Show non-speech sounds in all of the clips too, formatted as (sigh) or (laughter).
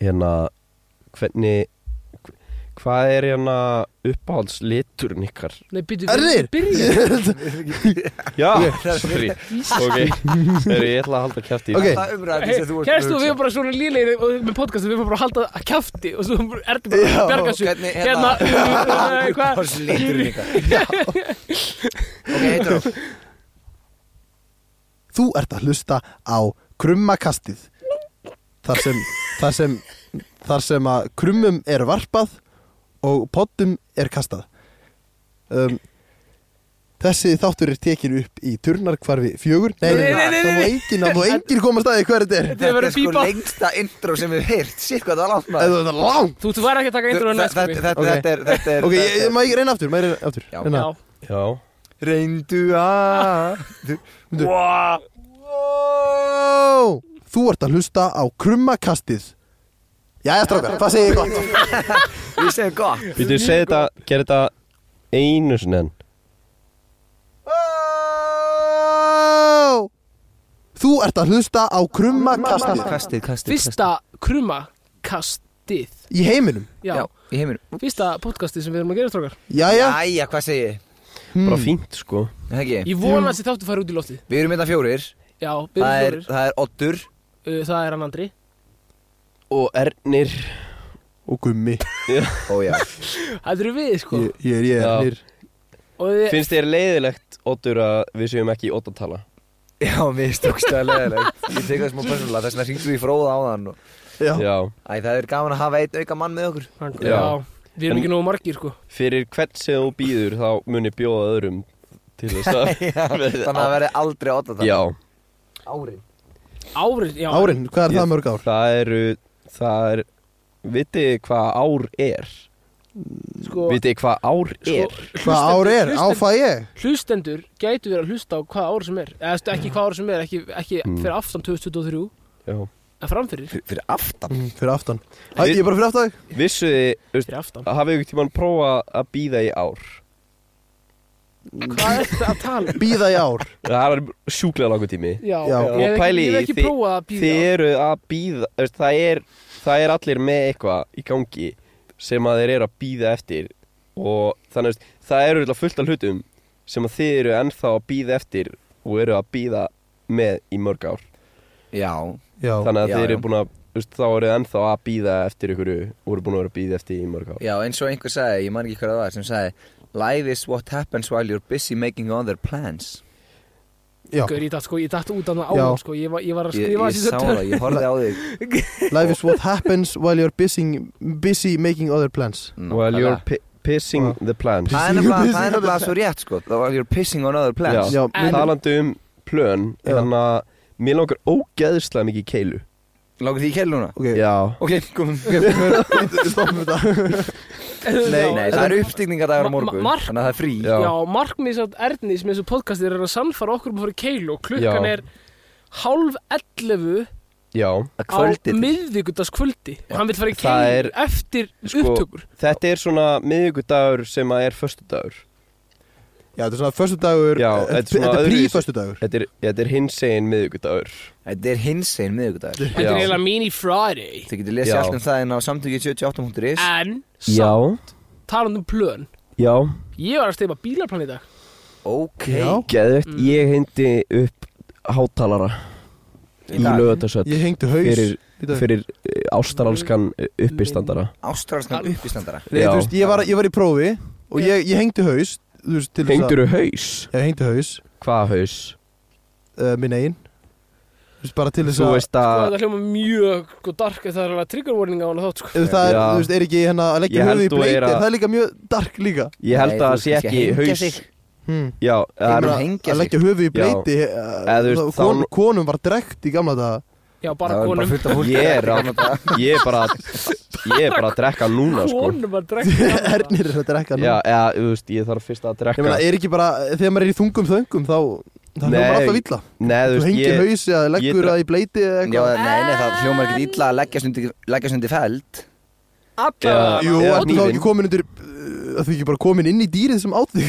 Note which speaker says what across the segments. Speaker 1: hérna hvernig hvað er hérna uppáhaldsliturinn ykkar
Speaker 2: Nei, býtu,
Speaker 3: Erðir!
Speaker 2: byrja
Speaker 1: já, sorry ok, Heyrðu, ég ætla að halda kæfti
Speaker 3: Ok.
Speaker 4: Það umræðum
Speaker 2: Hey,
Speaker 4: sem þú ert
Speaker 2: Kæstu, við erum bara svona lílegir og- með podcastum, við erum bara að halda að kjafti og svo ertu bara að bjarga svo
Speaker 4: hvernig,
Speaker 2: Hérna,
Speaker 4: hérna-
Speaker 2: uh, uh, hvað
Speaker 4: Hvers litur líka Ok, heitur
Speaker 2: (laughs)
Speaker 4: þú
Speaker 3: Þú ert að hlusta á krummakastið þar sem, þar sem, þar sem að krummum er varpað og poddum er kastað um, Þessi þáttur er tekin upp í turnarkvarfi fjögur Nei, nei, nei, nei, nei, nei. Það má enginn komast að því hver þetta er
Speaker 2: Þetta er verið
Speaker 4: sko
Speaker 2: bíbað.
Speaker 4: lengsta intro sem við heyrt Sitt hvað það var langt maður
Speaker 3: Eða Þetta er langt
Speaker 2: Þú, þú væri ekki að taka eindur á
Speaker 4: Þetta-
Speaker 2: næstu
Speaker 4: þetta-
Speaker 3: Ok.
Speaker 4: þetta- Þetta er þetta er-
Speaker 3: Ok, ég, ég,
Speaker 4: þetta er-
Speaker 3: maður ekki reyna aftur, maður reyna aftur Hérna.
Speaker 4: Já.
Speaker 2: Já,
Speaker 3: reyna.
Speaker 1: já,
Speaker 4: Reyndu að
Speaker 3: Wow! Þú ert að hlusta á krummakastið Jæja, strákar, hvað segir ég gott?
Speaker 4: Við segjum gott
Speaker 1: býtu, segð þetta gerð þetta einu sinni enn.
Speaker 3: Wow! Þú ert að hlusta á krummakastið
Speaker 4: Kastið, kastið
Speaker 2: fyrsta krumakastið
Speaker 3: í heiminum
Speaker 2: Já,
Speaker 4: Já, í heiminum
Speaker 2: fyrsta podcastið sem við erum að gera strókar
Speaker 3: Jæja, Hmm.
Speaker 4: Æja, hvað segi ég?
Speaker 3: Mm.
Speaker 1: bara fínt sko
Speaker 4: Það ekki
Speaker 2: Ég vona að þessi þáttu fara út í loftið
Speaker 4: Við erum þetta fjórir
Speaker 2: Já, við erum
Speaker 4: Það er,
Speaker 2: fjórir
Speaker 4: það er Oddur
Speaker 2: Uh, Það er hann Andri
Speaker 1: og Ernir
Speaker 3: og gummi
Speaker 4: Ó já
Speaker 2: Það eru við sko
Speaker 3: Ég, ég er ég
Speaker 1: Já.
Speaker 3: er
Speaker 2: Og við
Speaker 1: finnst þér leiðilegt Oddur að við séum ekki í Oddatala
Speaker 4: (laughs) Já, mér stókst það leðilegt Ég tek það smá persónulega Þess vegna hringdu í fróða á þann og...
Speaker 3: Já.
Speaker 1: já,
Speaker 4: Æ, það er gaman að hafa eitt auka mann með (laughs) okkur
Speaker 2: Hann-
Speaker 1: Já.
Speaker 2: Já, við erum
Speaker 1: En-
Speaker 2: ekki nógu margir sko
Speaker 1: fyrir hvern sem þú býður þá muni bjóða öðrum til þess að
Speaker 4: (laughs) Þannig að það verði aldrei Oddur það
Speaker 1: já,
Speaker 4: Árin
Speaker 2: Árin, já
Speaker 3: Árin, hvað er
Speaker 1: Ég-
Speaker 3: það mörg ár?
Speaker 1: það eru það er, vitið þið hvað ár er
Speaker 2: sko,
Speaker 1: vitið þið hvað ár sko? er
Speaker 3: Hvað ár er?
Speaker 2: hlustendur,
Speaker 3: Áfæ ég?
Speaker 2: hlustendur gætu verið að hlusta á hvað ár sem er eða þú veist, ekki hvað ár sem er, ekki, ekki
Speaker 1: Mm.
Speaker 2: fyrir aftan 2023
Speaker 1: já.
Speaker 2: en framfyrir,
Speaker 4: Fyrir aftan
Speaker 3: Mm, Fyrir aftan Æ, Ég er bara fyrir aftan
Speaker 1: vissuð þið, þú veist,
Speaker 2: fyrir aftan
Speaker 1: hafið ykkur tímann prófað að býða í ár
Speaker 2: hvað er þetta að
Speaker 1: (laughs)
Speaker 2: tala um?
Speaker 3: Býða í ár
Speaker 1: það er sjúklega langur tími
Speaker 2: Já,
Speaker 3: Já.
Speaker 2: ég hef
Speaker 1: Og
Speaker 2: ekki,
Speaker 1: pæli
Speaker 2: ég hef
Speaker 1: í
Speaker 2: ekki
Speaker 1: því-
Speaker 2: prófað að býða
Speaker 1: þið eru að býða þú veist, það er, það er allir með eitthvað í gangi sem að þeir eru að býða eftir og þannig veist, það eru örugglega fullt af hlutum sem að þið eru ennþá að býða eftir og eru að býða með í mörg ár
Speaker 4: Já
Speaker 3: Já,
Speaker 1: þannig að
Speaker 4: Já,
Speaker 1: þið eru
Speaker 4: já.
Speaker 1: búin að þú veist, þá eru þið ennþá að býða eftir ykkur og eru búin að vera að býða eftir í mörg ár
Speaker 4: Já, eins og einhver sagði Ég man ekki hvað það var Sem sagði Life is what happens while you're busy making other plans
Speaker 3: já
Speaker 2: Gaur, ég datt sko, ég datt út af það
Speaker 3: Já.
Speaker 2: árum sko, ég var, ég var að
Speaker 4: Ég,
Speaker 2: skrifa
Speaker 4: ég sá það, ég horfði á þig
Speaker 3: Life is what happens while you're busy, busy making other plans
Speaker 1: while you're
Speaker 4: Nákvæmlega.
Speaker 1: pi pissing the plants
Speaker 4: Það er nefnilega það er nefnilega svo rétt sko While you're pissing on other plans
Speaker 3: Já,
Speaker 2: En-
Speaker 3: minn,
Speaker 1: talandi um plön
Speaker 3: Já.
Speaker 1: þannig að mér langar ógeðslega mikið í keilu
Speaker 4: Lákur því í kell núna?
Speaker 3: ok
Speaker 1: já
Speaker 4: Ok, (laughs) komum
Speaker 3: (laughs) Stoppum þetta
Speaker 4: Nei, nei, það
Speaker 2: er
Speaker 4: er uppstigningadagur á
Speaker 2: Ma-
Speaker 4: morgun
Speaker 2: ma- mark-
Speaker 4: Þannig að það er frí
Speaker 1: Já.
Speaker 2: Já, markmið satt Ernis með þessu podcasti er að sannfara okkur um að fara í keilu og klukkan
Speaker 1: Já.
Speaker 2: er hálf 11
Speaker 1: já
Speaker 4: Að
Speaker 2: á
Speaker 4: kvöldið
Speaker 2: miðvíkudagskvöldi og hann vil fara í
Speaker 1: Það
Speaker 2: keilu
Speaker 1: er-
Speaker 2: eftir
Speaker 1: sko,
Speaker 2: upptökur
Speaker 1: Þetta er svona miðvíkudagur sem að er föstudagur
Speaker 3: Já, þetta er svona fyrstu dagur
Speaker 1: Já, þetta er
Speaker 3: Þetta
Speaker 1: svona
Speaker 3: þetta er
Speaker 1: öðruvísi.
Speaker 3: prífyrstu dagur
Speaker 1: Þetta er, þetta er hins einn miðvíkudagur
Speaker 4: Þetta er hins einn miðugudagur
Speaker 2: Þetta
Speaker 1: Já.
Speaker 2: er eiginlega mini Friday
Speaker 4: Þið getur lesið
Speaker 1: Já.
Speaker 4: allt um það en á samtökið 78.is
Speaker 2: En, samt, talandi um plön
Speaker 1: já
Speaker 2: Ég var að steipa bílarplan í dag
Speaker 4: Ok
Speaker 3: Já.
Speaker 1: Geðvett,
Speaker 2: Mm.
Speaker 1: ég hindi upp hátalara
Speaker 4: Í
Speaker 1: í
Speaker 4: dag.
Speaker 1: lögutasöld
Speaker 3: Ég hengdi haus
Speaker 1: fyrir,
Speaker 3: í dag.
Speaker 1: fyrir eh, ástralskan eh, uppistandara
Speaker 4: Ástralskan uppistandara
Speaker 3: Nei,
Speaker 1: Já.
Speaker 3: þú veist, ég var, ég var í prófi og ég, ég hengdi haus þú veist, til þess að-
Speaker 1: Hengdur haus?
Speaker 3: Ég hengdi haus,
Speaker 1: Hvað haus?
Speaker 3: uh, minn eigin Þú veist, bara til þess
Speaker 1: Þú
Speaker 3: að
Speaker 1: veist
Speaker 2: Og
Speaker 1: að
Speaker 2: Sko, þetta hljóma mjög sko, dark Það er alveg trigger warning á hann þátt sko.
Speaker 3: ef það er,
Speaker 1: Já.
Speaker 3: þú veist, er ekki hérna að
Speaker 1: Ég
Speaker 3: leggja
Speaker 1: held
Speaker 3: höfuð í
Speaker 1: þú er
Speaker 3: bleiti
Speaker 1: að-
Speaker 3: það er líka mjög dark líka
Speaker 1: ég held
Speaker 4: Nei,
Speaker 1: að
Speaker 4: þú
Speaker 1: það sé
Speaker 4: veist,
Speaker 1: ekki
Speaker 4: hengja
Speaker 1: haus
Speaker 4: þig.
Speaker 3: hmm.
Speaker 1: Já, það
Speaker 4: Ég
Speaker 1: er,
Speaker 4: meina,
Speaker 3: að,
Speaker 4: hengja
Speaker 3: að
Speaker 4: sig.
Speaker 3: leggja höfuð í
Speaker 1: Já.
Speaker 3: bleiti
Speaker 1: Eða, þú veist,
Speaker 3: þá, kon,
Speaker 1: þá-
Speaker 3: konum var drekt í gamla daga
Speaker 2: Já, bara
Speaker 4: Það var bara
Speaker 2: konum
Speaker 4: fullt af fólki
Speaker 1: ég er að ég er bara ég er bara að drekka núna sko
Speaker 2: Konum að drekka
Speaker 3: Ernir er að drekka nú
Speaker 1: Já, eða, þú veist, ég þarf fyrst að
Speaker 3: Ég meina,
Speaker 1: drekka
Speaker 3: er ekki bara, þegar maður er í þungum þöngum þá Það
Speaker 1: Nei,
Speaker 3: hljómar alltaf illa
Speaker 1: Nei, þú
Speaker 3: Þú
Speaker 1: veist,
Speaker 3: hengir
Speaker 1: ég,
Speaker 3: haus eða leggur
Speaker 1: dra-
Speaker 3: það í bleiti eða
Speaker 4: Já,
Speaker 3: eitthvað
Speaker 4: nei, nei, það hljómar ekkert illa að leggjast undir, leggjast undir feld
Speaker 2: Alla
Speaker 3: Jú,
Speaker 1: eða
Speaker 3: ertu þá
Speaker 1: hnífinn.
Speaker 3: ekki komin undir Það þú ekki bara komin inn í dýrið sem átt (laughs) þig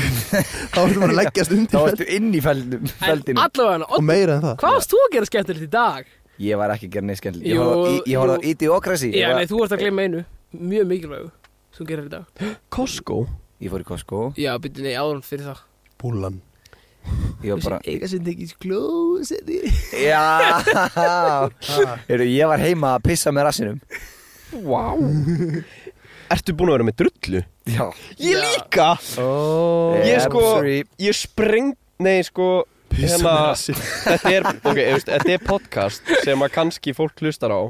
Speaker 3: Þá ertu bara að leggjast (laughs) undir
Speaker 4: Þá
Speaker 3: feld
Speaker 4: ertu inn í feldum,
Speaker 2: En
Speaker 4: feldinu
Speaker 2: allavega,
Speaker 3: Og meira en það
Speaker 2: hvað varst þú að gera skemmtilegt í dag?
Speaker 4: Ég var ekki að gera neitt skemmtilegt. Ég
Speaker 2: Jú,
Speaker 4: horfði á- ég- Ég horfði á
Speaker 2: jú.
Speaker 4: Idiocracy. Ég
Speaker 2: Já,
Speaker 4: var-
Speaker 2: nei, þú ert að gleyma einu Mjög mikilvægu Sem þú gerir í dag
Speaker 1: Costco?
Speaker 4: Ég fór í Costco.
Speaker 2: Já, byrju, nei, áðan fyrir það
Speaker 3: Búlan
Speaker 4: Ég var bara...
Speaker 2: Eiga sem tekið klósetti
Speaker 4: Já! Heyrðu, ég var heima að pissa með rassinum.
Speaker 1: Vá Ertu búin að vera með drullu?
Speaker 4: Já.
Speaker 1: Ég
Speaker 2: Já.
Speaker 1: líka
Speaker 3: oh.
Speaker 1: Ég
Speaker 4: I'm
Speaker 1: sko,
Speaker 4: sorry.
Speaker 1: ég spreng Nei, sko
Speaker 3: Pissa með
Speaker 1: hérna,
Speaker 3: rassinn.
Speaker 1: Þetta er, ok, þú veist, þetta er podcast sem að kannski fólk hlustar á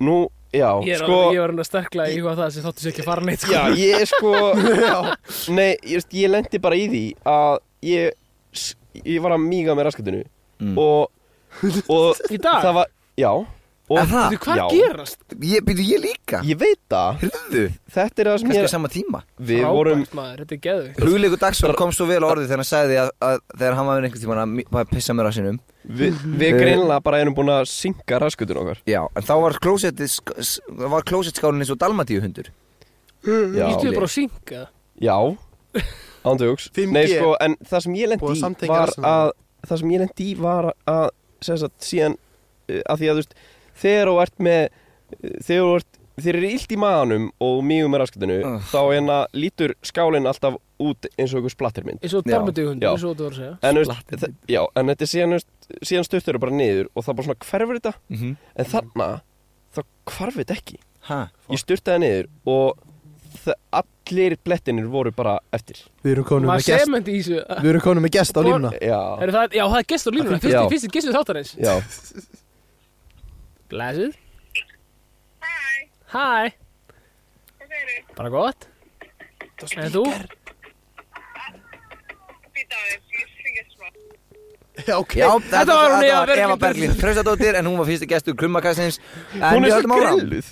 Speaker 1: Nú, já,
Speaker 2: Ég er
Speaker 1: sko
Speaker 2: alveg- ég var hann að sterkla í hvað það sem þáttu sér ekki að fara neitt sko.
Speaker 1: Já, ég er sko
Speaker 4: (laughs)
Speaker 1: Nei, ég, veist, ég lendi bara í því að ég, s- ég var að míga með raskatinu
Speaker 4: Mm.
Speaker 1: og,
Speaker 4: (laughs)
Speaker 1: og
Speaker 2: Í dag?
Speaker 1: það var, já og,
Speaker 4: Er það?
Speaker 2: Þú, hvað
Speaker 1: Já.
Speaker 2: gerast?
Speaker 4: Ég byrju ég líka.
Speaker 1: Ég veit það,
Speaker 4: Heyrðu,
Speaker 1: þetta er það sem
Speaker 4: kannski
Speaker 1: ég
Speaker 4: á sama tíma.
Speaker 1: Við vorum,
Speaker 2: Frábært, maður, þetta er geðvikt
Speaker 4: Hugleiku dagsfólk kom svo vel á orðið þegar hann sagði að, að þegar hann var einhvern tíma að, mí- að pissa með rassinum.
Speaker 1: við,
Speaker 4: Eh.
Speaker 1: við greinlega bara erum búin að synga raskatinu okkar
Speaker 4: Já, en þá var klósettið, sk- s- þá var klósettskárin eins og dalmatíu hundur.
Speaker 1: Já.
Speaker 2: Ítum við bara að synga
Speaker 1: Já, ándjóks
Speaker 3: 5G.
Speaker 1: Nei sko, en það sem ég
Speaker 3: Búið að
Speaker 1: lendi í
Speaker 3: samtengja
Speaker 1: var
Speaker 3: rassinn á
Speaker 1: að Það sem ég lendi í var að sem sagt, síðan, uh, að því að þú veist þegar þú ert með uh, þegar þú ert, þeir eru illt í maðanum og mjög með raskatinu,
Speaker 4: Ugh.
Speaker 1: þá hérna lítur skálinn alltaf út eins og einhver splattermynd
Speaker 2: Eins og
Speaker 4: Já.
Speaker 2: darmadögundur,
Speaker 1: Já.
Speaker 2: eins og þú voru að segja
Speaker 1: En, þú veist,
Speaker 4: Splattermynd.
Speaker 1: þe- já, en þetta er síðan, þú veist, síðan stuttur bara niður og það bara svona hverfur þetta
Speaker 4: Mm -hmm.
Speaker 1: en þarna, þá hverfur þetta ekki
Speaker 4: Hæ?
Speaker 1: Ég styrtaði niður og þa- allir blettinir voru bara eftir
Speaker 3: Við erum konum með
Speaker 2: Maður
Speaker 3: gest
Speaker 2: sementi í þessu
Speaker 3: Við erum konum með gest á
Speaker 2: Bor-
Speaker 3: línuna
Speaker 1: Já,
Speaker 2: Heyrðu, það- Já, það er gestur línuna,
Speaker 1: Já.
Speaker 2: fyrsti, fyrsti gestur þáttarins
Speaker 1: já
Speaker 2: Blessuð
Speaker 5: Hæ,
Speaker 2: Hæ,
Speaker 5: hvað segirðu?
Speaker 2: bara gott En þú?
Speaker 5: Býta aðeins, ég syngja smá.
Speaker 3: Já, ok
Speaker 4: Já,
Speaker 2: Þetta var hún, já,
Speaker 4: þetta var
Speaker 2: Berglind
Speaker 4: Eva Berglind Traustadóttir en hún var fyrsti gestur krummakastins
Speaker 1: Hún er svo grilluð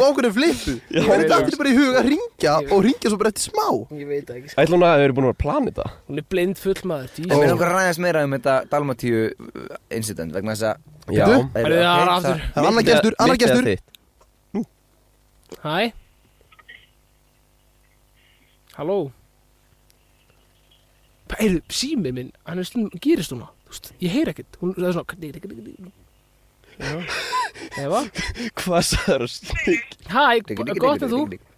Speaker 3: Og okkur er flippu
Speaker 1: Já.
Speaker 3: Það er dættir bara í hug að ringja Og ringja svo bara eftir smá
Speaker 2: Ég veit það ekki sko.
Speaker 1: Ætla hún að þau eru búin að vera að plana þetta
Speaker 2: Hún er blind full maður Jesus.
Speaker 4: En við erum okkur að ræðast meira um þetta Dalmatíu uh, incident vegna þess að
Speaker 3: Bíddu.
Speaker 4: Heyrðu,
Speaker 2: Heyrðu, það
Speaker 4: ok,
Speaker 2: var aftur.
Speaker 3: Það er annar gestur, annar
Speaker 1: Mitt eða
Speaker 3: gestur
Speaker 1: þitt?
Speaker 2: Hæ Halló Pæru, sími minn, hann er stundum, gerist hún það Ég heyr ekkert, hún það er svona kdik, kdik, kdik, kdik. Já, Eva
Speaker 1: Hvað sagður slik?
Speaker 2: Hæ,
Speaker 4: Digg, digg, digg,
Speaker 2: gott
Speaker 4: digg,
Speaker 2: að þú
Speaker 4: digg, digg, digg.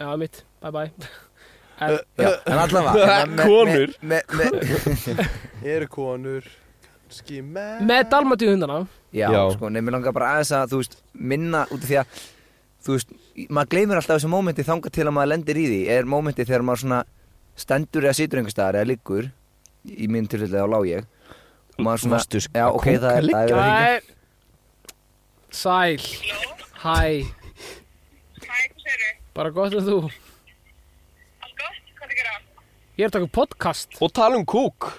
Speaker 2: Já, mitt, bye bye en,
Speaker 4: Já, en allavega
Speaker 2: (laughs)
Speaker 4: en með-
Speaker 1: Konur.
Speaker 4: með- með- með-
Speaker 3: Er konur Kanski með
Speaker 2: Með dalmatíu hundana
Speaker 4: Já,
Speaker 1: Já.
Speaker 4: sko, nefnir langar bara aðeins að þú veist, minna út af því að þú veist, maður gleymir alltaf þessu mómenti þanga til að maður lendir í því er mómenti þegar maður svona stendur eða situr einhver staðar eða liggur í minn tilfellega á lág ég og maður svona,
Speaker 1: Varstu
Speaker 2: sko
Speaker 1: sk-
Speaker 4: já,
Speaker 1: að
Speaker 4: ok, það er,
Speaker 1: kóka
Speaker 4: það er verið að hringja.
Speaker 2: Hæ Sæl Hæ,
Speaker 5: Hæ, hvað segirðu?
Speaker 2: bara gott að þú
Speaker 5: Allt gott? Hvað er að gera?
Speaker 2: Ég er að taka upp podcast
Speaker 1: Og tala um kúk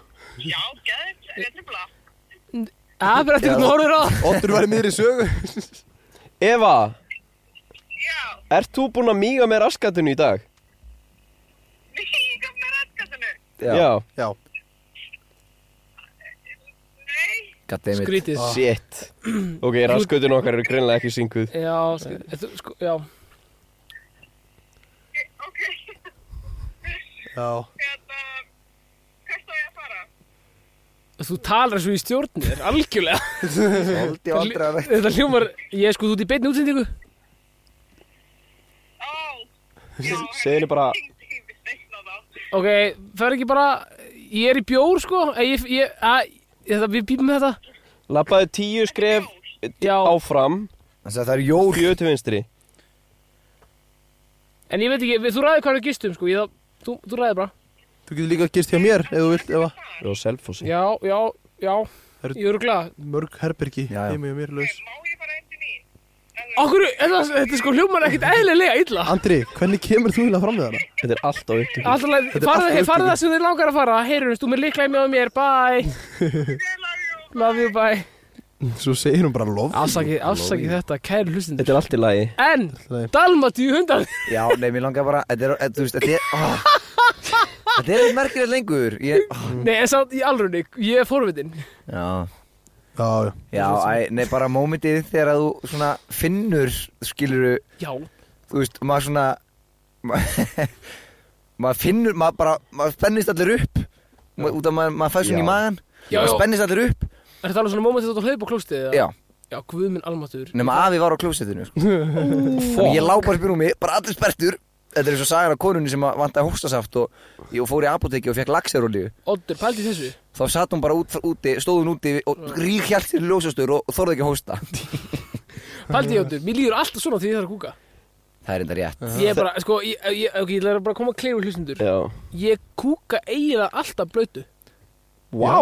Speaker 5: Já, gæðið, ég er tripla.
Speaker 2: Það er eftir hvernig horfir á
Speaker 3: Ottur var í miðri sögu
Speaker 1: Eva,
Speaker 5: Já,
Speaker 1: ert þú búin að míga með raskatinu í dag?
Speaker 5: við kom með rættkattinu.
Speaker 4: já,
Speaker 3: (laughs) Já
Speaker 5: Nei,
Speaker 4: goddammit.
Speaker 2: Skrítið
Speaker 1: Shit Ok, raskatinu okkar eru greinlega ekki synguð
Speaker 2: Já, skrítið Þú- sko, Já,
Speaker 5: ok.
Speaker 3: Já
Speaker 5: Hérna, hvert á ég að fara?
Speaker 2: Þú talar svo í stjórnir, algjörlega
Speaker 4: Svolítið vandræðalegt.
Speaker 2: Þetta hljómar, ég er sko, þú ert í beinni útsendingu
Speaker 5: Ó, já,
Speaker 1: Segðu henni bara-
Speaker 5: Ég hringdi í mig seinna þá.
Speaker 2: Ok, það er ekki bara, ég er í bjór sko eh, Ég, ég, að, ég það, við býpum með þetta
Speaker 1: Lappaði tíu skref
Speaker 2: Já.
Speaker 1: áfram
Speaker 4: Þannig að það er jól
Speaker 1: Fjöðu til vinstri
Speaker 2: En ég veit ekki, við, þú ræðir hvað við gistum sko, ég það, þú, þú ræðir bara
Speaker 3: Þú getur líka að gist hjá mér ef þú vilt Eva
Speaker 1: Og selfossi
Speaker 2: Já, já, já,
Speaker 3: Herru-
Speaker 2: ég eru glæð
Speaker 3: Mörg herbergi
Speaker 4: Já, já.
Speaker 3: Heima hjá mér laus
Speaker 5: Má ég bara einn til mín?
Speaker 2: Okkur, þetta, þetta sko hljómar ekkert eðlilega illa
Speaker 3: Andri, hvernig kemur þú hérna fram með hana?
Speaker 1: Þetta er allt á upptökum
Speaker 2: Alltaf, leið-
Speaker 3: Þetta er
Speaker 2: farðu
Speaker 3: allt
Speaker 2: hey, farðu
Speaker 3: upptöku.
Speaker 2: það sem þið langar að fara, heyrjumst, þú mér líklega með mér, bye,
Speaker 5: Ég love you.
Speaker 2: love you, bye
Speaker 3: Svo segir hún bara lof
Speaker 2: Afsakið, afsakið þetta, kæri hlustindur
Speaker 1: Þetta er allt í lagi
Speaker 2: En,
Speaker 3: Nei.
Speaker 2: Dalmatíu hundar
Speaker 1: (laughs)
Speaker 4: Já, nei, mér langar bara Þetta er, eh, þú veist, þetta er oh. Þetta er eitthvað merkilegt lengur ég, oh.
Speaker 2: Nei, en samt í alrunni, ég er forvitin
Speaker 4: Já,
Speaker 3: Já, já
Speaker 4: já, æ, nei, bara mómentið þegar að þú svona finnur skiluru,
Speaker 2: Já,
Speaker 4: þú veist, maður (laughs) svona ma- maður finnur, maður bara maður spennist allir upp Ma- út af maður mað fæst svona í
Speaker 1: Já.
Speaker 4: magan
Speaker 2: Já,
Speaker 4: og
Speaker 2: já.
Speaker 4: spennist allir upp
Speaker 2: Er þetta alveg svona mómentið þú ert að hlaupa á klóstið? eða?
Speaker 4: já,
Speaker 2: Já, guð minn almatur.
Speaker 4: nema afi var á klósettinu sko. Þannig ég lá bara upp í rúmi, bara allir sperrtur þetta er eins og sagan á konunni sem að vantaði hóstasaft og, og fór í apoteki og fekk laxerolíu
Speaker 2: Oddur, pældi þessu.
Speaker 4: þá satt hún bara út, úti, stóð hún úti og rík hjælt sér í ljósastur og, og þorði ekki að hósta
Speaker 2: Pældi ég, Oddur. Mér líður alltaf svona því ég þarf að kúka.
Speaker 4: það er enda rétt
Speaker 2: Ég er bara, sko, ég, ég, ok, ég ætla bara að koma að kleiru hlustundur.
Speaker 1: Já
Speaker 2: Ég kúka eiginlega alltaf blötu.
Speaker 1: Vá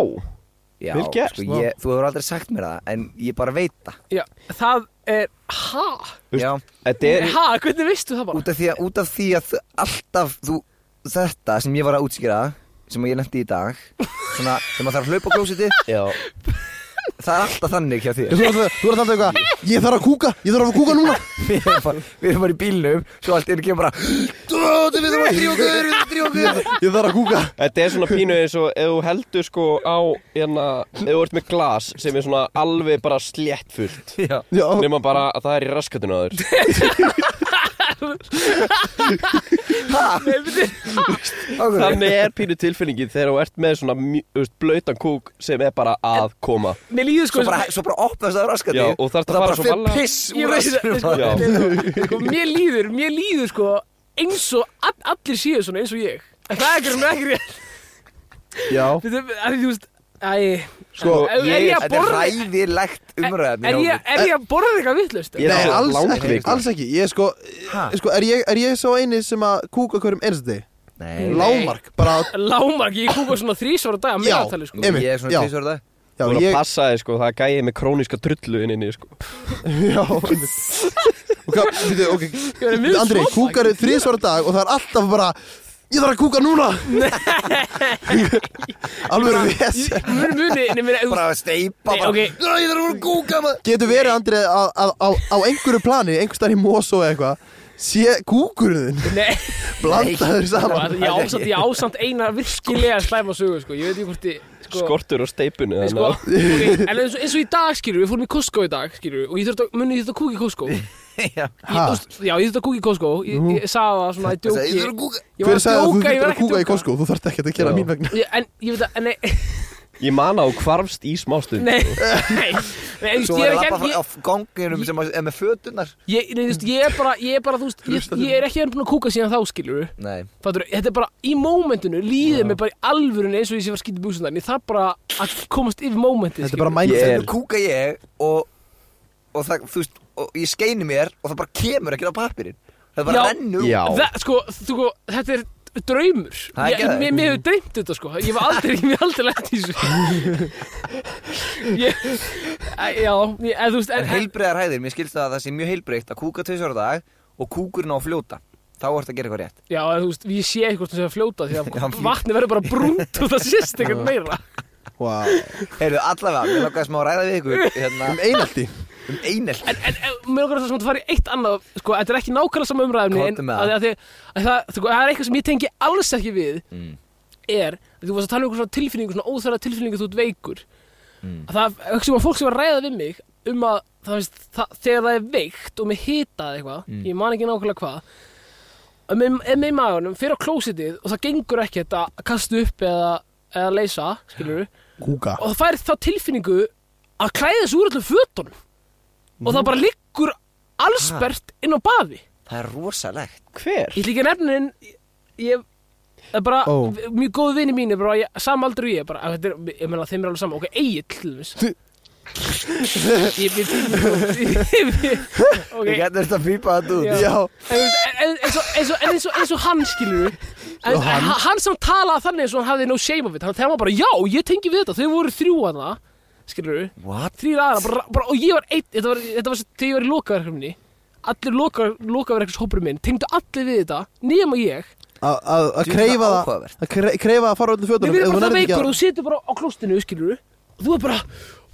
Speaker 4: já,
Speaker 1: Vel gert,
Speaker 4: sko, ég, þú hefur aldrei sagt mér það en ég bara veit það
Speaker 2: Já, það er, ha?
Speaker 1: Þú veist,
Speaker 4: já,
Speaker 1: Þetta er
Speaker 2: Ha, hvernig veistu það bara?
Speaker 4: út af því að, út af því að alltaf þú, þetta sem ég var að útskýra sem ég lendi í dag svona, sem að þarf að hlaupa á klósetti
Speaker 1: Já
Speaker 4: það er alltaf þannig hjá
Speaker 1: (laughs)
Speaker 4: þér
Speaker 3: Þú ert alltaf- þú ert alltaf eitthvað Ég þarf að kúka, ég þarf að kúka núna
Speaker 4: við erum bara, við erum bara í bílnum svo allt einu kemur bara "Dóti, við þurfum að drífa okkur, við þurfum að drífa okkur
Speaker 3: Ég þarf að kúka
Speaker 1: Þetta er svona pínu eins og ef þú heldur sko á hérna, ef þú ert með glas sem er svona alveg bara slétt fullt
Speaker 4: já,
Speaker 3: Já,
Speaker 1: nema bara að það er í raskatinu á þér
Speaker 2: Nei, byrju,
Speaker 4: okkur
Speaker 1: Þannig er pínu tilfinningin þegar þú ert með svona mj- þú veist, blautan kúk sem er bara að koma
Speaker 2: Mér líður sko
Speaker 4: svo bara, svo bara opnast það raskandi
Speaker 1: Já, og þarftu að
Speaker 4: það
Speaker 1: fara
Speaker 4: bara
Speaker 1: svo
Speaker 4: fer
Speaker 1: varlega.
Speaker 4: piss
Speaker 2: Ég
Speaker 4: úr
Speaker 2: veit það, sko,
Speaker 1: Já.
Speaker 4: raskandi
Speaker 2: sko, mér líður, mér líður sko eins og all, allir séu svona eins og ég en það er ekki svona ekki rétt
Speaker 1: Já
Speaker 2: Þetta er- af því þú veist, æ
Speaker 1: Sko,
Speaker 2: er, er
Speaker 1: ég-
Speaker 2: ég að
Speaker 4: þetta er
Speaker 2: borða er,
Speaker 4: ræðilegt umræðan
Speaker 2: er, ég, er ég að borða eitthvað vittlust
Speaker 1: Ég er
Speaker 3: Nei,
Speaker 1: svo
Speaker 3: alls ekki,
Speaker 1: langveikur.
Speaker 3: alls ekki Ég sko,
Speaker 4: Ha?
Speaker 3: sko er, ég, er ég svo eini sem að kúka hverjum einstu deg?
Speaker 4: nei,
Speaker 3: Lámark, bara á-
Speaker 2: Lámark, ég kúka svona þrísvar á dag að
Speaker 3: Já.
Speaker 2: meðaltali sko
Speaker 3: Einmitt,
Speaker 4: ég
Speaker 3: já.
Speaker 4: er svona tísur það
Speaker 3: Já,
Speaker 1: Þú voru að
Speaker 3: ég,
Speaker 1: passa þig sko, það er gæið með króníska drullu inninni sko
Speaker 3: já einmitt. Og hvað, veitu, ok
Speaker 2: er mjög
Speaker 3: Andri,
Speaker 2: svona.
Speaker 3: kúkar þrísvara dag og það er alltaf bara Ég þarf að kúka núna Alveg ves
Speaker 2: Muni, muni, nefnir, þú
Speaker 4: bara að steipa
Speaker 2: Nei,
Speaker 4: bara,
Speaker 2: ok.
Speaker 4: "Nei, ég þarf að voru að kúka
Speaker 2: (laughs)
Speaker 4: maður."
Speaker 3: Getur verið, Andri, að, að, á, á einhverju plani einhvers staðar í Mosó eða eitthvað sé kúkurinn þinn,
Speaker 2: Nei,
Speaker 3: blandaður saman
Speaker 2: Sko, ég ásamt, ég ásamt eina virkilega slæma sögu sko Ég veit ekki hvort ég sko,
Speaker 1: Skortur og steipinu
Speaker 2: Nei, sko,
Speaker 1: þannig að-
Speaker 2: okay, en eins og, eins og í dag skilur við fórum í Costco í dag skilur og ég þurfti að, muni ég þurfti að kúka í Costco ég,
Speaker 4: Já.
Speaker 3: Ha? Mhm.
Speaker 2: þú veist, já, ég þurfti að kúka í Costco ég, ég, ég sagði það svona í
Speaker 4: Ég sagði,
Speaker 2: djóki
Speaker 4: "Ég þarf að kúka."
Speaker 2: ég
Speaker 3: Hver sagði að þú
Speaker 2: ég
Speaker 3: þurftir
Speaker 2: var
Speaker 3: að
Speaker 2: ekki
Speaker 3: kúka í
Speaker 2: djóka.
Speaker 3: Costco? Þú þarft ekkert að gera
Speaker 1: Já.
Speaker 3: mín vegna
Speaker 2: Ég- en ég veit að, en nei
Speaker 1: Ég man að hún kvarfst í smástund
Speaker 2: nei, nei, nei, þú veist,
Speaker 4: Svo
Speaker 2: ég
Speaker 4: var
Speaker 2: er hérna-
Speaker 4: að
Speaker 2: ekki enn-
Speaker 4: lappa af ganginum sem að- er með fötunar
Speaker 2: ég, ég, nei, þú veist, ég er bara, ég er bara, þú veist ég, ég er ekki enn búin að kúka síðan þá skilur við
Speaker 4: Nei,
Speaker 2: Fattur, þetta er bara í mómentinu, líðið mér bara í alvörunni eins og ég sé var skýtið búsundan Ég þarf bara að komast yfir mómentið
Speaker 3: Þetta er bara
Speaker 2: skilurðu.
Speaker 3: mæn
Speaker 1: Ég er-
Speaker 4: nú kúka ég og, og það, þú veist, og ég skeini mér og það bara kemur ekki á pappirinn Það bara
Speaker 2: Já.
Speaker 4: rennur
Speaker 1: Já,
Speaker 2: Það, sko, þú, sko, þetta er draumur
Speaker 4: Það er
Speaker 2: Ég-
Speaker 4: geðveikt.
Speaker 2: Mér mér hefur dreymt þetta sko Ég var aldrei, ég hef aldrei lent í þessu
Speaker 4: (laughs)
Speaker 2: ég, Æ, Já, ég, eða, þú veist
Speaker 4: En
Speaker 2: en, en,
Speaker 4: heilbreiðar hæðir, mér skilst það að það sé mjög heilbreitt að kúka tvisar á dag og kúkurinn á að fljóta Þá ertu að gera eitthvað rétt
Speaker 2: Já, eða, þú veist, ég sé eitthvað sem sé að fljóta
Speaker 4: (laughs)
Speaker 2: Því
Speaker 4: Já,
Speaker 2: að
Speaker 4: fljóta.
Speaker 2: vatni verður bara brúnt og það sést eitthvað meira
Speaker 3: Vá.
Speaker 4: Heyrðu, allavega, mér langaði smá að ræða við
Speaker 2: (laughs)
Speaker 4: ykkur hérna,
Speaker 3: Um einaldi
Speaker 4: um einelt
Speaker 2: En, en, en mér okkar þess að fara í eitt annað Sko, þetta er ekki nákvæmlega sama umræðumni
Speaker 4: Komdu
Speaker 2: En
Speaker 4: með
Speaker 2: að,
Speaker 4: það.
Speaker 2: að, að, að, það, sko, það er eitthvað sem ég tengi alls ekki við
Speaker 4: Mm.
Speaker 2: Er, að þú varst að tala um eitthvað svona tilfinningu Svona óþæra tilfinningu þú ert veikur að það auksum að fólk sem var að ræða við mig um að það veist, það, þegar það er veikt og með hitað eitthvað,
Speaker 4: Mm.
Speaker 2: ég man ekki nákvæmlega hvað að með, eða með maðurinn fyrir á klósitið og það gengur ekkert að kasta upp eða, eða leysa, skilur
Speaker 3: Kúka
Speaker 2: og það fær þá tilfinningu að klæða þessu úr allir fötunum og það bara liggur allsbert inn á baði
Speaker 4: Það er rosalegt
Speaker 1: hver?
Speaker 2: ég ætla ekki að nefna en ég það er bara,
Speaker 3: Ó.
Speaker 2: mjög góð vini mín er bara, ég, samaldur ég bara, þetta er, ég meina þeim er alveg sama, ok, Egill til þess ég við ok,
Speaker 4: Ég
Speaker 2: en,
Speaker 4: gæti þetta að pípa þetta út
Speaker 2: Já.
Speaker 3: Já,
Speaker 2: en, en, eins og- eins og- en eins og eins og hann skilur en,
Speaker 3: hann?
Speaker 2: hann? hann sem talaði þannig eins og hann hafði no shame of it, hann þegar var bara, já, ég tengi við þetta þau voru þrjú að það, skilur
Speaker 4: What?
Speaker 2: þrýr aðra, bara, bara, og ég var einn þetta var, þetta var svo- þegar ég var í lokaverkefni allir loka, lokaverkefnishópur minn tengdu allir við þetta, nema ég
Speaker 3: að- að að
Speaker 4: Djú,
Speaker 3: kreifa
Speaker 4: það er
Speaker 3: það
Speaker 4: áhugavert.
Speaker 3: Að kre- kreifa að fara öllu
Speaker 2: Nei,
Speaker 3: fötunum
Speaker 2: við
Speaker 3: ef
Speaker 2: erum
Speaker 3: þú
Speaker 2: bara það
Speaker 3: nærð ekki
Speaker 2: veikur
Speaker 3: að-
Speaker 2: og þú situr bara á klóstinu, skilur og þú er bara,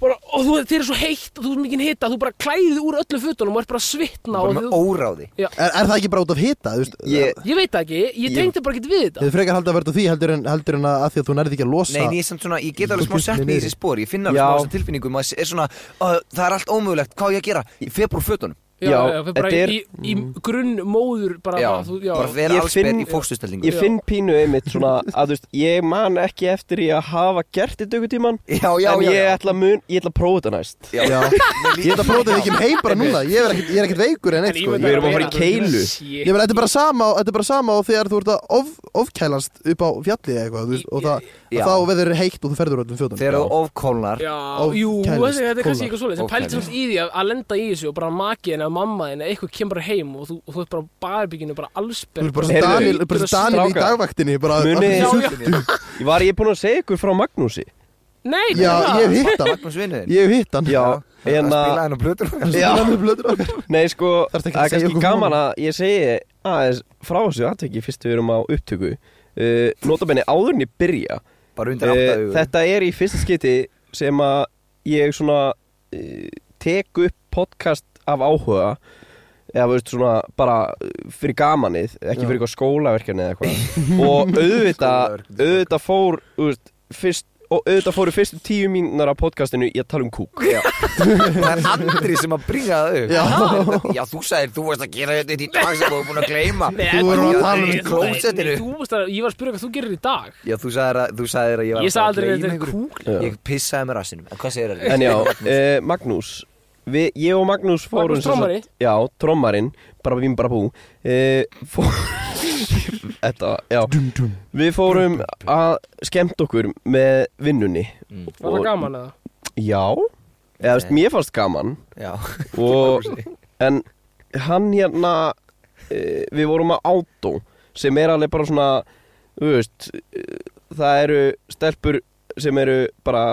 Speaker 2: bara og þú, þér er svo heitt og þú er mikið hita, þú bara klæðið úr öllu fötunum og ert bara að svitna
Speaker 4: Bara
Speaker 2: og
Speaker 4: með
Speaker 2: þú,
Speaker 4: óráði
Speaker 3: Er er það ekki bara út af hita? þú veist?
Speaker 4: Ég-
Speaker 2: ég veit það ekki, ég tengdi bara ekki við þetta
Speaker 3: Þið frekar haldið að verða því heldur en, heldur en að, að því að þú nærði ekki að losa
Speaker 4: Nei, en ég, er samt svona, ég get alveg smá
Speaker 3: Þú
Speaker 4: sett
Speaker 3: finnst mér
Speaker 4: mig í þessi
Speaker 3: niður.
Speaker 4: spór Ég finn alveg
Speaker 1: Já.
Speaker 4: smá þessa tilfinningu Maður er svona, uh, það er allt ómögulegt, hvað á ég að gera Ég fer bara úr fötunum
Speaker 2: já,
Speaker 1: Já,
Speaker 2: já, fer bara
Speaker 1: þetta er-
Speaker 2: í, í grunn móður bara,
Speaker 4: já,
Speaker 2: bara, þú, já,
Speaker 4: bara vera
Speaker 1: Ég
Speaker 4: allsber
Speaker 1: finn-
Speaker 4: í fóstustellingu
Speaker 1: Ég finn pínu einmitt svona að þú veist, ég man ekki eftir ég að hafa gert þetta ykkur tíman
Speaker 4: já, já,
Speaker 1: En
Speaker 4: já,
Speaker 1: ég
Speaker 4: já.
Speaker 1: ætla að mun, ég ætla að prófa þetta næst
Speaker 4: Já. (laughs)
Speaker 3: Já.
Speaker 4: Mér
Speaker 3: Ég ætla að prófa þetta ekki um heim bara núna Ég er ekkert, ég er ekkert veikur en
Speaker 2: En
Speaker 3: eitt sko
Speaker 2: ímyndaðu
Speaker 1: Við erum að fara í
Speaker 2: vera-
Speaker 1: keilu.
Speaker 2: Shit.
Speaker 3: Ég meina, þetta er bara sama á- þetta er bara sama á þegar þú ert að of, ofkælast upp á fjalli eða eitthvað þú veist, og það,
Speaker 4: Já.
Speaker 3: þá veður heitt og þú ferður öllum fjóðan
Speaker 4: Þegar þú ofkólnar
Speaker 2: Já,
Speaker 3: Of-
Speaker 2: jú,
Speaker 3: kælist,
Speaker 2: þetta er
Speaker 3: kólnar.
Speaker 2: kannski eitthvað svoleiðis En
Speaker 4: Of
Speaker 2: pældi
Speaker 4: kælist.
Speaker 2: svolítið í því að, að lenda í þessu og bara makiðin eða mammaðin eða eitthvað kemur bara heim og þú, og þú ert bara á barbygginu bara
Speaker 3: Þú
Speaker 2: allsberg
Speaker 3: er bara sem
Speaker 1: Heyrðu,
Speaker 3: Daniel, bara sem Daniel í
Speaker 1: strákar.
Speaker 3: dagvaktinni bara,
Speaker 1: Munið-
Speaker 2: Já, já.
Speaker 1: Ég var ég búinn að segja ykkur frá Magnúsi
Speaker 2: Nei,
Speaker 3: Já, ég hef hitt hann
Speaker 4: Magnús vinnuðin
Speaker 3: Ég hef hitt hann
Speaker 1: Já, hérna-
Speaker 4: að
Speaker 1: en
Speaker 4: spila hérna
Speaker 1: að
Speaker 4: henn og blöður
Speaker 1: Já.
Speaker 3: Spilaði með blöður okkar
Speaker 1: Nei, sko,
Speaker 3: Þarftu
Speaker 1: það
Speaker 3: ekki
Speaker 1: er
Speaker 3: að segja
Speaker 1: kannski
Speaker 3: okkur
Speaker 1: gaman
Speaker 3: frá
Speaker 1: að ég segi aðeins frá þessu aðteki fyrst við erum á upptöku uh, Notabenni áðurinn ég byrja
Speaker 4: bara undir átta
Speaker 1: uh,
Speaker 4: augur
Speaker 1: Þetta er í fyrsta skiti sem að ég svona uh, tek upp podcast af áhuga eða veist svona bara uh, fyrir gamanið, ekki
Speaker 3: Já.
Speaker 1: fyrir eitthvað skólaverkefni eða eitthvað og auðvitað,
Speaker 4: Skólaverkefni,
Speaker 1: auðvitað fór þú veist, fyrst, og auðvitað fóru fyrstu tíu mínunar af podcastinu í að tala um kúk
Speaker 4: Já. það er Andri sem að bringa það upp
Speaker 3: Já.
Speaker 4: já, já þú sagðir, þú varst að gera þetta í dag sem þú er búin að gleyma (laughs)
Speaker 3: Þú erum að tala um
Speaker 4: í klósettinu.
Speaker 2: Þú veist að ég var að spyrja hvað þú gerir í dag
Speaker 4: já, þú sagðir að, þú sagðir að ég var
Speaker 2: Ég sagði
Speaker 4: að
Speaker 2: aldrei
Speaker 4: gleyma
Speaker 2: að þetta er
Speaker 4: einhverju.
Speaker 2: kúk
Speaker 1: Já.
Speaker 4: ég pissaði með rassinum en hvað segir
Speaker 1: sko.
Speaker 4: það?
Speaker 2: (laughs)
Speaker 1: En já, uh, Magnús við, Ég og Magnús fórum
Speaker 2: Magnús
Speaker 1: sem sagt-
Speaker 2: trommari.
Speaker 1: Já, trommarinn Bara bím, bara bú uh, fó... (laughs) Þetta, já
Speaker 3: Dum, dum.
Speaker 1: Við fórum að skemmt okkur með vinnunni
Speaker 4: Mm.
Speaker 2: Var það gaman eða?
Speaker 1: Já Eða, veist,
Speaker 4: Nei.
Speaker 1: mér fannst gaman
Speaker 4: já,
Speaker 1: og, En hann hérna uh, Við vorum að átó Sem er alveg bara svona Þú veist uh, Það eru stelpur sem eru bara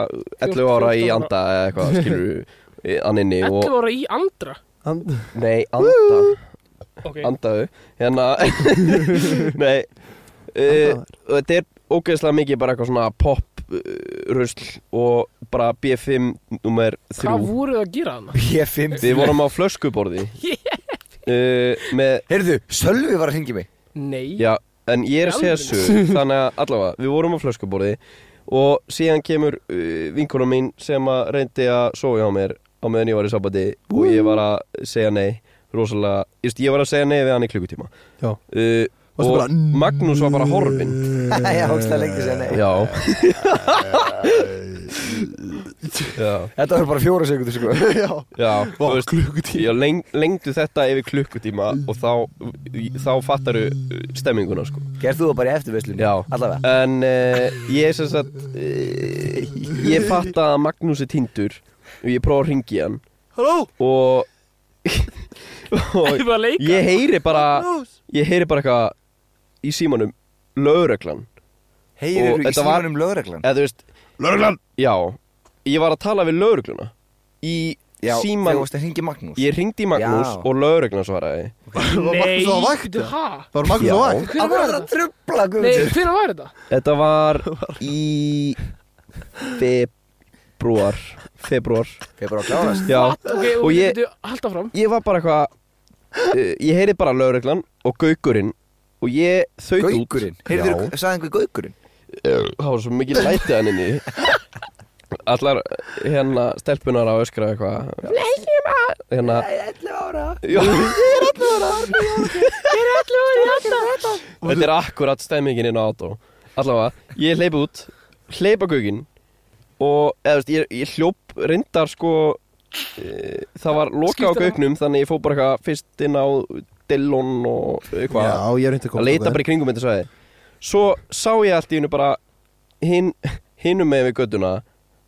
Speaker 1: 11 ára í
Speaker 2: 14 ára.
Speaker 1: anda eða eitthvað e, skilur anninni
Speaker 2: 11 ára í andra
Speaker 3: Hann-
Speaker 1: Nei, anda,
Speaker 2: Ok,
Speaker 1: andaðu Hérna
Speaker 2: (laughs)
Speaker 1: Nei uh,
Speaker 3: Andaðu.
Speaker 1: og Þetta er ógeðslega mikið bara eitthvað svona pop uh, rusl og bara B5 nummer
Speaker 2: hvað
Speaker 1: 3
Speaker 2: voruð þið að gera hana?
Speaker 4: ég fimm
Speaker 1: Við vorum á flöskuborði
Speaker 2: (laughs)
Speaker 1: uh, með,
Speaker 4: heyrðu, Sölvi var að ringi mig
Speaker 2: Nei
Speaker 1: Já, en ég er að segja
Speaker 2: Í
Speaker 1: þessu Þannig að allavega, við vorum á flöskuborði og síðan kemur uh, vinkunum mín sem að reyndi að sofa hjá mér á meðan ég var í sabati og ég var að segja nei rosalega, just, ég var að segja nei við hann í klukkutíma
Speaker 3: Já.
Speaker 1: uh, og
Speaker 3: Varstu bara-
Speaker 1: Magnús var bara horfinn
Speaker 4: já, hókstlega lengi sér nei
Speaker 1: Mm. já já,
Speaker 4: þetta voru bara fjóra sekundur sko
Speaker 3: Já,
Speaker 1: já,
Speaker 3: Vá,
Speaker 1: þú veist,
Speaker 3: klukkutíma
Speaker 1: já leng, lengdu þetta yfir klukkutíma og þá, þá fattaru stemminguna sko
Speaker 4: gerð þú það bara í eftirveyslunni
Speaker 1: Já.
Speaker 4: allavega
Speaker 1: en uh, ég sem sagt uh, ég fatta að Magnús er tindur og ég prófa að ringi hann
Speaker 3: Halló,
Speaker 1: og,
Speaker 2: (laughs) Þið
Speaker 1: og
Speaker 2: var að leika
Speaker 1: ég heyri bara
Speaker 3: Magnús
Speaker 1: ég heyri bara eitthvað í símanum lögreglan Og
Speaker 4: heyrir í
Speaker 1: þetta var-
Speaker 4: símanum lögreglan
Speaker 1: eða þú veist
Speaker 3: Lörglann
Speaker 1: Já, ég var að tala við laurugluna Í
Speaker 4: já,
Speaker 1: síman
Speaker 4: þú varst að ringi Magnús
Speaker 1: Ég ringdi í Magnús
Speaker 4: Já.
Speaker 1: og lauruglan svaraði
Speaker 3: Var
Speaker 2: Nei,
Speaker 3: Magnús á vakt?
Speaker 2: bíddu, ha?
Speaker 3: Það var Magnús á
Speaker 1: Já.
Speaker 3: vakt
Speaker 2: Hvenær
Speaker 4: Akkur
Speaker 2: var
Speaker 4: er það
Speaker 2: þetta?
Speaker 4: að trubla
Speaker 2: Nei,
Speaker 4: Guðmundur
Speaker 2: hvenær var þetta?
Speaker 1: Þetta var í Februar Februar
Speaker 4: Ég er bara að klárast
Speaker 1: Já,
Speaker 2: Ok,
Speaker 1: Og
Speaker 2: og
Speaker 1: ég-
Speaker 2: ég getur halda fram
Speaker 1: ég var bara eitthvað uh, Ég heyri bara lauruglan og gaugurinn Og ég þaut út
Speaker 4: Gaugurinn
Speaker 1: Já, Eh,
Speaker 4: Heyrðu, sagði einhver gaugurinn
Speaker 1: það var svo mikið lætið hann inni Allar hérna stelpunar að öskra eitthvað Leikjum að Hérna
Speaker 4: 11 ára
Speaker 1: Já, ég er allir ára
Speaker 2: (laughs)
Speaker 1: Ég er allir ára Þetta er akkurat stemmingin inn á átó Allavega, ég hleyp út Hleypa gugginn Og, eða veist, ég, ég hljóp reyndar sko e, Það var loka á
Speaker 2: Skiptir það?
Speaker 1: gaugnum Þannig ég fór bara eitthvað fyrst inn á Dillon og
Speaker 3: Já,
Speaker 1: eitthvað
Speaker 3: ég er hindi að koma
Speaker 1: Að leita bara í kringum þetta svæði Svo sá ég allt í hennu bara hin, Hinum með við göttuna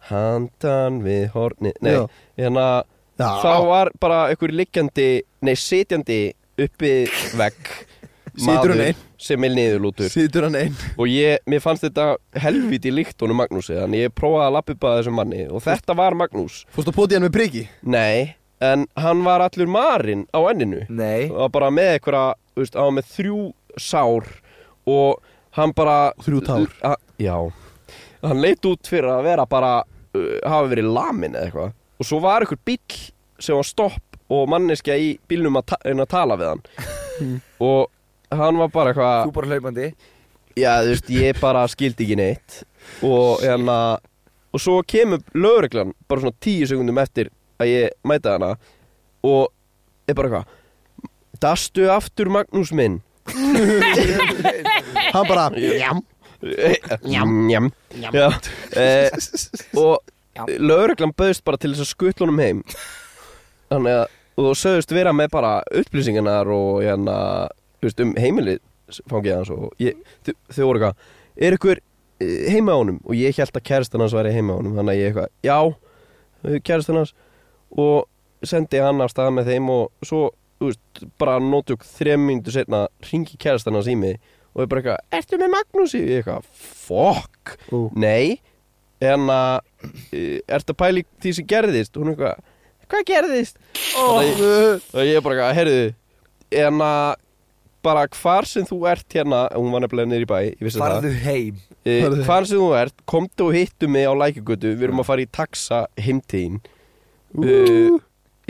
Speaker 1: Handan við horni Nei,
Speaker 3: Já.
Speaker 1: hérna þá
Speaker 3: Já,
Speaker 1: var bara einhver liggjandi, nei sitjandi uppi vegg
Speaker 3: (laughs) Situr hann
Speaker 1: maður
Speaker 3: einn?
Speaker 1: sem er niðurlútur
Speaker 3: situr hann einn
Speaker 1: og ég, mér fannst þetta helviti líkt honum Magnúsi þannig ég prófaði að lappa upp að þessum manni og þetta var Magnús,
Speaker 3: Fórstu að poti hann með priki
Speaker 1: nei en hann var allur marinn á enninu
Speaker 4: Nei
Speaker 1: og var bara með einhverja, þú veist, hann var með þrjú sár og hann bara
Speaker 3: Þrjú tár.
Speaker 1: A- já, hann leit út fyrir að vera bara uh, hafa verið lamin eða eitthvað og svo var einhver bíll sem var stopp og manneskja í bílnum að, ta reyna að tala við hann
Speaker 3: (laughs)
Speaker 1: og hann var bara
Speaker 4: Þú
Speaker 1: eitthvað
Speaker 4: bara hlaupandi
Speaker 1: já, þú veist, ég bara skildi ekki neitt og hérna og svo kemur lögreglan bara svona tíu sekundum eftir að ég mæta hana og er bara eitthvað Dastu aftur Magnús minn
Speaker 3: Hann bara,
Speaker 1: (laughs)
Speaker 3: jam
Speaker 1: Njam, njam. Já, eh, Og lögreglan bauðst bara til þess að skutla honum heim Þannig að og þú sögðust vera með bara upplýsingarnar og hérna, þú veist, um heimilið fangið hans og ég, þau, þau voru eitthvað er ykkur eh, heima á honum og ég held að kæristan hans væri heima á honum þannig að ég eitthvað, já, kæristan hans og sendi hann af stað með þeim og svo, þú veist, bara nótjúk þrem mínútu setna ringi kæristan hans í mig og ég bara eitthvað, ertu með Magnúsi? Ég eitthvað, fuck
Speaker 3: Ú.
Speaker 1: nei, en að eh, ertu að pæli því sem gerðist og hún eitthvað, hvað gerðist?
Speaker 2: Ó,
Speaker 1: Og, ég, og ég bara eitthvað, heyrðu en að bara hvar sem þú ert hérna hún var nefnilega niður í bæ, ég vissi
Speaker 4: Farðu heim
Speaker 1: það
Speaker 3: Farðu.
Speaker 1: e, hvar sem þú ert, komdu og hittu mig á lækjugötu, við erum að fara í taxa heimtíðin uh,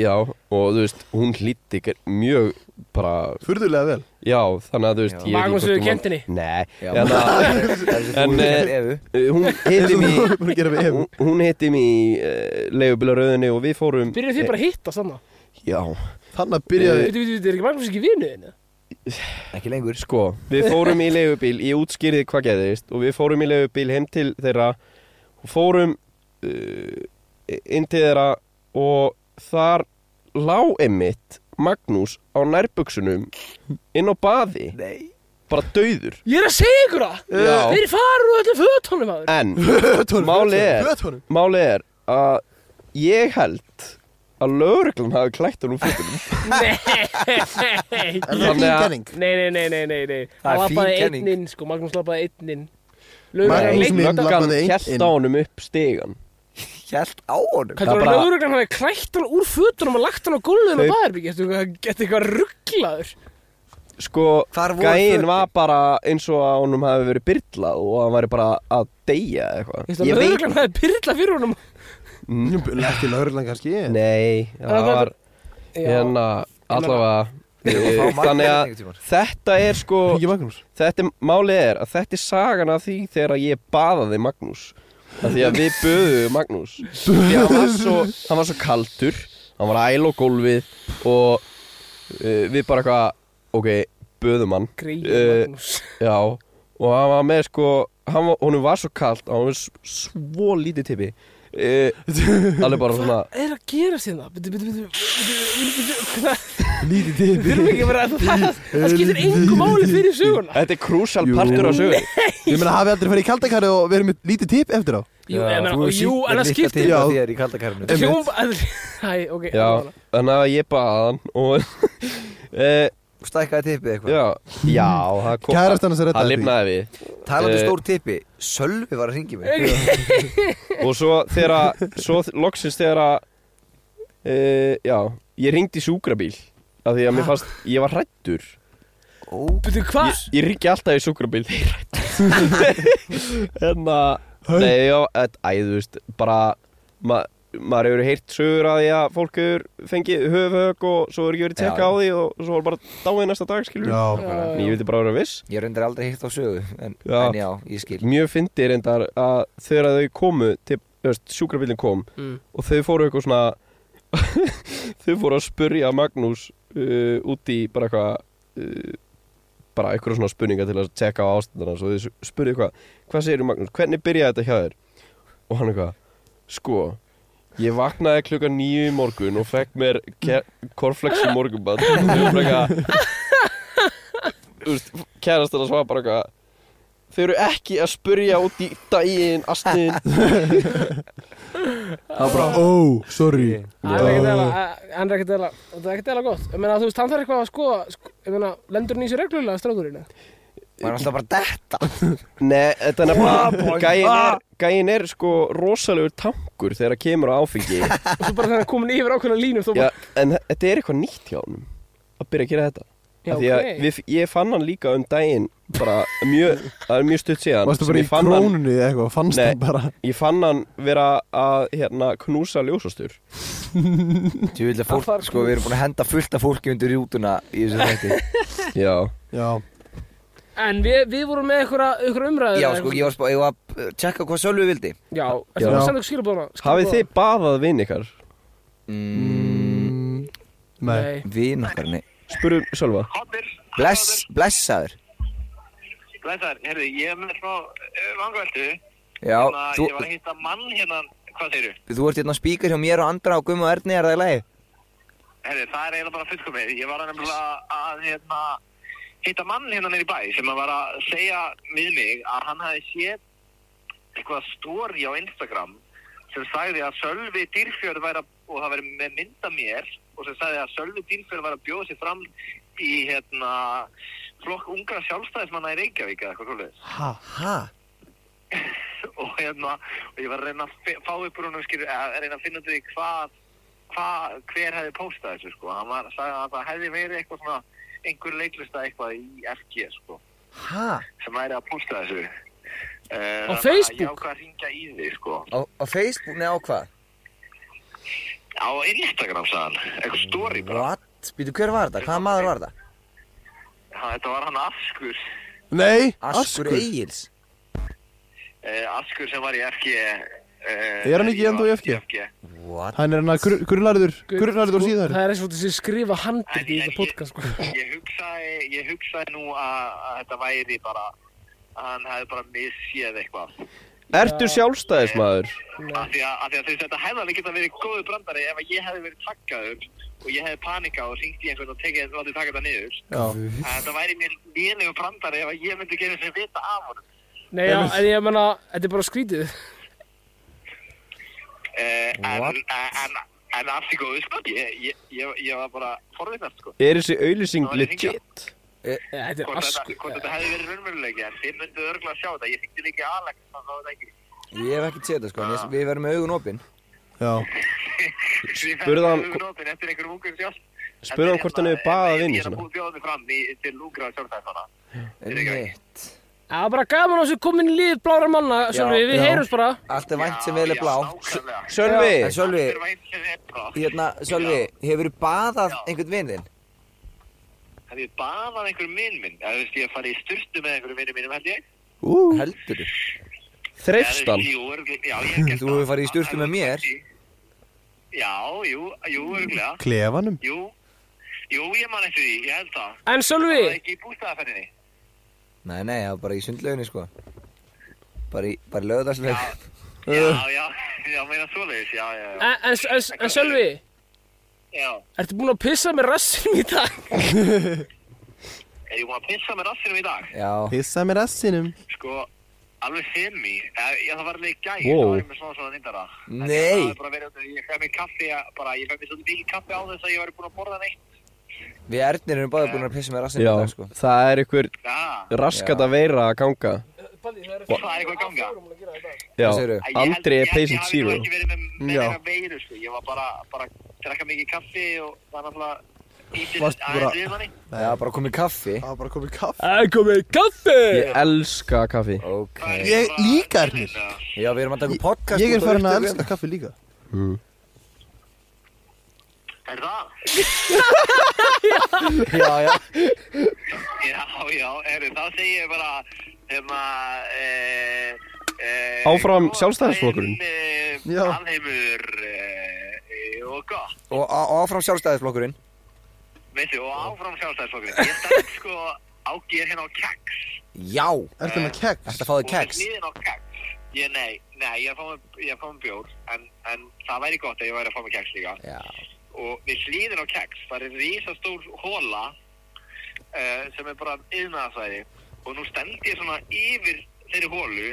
Speaker 1: já, og þú veist hún hlýtti mjög bara,
Speaker 3: Furðulega vel
Speaker 1: já, þannig að þú veist
Speaker 4: Já.
Speaker 1: ég veit ekki hvort
Speaker 2: Magnús hefur
Speaker 1: hún var-
Speaker 2: kennt henni.
Speaker 1: nei,
Speaker 4: Já. Hérna,
Speaker 1: en
Speaker 4: (laughs)
Speaker 1: að En,
Speaker 4: En
Speaker 1: eh, uh, hún hitti mig
Speaker 3: Þú búin að gera við ef
Speaker 1: hún, hún hitti mig í uh, leigubilaröðinni og við fórum
Speaker 2: Byrjuðu þið bara að hitta saman?
Speaker 1: já,
Speaker 3: Þannig að byrjaði
Speaker 2: Veitu, veitu, veitu, er ekki Magnús ekki vinnu þinni?
Speaker 4: Ekki lengur
Speaker 1: sko, við fórum í leigubíl ég útskýrði hvað gerðist og við fórum í leigubíl heim til þeirra og fórum uh, inn til þeirra og þar lá emitt Magnús á nærbuksunum inn á baði
Speaker 4: Nei
Speaker 1: bara dauður
Speaker 2: Ég er að segja ykkur það!
Speaker 1: Já.
Speaker 2: Þeir farur og öllu fötunum
Speaker 1: (laughs)
Speaker 2: aður.
Speaker 1: en
Speaker 3: Hötunum
Speaker 1: Málið er-
Speaker 3: Hötunum
Speaker 1: málið er að ég held að lögreglan hafi klætt honum fötunum
Speaker 2: Nei,
Speaker 3: Er það
Speaker 1: Þannig
Speaker 3: fín
Speaker 1: að-
Speaker 3: kenning?
Speaker 2: nei, nei, nei, nei, nei, nei.
Speaker 4: Það er
Speaker 2: Hann
Speaker 4: fín
Speaker 2: lappaði
Speaker 4: kenning.
Speaker 2: einn inn, sko, Magnús lappaði einn inn.
Speaker 3: Magnús
Speaker 2: Lögreglan
Speaker 3: minn
Speaker 2: leita-
Speaker 3: labbaði
Speaker 1: löggan
Speaker 3: einn inn.
Speaker 1: kjælt á honum upp stegan
Speaker 4: Hjælt á honum
Speaker 2: Kallar
Speaker 1: Það
Speaker 2: bara...
Speaker 1: bara-
Speaker 2: lögreglan hafi klætt hann úr fötunum og lagt hann á gólfinu
Speaker 1: Þau-
Speaker 2: og baðherbyggi Ertu eitthvað, ertu eitthvað rugglaður?
Speaker 1: sko,
Speaker 4: Hvar voru
Speaker 1: gæinn
Speaker 4: fötin?
Speaker 1: var bara eins og að honum hafi verið byrlað og hann væri bara að deyja eða eitthvað
Speaker 2: Ég veit Lögreglan hafi pyrlað fyrir honum
Speaker 3: Ekki laurlan kannski
Speaker 1: Mm. Nei, það
Speaker 2: Það var-
Speaker 1: var
Speaker 2: Já.
Speaker 1: hérna allavega
Speaker 4: Ég var að
Speaker 1: eh,
Speaker 4: fá
Speaker 1: Þannig
Speaker 4: Magnús
Speaker 1: að
Speaker 4: einhvern tímann.
Speaker 1: þetta er sko
Speaker 3: Ekki Magnús
Speaker 1: Þetta er- málið er að þetta er sagan af því þegar að ég baðaði Magnús af Því að við böðum Magnús Því að hann var svo, hann var svo kaldur Hann var æl og gólfið Og uh, við bara eitthvað Ok, böðum hann
Speaker 2: Greið
Speaker 1: Eh,
Speaker 2: Magnús
Speaker 1: Já, og hann var með sko hann var, Honum var svo kalt og hann var s- svo lítið tippi uh, Alveg bara svona
Speaker 2: Hvað er að gera sér það? Bitu, bitu, bitu, bitu, bitu, hvað-
Speaker 3: Lítið
Speaker 2: Við þurfum ekki að vera (laughs) það Það skiptir engu máli fyrir söguna
Speaker 1: Þetta er krúsal
Speaker 3: Jú.
Speaker 1: partur á sögur
Speaker 3: Ég meina hafi aldrei farið í kaldakarið og verið með lítið tip eftir á
Speaker 2: Jú,
Speaker 1: Já,
Speaker 2: ég meina,
Speaker 4: Þú hefur
Speaker 2: jú,
Speaker 4: sýnt mér
Speaker 2: en það
Speaker 4: litla
Speaker 2: skiptir
Speaker 4: til
Speaker 3: Já.
Speaker 4: að Því er í kalda karminu
Speaker 3: Einmitt.
Speaker 2: Hljóm, (laughs) æ, ok
Speaker 1: Já, þannig að ég baði hann og (laughs) uh,
Speaker 4: Stækkaði tippið eitthvað
Speaker 1: já, já, það kom
Speaker 3: Kærast hann að sér
Speaker 1: Það
Speaker 3: þetta
Speaker 1: lifnaði við
Speaker 4: Talandi
Speaker 1: Eh.
Speaker 4: stór tippi Sölvi var að ringi mig
Speaker 2: Ok.
Speaker 1: Og svo þegar að, svo þ- loksins þegar að uh, Já, ég ringdi sjúkrabíl Af því að mér fannst, ég var hrættur
Speaker 4: Ó,
Speaker 2: Bitu,
Speaker 1: Ég,
Speaker 2: hvað?
Speaker 1: ég ringi alltaf í sjúkrabíl þegar (laughs) ég er Hérna, hrættur En að
Speaker 3: Hörn.
Speaker 1: Nei, já, et, æ, þú veist Bara, ma, maður hefur heyrt sögur að því að fólk hefur fengið höfhög og svo hefur ekki verið
Speaker 4: Já.
Speaker 1: tekka á því og svo var bara dáið næsta dag, skilur
Speaker 3: Já
Speaker 2: Ah.
Speaker 1: En ég vildi bara vera viss
Speaker 4: Ég reyndar aldrei hitt á sögu En
Speaker 1: Já.
Speaker 4: en já, ég skil
Speaker 1: mjög fyndi reyndar að þegar þau komu til, veist, sjúkrabílinn kom
Speaker 2: Mm.
Speaker 1: og þau fóru eitthvað svona þau fóru að spurja Magnús uh, út í bara eitthvað uh, bara eitthvað svona spurninga til að tjekka á ástandana og þau spurja eitthvað, hvað segir Magnús, hvernig byrjaði þetta hjá þér og hann eitthvað, sko ég vaknaði klukkan nýju í morgun og fekk mér korflex í morgunbad og þau voru eitthvað þú veist, kærast þetta svara bara eitthvað Þau eru ekki að spurja út í daginn, astin
Speaker 3: Það bara, ó, sorry
Speaker 2: Hann er ekkert eðla, hann er ekkert eðla, þetta er ekkert eðla gott. Ég meina, þú veist, hann þarf eitthvað að sko, sko ég meina, lendur hann í sér reglulega strákurinn? eða?
Speaker 4: Var alltaf bara detta
Speaker 1: Nei, þetta er
Speaker 2: Ah,
Speaker 1: nefnilega gæinn er, gæin er sko rosalegur tankur þegar það kemur á
Speaker 2: (laughs)
Speaker 1: áfengi
Speaker 2: Og svo bara þegar hann komin yfir ákveðna línu, þú
Speaker 1: Já,
Speaker 2: bara,
Speaker 1: En þetta er eitthvað nýtt hjá honum að byrja að gera þetta
Speaker 2: já,
Speaker 1: Af Því að
Speaker 2: ok.
Speaker 1: við, ég fann hann líka um daginn bara mjög, það er mjög stutt síðan
Speaker 3: Varstu
Speaker 1: sem
Speaker 3: bara í
Speaker 1: ég fann hann-
Speaker 3: krónunni eða eitthvað Fannst
Speaker 1: Nei.
Speaker 3: það bara
Speaker 1: Ég fann hann vera að hérna, knúsa ljósastur
Speaker 4: Tjúvilega
Speaker 2: Það var
Speaker 4: fólk, sko, við erum búin að henda fullt af fólki undir rútuna í þessu þætti (laughs)
Speaker 1: Já,
Speaker 3: Já
Speaker 2: En við, við vorum með einhverja, einhverja umræðu.
Speaker 4: Já, sko, ég var spá, ég var að eh, tjekka hvað Sölvi vildi
Speaker 2: Já,
Speaker 1: Já.
Speaker 2: eftir að senda ykkur skilabóðana.
Speaker 1: hafið þið baðað vinn ykkar?
Speaker 4: mm,
Speaker 3: Nei.
Speaker 4: Vin okkar, nei
Speaker 1: Spurum Sölva
Speaker 5: Hoppir
Speaker 4: Bless, blessaður
Speaker 5: Blessar, heyrðu, ég er með smá vangveldu
Speaker 4: Já, þú,
Speaker 5: Ég var að hitta mann hérna Hvað segirðu?
Speaker 4: þú ert hérna spíkar hjá mér og Andra og Gumma og Erni, er það í lagi?
Speaker 5: Heyrðu, það er eiginlega bara fullkomið Ég var að nefnilega að hérna hitta mann hérna nýri bæ sem að var að segja við mig að hann hafi séð eitthvað stóri á Instagram sem sagði að Sölvi Dýrfjörð væri að, og það væri með mynda mér og sem sagði að Sölvi Dýrfjörð væri að bjóða sér fram í hérna flokk ungra sjálfstæðismanna í Reykjavík eða eitthvað svoleiðis
Speaker 3: Ha?
Speaker 4: Ha?
Speaker 5: (laughs) og hérna, og ég var að reyna að fi- fá upp úr húnum, skilur, að reyna að finna út í hvað, hvað, hver hefði postað þessu, sko, hann var, sagði að það hefði verið eitthvað svona, einhver leiklista eitthvað í FG, sko,
Speaker 4: Ha?
Speaker 5: sem væri að posta þessu. Uh,
Speaker 2: Á Facebook?
Speaker 5: Ég ákvað að ringja í þig, sko,
Speaker 4: Á, á Facebook, nei á hvað?
Speaker 5: á Instagram, sagðan, eitthvað story bara,
Speaker 4: What? Býtu, hver var þetta? Hvaða maður var þetta?
Speaker 5: hann, þetta var hann Askur,
Speaker 3: Nei,
Speaker 4: Askur Egils
Speaker 5: uh, Askur sem var í FG, uh,
Speaker 3: Er hann ekki ennþá í FG?
Speaker 4: What?
Speaker 3: Hann er hann að gru- grunnarður Grunnarður og
Speaker 2: Sko,
Speaker 3: síðar
Speaker 2: Það er eins og þessi skrifa handrið í
Speaker 5: En- en
Speaker 2: þetta podcast sko.
Speaker 5: (laughs) ég hugsaði, ég hugsaði nú að, að þetta væri bara að hann hefði bara misséð eitthvað
Speaker 1: Ertu sjálfstæðismæður?
Speaker 5: af því að, af því að þú veist, þetta hefði alveg geta verið góðu brandari ef að ég hefði verið takkaður og ég hefði panikað og syngt í einhvern og tekið þetta og taka þetta niður
Speaker 3: Já
Speaker 5: að þetta væri mér lénlegu brandari ef að ég myndi gefa þessi vita af honum
Speaker 2: Nei, já, en ég menna, þetta er bara skrítið
Speaker 5: eh,
Speaker 4: What?
Speaker 5: en, en, en allt í góðu sko ég, ég, ég, ég var bara forvittast sko
Speaker 1: Er þessi auðlýsing
Speaker 5: Það var í hringjá.
Speaker 1: legit?
Speaker 2: Nei,
Speaker 1: Ah,
Speaker 2: Þetta er
Speaker 5: hvort þetta,
Speaker 1: sko,
Speaker 2: askur
Speaker 5: hvort
Speaker 1: eh.
Speaker 5: þetta hefði verið raunveruleiki en þið myndu örgulega sjá þetta ég fengti líka í Alex þannig að það ekki
Speaker 4: Ég hef ekkert séð þetta sko, en ég, við verðum með augun opinn
Speaker 3: Já
Speaker 1: Spurðu hann-
Speaker 5: Nótin, eftir einhverjum ungum sjálf hérna-
Speaker 1: Spurðu hann hvort hann hefur baðað inn í
Speaker 5: Ég er að
Speaker 1: svona
Speaker 5: búið bjóða mig fram í, til ungra sjálfstæðismanna
Speaker 4: Rétt
Speaker 2: Það er bara gaman á þessu komin í lífið blára manna Sjálfi, við
Speaker 4: já.
Speaker 2: heyrums bara
Speaker 4: Allt er vænt sem
Speaker 5: Já,
Speaker 4: vel er
Speaker 5: já,
Speaker 4: blá
Speaker 5: nákvæmlega.
Speaker 4: En
Speaker 1: Sölvi,
Speaker 4: Sölvi,
Speaker 5: Allt er vænt sem er blá.
Speaker 4: hérna, Sölvi, hefur þú baðað einhvern vinn þinn?
Speaker 5: Hef ég baðað einhverjum minn minn? Eða þú veist, ég hef farið í styrtu með einhverjum minnum mínum held ég.
Speaker 4: Heldur þú?
Speaker 1: þreifst hann?
Speaker 5: Eða, Jú, örgulega, já, ég hef gert
Speaker 4: Þú
Speaker 5: það.
Speaker 4: hefur farið í sturtu með mér?
Speaker 5: Já, jú, jú, örgulega.
Speaker 3: Klefanum
Speaker 5: Jú, jú, ég man eftir því, ég held það.
Speaker 2: En
Speaker 5: Það var
Speaker 2: Sjálfi,
Speaker 5: ekki í bústaðaferðinni.
Speaker 4: Nei, nei, það var bara í sundlauginni sko Bara í, bara í lögðarslaug
Speaker 5: Já, já, (laughs) já, meina svoleiðis, já, já, já.
Speaker 2: en, en, en, en Sjálfi
Speaker 5: Já,
Speaker 2: Ertu búin að pissa með rassinum í dag?
Speaker 5: er ég búin að pissa með rassinum í dag?
Speaker 4: Já,
Speaker 3: Pissa mér assinum
Speaker 5: Sko, alveg semi. Eh, Já, það var alveg í gæð,
Speaker 1: Wow.
Speaker 5: það var ég með svona svona nýndara. En
Speaker 4: Nei.
Speaker 5: ég- Það er bara verið, að- ég fæði mig kaffi, að- bara, ég fæði mig svolítið mikið kaffi á þess að ég væri búin að borða neitt.
Speaker 4: við Ernir erum báðir búin að pissa með rassinu
Speaker 1: Já,
Speaker 4: í dag sko
Speaker 1: það er ykkur
Speaker 5: Já,
Speaker 1: raskat að veira að ganga
Speaker 5: það er eitthvað í ganga.
Speaker 1: Já,
Speaker 4: Hvað segirðu?
Speaker 5: Ég held-
Speaker 1: Andri er
Speaker 5: ég held
Speaker 1: patient
Speaker 5: Ég
Speaker 1: zero
Speaker 5: hafði nú ekki verið með
Speaker 3: Já.
Speaker 5: meira veiru, sko. Ég var bara, bara að drekka mikið kaffi og það var náttúrulega ítið
Speaker 3: Varstu bara-
Speaker 5: aðeins við manni.
Speaker 4: Já, bara komið kaffi
Speaker 3: Það var bara komið kaff
Speaker 2: Það er komið kaffi
Speaker 1: Ég elska kaffi
Speaker 4: Ok
Speaker 5: Það er
Speaker 3: Ég
Speaker 5: bara-
Speaker 3: líka er mér.
Speaker 4: Já, við erum að taka upp podcast
Speaker 3: Ég
Speaker 4: út
Speaker 3: er
Speaker 4: á
Speaker 3: farin að
Speaker 4: upptöku.
Speaker 3: elska kaffi líka
Speaker 5: Er það?
Speaker 4: Já, já
Speaker 5: Já, já, er, þá segi ég bara, hérna, e, e,
Speaker 1: Áfram Sjálfstæðisflokkurinn.
Speaker 3: Já.
Speaker 5: Alheimur e, og gott.
Speaker 4: (laughs) Og og áfram sjálfstæðisflokkurinn
Speaker 5: Veistu, og áfram sjálfstæðisflokkurinn. Ég stend sko á, ég er hérna á keks.
Speaker 4: Já
Speaker 3: Ertu með keks?
Speaker 4: Þetta fáðu keks
Speaker 5: Og nýðin á keks. Ég, nei, nei, ég er að fá mér- ég er að fá mér bjór, en, en það væri gott að ég væri að fá mér keks líka.
Speaker 4: Já
Speaker 5: Og við hlýðin á keks, það er risastór hóla uh, sem er bara yðnaðasæði. Og nú stend ég svona yfir þeirri hólu.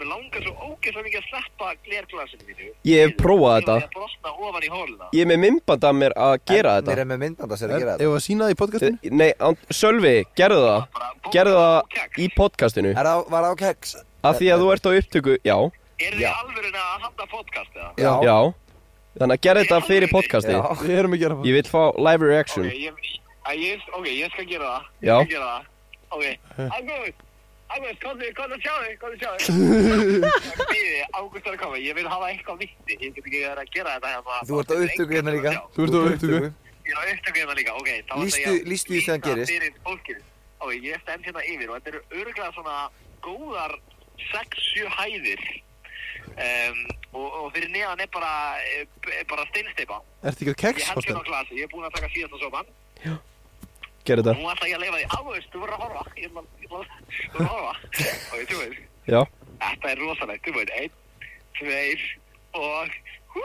Speaker 5: Mér langar svo ógeðslega mikið að sleppa glerglasinu mínu.
Speaker 1: Ég hef prófað
Speaker 5: Ég var
Speaker 1: þetta.
Speaker 5: að brotna ofan í hóluna.
Speaker 1: Ég er með mymband að mér að gera
Speaker 4: Ernir
Speaker 1: þetta
Speaker 4: er með myndbanda sér að
Speaker 3: Ef
Speaker 4: gera
Speaker 3: að sína það í podcastinu?
Speaker 1: Eh, Nei, and- Sölvi, gerðu það Gerðu það í podcastinu
Speaker 4: þetta Er það, var það á keks?
Speaker 1: Af því að þú ert á upptöku, já,
Speaker 5: Er þið
Speaker 4: Já.
Speaker 5: alveg að hafna podcast eða?
Speaker 4: Já
Speaker 1: já Þannig að gerðu þetta fyrir podcasti
Speaker 4: Já.
Speaker 3: Við erum að gera það
Speaker 1: Ég vil fá live reaction
Speaker 5: Ok, ég, að ég, ok, ég skal gera það.
Speaker 1: Já.
Speaker 5: Ég skal gera það. Ok,
Speaker 4: Eh.
Speaker 5: Ágúst, Ágúst, komðu, komðu að sjá þig, komðu að sjá
Speaker 4: (laughs)
Speaker 5: þig. Býði, Ágúst er að koma, ég vil hafa eitthvað vitti, ég get ekki verið að gera þetta hérna.
Speaker 4: Þú ert á upptöku hérna líka
Speaker 5: Já,
Speaker 3: Þú ert á upptöku
Speaker 5: Ég er á upptöku hérna líka, ok. þá ætla ég
Speaker 4: Lýstu,
Speaker 5: að
Speaker 4: lýstu því sem það
Speaker 5: lýsa
Speaker 4: gerist
Speaker 5: Fyrir fólkinu. Ok, ég stend hérna yfir og þetta eru örgulega svona góðar 6-7 hæðir um, og, og fyrir neðan er bara, eh, b- er bara steinsteipa
Speaker 3: Ertu ekki á
Speaker 5: ég
Speaker 3: keks,
Speaker 5: held
Speaker 3: Þorsteinn?
Speaker 5: hérna á glasi, ég er búin að taka síðasta sopan
Speaker 1: Gerðu þetta
Speaker 5: nú ætla ég að leifa því, á veist, þú verður að horfa ég ætla ég ætla- þú verður að
Speaker 3: (laughs)
Speaker 5: horfa og þú veist,
Speaker 1: Já,
Speaker 5: þetta er rosalegt þú veist, einn, tveir og hú,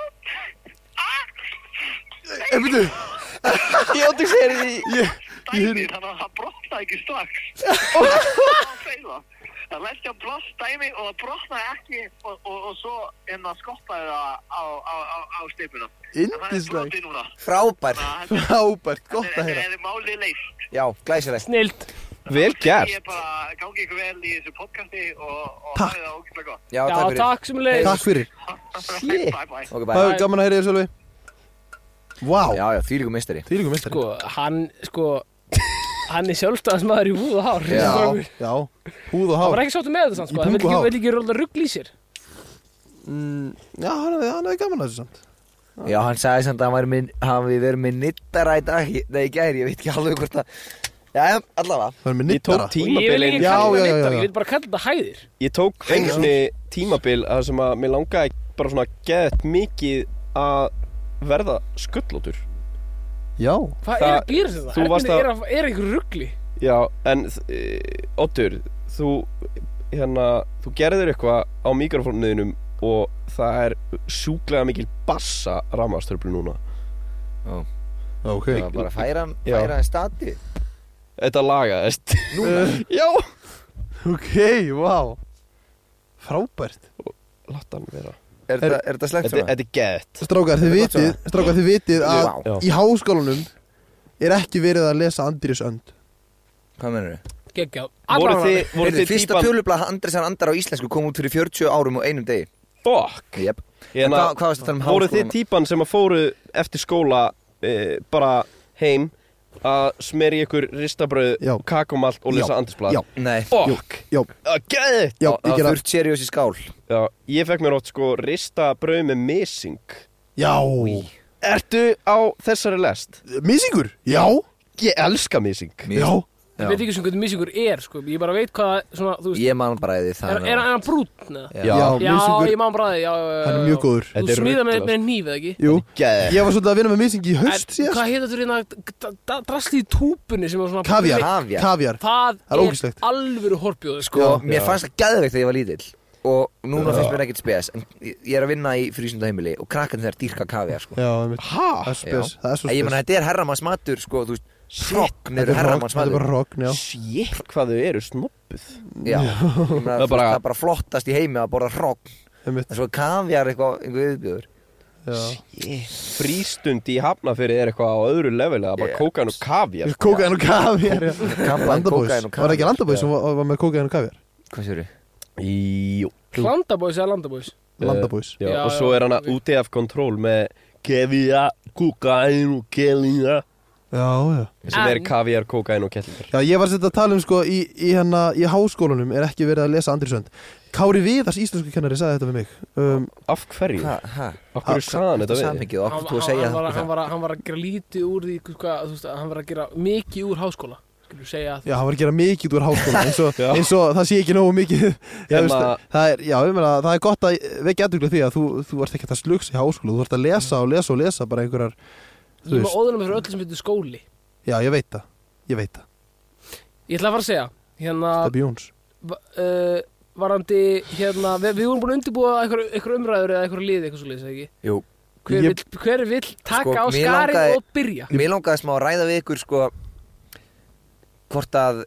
Speaker 5: ah,
Speaker 3: Ég byrju,
Speaker 1: ég átti að segja því
Speaker 3: ég,
Speaker 5: dæmi, þannig að það brotnaði ekki
Speaker 3: (laughs)
Speaker 5: strax það segir það það lesti á bloss dæmi og það brotnaði ekki og, og, og svo en það skoppaði það á, á, á, á steipuna en það er
Speaker 3: Indisleg
Speaker 5: brotið núna
Speaker 4: Frábær
Speaker 5: það er-
Speaker 3: Frábært, gott að
Speaker 5: þetta er-
Speaker 3: heyra
Speaker 5: þetta er málið leist
Speaker 4: Já, glæsilegt
Speaker 2: Snild
Speaker 1: Vel
Speaker 5: Ég er
Speaker 1: gert
Speaker 5: bara gangi ykkur vel í þessu podcasti og, og
Speaker 3: Takk.
Speaker 5: hafið það ógæslega gott.
Speaker 4: Já,
Speaker 2: Já,
Speaker 4: takk fyrir
Speaker 2: takk sem leið
Speaker 3: Takk fyrir,
Speaker 1: Shit.
Speaker 5: Bye bye.
Speaker 4: Ok,
Speaker 3: það
Speaker 4: bæ
Speaker 3: er gaman að heyra þér Sölvi Vá,
Speaker 4: Já, já, því líka mistari
Speaker 3: því líka mistari
Speaker 2: Sko, hann, sko Hann er sjálfstæðismæður í húð og hár
Speaker 4: Já.
Speaker 2: strákur.
Speaker 3: Já, húð og
Speaker 2: Hann var
Speaker 3: hár
Speaker 2: ekki sáttu með þetta samt,
Speaker 3: Í
Speaker 2: sko Hann vil
Speaker 3: pung og
Speaker 2: ekki,
Speaker 3: hár.
Speaker 2: vil ekki rúla rugl í sér
Speaker 3: Mm, Já, hann hafði hann hafði gaman að þessu samt
Speaker 4: Já, hann sagði samt að hann, væri minn, hann við verið með nittara í dag Ég- Nei, í gæri, ég veit ekki alveg hvort að Já, já, allavega
Speaker 3: Það er með
Speaker 1: Ég tók
Speaker 2: Og ég
Speaker 3: nittara
Speaker 2: vil
Speaker 1: tímabil
Speaker 2: ekki
Speaker 1: einu-
Speaker 3: Já,
Speaker 2: kalla
Speaker 3: já,
Speaker 2: þetta
Speaker 3: já,
Speaker 2: neitt,
Speaker 3: já.
Speaker 2: Ég vil bara kalla þetta hæðir
Speaker 1: Ég tók einu sinni tímabil að sem að mér langaði bara svona geðt mikið að verða sköllótur
Speaker 3: Já,
Speaker 2: Hvað
Speaker 1: Það-
Speaker 2: er að gera þetta?
Speaker 1: þú varst
Speaker 2: Herminn
Speaker 1: að-
Speaker 2: er, að- er einhver rugli
Speaker 1: Já, en e, Oddur, þú hérna, þú gerðir eitthvað á mikrofónuðinum og það er sjúklega mikil bassa ramaðstöflu núna
Speaker 3: ok
Speaker 4: Það var bara að færa hann,
Speaker 1: Já.
Speaker 4: færa hann stati
Speaker 1: Þetta lagaðist
Speaker 3: Núna?
Speaker 1: (laughs) Já
Speaker 3: Ok, vá Frábært
Speaker 1: Látt hann vera
Speaker 4: Er
Speaker 3: Er-
Speaker 4: þetta- er þetta slæmt
Speaker 1: Þetta
Speaker 4: svona?
Speaker 1: þetta er gett
Speaker 3: Strákar, þið
Speaker 4: Það er gott
Speaker 3: vitið, strákar, þið vitið að
Speaker 4: Vá.
Speaker 1: Já.
Speaker 3: í háskólanum er ekki verið að lesa Andrés Önd
Speaker 4: Hvað menur þau?
Speaker 2: Gekkjá
Speaker 1: Voru þið, voru
Speaker 4: Heyrðu,
Speaker 1: þið
Speaker 4: fyrsta
Speaker 1: típan
Speaker 4: tölublað Andresan Andar á íslensku kom út fyrir 40 árum og einum degi
Speaker 1: Fuck
Speaker 4: Jep En
Speaker 1: Hérna,
Speaker 4: hvað- hvað varstu að tala um
Speaker 1: voru
Speaker 4: háskólanum?
Speaker 1: þið típan sem að fóru eftir skóla e, bara heim að smeri ykkur ristabröð
Speaker 3: Já.
Speaker 1: og kakumalt og lesa
Speaker 3: Já.
Speaker 1: andisblad
Speaker 3: Já.
Speaker 4: Nei
Speaker 1: Fuck
Speaker 3: Já,
Speaker 1: Gæðið
Speaker 3: já,
Speaker 4: Það
Speaker 3: ég
Speaker 4: var
Speaker 3: gera
Speaker 4: þurft seriós í skál
Speaker 1: Já, ég fekk mér oft sko ristabröð með missing
Speaker 3: Já,
Speaker 1: Ertu á þessari lest?
Speaker 3: misingur, já,
Speaker 1: Ég elska missing
Speaker 4: Mér-
Speaker 3: já
Speaker 2: Ég veit ekki sem hvernig misingur er, sko Ég bara veit hvað, svona, þú veist
Speaker 4: Ég man bara eði
Speaker 2: Er,
Speaker 4: það
Speaker 2: er, er hann brúnn? eða?
Speaker 4: Já.
Speaker 3: Já,
Speaker 2: Já,
Speaker 3: misingur,
Speaker 2: ég má hann bræði, já, já, já
Speaker 3: hann er mjög góður
Speaker 1: Þetta
Speaker 2: Þú
Speaker 1: er
Speaker 2: smíða með,
Speaker 1: ruglað.
Speaker 2: með nýfið, ekki?
Speaker 3: Jú,
Speaker 1: Gæðið
Speaker 3: ég var svolítið að vinna með mising í höst
Speaker 2: En
Speaker 3: síðast
Speaker 2: Hvað heitir þetta hérna, d- d- drasli í túpunni sem var svona
Speaker 3: Kaviar,
Speaker 4: Kaviar.
Speaker 3: kaviar
Speaker 2: Það
Speaker 3: Það er ógeðslegt.
Speaker 2: er alvöru horfjóð, sko
Speaker 4: Sko,
Speaker 3: Já.
Speaker 4: mér fannst það gæðveikt þegar ég var lítill Og núna
Speaker 1: Já.
Speaker 4: finnst mér ekkert spes En ég ég er að vinna í frísundaheimili Og krakkan þeirra dýrka kaviar sko.
Speaker 3: Já, einmitt. það
Speaker 1: Hæ?
Speaker 3: er spes,
Speaker 4: Já.
Speaker 3: það er svo
Speaker 4: En Ég
Speaker 3: spes
Speaker 4: meina, þetta er herramannsmatur sko, Þú veist, hrogn
Speaker 3: Þetta er rogn, þetta
Speaker 4: eru
Speaker 3: er bara
Speaker 4: herramannsmatur
Speaker 3: rogn, já
Speaker 1: Sjétt hvað þau eru snoppuð
Speaker 4: Já, Ég meina,
Speaker 1: Það er
Speaker 4: þú veist,
Speaker 1: bara-
Speaker 4: það er bara flottast í heimi að borða hrogn
Speaker 3: einmitt,
Speaker 4: En svo er kaviar eitthvað, einhver viðbjöður
Speaker 3: já.
Speaker 1: Frístund í Hafnafyrði er eitthvað á öðru level Það er bara
Speaker 4: Ég-
Speaker 1: kókan og kafjar
Speaker 3: Kókaðin og kaviar já. Landabóis,
Speaker 4: kókaín
Speaker 3: var það
Speaker 4: og
Speaker 3: ekki
Speaker 4: kaviar.
Speaker 3: landabóis sem var, var með kókaðin og kaviar
Speaker 4: Hvað sér
Speaker 1: Jú
Speaker 2: Landabóis eða landabóis
Speaker 3: Landabóis
Speaker 1: Já,
Speaker 2: Já,
Speaker 1: og
Speaker 2: já,
Speaker 1: svo er hann
Speaker 2: ok.
Speaker 1: að úti af kontról með kefja, kókain og kellinga
Speaker 3: Já, já
Speaker 1: sem er
Speaker 2: En-
Speaker 1: kafjar, kókain og kellingar
Speaker 3: Já, ég var sett að tala um sko í, í hérna í háskólanum er ekki verið að lesa Andri Sönd Kári Viðars íslensku kennari sagði þetta við mig um,
Speaker 1: Af hverju?
Speaker 4: Hva, hæ,
Speaker 1: Af hverju sagði hann þetta við?
Speaker 4: samhengið og
Speaker 2: Hann
Speaker 4: okkur þú að
Speaker 2: hann-
Speaker 4: segja
Speaker 2: hann var að- hann
Speaker 4: það
Speaker 2: var að- hann var að gera lítið úr því hvað, þú veist, að hann var að gera mikið úr háskóla Skilur segja að
Speaker 3: Já, hann var að gera mikið úr háskóla eins og,
Speaker 1: Já.
Speaker 3: eins og það sé ekki nógu mikið Já, veist,
Speaker 1: Hérna-
Speaker 3: það, er, já ég meina, það er gott að vekja aðduglega því að þú, þú ert ekki að slugsa í háskóla þú ert að lesa og lesa og lesa bara einhverjar
Speaker 2: ég er
Speaker 3: þú
Speaker 2: með
Speaker 3: veist.
Speaker 2: óðunum fyrir öllu sem heitir skóli
Speaker 3: Já, ég veit það, ég veit það,
Speaker 2: Ég ætla að fara að segja hérna,
Speaker 3: það er Bjóns
Speaker 2: va- uh, varandi, hérna, við, við vorum búin að undirbúa einhver, einhver umræður eða einhver lið eitthvað svo leiðis, ekki?
Speaker 4: Jú.
Speaker 2: Hver,
Speaker 3: Ég-
Speaker 2: vill, hver vill taka
Speaker 4: Sko,
Speaker 2: á
Speaker 4: mér
Speaker 2: skarið
Speaker 4: langaði-
Speaker 2: og byrja?
Speaker 4: Mér langaði smá að ræða við ykkur sko hvort að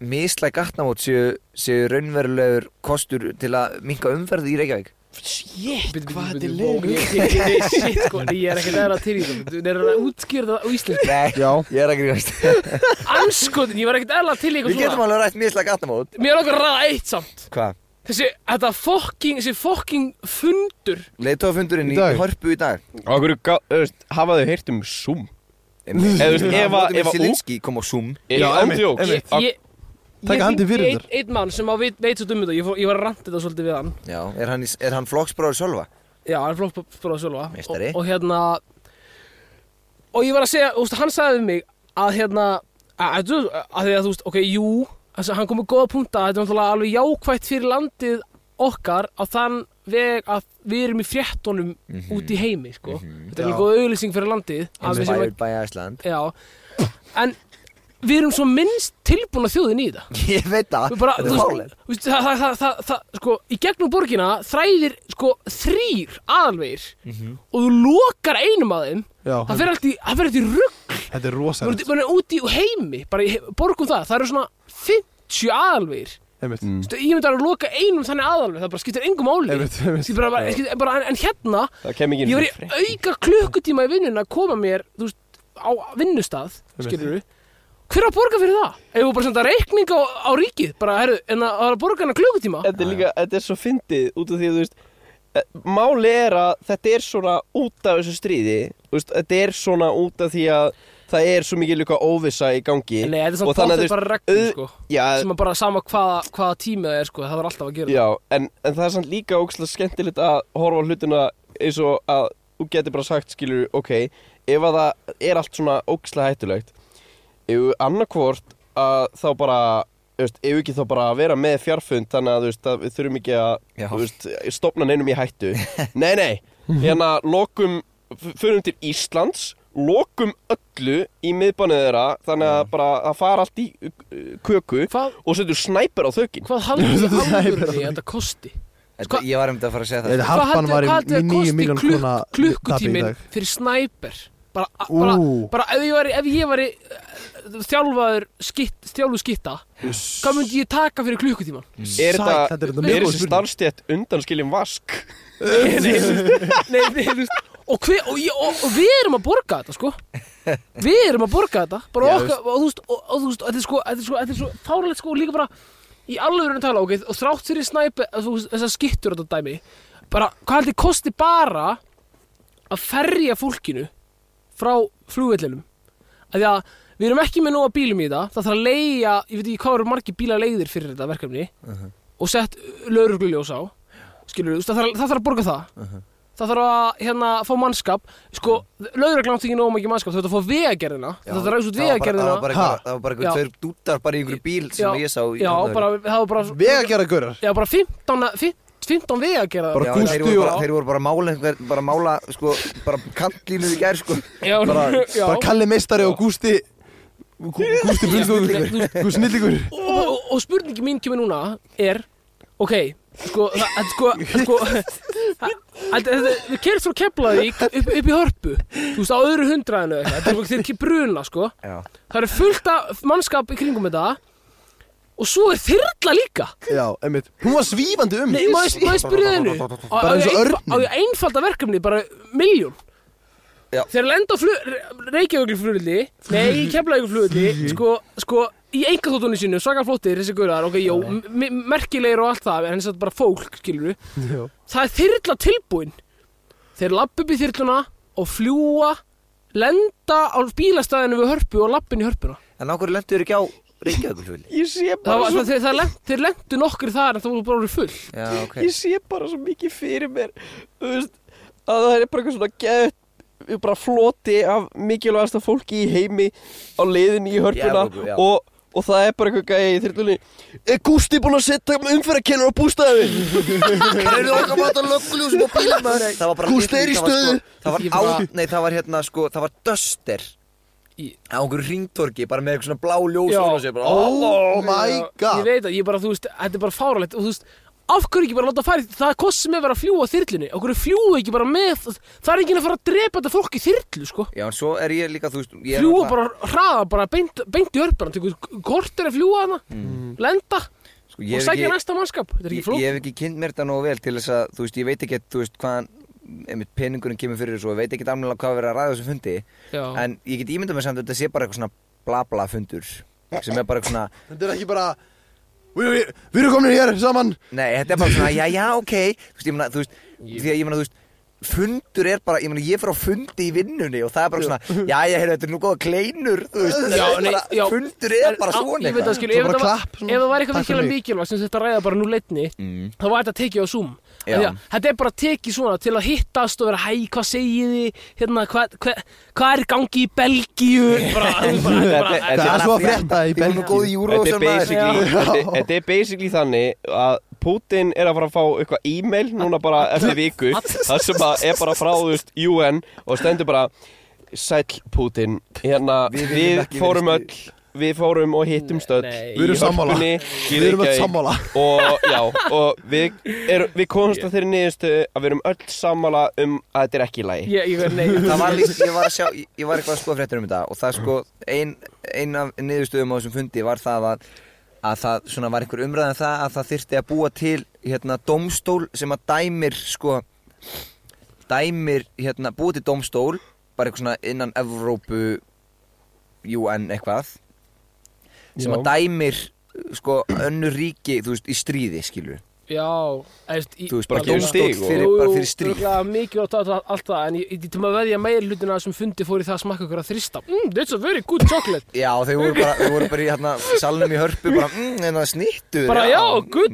Speaker 4: mislæg gatnamót séu, séu raunverulegur kostur til að minka umferði í Reykjavík
Speaker 1: Shit,
Speaker 2: Bíddu, bíddu, bíddu, vó, ég- ég- ég- ég- Shit, sko, ég er ekki aðra til í það Þú er að útskýra það á íslensku
Speaker 4: Nei,
Speaker 3: Já,
Speaker 4: ég er að grínast
Speaker 2: Anskotin, ég var ekkert aðra til í eitthvað
Speaker 4: Við getum
Speaker 2: svona
Speaker 4: alveg rætt mislæg gatnamót
Speaker 2: Mér er okkur að ræða eitt samt
Speaker 4: Hvað?
Speaker 2: Þessi, þetta fokking, þessi fokking fundur
Speaker 4: Leitófundurinn
Speaker 3: Í
Speaker 4: í,
Speaker 3: dag?
Speaker 4: í Hörpu í dag
Speaker 1: Af hverju, ga- þú veist, hafa þau heyrt um Zoom? Eða, þú veist, ef að- ef að
Speaker 4: Silinski kom á Zoom
Speaker 1: Ég ándjók
Speaker 2: Ég, ég,
Speaker 3: Taka hann til
Speaker 2: einn
Speaker 3: virðar.
Speaker 2: ein mann sem á veit, veit svo dummið það ég, fór- ég var að ranta þetta svolítið við hann
Speaker 4: Já, er hann, í- er hann flokksbróður Sölva?
Speaker 2: Já, hann flókbróð sjálfa og,
Speaker 4: Meistari.
Speaker 2: og hérna Og ég var að segja, úst, hann sagði við mig Að hérna Að, að, þú- að því að þú veist, ok, jú þessi, Hann kom með góða punkta, þetta er náttúrulega alveg jákvætt fyrir landið okkar Á þann veg að við erum í fréttunum
Speaker 4: Mhm.
Speaker 2: út í heimi sko.
Speaker 4: Mhm.
Speaker 2: þetta er
Speaker 3: Já.
Speaker 2: alveg góð auðlýsing fyrir landið að við séum
Speaker 4: Inspired by Iceland
Speaker 2: að- já. en við erum svo minnst tilbúna þjóðin í þetta
Speaker 4: (laughs) Ég veit það,
Speaker 2: Við bara, þú
Speaker 4: þetta er
Speaker 2: veist,
Speaker 4: fálega
Speaker 2: þú veist, það, það, það, það, það, sko, í gegnum borgina þræðir sko þrýr aðalvegir og þú lokar einum að þeim
Speaker 3: Já,
Speaker 2: það fer allt í, það fer allt í rugg
Speaker 3: þetta er rosalegt
Speaker 2: maður er úti í heimi, bara í he- borgum það það eru svona 50 aðalvegir
Speaker 3: Einmitt,
Speaker 1: Mm.
Speaker 2: Þú veist, ég myndi alveg að loka einum þannig aðalveg það bara skiptir engum máli
Speaker 3: einmitt, einmitt
Speaker 2: Skiptir bara, bara, skiptir bara, en, en hérna,
Speaker 1: Það kem ekki
Speaker 2: ég var
Speaker 1: inn
Speaker 2: í auka klukkutíma í vinnuna að koma mér, þú veist, á vinnustað
Speaker 3: Einmitt.
Speaker 2: skilur við hver á að borga fyrir það? Ef þú bara senda reikning á, á ríkið, bara, herru, en að, að borga hennar klukkutíma
Speaker 1: Þetta er líka, þetta er svo fyndið út af því að þú veist eh, Máli er að þetta er svona út af þessu stríði þú veist, Þetta er svona út af því að það er svo mikið líka óvissa í gangi
Speaker 2: Nei, þetta er
Speaker 1: og
Speaker 2: svona
Speaker 1: þannig að þú
Speaker 2: bóttið
Speaker 1: veist,
Speaker 2: bara regnum,
Speaker 1: auð-
Speaker 2: sko
Speaker 1: Já,
Speaker 2: sem að bara sama hvaða, hvaða tími það er, sko, það var alltaf að gera
Speaker 1: já en, en það er samt líka ógslag skemmtilegt að horfa á hlutina eins og að þú getur bara sagt skilur ok, ef að það er allt svona ógslag hættulegt ef annarkvort að þá bara þú veist, ef ekki þá bara að vera með fjárfund þannig að, þú veist, að við þurfum ekki að
Speaker 4: Já.
Speaker 1: þú veist, stopna neinum í hættu (laughs) nei nei, hérna lokum f- förum til Íslands lokum öllu í miðbannið þeirra þannig að bara að fara allt í uh, köku
Speaker 2: Hvað,
Speaker 1: og setjum snæper á þökin
Speaker 2: hvað
Speaker 1: (laughs)
Speaker 2: haldur þið
Speaker 3: Það er
Speaker 2: alvöru
Speaker 3: bara-
Speaker 2: því að þetta kosti?
Speaker 4: Þetta- Ég var um þetta að fara að segja það
Speaker 3: Þetta harpan var í
Speaker 2: haldið-
Speaker 3: í 9
Speaker 2: kosti
Speaker 3: miljón
Speaker 2: klukk-
Speaker 3: krona tapi í
Speaker 2: klukkutíminn
Speaker 3: dag
Speaker 2: fyrir snæper? Bara, bara,
Speaker 3: Ú,
Speaker 2: bara ef ég væri, ef ég væri uh, þjálfaður skitt, þjálfu skitta hvað myndi ég taka fyrir klukkutíman?
Speaker 1: Er
Speaker 3: sæt,
Speaker 1: þetta-
Speaker 3: þetta er þetta
Speaker 1: Er
Speaker 3: mjög góð
Speaker 1: þessi
Speaker 3: sko, spurning
Speaker 1: starfstjætt undan skiljum vask?
Speaker 2: nei, nei, þú veist og, hver, og, ég, og, og við erum að borga þetta sko við erum að borga þetta bara
Speaker 3: Já,
Speaker 2: okkar, og þú veist, og, og þú veist og þetta er sko, þetta er sko, þetta er svo fáralegt sko og líka bara í alveg að tala, ok, og þrátt fyrir snæpi þessar skittur þetta dæmi bara, hvað heldur kosti bara að ferja fólkinu frá flugvellinum af því að við erum ekki með nóga bílum í það það þarf að leigja, ég veit ekki hvað eru margir bílar leigðir fyrir þetta verkefni
Speaker 4: Uh-huh.
Speaker 2: og sett laurugluljós á skilur þú, veist, það þarf, það þarf að borga það
Speaker 4: Uh-huh.
Speaker 2: það þarf að hérna, fá mannskap sko, lauruglan átti ekki nóg mikið mannskap þú þarf að fá vegagerðina,
Speaker 4: Já,
Speaker 2: það þarf að ræsa út
Speaker 4: það var bara-
Speaker 2: vegagerðina
Speaker 4: Það var bara
Speaker 3: Ha?
Speaker 4: einhver- það var bara einhver
Speaker 2: Já.
Speaker 4: tveir dútar bara í einhverju bíl
Speaker 2: Já,
Speaker 4: sem ég sá í-
Speaker 2: já,
Speaker 4: hérna.
Speaker 2: bara, það var bara
Speaker 3: Vegagerða gaurar
Speaker 2: já, bara 15, að- fim- 15 vegagerðar
Speaker 3: Bara
Speaker 4: Já,
Speaker 3: Gústi
Speaker 4: þeir voru bara,
Speaker 3: og-
Speaker 4: þeir voru bara að mála einhver, bara að mála, sko, bara kantlínu í gær, sko
Speaker 2: já,
Speaker 3: bara,
Speaker 2: já.
Speaker 3: bara Kalli meistari og Gústi Gú- Gústi Brunsdóður Gústi Snillingur
Speaker 2: og, og, og spurningi mín kemur núna er ok, sko, það, það- sko,
Speaker 3: (laughs)
Speaker 2: sko það- það- það- við kerst frá Keflavík upp, upp í hörpu þú veist, á öðru hundraðinu eða eitthvað, þetta er sko- þeir ekki bruna, sko
Speaker 4: Já,
Speaker 2: það eru fullt af mannskap í kringum þetta og svo er þyrla líka
Speaker 3: Já, einmitt Hún var svífandi um
Speaker 2: Nei, má ég má ég spyrja þennu
Speaker 3: Bara eins og örninn.
Speaker 2: á ég einfalda verkefni, bara miljón
Speaker 4: Já.
Speaker 2: þegar lenda á Reykjavík flugulli, nei,
Speaker 3: (laughs)
Speaker 2: Keflavík
Speaker 3: Mhm.
Speaker 2: flugulli sko, sko, í enga þóttunni sinu svaka flottir, þessi gaurar, ok, jó me- merkilegir og allt það, en þess að bara fólk skilur við,
Speaker 3: Já.
Speaker 2: það er þyrla tilbúin þeir lappa upp í þyrluna og fljúa lenda á bílastæðinu við hörpu og lappin í hörpuna
Speaker 4: en ákveður lendur ekki á Reykjavíkulfjöli
Speaker 1: Ég sé
Speaker 2: það
Speaker 1: bara,
Speaker 2: var,
Speaker 1: svo,
Speaker 2: það, það, lent, þeir lendu nokkur þar en það voru bara orðið full
Speaker 4: Já, ok
Speaker 1: ég sé bara svo mikið fyrir mér Þú veist, að það er bara eitthvað svona gett bara floti af mikilvægasta fólki í heimi á leiðinni í hörpuna
Speaker 4: Evrópu, já.
Speaker 1: og, og það er bara eitthvað gæði í þyrlunni Er Gústi búinn að setja umferðarkennur á bústæði?
Speaker 4: Það eru okkar mátt að lögguljósum og bílum Það var bara
Speaker 1: Gústi er í
Speaker 4: það var
Speaker 1: stöðu.
Speaker 4: sko, Það var
Speaker 2: Ég
Speaker 4: á,
Speaker 2: bara-
Speaker 4: nei það var hérna sko, það var Duster
Speaker 2: Í-
Speaker 4: Á einhverju ringtorki, bara með eitthvað svona blá ljós
Speaker 2: Já.
Speaker 4: og sér bara
Speaker 3: Oh my
Speaker 2: Já, Ég
Speaker 3: god
Speaker 2: veit að ég bara, þú veist, þetta er bara fáralegt og þú veist, af hverju ekki bara láta færi það kosti sem er verið að fljúa þyrlunni, af hverju fljúa ekki bara með, það er ekki að fara að drepa þetta fólk í þyrlu, sko
Speaker 4: Já, en svo er ég líka, þú veist ég er
Speaker 2: fljúa
Speaker 4: náttúrulega-
Speaker 2: bara, hraða bara beint, beint í hörpuna, tekur kortir að fljúa hana lenda
Speaker 4: sko, Mm. ég
Speaker 2: og
Speaker 4: hef
Speaker 2: sækja
Speaker 4: ekki-
Speaker 2: næsta mannskap, þetta er
Speaker 4: ég,
Speaker 2: ekki flók
Speaker 4: ég hef ekki kynnt mér þetta nógu vel til þess að þú veist, ég veit ekki þú veist, hvaðan einmitt peningurinn kemur fyrir þessu og ég veit ekki alveg hvað verið að ræða á þessum fundi
Speaker 2: Já,
Speaker 4: en ég get ímyndað mér samt að þetta sé bara eitthvað svona bla bla fundur sem er bara eitthvað svona,
Speaker 3: Þetta er ekki bara Við við- við erum komin hér saman
Speaker 4: nei, þetta er bara svona já, já, ok, þú veist, ég meina, þú veist því að ég meina, þú veist fundur er bara, ég meina, ég fyrir á fundi í vinnunni og það er bara svona, já, já, heyrðu, þetta er nú góða kleinur, þú veist,
Speaker 2: Já,
Speaker 4: þetta er
Speaker 2: nei,
Speaker 4: bara-
Speaker 2: já.
Speaker 4: fundur er bara
Speaker 2: Á,
Speaker 4: svona
Speaker 2: ég veit að
Speaker 4: eitthvað.
Speaker 2: skilja,
Speaker 3: Svo
Speaker 2: ef
Speaker 3: bara
Speaker 2: það var-
Speaker 3: klapp, svona,
Speaker 2: ef það var eitthvað
Speaker 3: takk fyrir
Speaker 2: virkilega
Speaker 3: mig.
Speaker 2: mikilvægt sem þetta ræða bara nú leitni
Speaker 4: Mm.
Speaker 2: þá var þetta tekið á Zoom Af
Speaker 4: Já.
Speaker 2: því að þetta er bara tekið svona til að hittast og vera hæ, hvað segið þið hérna, hvað hva, hva er í gangi í Belgíu
Speaker 4: (laughs)
Speaker 2: bara, bara, bara,
Speaker 1: Þetta er-
Speaker 2: bara
Speaker 3: Það er svo að frétta í
Speaker 4: Þetta er
Speaker 3: Belgíu
Speaker 4: nú góð júró
Speaker 1: Þetta er basically,
Speaker 2: Já.
Speaker 1: þetta, er- þetta er basically þannig að Putin er að fara að fá eitthvað e-mail núna bara eftir viku það sem að er bara frá þú veist UN og stendur bara Sæll Putin, hérna
Speaker 4: Við
Speaker 1: við,
Speaker 4: viljum ekki
Speaker 1: fórum
Speaker 4: vera
Speaker 1: öll við fórum og hittum stöld
Speaker 2: nei.
Speaker 3: Við erum sammála. Við erum öll sammála
Speaker 1: og já, og
Speaker 3: (laughs)
Speaker 1: við, er, við komumst að þeirri niðurstu að við erum öll sammála um að þetta er ekki í lagi
Speaker 2: Ég, ég, nei,
Speaker 4: Það var líst, ég var að sjá, ég ég var eitthvað að skoða fréttur um þetta og það sko, ein, ein af niðurstöðum á þessum fundi var það að, að það svona var einhver umræðan það að það þyrfti að búa til hérna dómstól sem að dæmir sko, dæmir hérna, búa til dómstól, bara eitthvað svona innan Evrópu, UN eitthvað, sem að
Speaker 1: Já.
Speaker 4: dæmir sko önnur ríki, þú veist, í stríði skilur.
Speaker 2: Já, eðst, í,
Speaker 4: Þú veist,
Speaker 1: bara
Speaker 4: bara
Speaker 1: gefa
Speaker 4: dómstól
Speaker 1: stig og-
Speaker 4: fyrir, bara fyrir stríð.
Speaker 2: Það er mikið átt að allt það, en ég, ég til maður veðja meir hlutina sem fundi fór í það að smakka ykkur að þrista. Mm, that's a very good chocolate.
Speaker 4: Já, þau voru bara, þau voru bara í hérna, salnum í hörpu, bara, mm, en það snýttu.
Speaker 2: Bara já, gull.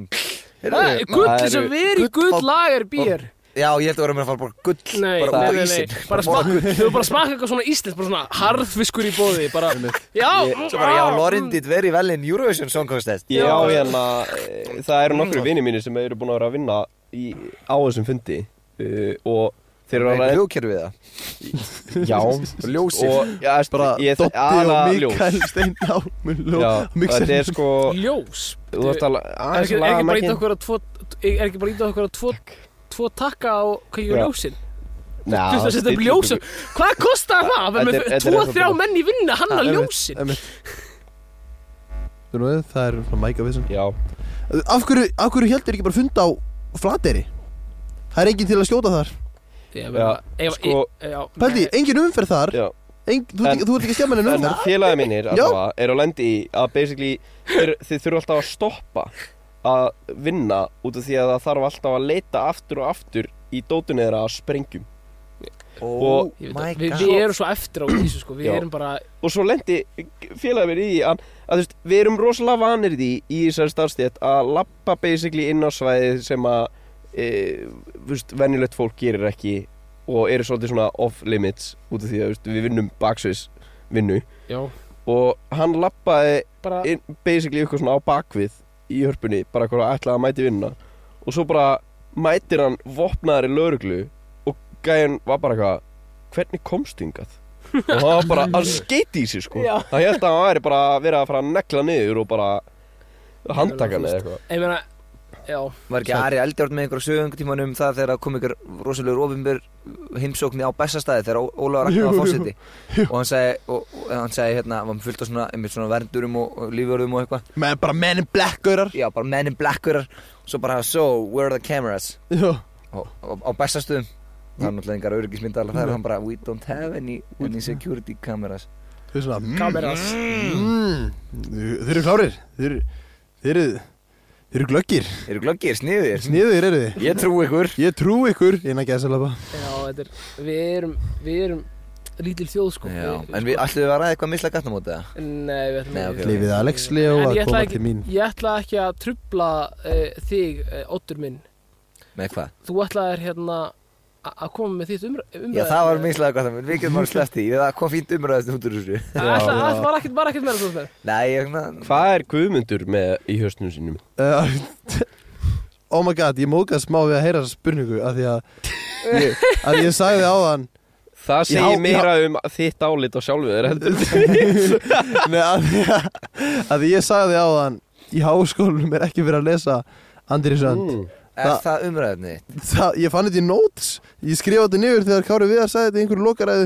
Speaker 4: Heyrðu,
Speaker 2: Gull
Speaker 1: það
Speaker 2: is a
Speaker 1: eru-
Speaker 2: very
Speaker 4: gull-
Speaker 2: good lager beer.
Speaker 4: Já, ég held að vera með að fara bara gull
Speaker 2: Nei,
Speaker 4: bara
Speaker 2: nei,
Speaker 4: út á
Speaker 2: nei, nei,
Speaker 4: ísinn
Speaker 2: bara
Speaker 4: borða
Speaker 2: smakka, þau bara smakka eitthvað svona íslenskt, bara svona harðfiskur í bóði, bara, já,
Speaker 4: gull Svo
Speaker 2: Ah,
Speaker 4: bara, já,
Speaker 2: mm.
Speaker 4: Lauren did very well in Eurovision Song Contest
Speaker 1: Já,
Speaker 2: Já.
Speaker 1: hérna, eh, það eru nokkru vini mínir sem eru búin að vera að vinna í, á þessum fundi uh, og þeir eru að ræða-
Speaker 4: Hljókjör við það
Speaker 1: Já,
Speaker 4: Ljósið.
Speaker 1: og, já, veist,
Speaker 3: Bara
Speaker 1: ég-
Speaker 3: Dotti og
Speaker 1: aðalega ljós.
Speaker 3: Mikael Steiná
Speaker 1: Já, þetta er sko
Speaker 2: Mm, ljós.
Speaker 1: Þú þarft að
Speaker 2: Er
Speaker 1: aðeins að
Speaker 2: ekki, er
Speaker 1: laga
Speaker 2: ekki bara ít
Speaker 1: mækin
Speaker 2: okkur að tvo, er ekki bara ít okkur að tvo, tvo takka á kveikjum
Speaker 1: Já.
Speaker 2: ljósin?
Speaker 1: Ná,
Speaker 2: Þú veist að setja upp ljósin Hvað kostar það? Við
Speaker 1: Þetta er-
Speaker 2: með
Speaker 1: þetta er
Speaker 2: tvo,
Speaker 1: ennþá
Speaker 2: þrjá
Speaker 1: bara-
Speaker 2: menn í vinnu að hanna
Speaker 3: einmitt,
Speaker 2: ljósin
Speaker 3: einmitt. Þú veist, það er svona mæka vissin
Speaker 1: Já,
Speaker 3: Af hverju, af hverju heldur ekki bara funda á Flateri? Það er enginn til að skjóta þar
Speaker 2: Ég meina, ef-
Speaker 1: sko,
Speaker 2: e- já,
Speaker 3: Paldi, engin umferð þar
Speaker 1: já
Speaker 3: Eng, þú, ert
Speaker 1: En-
Speaker 3: ekki, þú ert ekki að skemma henni
Speaker 1: En
Speaker 3: umferð
Speaker 1: félagi mínir
Speaker 3: Já.
Speaker 1: allavega eru að lendi í að basically þeir, þið þurfa alltaf að stoppa að vinna út af því að það þarf alltaf að leita aftur og aftur í dótunni þeirra að sprengjum
Speaker 4: Oh
Speaker 2: ég veit
Speaker 4: my
Speaker 2: að- Við
Speaker 4: god
Speaker 2: við erum svo eftir á þessu sko Við
Speaker 1: Já.
Speaker 2: erum bara
Speaker 1: og svo lendi félagi minn í því að, að þú veist, við erum rosalega vanir í því í þessari starfstétt að lappa basically inn á svæðið sem að e, þú veist, venjulegt fólk gerir ekki og eru svolítið svona off limits út af því að þú veist, við vinnum baksveis vinnu
Speaker 2: Já
Speaker 1: og hann lappaði
Speaker 2: Bara
Speaker 1: in, basically eitthvað svona á bakvið í hörpunni, bara eitthvað að ætlaði að mæti vinna og svo bara mætir hann vopnaðar í lauruglu og gæðin var bara eitthvað hvernig komst hingað? og hann var bara að skeiti í sig sko
Speaker 2: Já.
Speaker 1: hann held að hann væri bara verið að fara að negla niður og bara handtaka hann eða eitthvað
Speaker 2: Ég meina Já
Speaker 4: Var ekki Ari Eldjárn með einhverja sögungu tíman um það þegar það kom einhver rosalegur ofinbyr heimsókni á bestastæði þegar Ó- Ólafur Ragnar var fórseti og hann sagði, og, og hann sagði hérna, hann var fullt af svona, einmitt svona verndurum og, og lífjörðum og eitthvað
Speaker 3: Með bara menn in black gaurar
Speaker 4: Já, bara menn in blackurar Svo bara, so, where are the cameras?
Speaker 3: Já,
Speaker 4: á, á, á bestastöðum það er náttúrulega engar öryggismyndalar það er hann bara we don't have any, any security cameras
Speaker 3: þau er svona mm,
Speaker 2: Kameras
Speaker 3: mm, Þeir eru klárir Þeir eru Þeir eru Þeir eru glöggir
Speaker 4: eru glöggir, sniðir
Speaker 3: Sniður eru þið
Speaker 4: ég trú ykkur
Speaker 3: Ég trú ykkur innan gæðsalapa
Speaker 2: Já, þetta er Við erum Við erum Lítil þjóð sko
Speaker 4: Já, en við
Speaker 2: sko-
Speaker 4: ætlum við að ræða eitthvað misla gattamóta
Speaker 2: Nei, við ætlum
Speaker 4: Nei,
Speaker 2: ekki-
Speaker 4: ok.
Speaker 3: Lifið Alex Leo
Speaker 2: En
Speaker 3: að
Speaker 2: ég ætla
Speaker 3: koma
Speaker 2: ekki-
Speaker 3: til mín
Speaker 2: Ég ætla ekki að trubla eh, þig, eh, Oddur minn
Speaker 4: með hvað?
Speaker 2: Þú ætlaðir hérna a- að koma með þitt umræð
Speaker 4: já það var misla gattamóta, við getum bara sleppt því það kom fínt umræðast út úr þessu
Speaker 2: Það var ekkert var ekkert meira svo þess
Speaker 4: nei, ég svona
Speaker 1: hvað er Guðmundur með í höstnum sínum?
Speaker 3: Uh, (laughs) oh my god, ég mókaði smá við að heyra þessa spurningu af því að ég, að ég sagði á hann
Speaker 1: það segir
Speaker 3: Já,
Speaker 1: meira um þitt álit á sjálfu þér heldur
Speaker 3: Nei, að, því að, að því ég sagði á hann í háskólanum er ekki verið að lesa Andri Sönd
Speaker 1: Mm.
Speaker 4: er
Speaker 3: Það-
Speaker 4: það umræðinni?
Speaker 3: það, Ég fann þetta í notes Ég skrifa þetta niður þegar Kári Viðar sagði þetta í einhverju lokaræðu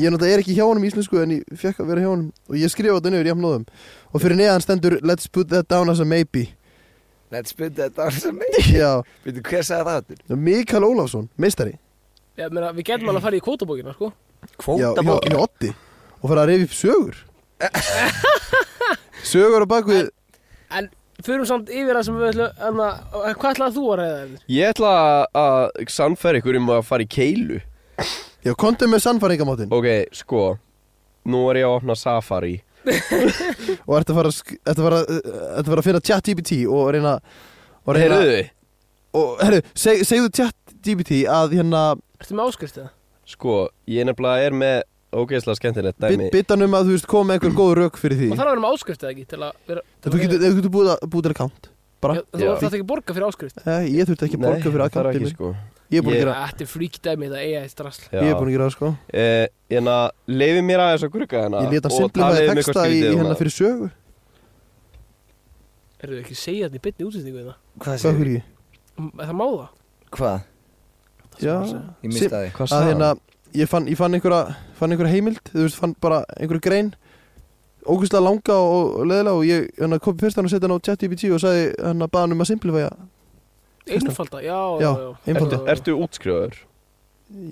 Speaker 3: Ég náttúrulega er ekki hjá honum í íslensku en ég fekk að vera hjá honum og ég skrifa þetta niður jafnóðum og fyrir neðan stendur Let's put that down as a maybe
Speaker 4: let's put that down as a maybe
Speaker 3: Já,
Speaker 4: veitu hver sagði það áttur?
Speaker 3: Mikael Ólafsson, meistari
Speaker 2: Já, meina, við getum alveg að fara í kvótabókina, sko
Speaker 3: Já, hjá,
Speaker 4: kvótabók
Speaker 3: hjá Otti og fara að reyfi upp sögur sögur á bakvið
Speaker 2: En förum samt yfir það sem við ætlum anna, Hvað ætlaði þú að ræða þér?
Speaker 1: (laughs) ég ætla að sannfæra ykkur um að fara í keilu
Speaker 3: já, kontum með sannfæringamáttin
Speaker 1: ok, sko nú er ég að opna Safari
Speaker 3: og ert að fara, að sk- ert að fara, uh, ert að, fara að finna chat GPT og reyna og reyna
Speaker 1: heyrðu þið
Speaker 3: og herru, seg, segðu chat GPT að hérna
Speaker 2: Ertu með áskrift eða?
Speaker 1: Sko, ég nefnilega er með ógeðslega skemmtilegt dæmi
Speaker 3: bit- um bitanum að þú veist koma með einhver góð rauk fyrir því
Speaker 2: Maður þarf að vera með áskrift eða ekki til að vera
Speaker 3: En þú getur, þú getur búið, að, búið til account bara
Speaker 2: Já, Þú
Speaker 1: Já.
Speaker 2: þarf ekki að borga fyrir áskrift
Speaker 3: eh, Ég þurfti ekki að borga fyrir
Speaker 1: það er
Speaker 3: aðkantinu
Speaker 1: ekki sko
Speaker 3: Ég er búin
Speaker 1: Ég-
Speaker 3: að gera
Speaker 2: Þetta er fríkdæmi, þetta eiga eitt drasl
Speaker 3: Ég er búin að gera það sko
Speaker 1: Eh, En að leiði mér aðeins að grugga hérna
Speaker 3: Ég leta
Speaker 1: og
Speaker 3: simplifaði
Speaker 1: talið um
Speaker 3: texta
Speaker 1: eitthvað
Speaker 3: í,
Speaker 1: skrítið
Speaker 3: í
Speaker 1: um
Speaker 3: hennar
Speaker 1: það.
Speaker 3: fyrir sögu
Speaker 2: Eru þau ekki að segja þetta í byrni útsýsningu þetta?
Speaker 4: Hvað
Speaker 3: Hvað
Speaker 4: segir
Speaker 3: fyrir ég?
Speaker 2: Það má það
Speaker 4: Hvað?
Speaker 2: Það
Speaker 3: Já,
Speaker 2: sem maður segir.
Speaker 4: Ég
Speaker 3: Sim-
Speaker 4: mista þig
Speaker 1: Hvað
Speaker 3: að
Speaker 1: sagði
Speaker 3: hérna
Speaker 1: hann?
Speaker 3: Ég fann, ég fann einhverja, fann einhverja heimild Þú veist, fann bara einhverja grein Ógustlega langa og, og leðilega Og ég hérna kopið fyrst hann og setja hann á ChatGPT Og sagði hérna bað hann um að simplifaði
Speaker 2: Einfalda, já, já,
Speaker 3: Já,
Speaker 2: já.
Speaker 3: einfalda.
Speaker 1: Er- Ertu útskrifaður?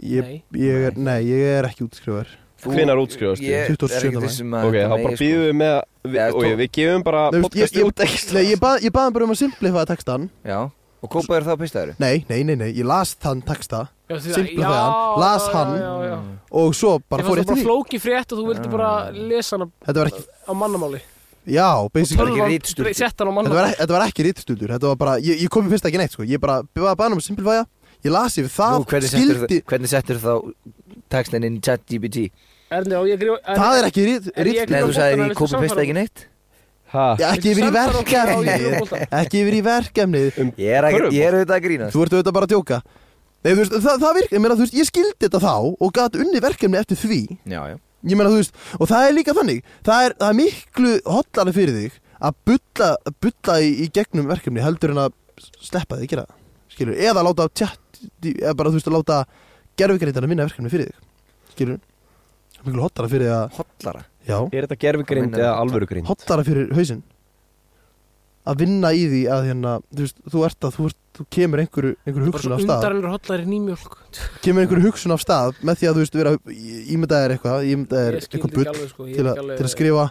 Speaker 3: ég,
Speaker 2: Nei.
Speaker 3: ég er, nei, ég er ekki útskrifar
Speaker 4: Þú-
Speaker 1: Hvenær útskrifast
Speaker 4: Ég er
Speaker 3: 27.
Speaker 4: ekki þessum að
Speaker 1: Ok,
Speaker 4: þetta
Speaker 1: þá
Speaker 4: megi,
Speaker 1: bara
Speaker 4: sko.
Speaker 1: býðum við með við,
Speaker 4: Eða
Speaker 1: og
Speaker 4: tó-
Speaker 1: við gefum bara
Speaker 3: Nei, þú veist, ég-
Speaker 1: podcasti
Speaker 3: ég-
Speaker 1: út ekki
Speaker 3: Nei, ég bað, ég bað hann bara um að simplifaði textan
Speaker 4: Já, og kópaður þá pistaður
Speaker 3: Nei, nei, nei, nei, ég las þann texta
Speaker 2: Já, því-
Speaker 3: Simplaði
Speaker 2: já,
Speaker 3: hann, las
Speaker 2: já,
Speaker 3: hann.
Speaker 2: já, já.
Speaker 3: Og svo bara
Speaker 2: Ég
Speaker 3: fór
Speaker 2: fannst
Speaker 3: ég
Speaker 2: það bara
Speaker 3: eftir því
Speaker 2: flóki frétt og þú vildi bara lesa hana
Speaker 3: Þetta var ekki,
Speaker 2: á mannamáli
Speaker 3: já, basically
Speaker 4: ekki
Speaker 2: Tölvan-
Speaker 4: ritstuldur.
Speaker 2: Sett hana á
Speaker 3: Þetta var,
Speaker 2: mannamáli
Speaker 3: ek- þetta var ekki rítstundur, þetta var bara, ég, ég kom í fyrst ekki neitt sko, ég bara var bara um að simplifæja, ég las yfir það,
Speaker 4: Nú, hvernig settur,
Speaker 3: skildi,
Speaker 4: hvernig settur þá textin inn í chat GPT?
Speaker 2: Erni, á ég grífa
Speaker 3: það er ekki rít,
Speaker 2: Er ég
Speaker 3: rít
Speaker 2: Nei,
Speaker 4: Nei,
Speaker 2: þú
Speaker 4: þú sagðir í
Speaker 2: sagðir í
Speaker 4: kópa pista
Speaker 2: samfara-
Speaker 4: ekki neitt?
Speaker 1: Ha,
Speaker 3: já, ekki yfir í verkefnið, ekki yfir í
Speaker 1: Um,
Speaker 3: verkefnið,
Speaker 4: Ég er, ekki,
Speaker 1: Körfubolta.
Speaker 4: ég er auðvitað að grínast
Speaker 3: þú ert auðvitað bara að djóka. Nei, þú veist, það, það virk, ég meina, þú veist, ég skildi þetta þá og gat unni verkefni eftir því,
Speaker 4: Já, já
Speaker 3: ég meina, þú veist, og það er líka þannig, það er, það er miklu hotlari fyrir þig að bulla, bulla í, í gegnum verkefni heldur en að sleppa því að gera það, skilur, eða láta tjátt, eða bara, þú veist, að láta gerfugreitana minna verkefni fyrir þig, skilur, það er miklu hotlara fyrir að,
Speaker 4: Hollara
Speaker 3: já,
Speaker 1: Er þetta gerfugrind
Speaker 4: Minna-
Speaker 1: eða alvörugrind?
Speaker 3: hotlara fyrir hausinn að vinna í því að hérna, þú veist, þú ert að, þú, ert, þú kemur einhverju, einhverju
Speaker 2: Bara
Speaker 3: hugsun
Speaker 2: svo
Speaker 3: af stað,
Speaker 2: undarlegur hollari
Speaker 3: (laughs)
Speaker 2: nýmjölk
Speaker 3: kemur einhverju hugsun af stað með því að, þú veist, vera, ímyndaðir eitthvað, ímyndaðir
Speaker 2: Ég skildi
Speaker 3: eitthvað
Speaker 2: ekki
Speaker 3: bull
Speaker 2: alveg sko ég
Speaker 3: til,
Speaker 2: er
Speaker 3: a,
Speaker 2: ekki alveg-
Speaker 3: til að skrifa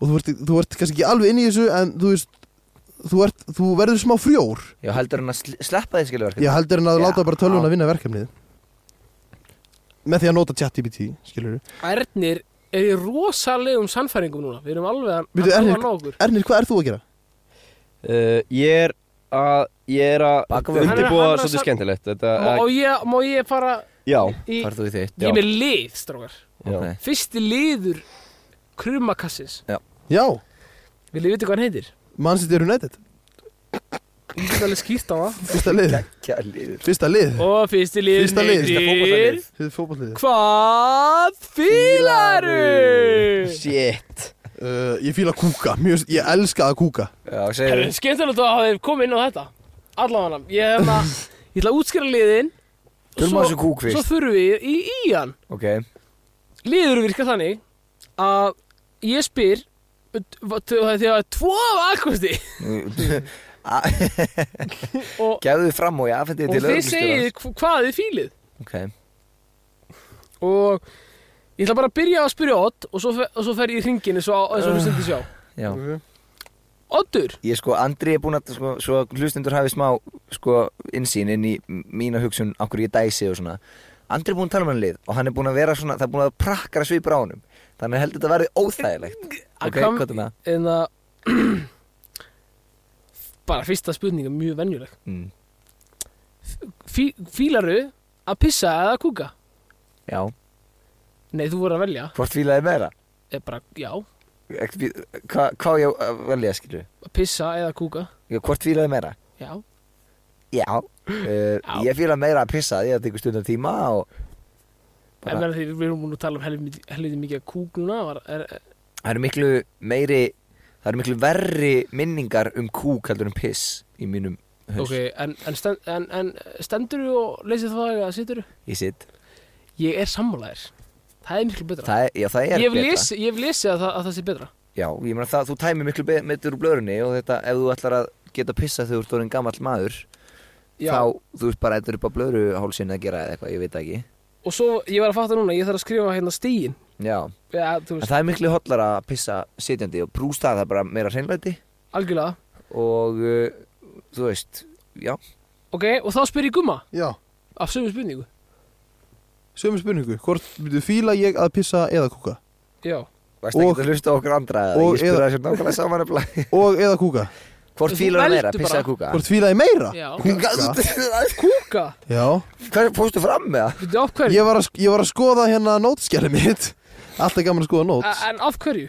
Speaker 3: og þú ert, þú ert kannski ekki alveg inn í þessu en þú veist þú, ert, þú verður smá frjór
Speaker 4: Já, heldur hann að sl- sleppa þið skilverkefni
Speaker 3: ég heldur en að
Speaker 4: Já.
Speaker 3: láta bara tölvun að vinna verkefnið með því að nota ChatGPT skilur
Speaker 2: Ernir er í rosalegum sannfæringum núna Við erum alveg að-
Speaker 3: Bíddu,
Speaker 2: að
Speaker 3: Ernir-
Speaker 2: ná okkur
Speaker 3: Ernir, hvað er þú að gera?
Speaker 1: Uh, ég er að Ég er að
Speaker 4: Baka vöfflur.
Speaker 2: Hann er-
Speaker 1: undirbúa
Speaker 2: hann er að
Speaker 1: svolítið
Speaker 2: sa-
Speaker 1: skemmtilegt Þetta
Speaker 2: Má
Speaker 1: að-
Speaker 2: ég- Má ég fara
Speaker 1: Já,
Speaker 2: í
Speaker 4: Farðu þú í
Speaker 2: Ég
Speaker 4: þitt
Speaker 1: Já.
Speaker 2: er með lið, strákar
Speaker 1: já.
Speaker 4: Ok.
Speaker 2: Fyrsti liður krumakassins
Speaker 3: Já,
Speaker 2: Vil ég vita hvað hann heitir?
Speaker 3: Manchester United
Speaker 2: Ég get alveg skýrt á það
Speaker 3: Fyrsta lið,
Speaker 4: Kjá liður
Speaker 3: fyrsta lið
Speaker 2: (laughs) Og fyrsti liður
Speaker 3: Fyrsta lið, fyrsta
Speaker 2: heitir
Speaker 3: Fyrsta fótballið
Speaker 2: Hvað fílaru?
Speaker 1: Shit
Speaker 3: uh, Ég fíla kúka, mjög, ég elska að kúka
Speaker 4: Já,
Speaker 2: Það
Speaker 4: segir
Speaker 2: er skemmtilegt að hafa komið inn á þetta Allavega Ég, hérna- hefna, (laughs) ég ætla að útskýra liðin og
Speaker 4: Þurfum
Speaker 2: svo-
Speaker 4: að þessu kúk
Speaker 2: Svo
Speaker 4: fyrst
Speaker 2: þurfum við í ían
Speaker 4: um Ok, (laughs)
Speaker 2: Liður virka þannig að ég spyr þegar það er tvo valkosti
Speaker 4: (laughs)
Speaker 2: og,
Speaker 4: gæðu þið fram og ég
Speaker 2: og
Speaker 4: afhendið til
Speaker 2: þið segir
Speaker 4: lögreglustjórans.
Speaker 2: hvað þið fílið
Speaker 4: Ok,
Speaker 2: og ég ætla bara að byrja að spyrja Odd og svo, fer- og svo fer ég í ringin eins og eins og hún stundi sjá
Speaker 4: já
Speaker 2: Oddur,
Speaker 4: Ég sko, Andri er búinn að sko, Svo að hlustendur hafi smá sko, Insýn inn í m- mína hugsun Akkur ég dæsi og svona Andri er búinn að tala um hann lið og hann er búinn að vera svona Það er búinn að prakkara svipur á honum Þannig heldur þetta verði óþægilegt Ok,
Speaker 2: Akam-
Speaker 4: hvað er það?
Speaker 2: en að hérna- (clears throat) bara fyrsta spurning er mjög venjuleg
Speaker 4: Mm.
Speaker 2: Fí, Fílaru að pissa eða að kúka?
Speaker 4: Já,
Speaker 2: Nei, þú voru að velja
Speaker 4: hvort fílaði meira?
Speaker 2: Eða bara, já,
Speaker 4: Ekkert bí- Hvað hva á ég að velja, skilju?
Speaker 2: að pissa eða að kúka
Speaker 4: Hvort fílaði meira?
Speaker 2: Já,
Speaker 4: Já, Eh,
Speaker 2: Já.
Speaker 4: Ég fíla meira að pissa því að það tekur stundum tíma og
Speaker 2: en meðan því við erum búin að tala um helviti helviti mikið að kúk núna var, er,
Speaker 4: það eru miklu meiri það eru miklu verri minningar um kúk heldur en piss í mínum haus
Speaker 2: Ok, en, en, stend, en, en stendur þú og leysið það eða situr þú?
Speaker 4: í sitt
Speaker 2: Ég er sammálaðir Það er miklu betra
Speaker 4: það er, já, það er
Speaker 2: Ég hef
Speaker 4: betra
Speaker 2: lesið- ég hef lesið að, það- að það sé betra
Speaker 4: já, ég meina það, þú tæmi miklu be- betur úr blöðrunni og þetta, ef þú ætlar að geta pissa þegar þú ert orðin gamall maður
Speaker 2: Já,
Speaker 4: þá, þú veist bara, þetta er upp á blöðruhálsin að gera eða eitthvað, ég veit það ekki
Speaker 2: og svo ég var að fatta núna Ég þarf að skrifa hérna stíin
Speaker 4: já,
Speaker 2: ja, Þú
Speaker 4: en
Speaker 2: veist,
Speaker 4: það er miklu hotlar að pissa sitjandi og brúst það, það er bara meira hreinlæti
Speaker 2: algjörlega
Speaker 4: og, uh, þú veist já,
Speaker 2: Ok, og þá spyr ég gumma
Speaker 3: Já,
Speaker 2: Af sömu spurningu
Speaker 3: sömu spurningu, hvort myndu fíla ég að pissa eða kúka?
Speaker 2: Já,
Speaker 4: varst ekki
Speaker 3: Og-
Speaker 4: að hlusta á okkur andra eða,
Speaker 3: og-
Speaker 4: ég spyrir
Speaker 3: eða-
Speaker 4: þessu nákvæmlega saman nefnilega.
Speaker 3: Og eða kúka?
Speaker 4: Hvort
Speaker 2: Þú
Speaker 4: fílar það meira,
Speaker 2: veldu
Speaker 4: pissa
Speaker 2: bara.
Speaker 4: að kúka?
Speaker 3: Hvort fíla ég meira?
Speaker 2: já
Speaker 4: Hvað
Speaker 2: Kúka,
Speaker 4: fórstu fram með það?
Speaker 2: veitu af
Speaker 3: Ég
Speaker 2: hverju?
Speaker 3: var, að, sk- ég var að skoða hérna nótskjæri mitt Alltaf gaman að skoða nót
Speaker 2: A, en af hverju?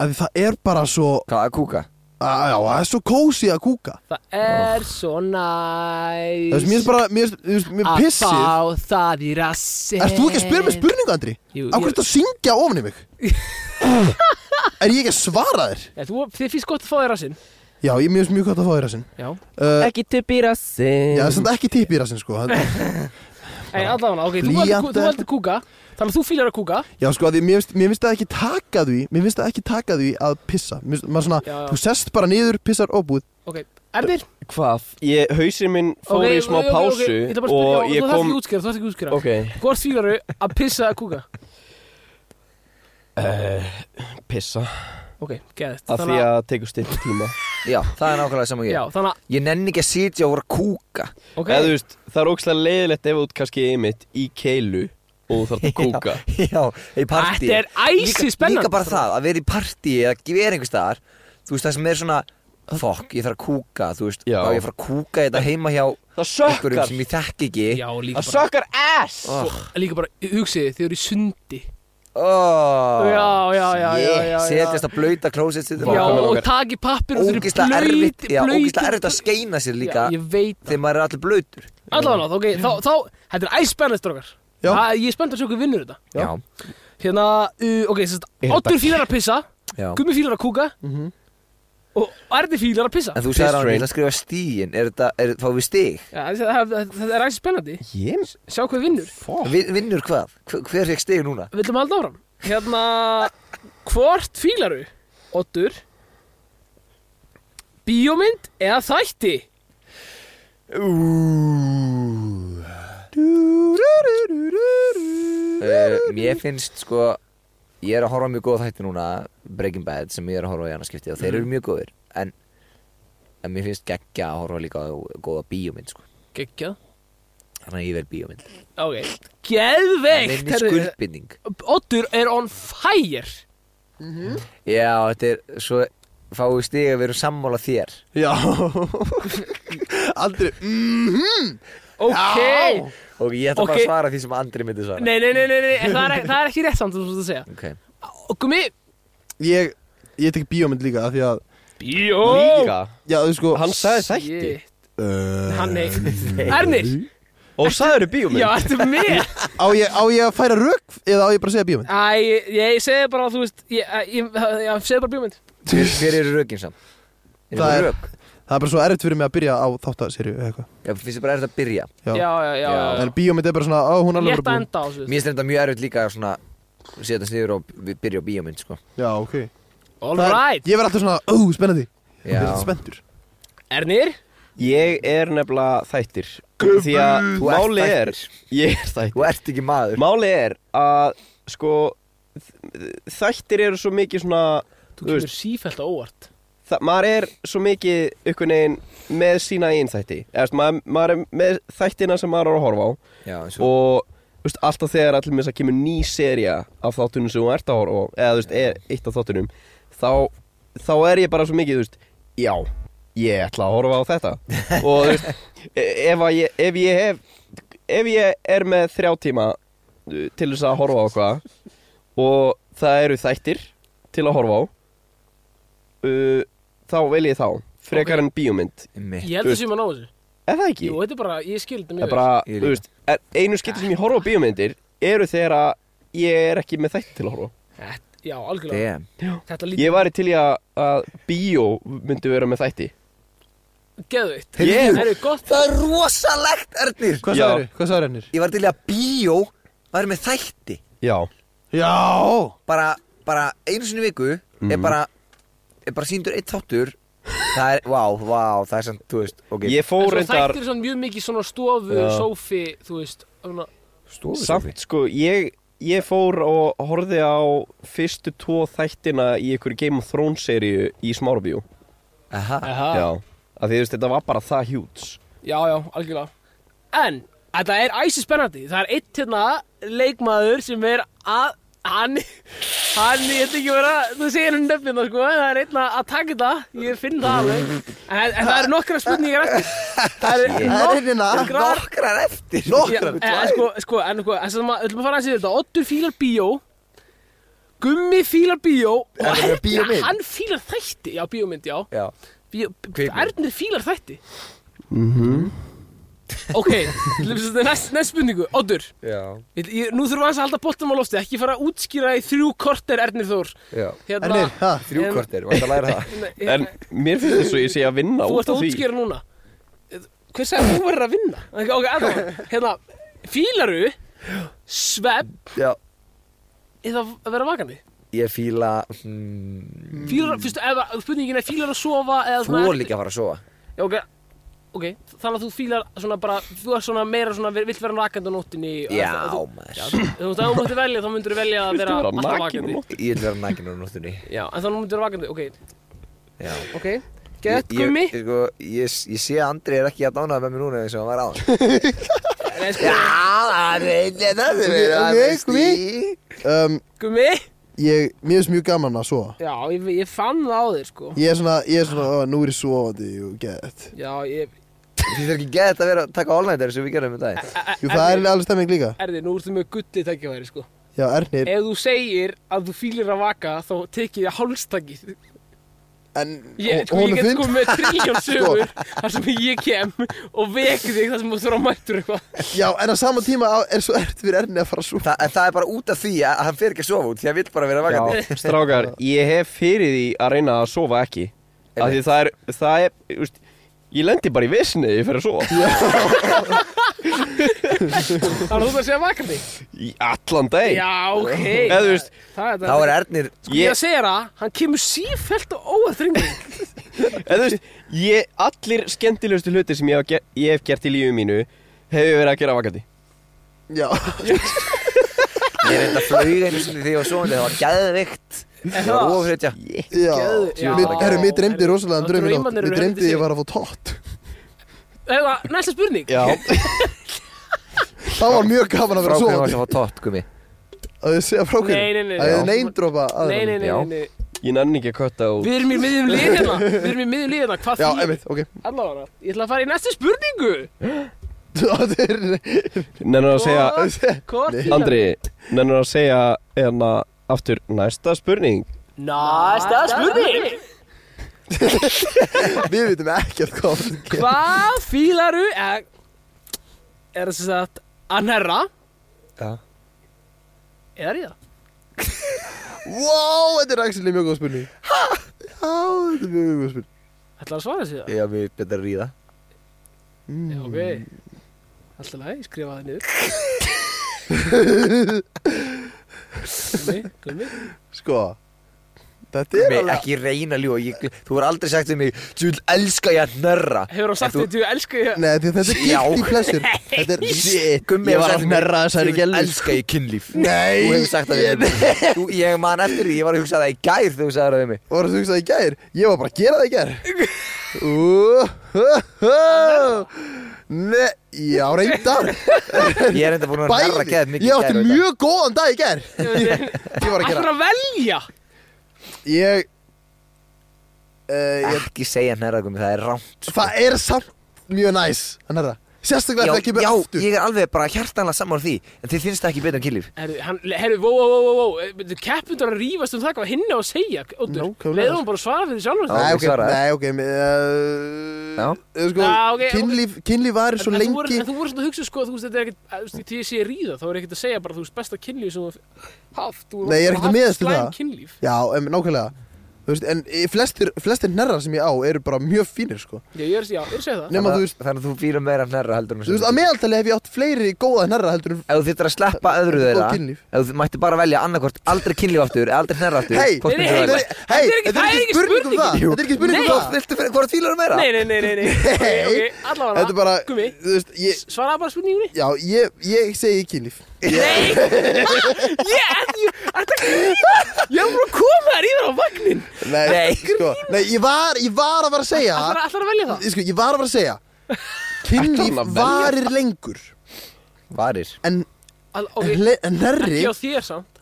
Speaker 3: að því það er bara svo
Speaker 4: Hvað að kúka?
Speaker 3: Á, Já, það er svo kósi að kúka
Speaker 2: Það er svo næs
Speaker 3: Það er mér finnst bara, mér finnst- mér finnst mér
Speaker 2: Að
Speaker 3: pissið
Speaker 2: fá það í rassin
Speaker 3: Erst þú ekki að spyrja mig spurningu, Andri?
Speaker 2: Jú,
Speaker 3: Af
Speaker 2: ég-
Speaker 3: hverju ertu að syngja ofan í
Speaker 2: (laughs)
Speaker 3: mig? er ég ekki að svara þér?
Speaker 2: Já, þú, þið finnst gott að fá þér rassinn
Speaker 3: Já, ég mér finnst mjög gott að fá þér rassinn
Speaker 2: Já,
Speaker 3: uh,
Speaker 1: Ekki tippi rassin
Speaker 3: Já, það er samt ekki tipp í rassinn, sko Það-
Speaker 2: en allavega, ok, þú
Speaker 3: Blýant
Speaker 2: heldur- þú
Speaker 3: eða-
Speaker 2: heldur kúka Þannig að þú fýlar að kúka
Speaker 3: Já, sko, af því mér finnst- mér finnst það ekki taka því Mér finnst það ekki taka því að pissa Mér finnst, maður svona,
Speaker 2: Já, já.
Speaker 3: þú sest bara niður, pissar óbúð
Speaker 2: Ok, Emir
Speaker 1: Hvað? Ég, hausinn minn fór
Speaker 2: Ok,
Speaker 1: í smá
Speaker 2: ok, ok,
Speaker 1: pásu
Speaker 2: ok, Ég ætla bara að
Speaker 1: og
Speaker 2: spyrja, og
Speaker 1: ég
Speaker 2: þú þarf
Speaker 1: kom
Speaker 2: ekki að útskýra, þú þarf ekki að útskýra
Speaker 1: Ok,
Speaker 2: Hvort fýlaru að pissa að kúka?
Speaker 1: uh, pissa
Speaker 2: Ok, geðist
Speaker 1: Af því að það tekur styrk tíma
Speaker 4: Já, það er nákvæmlega saman
Speaker 2: Já,
Speaker 4: ég
Speaker 2: þannig að,
Speaker 4: Ég nenni ekki að sitja og voru að kúka
Speaker 2: (laughs) ok
Speaker 1: Eða þú veist, það er ógslag leiðilegt ef út kannski einmitt í keilu og þú
Speaker 2: (laughs)
Speaker 1: þarf að kúka
Speaker 4: (laughs) Já, í partí
Speaker 2: Þetta er æsi spennandi.
Speaker 4: Líka bara það, að vera í partí eða ekki vera einhvers staðar Þú veist, það sem er svona Fuck, ég þarf að kúka, þú veist
Speaker 1: Já.
Speaker 4: Þá ég þarf að kúka þetta heima hjá
Speaker 1: Það
Speaker 4: einhverjum
Speaker 1: sökkar,
Speaker 4: sem ég þekki ekki
Speaker 2: Já, líka
Speaker 1: það
Speaker 2: bara,
Speaker 1: sökkar ass
Speaker 4: oh,
Speaker 2: líka bara, hugsið þið, þið eru í sundi
Speaker 4: oh,
Speaker 2: Já, já, já, já, já, já.
Speaker 4: Setjast að blöyta klósett sitt
Speaker 2: Já,
Speaker 1: Nákvæmlega,
Speaker 2: og
Speaker 1: nákvæmlega.
Speaker 2: taki pappir og þið eru
Speaker 4: Ógisla erfitt, já, ógisla erfitt að
Speaker 2: blautir-
Speaker 4: skeina sér líka Mm.
Speaker 2: Já, ég veit
Speaker 4: Þegar maður er allir blöytur
Speaker 2: Allavega, ok, þá, þá, þetta er æs spennast, drókar
Speaker 3: Já.
Speaker 2: Ég er spennt að sjá hvað vinnur þetta Hérna, uh, ok, sérst, Oddur fílar að pissa
Speaker 4: já. Mhm.
Speaker 2: Gummi fílar að kúka Og Erdi fílar að pissa
Speaker 4: En þú
Speaker 1: Piss
Speaker 4: sagði hann
Speaker 1: train.
Speaker 4: að skrifa stíin Er þetta, er, fá við stíg?
Speaker 2: Já, þetta þetta er æs spennandi
Speaker 1: Ég,
Speaker 2: Sjá hvað vinnur
Speaker 1: fokk
Speaker 4: Vinnur hvað? Hver, hver fekk stíg núna?
Speaker 2: Villum halda áfram Hérna, hvort fílaru, Oddur Bíómynd eða þætti
Speaker 4: Uh, mér finnst sko Ég er að horfa á mjög góð þætti núna Breaking Bad sem ég er að horfa á í annarskipti Og þeir
Speaker 2: Mhm.
Speaker 4: eru mjög góðir En, en mér finnst geggja að horfa líka á góða bíómynd sko.
Speaker 2: Geggjað
Speaker 4: Þannig að ég vel bíómynd
Speaker 2: Ok,
Speaker 4: Það er
Speaker 2: geðveikt
Speaker 4: minni
Speaker 2: herðu.
Speaker 4: skuldbinding
Speaker 2: Oddur er on fire
Speaker 4: Já, þetta er svo Fáðu stíg að vera sammála þér
Speaker 3: Já (laughs) Andri, mhm
Speaker 2: Ok
Speaker 3: Já.
Speaker 4: Og ég ætla bara
Speaker 2: Ok.
Speaker 4: að svara því sem andri myndi svara
Speaker 2: Nei, nei, nei, nei, nei. en Það, er, það er ekki rétt samt þú veist að segja
Speaker 4: Ok
Speaker 2: Og gummi
Speaker 3: Ég, ég tek bíómynd líka af því að
Speaker 2: Bíó
Speaker 1: Líka
Speaker 3: Já, þú sko
Speaker 1: Hann sagði þætti
Speaker 3: uh,
Speaker 2: Hann nei
Speaker 3: (laughs)
Speaker 2: Ernir
Speaker 1: Og sagðirðu bíómynd
Speaker 2: Já, ertu með
Speaker 3: á, ég, á ég að færa rök eða á ég bara að segja bíómynd?
Speaker 2: Æ, ég, ég segi bara, þú veist Ég, ég, ég, ég segi bara bíómynd
Speaker 4: Hver, hver eru rökin samt? Eru
Speaker 3: Það er-
Speaker 4: rök?
Speaker 3: Það er bara svo erfitt fyrir mig að byrja á þáttaserju eða eitthvað
Speaker 4: Já, finnst þið bara erfitt að byrja
Speaker 3: Já.
Speaker 2: Já, já, já, já.
Speaker 3: En bíómynd er bara svona, á hún er alveg
Speaker 2: Létt að
Speaker 3: bara búin
Speaker 2: enda á þessu
Speaker 4: Mér finnst þetta mjög erfitt líka að svona setjast niður og b- byrja á bíómynd sko
Speaker 3: Já, ok
Speaker 2: All
Speaker 3: Það er-
Speaker 2: right
Speaker 3: Ég verð alltaf svona, ó, spennandi Ég
Speaker 4: Já.
Speaker 3: er spenntur
Speaker 2: Ernir
Speaker 1: Ég er nefnilega þættir Því að
Speaker 4: Þú ert
Speaker 1: máli er
Speaker 4: þættir.
Speaker 1: Ég er þættir
Speaker 4: Þú ert ekki maður
Speaker 1: Máli er að sko þ- þættir eru svo mikið svona
Speaker 2: Þú
Speaker 1: Þú veist-
Speaker 2: kemur sífælt á óvart
Speaker 1: það, maður er svo mikið ykkur neginn með sína einn þætti Eðast, maður, maður er með þættina sem maður er að horfa á
Speaker 4: Já, eins og
Speaker 1: og þú veist, alltaf þegar allir með þess að kemur ný seria af þáttunum sem hún ert að horfa á eða þú veist, er, eitt af þáttunum þá, þá er ég bara svo mikið, þú veist já, ég ætla að horfa á
Speaker 2: (laughs)
Speaker 1: þetta og þú veist, e- ef, að ég, ef ég hef ef ég er með þrjá tíma uh, til þess að horfa á hvað og það eru þættir til að horfa á uh, þá vel ég þá frekar
Speaker 2: Ok.
Speaker 1: en bíómynd
Speaker 4: Einmitt.
Speaker 2: Ég held að sjöma ná þessu
Speaker 1: er það ekki?
Speaker 2: Jú, þetta er bara, ég skil þetta
Speaker 1: Það
Speaker 2: mjög
Speaker 1: er bara,
Speaker 4: Ég
Speaker 1: þú
Speaker 4: líka.
Speaker 1: veist, er- einu skipti sem ég horfa á bíómyndir eru þegar að ég er ekki með þætti til að horfa á.
Speaker 2: vel. Já, algjörlega
Speaker 4: Damn
Speaker 2: Þetta
Speaker 1: Ég
Speaker 2: lítið
Speaker 1: væri til í að, að bíó myndi vera með þætti
Speaker 2: geðveikt
Speaker 1: Ég-
Speaker 2: Það eru gott
Speaker 4: Það er rosalegt, Ernir
Speaker 3: Hvað
Speaker 1: Já.
Speaker 3: sagði, hvað sagði hennir?
Speaker 4: Ég var til í að bíó væri með þætti
Speaker 1: Já,
Speaker 3: Já
Speaker 4: bara, bara einu sinni í viku
Speaker 1: Mhm.
Speaker 4: er bara er bara síndur eitt þáttur Það er, vá, vá, það er samt, þú veist ok,
Speaker 1: ég
Speaker 2: En
Speaker 1: fór
Speaker 2: svo
Speaker 1: reyndar
Speaker 2: þættir svona mjög mikið svona stofu,
Speaker 1: Já.
Speaker 2: sófi, þú veist svona,
Speaker 4: stóðu
Speaker 1: samt sko, ég, ég fór og horfði á fyrstu tvo þættina í einhverju Game of Thrones seríu í Smárabíó
Speaker 4: Aha,
Speaker 2: Aha, já.
Speaker 1: Já, af því þú veist, þetta var bara það hjúts
Speaker 2: já, algjörlega En, þetta er æsi spennandi Það er eitt hérna leikmaður sem er að Hann, hann, ég ætla ekki að vera, þú segir hann nöfnina sko, en það er einn að að taka þetta, ég finn það alveg, en, en það eru nokkra spurningar eftir, það eru
Speaker 3: Það er hérna
Speaker 2: nokkrar
Speaker 4: nokkrar eftir
Speaker 2: eh, Já, en, en sko, sko, en sko, en sem að, ætlum að fara að segja þetta, Oddur fílar bíó Gummi fílar bíó
Speaker 3: Er
Speaker 2: og
Speaker 3: það með bíómynd?
Speaker 2: hann fílar þætti Já, bíómynd, já
Speaker 4: Já,
Speaker 2: Bíó-
Speaker 4: Kvikmynd.
Speaker 2: Ernir fílar þætti
Speaker 1: Mhm.
Speaker 2: Ok, lefst- næst, næst spurningu Oddur,
Speaker 4: já,
Speaker 2: ég, ég, nú þurfum við aðeins að halda boltum á lofti Ekki fara að útskýra í þrjú korter Ernir Þór
Speaker 4: já
Speaker 2: hérna,
Speaker 3: Ernir, ha?
Speaker 4: Þrjú
Speaker 2: En-
Speaker 4: kortir, vant að læra það
Speaker 2: hérna,
Speaker 1: En mér finnst þess að ég sé að vinna
Speaker 2: Þú
Speaker 1: út
Speaker 2: ert
Speaker 1: af
Speaker 2: að
Speaker 1: því
Speaker 2: útskýra núna Hver sagði að þú verður að vinna? Ok, ok, allavega.
Speaker 3: (laughs)
Speaker 2: hérna, fílaru Svepp
Speaker 4: (laughs) Já,
Speaker 2: Eða að vera vakandi
Speaker 4: ég fíla hmm,
Speaker 2: Fílar, fyrstu, eða spurningin er fílar að sofa eða
Speaker 4: Þú
Speaker 2: svona
Speaker 4: er líka að fara að sofa
Speaker 2: Já, ok, ok, þannig að þú fílar svona bara Þú er svona meira svona, vilt vera nakandi á nóttinni og
Speaker 4: Já,
Speaker 2: það- þú-
Speaker 4: maður
Speaker 2: Já, þú þú veist, ef þú mætti velja, þá myndur þú velja að
Speaker 1: Viltu
Speaker 2: vera
Speaker 1: vera
Speaker 2: alltaf
Speaker 1: nakin á
Speaker 2: vakandi
Speaker 1: nóttu?
Speaker 4: Ég vil vera næginn á nóttunni
Speaker 2: Já, en þá myndur þú vera vakandi, ok,
Speaker 4: Já
Speaker 2: ok Gett
Speaker 4: Ég- ég-
Speaker 2: gummi
Speaker 4: Ég, sko, ég, ég sé að Andri er ekki að dánað með mér núna eins og hann var áðan
Speaker 2: Nei, sko,
Speaker 4: Já, það er eitthvað það sem er
Speaker 3: Ok,
Speaker 4: að veist
Speaker 3: gummi.
Speaker 4: í
Speaker 3: um,
Speaker 2: Gummi
Speaker 3: Ég, mér finnst mjög gaman að sofa
Speaker 2: Já, ég, ég fann það á þér, sko
Speaker 3: Ég er svona, ég er svona, ó, nú er ég sofandi og gett
Speaker 2: Já, ég,
Speaker 4: Þú fyrir ekki gett að vera að taka all-nighter sem við gerum í dag
Speaker 3: Jú, það er alveg stemming líka
Speaker 2: Erði, nú ertu með gullið tækifæri sko
Speaker 3: Já, Ernir,
Speaker 2: Ef þú segir að þú fýlir að vaka þá tekið ég hálstakið
Speaker 3: en
Speaker 2: Ég,
Speaker 3: hon-
Speaker 2: sko, ég
Speaker 3: honum
Speaker 2: get sko
Speaker 3: finnst
Speaker 2: með triljón sögur þar sem ég kem og veki þig þar sem þú þurfa að mættur eitthvað
Speaker 3: Já, en á sama tíma á- er svo erfitt fyrir Ernir að fara að sofa
Speaker 4: Þa, en það er bara út af því að hann fyrir ekki að sofa út því að hann vil bara vera vakandi
Speaker 1: Já, strákar, ég hef fyrir því að reyna að sofa ekki Af því það er, það er, þú veist, ég lendi bara í vissinni þegar ég fyrir að sofa
Speaker 2: Þannig að þú þarf að segja vakandi
Speaker 1: Í allan dag
Speaker 2: Já, ok
Speaker 1: Eða þú veist,
Speaker 2: Það er
Speaker 4: Þá
Speaker 2: það
Speaker 4: er Ernir
Speaker 2: Sko ég að segja það, hann kemur sífælt og óaþringin
Speaker 1: eða þú veist, ég, allir skemmtilegustu hlutir sem ég hef, ger- ég hef gert í lífið mínu hefur verið að gera vakandi
Speaker 3: Já,
Speaker 4: Ég reynda að flauga einu sinni því ég var sofandi Það var gæðvikt Það var ofreytja
Speaker 3: já
Speaker 2: Geðu- já.
Speaker 3: Mér- Herru, mér dreymdi rosalega
Speaker 2: Og
Speaker 3: en draumir átt
Speaker 2: draumarnir eru
Speaker 3: Mér dreymdi
Speaker 2: helviti
Speaker 3: ég var að fá tótt
Speaker 2: Eða, næsta spurning
Speaker 1: Já,
Speaker 3: Það var mjög gaman að vera
Speaker 4: Frákvæm var
Speaker 3: sofandi
Speaker 4: sem fá tótt, gummi
Speaker 3: Að þið segja frá hverju
Speaker 2: Nei, nei, nei,
Speaker 3: Að
Speaker 2: já.
Speaker 3: þið neindropa
Speaker 2: Nei, nei, nei,
Speaker 4: Já.
Speaker 2: nei, nei.
Speaker 1: ég nenni ekki að kötta og
Speaker 2: Við erum í miðjum liðina Við erum í miðjum liðina, hvað
Speaker 3: Já,
Speaker 2: því?
Speaker 3: einmitt, ok (laughs)
Speaker 2: Allavega, ég ætla að fara í næstu spurningu
Speaker 3: Það er-
Speaker 1: nennar að segja
Speaker 2: Hvort fílar-
Speaker 1: Andri, nennar að segja hérna aftur næsta spurning
Speaker 2: Næsta spurning
Speaker 3: Við vitum ekkert hvað var að gera.
Speaker 2: Hvað fílaru Er það sem sagt Anherra
Speaker 4: Hann
Speaker 2: Eða ríða
Speaker 3: Wow, þetta er actually mjög góð spurning Já, þetta er mjög góð spurning
Speaker 2: Ætlar að svara sér það?
Speaker 4: Já, mér betur að ríða
Speaker 2: Já, ok Alltaf læg, skrifa það niður Gummi, gummi
Speaker 3: Sko Þetta er
Speaker 4: Mig,
Speaker 3: alveg
Speaker 4: Ekki reyna ljó ég, Þú er aldrei sagt við mig Þú vil elska ég að nörra
Speaker 2: Hefur hann sagt
Speaker 4: En þú-
Speaker 2: þetta, ég elska ég
Speaker 3: Nei, þetta þetta er
Speaker 4: Já.
Speaker 3: gilt í plessur Þetta er shit
Speaker 4: Gummi
Speaker 3: Ég
Speaker 4: hefur
Speaker 3: var
Speaker 4: sagt
Speaker 3: að
Speaker 4: við mig,
Speaker 3: merra þessari
Speaker 4: Þú vil
Speaker 3: gælu
Speaker 4: elska ég kynlíf
Speaker 3: Nei
Speaker 4: Þú hefur sagt það við mig Þú- Ég man eftir því Ég var að hugsa það í gær þegar þú sagði það við mig
Speaker 3: Var það hugsað í gær? Ég var bara að gera það í gær Ú, hú, hú. Nei, já, reyndar
Speaker 4: Ég er enda búin að nærra
Speaker 3: Bæði
Speaker 4: geð mikið
Speaker 3: Ég átti mjög góðan dag í gær
Speaker 4: (laughs)
Speaker 3: Ég var að
Speaker 2: Ætlar
Speaker 3: gera
Speaker 2: að velja
Speaker 3: Ég uh, ég,
Speaker 4: Ekki segja nærra gummi, það er rámt
Speaker 3: Það er samt mjög næs Hann er það Sérstaklega
Speaker 4: sko. Já,
Speaker 3: þegar það kemur
Speaker 4: já
Speaker 3: aftur
Speaker 4: ég er alveg bara hjartanlega saman á því En þið finnst það ekki betur en kynlíf
Speaker 2: Herru, hann, herru, vó, vó, vó, vó, vó, keppundar að rífast um það hvað hinn á að segja, Óttur,
Speaker 3: Nákvæmlega.
Speaker 2: leiðum hann bara að svara fyrir sjálfum
Speaker 4: Já,
Speaker 3: Nei,
Speaker 4: ég
Speaker 3: ok,
Speaker 4: svaraði.
Speaker 3: nei, ok uh,
Speaker 4: Já.
Speaker 3: eh, sko,
Speaker 2: Já, ok, ok.
Speaker 3: kynlíf, kynlíf var svo
Speaker 2: En- en þú voru-
Speaker 3: lengi
Speaker 2: En þú voru svona að hugsa sko, þú veist, þetta er ekkert, að, þú veist, því ég sé ríða, þá er ekkert að segja bara, þú veist, besta kynlíf sem þú hef- haft. Þú
Speaker 3: Nei, ég er ekkert að miðast við það.
Speaker 2: Slæm kynlíf.
Speaker 3: Já, em, nákvæmlega Þú veist, En eh, flestir, flestir nærra sem ég á eru bara mjög fínir sko.
Speaker 2: Já, ég er, já, ég er að segja það.
Speaker 3: Nei. Nema, þú
Speaker 4: Þannig
Speaker 3: veist-
Speaker 4: að- þannig að þú býr meira nærra heldur en
Speaker 3: Þú veist, að meðaltali hef ég átt fleiri góða nærra heldur en
Speaker 4: Ef þú þýttir að sleppa öðru
Speaker 3: Góð
Speaker 4: þeirra
Speaker 3: kynlíf.
Speaker 4: Ef þú mætti bara velja annarkvort aldrei kynlíf aftur eða aldrei hnerra aftur
Speaker 3: Hei,
Speaker 4: hvort
Speaker 2: Nei,
Speaker 4: myndirðu
Speaker 2: nei,
Speaker 4: velja?
Speaker 2: nei, þetta er ekki- það er ekki
Speaker 3: spurning um það
Speaker 2: spurningin.
Speaker 3: Þetta er ekki spurning
Speaker 2: Nei.
Speaker 3: um það
Speaker 4: Viltu fyrir, hvort fílar þú meira?
Speaker 2: Nei, nei, nei,
Speaker 3: (laughs)
Speaker 2: nei, nei, ok, ok, allavega,
Speaker 3: Þetta er bara,
Speaker 2: gummi,
Speaker 3: þú veist, ég,
Speaker 2: svaraði bara spurningunni.
Speaker 3: já, ég, ég segi kynlíf
Speaker 2: Nei, (laughs) ég, ég, þetta er ekki, ég er bara að koma þér yfir á vagnin.
Speaker 3: Nei,
Speaker 4: Nei.
Speaker 3: sko, nei ég, var, ég var að vera að segja
Speaker 2: Ætlar, ætlar að velja það?
Speaker 3: ég, sko, ég var að vera að segja
Speaker 1: Ætlar hann
Speaker 3: Kynlíf
Speaker 1: að velja?
Speaker 3: varir lengur
Speaker 4: Varir
Speaker 3: En,
Speaker 2: All,
Speaker 3: en,
Speaker 2: ok,
Speaker 3: hle- en nærri
Speaker 2: ekki á þér samt.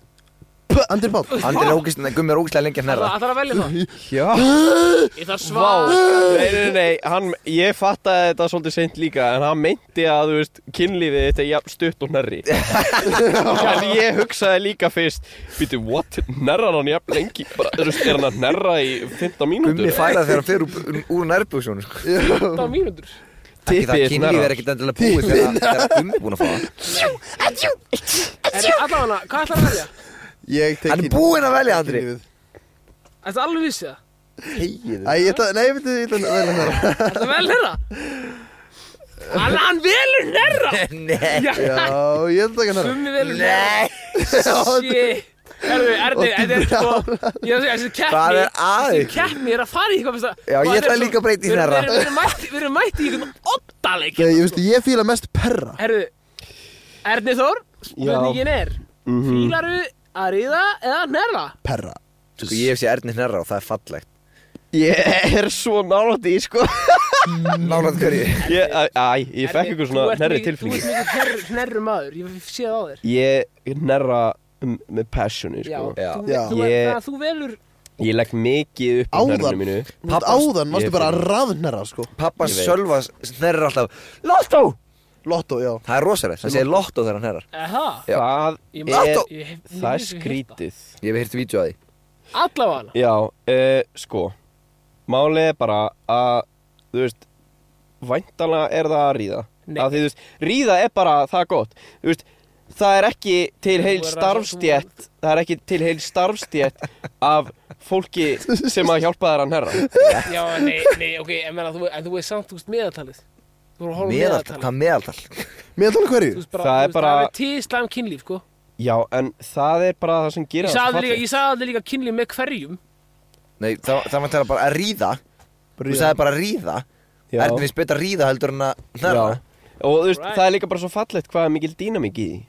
Speaker 3: Andri Pál
Speaker 4: Andri er ógist, gummi er ógistlega lengi að
Speaker 2: Það
Speaker 4: hnerra
Speaker 2: það þarf að velja það
Speaker 1: Já
Speaker 2: Ég
Speaker 1: Vá,
Speaker 2: þarf svar
Speaker 1: nei, nei, nei, hann, ég fattaði þetta svolítið seint líka En hann meinti að, þú veist, kynlífið þetta er jafn stutt og nærri En ég hugsaði líka fyrst Býtu, what, nærrar hann jafn lengi Bara, þú veist, er hann að nærra í 15 mínútur
Speaker 4: Gummi færað þegar hann fer úr, úr nærbúksjónu sko.
Speaker 2: 15 mínútur
Speaker 4: Ekki það
Speaker 1: Tippið
Speaker 4: kynlíf er
Speaker 1: hnerrar.
Speaker 4: ekkert endilega búið þegar þegar Gummi er búin
Speaker 1: (laughs)
Speaker 4: að fá það
Speaker 2: En allavega, hvað ætlar að velja?
Speaker 3: Ég tek
Speaker 4: Hann
Speaker 3: í-
Speaker 4: er búinn að velja Andri
Speaker 3: kynlífið.
Speaker 2: Þetta er alveg vissið það
Speaker 3: Æ, ég ætla, nei, veitu, ég ætla að velja hnerra
Speaker 2: Þetta vel herra Hann, hann velur herra
Speaker 4: (laughs) Nei
Speaker 3: Já, ég ætla að taka hnerra
Speaker 2: Gummi velur herra
Speaker 4: Nei (laughs)
Speaker 2: Shit Herðu, Erni, þetta er sko Ég er að segja, þessi keppni
Speaker 4: Hvað er að
Speaker 2: Þessi
Speaker 4: ykkur?
Speaker 2: keppni er að fara í eitthvað fyrst að-
Speaker 4: Já, ég
Speaker 2: Hvað er
Speaker 4: ætla
Speaker 2: svo-
Speaker 4: líka að breyta í
Speaker 2: við erum-
Speaker 4: hnerra.
Speaker 2: Við erum- við erum mætt- við erum mætt í einhvern oddaleik
Speaker 3: Nei, ég veist, ég fíla mest perra
Speaker 2: Herðu, Erni Þór Spurningin er
Speaker 4: Mhm.
Speaker 2: Fílaru að ríða eða hnerra?
Speaker 3: Perra
Speaker 4: Sko ég hef sé Erni hnerra og það er fallegt
Speaker 1: Ég er svo nálægt í, sko
Speaker 4: Nálaðt hverju
Speaker 1: ég, æ, æ, ég fekk
Speaker 2: Erni,
Speaker 1: ykkur
Speaker 2: þú
Speaker 1: svona
Speaker 2: ert
Speaker 1: nærri
Speaker 2: mikið-
Speaker 1: tilfinningu
Speaker 2: Þú ert mikið hnerru maður, ég sé það á þér
Speaker 1: Ég nærra um, með passioni,
Speaker 2: Já,
Speaker 1: sko
Speaker 4: Já.
Speaker 2: Þú,
Speaker 3: Já.
Speaker 2: Þú,
Speaker 1: Ég-
Speaker 2: þannig að þú velur
Speaker 1: Ég legg mikið upp í
Speaker 3: Áðan.
Speaker 1: nærrinu mínu
Speaker 3: Pappas, Áðan, varstu
Speaker 1: Ég
Speaker 3: bara að
Speaker 1: fíla.
Speaker 3: rafhnerra, sko
Speaker 4: Pappa
Speaker 1: Ég veit.
Speaker 4: Sölva hnerrar alltaf Lotto
Speaker 3: Lotto, já
Speaker 4: Það er rosalegt, það segir Lotto þegar hann hnerrar
Speaker 2: Aha,
Speaker 4: Já.
Speaker 1: Það
Speaker 2: Ég-
Speaker 1: er,
Speaker 4: Lotto.
Speaker 2: ég hef-
Speaker 1: það er
Speaker 2: ég hef hitt það.
Speaker 1: skrítið
Speaker 4: Ég hef hirt vídeo að því
Speaker 2: Allavega
Speaker 1: Já, uh, sko Málið er bara að Þú veist Væntalega er það að ríða
Speaker 2: Nei.
Speaker 1: að því, þú veist, Ríða er bara það gott Þú veist Það er ekki til heil
Speaker 2: Þú er að-
Speaker 1: starfstjætt Það er ekki til heil starfstjætt Af fólki sem að hjálpa þér að herra
Speaker 2: Já, nei, nei, ok, en, meina, þú, en þú veist samt, þú veist, meðaltalið Þú voru að horfa á
Speaker 4: Meðaltal,
Speaker 2: meðaltalið
Speaker 4: hvað meðaltal?
Speaker 3: Mér tala hverju?
Speaker 2: Þú veist bara,
Speaker 1: Það er
Speaker 2: þú veist,
Speaker 1: bara-
Speaker 2: það er tíðislam kynlíf, sko
Speaker 1: Já, en það er bara það sem gerir það
Speaker 2: Ég sagði
Speaker 1: svo
Speaker 2: aldrei líka,
Speaker 1: fallegt.
Speaker 2: ég sagði aldrei líka kynlíf með hverjum
Speaker 4: Nei, það, það var tala bara að ríða Þú sagði bara að ríða
Speaker 1: Já.
Speaker 4: Erni finnst betur að ríða heldur en að hnerra
Speaker 1: Já. Og þú veist,
Speaker 2: Alright.
Speaker 1: það er líka bara svo fallegt hvað er mikil dýnamík í því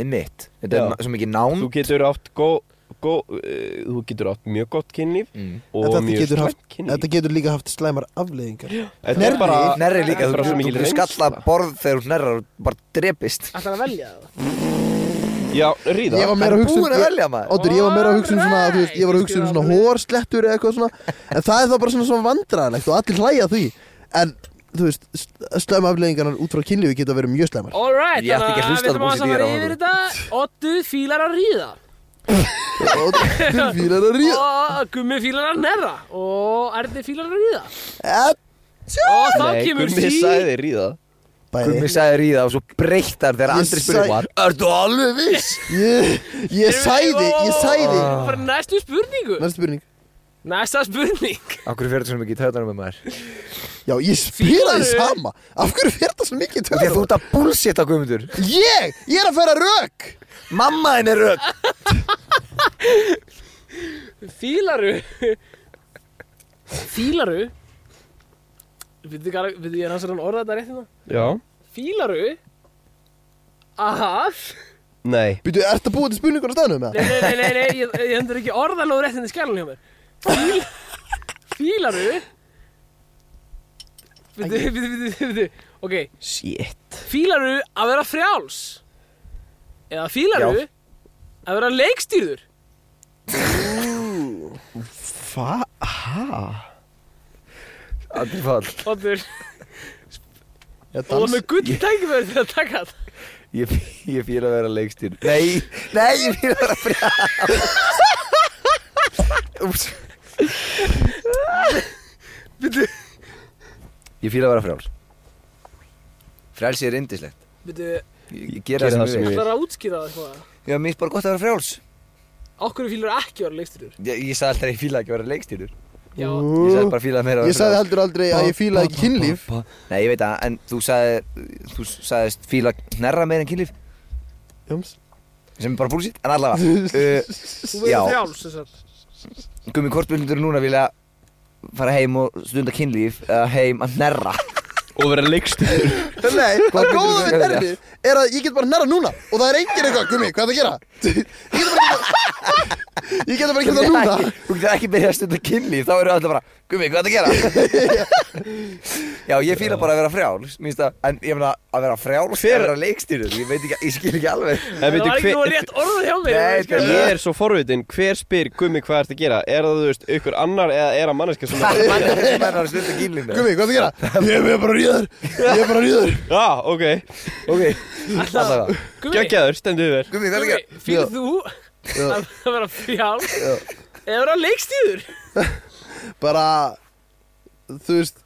Speaker 4: Það er mitt Þetta er
Speaker 1: Já.
Speaker 4: na- svo mikið
Speaker 1: Þú
Speaker 4: nánd
Speaker 1: getur átt góð Gó, uh, þú getur átt mjög gott kynlíf
Speaker 4: Mm.
Speaker 1: og
Speaker 3: Þetta
Speaker 1: mjög
Speaker 3: getur, haft,
Speaker 1: slæmt kynlíf
Speaker 3: þetta getur líka haft slæmar afleiðingar
Speaker 1: Þetta er bara
Speaker 4: Nærri líka,
Speaker 1: Bara
Speaker 4: þú
Speaker 1: svo mikil
Speaker 4: getur skalla
Speaker 1: reynsla.
Speaker 4: borð þegar hún hnerrar og bara drepist
Speaker 2: Ætlar að velja það
Speaker 1: Já, ríða
Speaker 3: Ég var meira að
Speaker 4: Hann er
Speaker 3: hugsa um
Speaker 4: búinn að velja, maður.
Speaker 3: Oddur, ég var meira að hugsa um svona, þú veist, ég var að
Speaker 2: Alright.
Speaker 3: hugsa um svona hórslettur eða eitthvað svona En það er þá bara svona svona vandræðanlegt og allir hlæja að því En, þú veist, slæma afleggingarnar út frá kynlífi geta verið mjög slæmar
Speaker 2: All right,
Speaker 4: Ég ætti ekki að hlusta
Speaker 2: við þurfum
Speaker 4: á
Speaker 2: aðeins að
Speaker 4: Búsi
Speaker 2: fara
Speaker 4: Dýr á
Speaker 2: yfir þetta Ottu fílar að ríða
Speaker 3: Oddur, þú fílar að ríða
Speaker 2: og Gummi fílar að hnerra og Erni fílar að ríða
Speaker 3: Eh,
Speaker 2: og þá
Speaker 1: Nei,
Speaker 2: kemur
Speaker 1: Gummi
Speaker 2: sí-
Speaker 1: sagði ríða
Speaker 3: Bæði
Speaker 4: Gummi sagði ríða og svo breyttar þegar
Speaker 3: Ég
Speaker 4: Andri spurði um
Speaker 3: sagði-
Speaker 4: var Ertu alveg viss?
Speaker 3: Ég, ég sæði, ég sæði
Speaker 2: Bara næstu spurningu
Speaker 3: Næsta spurning
Speaker 2: Næsta spurning
Speaker 4: Akkur fyrir þetta svona mikið í tautanum með maður
Speaker 3: Já, ég
Speaker 2: Fílarðu?
Speaker 3: spilaði sama Af hverju fyrir það svo mikið í
Speaker 4: Því að
Speaker 3: töðan?
Speaker 4: þú ert að bullshit á Guðmundur
Speaker 3: Ég, ég er að færa rök
Speaker 4: Mamma henn er rögg
Speaker 2: Fílaru Fílaru Við þið hvað, við þið ég er hans að orða þetta rétt hérna
Speaker 1: Já
Speaker 2: Fílaru Að
Speaker 1: Nei
Speaker 3: Býtu, ert að búið til spurningur á staðnum með
Speaker 2: Nei, nei, nei, nei, nei ég, ég hendur ekki orðalóð rétt hérna í skjálun hjá mér Fíl, Fílaru Við þið, við þið, við þið Ok,
Speaker 1: Shit
Speaker 2: fílaru að vera frjáls Eða fílaru
Speaker 4: Já.
Speaker 2: Að vera leikstýrður
Speaker 1: Hva? Ha?
Speaker 4: Andri Fall
Speaker 2: Oddur,
Speaker 3: það?
Speaker 2: og með gull tækifæri til að taka það
Speaker 4: Ég, fí- ég fýla að vera leikstýr Nei, nei, ég fýla að vera frjá Úps Ég fýla að vera frjáls Frjálsi er indislegt
Speaker 2: Veitu,
Speaker 4: Ég, ég gera það sem ég vil
Speaker 2: ætlar að útskýra það eitthvað
Speaker 4: Já, mér finnst bara gott að vera frjáls
Speaker 2: Okkur fílar ekki að vera leikstýrur
Speaker 4: Ég, ég sagði alltaf að ég fýla ekki að vera leikstýrur
Speaker 2: Já,
Speaker 4: Ég sagði bara að fýla meira að
Speaker 3: Ég
Speaker 4: vera
Speaker 3: sagði
Speaker 4: frjáls
Speaker 3: heldur aldrei að ég fílaði ekki kynlíf
Speaker 4: Nei, ég veit að, en þú sagði Þú sagðist fýla hnerra meira en kynlíf
Speaker 3: Jóms
Speaker 4: Sem er bara búlsitt, en allavega uh,
Speaker 2: þú
Speaker 4: já.
Speaker 2: verður frjáls þess að
Speaker 4: Gummi, hvort myndur núna vilja fara heim og stunda kynlíf eða heim að hnerra
Speaker 1: Og vera
Speaker 4: (laughs)
Speaker 1: leikstur
Speaker 3: (laughs) Nei, það
Speaker 4: getur
Speaker 3: góða
Speaker 4: þú
Speaker 3: við
Speaker 4: verið að
Speaker 3: nervi er að ég get bara nerra núna og það er engin eitthvað, gummi, hvað er það að gera? (laughs) Ég get bara ekki Ég get bara ekki það (laughs) núna (laughs)
Speaker 4: Þú getur ekki byrjað að stunda kynlíf Þá eru alltaf bara, Gummi, hvað er það að gera? Já, ég fýla bara að vera frjáls, mér finnst það, en ég meina að vera frjáls
Speaker 1: Hver-
Speaker 4: er að vera leikstýrur, ég veit ekki, ég skil ekki alveg.
Speaker 3: (laughs)
Speaker 1: En
Speaker 2: Það
Speaker 1: veitu,
Speaker 2: var ekki
Speaker 1: hver-
Speaker 2: nú rétt orðið hjá mér
Speaker 4: Nei,
Speaker 2: ég skil.
Speaker 1: Ég er svo forvitin, hver spyr Gummi hvað ertu að gera? Er það, þú veist, ykkur annar eða er það manneska sem er
Speaker 2: (laughs)
Speaker 4: Mann er sem er að stunda kýlinu.
Speaker 3: Gumi, hvað það (laughs) gera? Ég er bara ríður Ég er bara ríður
Speaker 1: Já, ok,
Speaker 4: Ok, allavega.
Speaker 2: Gummi,
Speaker 1: geggjaður, stendur þér
Speaker 4: Gumi, hvað er ekki?
Speaker 2: Gummi, fyrir þú að vera frjál eða vera leikstýður
Speaker 3: Bara Þú veist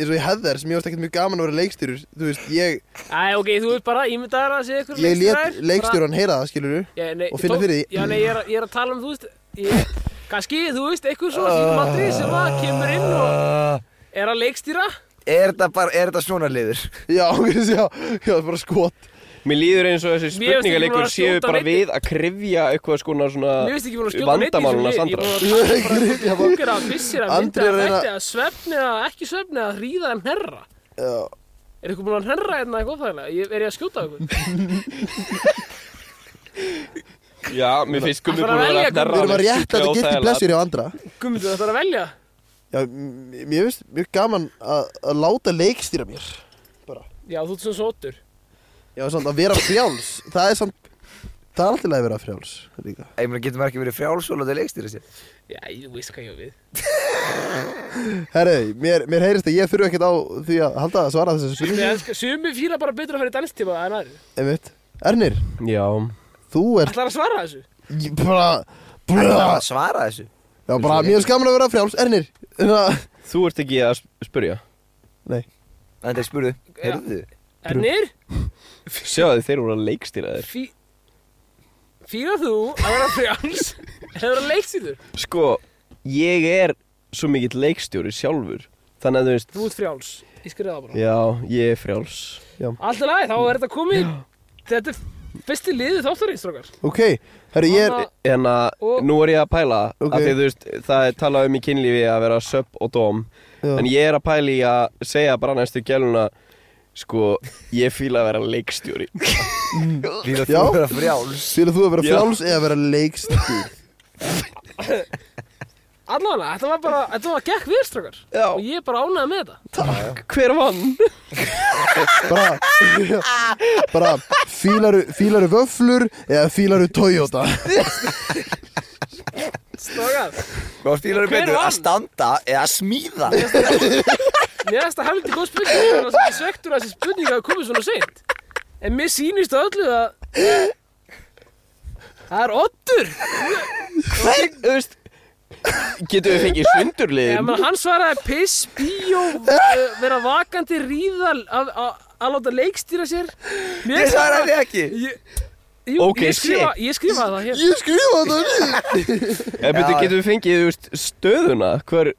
Speaker 3: eins og ég hefði þær sem ég varst ekkert mjög gaman að vera leikstjúrur Þú veist, ég,
Speaker 2: Æ, ok, þú ert bara ímyndaður að segja ykkur
Speaker 3: ég let leikstjúran heyra það, skilur
Speaker 2: Já, nei,
Speaker 3: og finna
Speaker 2: tó-
Speaker 3: fyrir því.
Speaker 2: Já, nei, ég er, að- ég er að tala um, þú veist ég, Kannski, þú veist, eitthvað svo sínum aldrei sem að kemur inn og
Speaker 4: Uh,
Speaker 2: er að leikstýra
Speaker 4: Er þetta bara, er þetta svona liður?
Speaker 3: Já, (laughs) já, já, bara skot
Speaker 1: Mér líður eins og þessi
Speaker 2: Mér finnst ekki búin
Speaker 1: spurningaleikur
Speaker 2: að
Speaker 1: séu
Speaker 2: skjóta
Speaker 1: bara
Speaker 2: neitt.
Speaker 1: við að krifja eitthvað skona
Speaker 2: Mér finnst ekki búin
Speaker 1: svona
Speaker 2: að skjóta neitt í
Speaker 1: vandamáluna
Speaker 2: þessu lið.
Speaker 1: Sandra
Speaker 2: Ég er búin að tala bara Húkera, bissir að mynda
Speaker 3: Andri er að
Speaker 2: að
Speaker 3: reyna-
Speaker 2: þetta að svefni eða ekki svefni eða hríða en herra
Speaker 3: Já,
Speaker 2: Er eitthvað búin að herra hérna eitthvað þærlega? Ég, er ég að skjóta eitthvað?
Speaker 1: Já, mér finnst Gummi
Speaker 2: Ætlar
Speaker 1: búin
Speaker 2: að
Speaker 1: að
Speaker 2: velja
Speaker 1: vera
Speaker 3: við erum að rétta þetta gilt í blessur hjá andra
Speaker 2: (laughs) Gummi, þú ætlar að velja?
Speaker 3: Já, m- mér finnst mjög gaman að, að láta leikstýra mér
Speaker 2: Já, þú ert svona svo ottur.
Speaker 3: Já, samt að vera frjáls Það er samt, það er alltaf að vera frjáls líka.
Speaker 4: Ég meina, getur maður ekki verið frjáls og láta leikstýra sér?
Speaker 2: Já, ég- þú veist hvað ég á við.
Speaker 3: Herri, mér, mér heyrist að ég þurfi ekkert á því að halda að svara þessu
Speaker 2: Ég
Speaker 3: spurningu
Speaker 2: elska- Sumi fíla bara betur að fara í danstíma en aðri.
Speaker 3: Einmitt. Ernir,
Speaker 1: Já,
Speaker 3: þú ert
Speaker 2: Ætlar að svara þessu?
Speaker 3: ég bara,
Speaker 4: Það er
Speaker 3: bara,
Speaker 4: að svara þessu.
Speaker 3: já, bara Mér er skaman að vera frjáls, Ernir hérna, Þannig að-
Speaker 1: þú ert ekki að sp- spurja
Speaker 3: Nei,
Speaker 4: Þannig að spurðu,
Speaker 2: Já.
Speaker 4: heyrðu,
Speaker 2: Ennir,
Speaker 1: Sjáðu þeir voru að leikstýra þér
Speaker 2: fí... Fíla þú að vera (laughs) frjáls eða vera leiksýður?
Speaker 1: Sko, ég er svo mikill leikstjóri sjálfur Þannig að þú veist
Speaker 2: Þú ert frjáls. Ég skriði það bara.
Speaker 1: Já, ég er frjáls
Speaker 2: Allt í lagi, þá er þetta komið. Þetta er besti liðið þáttarins, strókar.
Speaker 3: ok, herri, ég er
Speaker 1: En að
Speaker 2: Og-
Speaker 1: nú er ég að pæla
Speaker 3: Ok.
Speaker 1: okay. að því, þú veist, Það er talað um í kynlífi að vera sub og dom En
Speaker 3: já,
Speaker 1: ég er að pæla í að segja bara næstu gæluna Sko, ég fíla að vera leikstjóri
Speaker 4: líður
Speaker 3: Já.
Speaker 4: þú að vera frjáls?
Speaker 3: Sýrðu þú að vera
Speaker 1: Já.
Speaker 3: frjáls eða að vera leikstýr
Speaker 2: Allavega, þetta var bara, þetta var gekk við, strókar.
Speaker 1: Já. (laughs)
Speaker 2: Og ég er bara ánægði með þetta.
Speaker 1: Hver vann?
Speaker 3: Bara, bara fílaru, fílaru vöflur eða fílaru Toyota
Speaker 2: Strókar.
Speaker 4: Hvað fílar þú
Speaker 2: Hver
Speaker 4: betur?
Speaker 2: vann?
Speaker 4: Að standa eða að smíða?
Speaker 2: Mér finnst það heldur góð spurning en það er svektur að þessi spurning hafi komið svona seint En mér sýnist á öllu að Það er oddur
Speaker 1: Hver, þú veist Getum við fengið
Speaker 2: Ég
Speaker 1: svindurliðin?
Speaker 2: meina hann svaraði piss, bíó uh, vera vakandi, ríða að- að að láta leikstýra sér Mér
Speaker 4: Ég svara því ekki.
Speaker 2: Ég, jú,
Speaker 1: Ok,
Speaker 2: ég, skrifa, ég skrifaði það hér
Speaker 3: Ég skrifa það niður
Speaker 1: Eða betur
Speaker 4: Já.
Speaker 1: getum við fengið þú veist, stöðuna? Hver,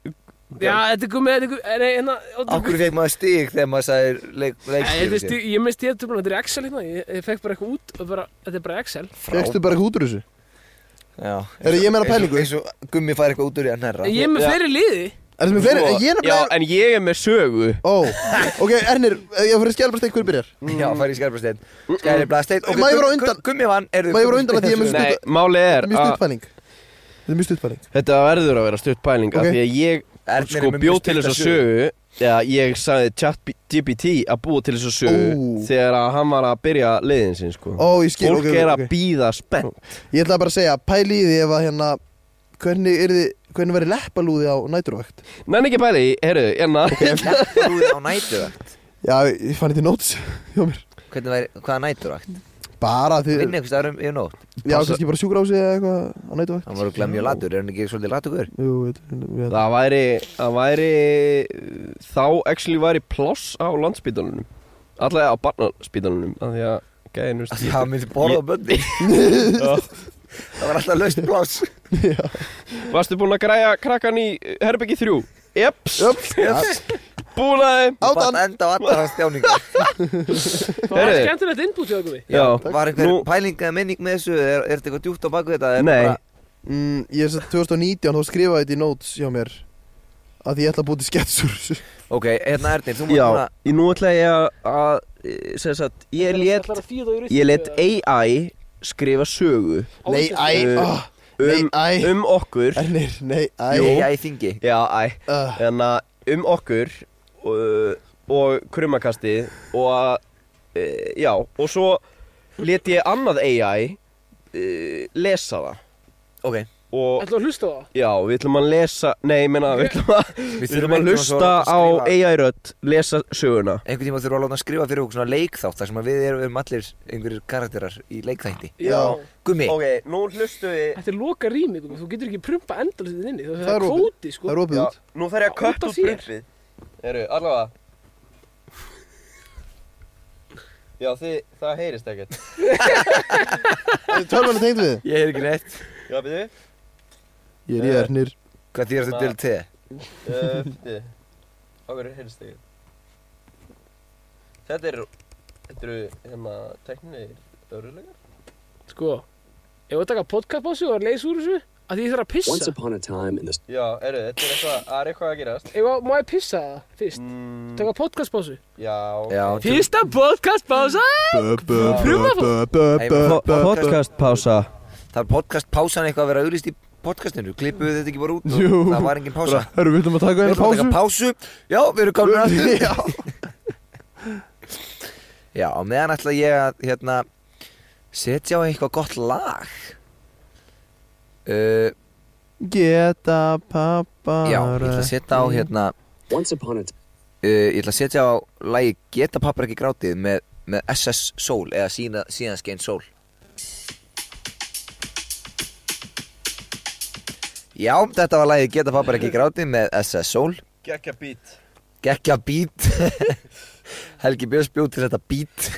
Speaker 2: Já, þetta er komið, þetta er komið Nei, hérna,
Speaker 4: Akkur
Speaker 2: oddur
Speaker 4: fekk maður stig þegar maður sagði leik,
Speaker 2: Nei, þetta
Speaker 4: leikstýra
Speaker 2: er
Speaker 4: sér?
Speaker 2: stu- Ég misti ég þetta bara, þetta er Excel hérna Ég, ég fekk bara eitthvað út, og bara, þetta er bara Excel
Speaker 3: Fekstu bara eitthvað út úr þessu
Speaker 4: Já.
Speaker 3: Herri, ég meina pælingu.
Speaker 4: Eins og eins og gummi fær eitthvað út úr í að nærra.
Speaker 2: En Ég er með
Speaker 1: Já.
Speaker 2: fleiri liði
Speaker 3: Er það sem er fleiri,
Speaker 1: Sko,
Speaker 3: ég
Speaker 1: Já,
Speaker 3: er nefnilega
Speaker 1: en ég er með sögu
Speaker 3: Ó, ok, Ernir, eh, ég fyrir að skjálpa stein hver byrjar
Speaker 4: Já, fær í skærbrastein. Skærbrastein.
Speaker 3: Má ég vera á undan?
Speaker 4: Gummi vann. heyrðu,
Speaker 3: Má ég vera á
Speaker 4: Gummi-
Speaker 3: undan að því ég er með
Speaker 1: Nei,
Speaker 3: Stutt-
Speaker 1: málið
Speaker 3: Þetta
Speaker 1: er
Speaker 3: er mjög
Speaker 1: að
Speaker 3: stutt pæling Þetta er mjög stutt pæling
Speaker 1: þetta verður að vera stutt pæling af
Speaker 3: Ok.
Speaker 1: Því að ég
Speaker 4: Ernir er
Speaker 1: sko
Speaker 4: með mjög
Speaker 1: bjóð til
Speaker 4: stutta
Speaker 1: þessa sögu Eða ég sagði chat GPT að búa til þessa sögu
Speaker 3: Ó.
Speaker 1: Þegar að hann var að byrja liðin sinn sko
Speaker 3: Ó, ég skil,
Speaker 1: Fólk
Speaker 3: ok,
Speaker 1: er
Speaker 3: ok.
Speaker 1: að býða spennt
Speaker 3: Ég ætla bara að segja, pæli í því ef að hérna Hvernig er þið, hvernig verið leppalúði á næturvægt?
Speaker 1: Nenni ekki bæli, heyrðu, hérna. enna
Speaker 4: Leppalúði á næturvakt
Speaker 3: Já, ég fann þetta í notes (laughs) hjá mér
Speaker 4: Hvernig væri, hvaða næturvakt?
Speaker 3: Bara því,
Speaker 4: Vinni einhvers staðar um yfir nótt
Speaker 3: já, kannski bara sjúkrási eða eitthvað á næturvægt
Speaker 4: Hann var örugglega mjög latur, er hann ekki svolítið latugur?
Speaker 3: Jú, við, við, við,
Speaker 1: (laughs) Það væri, það væri Þá actually væri pláss á landspítalunum Allega á barnaspítalunum af Því að gæðin, veist
Speaker 4: Það myndi borða á böndi Það var alltaf laust pláss
Speaker 1: (laughs) Varstu búin að græja krakkan í herbyggi þrjú? Jeps, búin að þeim
Speaker 4: Það
Speaker 3: Átan.
Speaker 4: bara enda á allar hans (laughs) stjáningar
Speaker 2: Það var
Speaker 1: Heyrðu.
Speaker 2: skemmtilegt input hjá okkur við
Speaker 1: Já,
Speaker 4: Var einhver
Speaker 1: Nú-
Speaker 4: pæling eða menning með þessu? Er, er þetta eitthvað djúpt á baku þetta? Er
Speaker 1: Nei.
Speaker 4: bara-
Speaker 3: mm, Ég er svo 2019, þá skrifaði þetta í notes hjá mér Að því ég ætla að búið til sketsur
Speaker 4: Ok, hérna Ernir, þú múið
Speaker 1: já
Speaker 4: núna
Speaker 1: í- Nú ætla ég að- að e, sem sagt, Ég let
Speaker 2: Ætlar að þýða það í ruslið
Speaker 1: Ég let
Speaker 2: eða-
Speaker 1: AI skrifa sögu
Speaker 2: Á
Speaker 3: Nei,
Speaker 2: íslensku?
Speaker 3: æ,
Speaker 1: Uh,
Speaker 3: ah,
Speaker 1: Um,
Speaker 3: nei, æ.
Speaker 1: um okkur
Speaker 3: Ernir, nei, æ
Speaker 4: Æ, æ, þingi
Speaker 1: Já, æ
Speaker 3: uh,
Speaker 1: En að um okkur og, og krummakastið og að, e, já, og svo let ég annað AI e, lesa það
Speaker 4: Ok
Speaker 1: og
Speaker 2: Ætlaðu að hlusta á það?
Speaker 1: já, við ætlum að lesa, nei, ég meina, við ætlum að, við ætlum að hlusta á AI-rödd, lesa söguna.
Speaker 4: Einhvern tíma þurfum við að láta hann skrifa fyrir okkur svona leikþátt þar sem að við erum allir einhverjir karakterar í leikþætti
Speaker 1: Já.
Speaker 4: Gummi
Speaker 1: Ok, nú hlustu við,
Speaker 2: Þetta er loka rými, þú getur ekki prumpa endalsið inni Það er
Speaker 3: Það er opið.
Speaker 2: kvóti,
Speaker 3: Það
Speaker 2: sko
Speaker 3: er opið
Speaker 1: já,
Speaker 3: út
Speaker 1: nú þarf ég að
Speaker 2: Út
Speaker 1: kötta
Speaker 2: af
Speaker 1: út
Speaker 2: þér.
Speaker 1: brunnið. Eru, allavega. Já, þið, það heyrist ekkert.
Speaker 3: Tölvan er tengd við
Speaker 4: Ég er ekki neitt
Speaker 1: Já, byrju.
Speaker 3: Ég er í ernir
Speaker 4: Hvað þýr þetta til te?
Speaker 1: Uh, byrju. Okkur heyrist ekkert. Þetta eru, þetta eru, hérna, teknilegir örulegar.
Speaker 2: Sko, ef við taka podcast básu og leysa úr þessu að því ég þarf að
Speaker 6: Once
Speaker 2: pissa
Speaker 6: upon a time in the
Speaker 1: Já, eru, þetta er eitthvað, það er eitthvað að gerast.
Speaker 2: Ef að- má ég pissa það fyrst?
Speaker 1: Mm,
Speaker 2: Taka podcast básu
Speaker 1: já,
Speaker 4: Já
Speaker 2: Fyrsta podcast bása
Speaker 1: Podcastpása.
Speaker 4: Það er podcast pásan eitthvað að vera auðlýst í podcastinu Klippuðu þetta ekki bara út og
Speaker 3: Jú.
Speaker 4: Það var engin pása
Speaker 3: Herru, við ætlum að taka
Speaker 4: Við
Speaker 3: einu
Speaker 4: erum að taka
Speaker 3: pásu
Speaker 4: pásu Já, við erum komin aftur
Speaker 3: Já.
Speaker 4: (laughs) Já, á meðan ætla ég að hérna, setja á eitthvað gott lag uh,
Speaker 3: Geta pappa
Speaker 4: Já, ég ætla að setja á hérna
Speaker 6: once upon a time
Speaker 4: uh, Ég ætla að setja á lagi Geta pappar ekki grátið með, með SS Soul eða sína, síðan skein Soul Já, þetta var lagi Geta pappar ekki grátið með SS Soul
Speaker 1: Gekka bít.
Speaker 4: Gekja bít (laughs) Helgi Björns bjó til þetta bít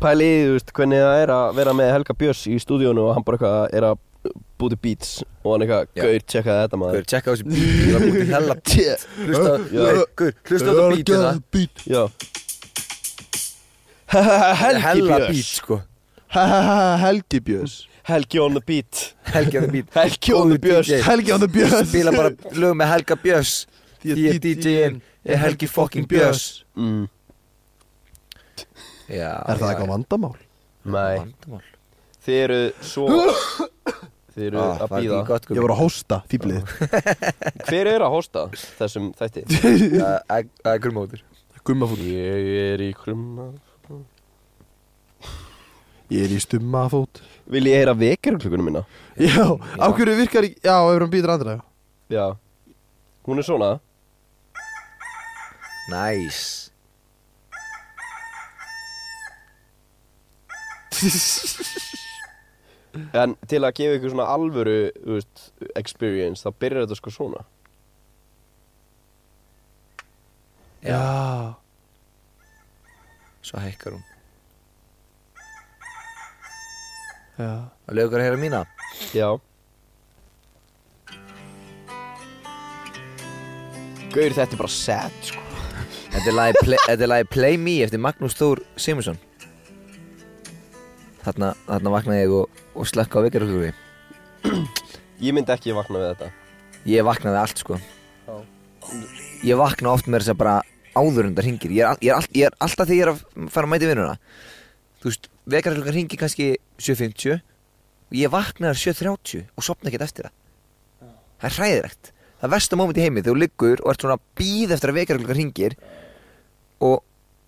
Speaker 1: pæliði, þú veist, hvernig það er að vera með Helga Björns í stúdíónu og hann bara eitthvað er að búti beats og hann eitthvað,
Speaker 4: Já.
Speaker 1: gaur, tjekkaði þetta maður
Speaker 4: Hver, tjekka á þessi bít Ég var búin til hella bít Hlusta,
Speaker 1: Já.
Speaker 4: Nei, Gaur, hlusta á þetta hérna. bítina
Speaker 3: bít
Speaker 1: Já Helgi
Speaker 4: Hella bít,
Speaker 1: Björns
Speaker 4: sko
Speaker 3: Helgi Björns
Speaker 1: Helgi on the beat
Speaker 4: Helgi á þetta bít
Speaker 1: (laughs) Helgi on the Björns
Speaker 4: DJ.
Speaker 3: Helgi on the Björns
Speaker 4: Spila bara lög með Helga Björns Því er DJ-in Er Helgi fucking Björns
Speaker 1: mm.
Speaker 4: Já
Speaker 3: Er það eitthvað vandamál?
Speaker 1: Nei,
Speaker 4: vandamál?
Speaker 1: þið eru (laughs) svo Þið eru
Speaker 4: Ah,
Speaker 1: að
Speaker 4: var ekki
Speaker 1: býða
Speaker 4: gott, Gummi?
Speaker 3: Ég var að hósta fýblið
Speaker 1: Hver er að hósta þessum þætti? (laughs)
Speaker 4: Það- það- Það er grummóður
Speaker 3: Gummafúl
Speaker 1: Ég er í krumna
Speaker 3: (laughs) Ég er í stummafót
Speaker 1: Vil ég heyra vekjarklukkunum minna?
Speaker 3: Já, á hverju virkar í- Já, ef hann býtir andra
Speaker 1: Já Hún er svona
Speaker 4: Næs
Speaker 1: En til að gefa ykkur svona alvöru þú veist, experience þá byrjar þetta sko svona
Speaker 3: Já
Speaker 4: Svo hækkar hún
Speaker 3: Já
Speaker 4: Og lögur að heyra mína
Speaker 1: Já Gaur þetta er bara sad sko
Speaker 4: Þetta er lagið Play- þetta er lagið Play Me eftir Magnús Þór Simonsson Þarna, þarna vaknaði ég og, og slakka á vekjarklukkunni
Speaker 1: Ég myndi ekki vakna við þetta
Speaker 4: Ég vaknaði allt sko Ég vakna oft með þess að segja bara áður undar hringir ég er, al- ég, er all, ég er alltaf þegar ég er að fara að mæta í vinnuna Þú veist, vekjarklukkan hringir kannski 7.50 Og ég vaknaði 7.30 og sopna ekkert eftir það Það er hræðilegt Það er versta móment í heimi þegar þú liggur og ert svona að býð eftir að vekjarklukkan hringir og,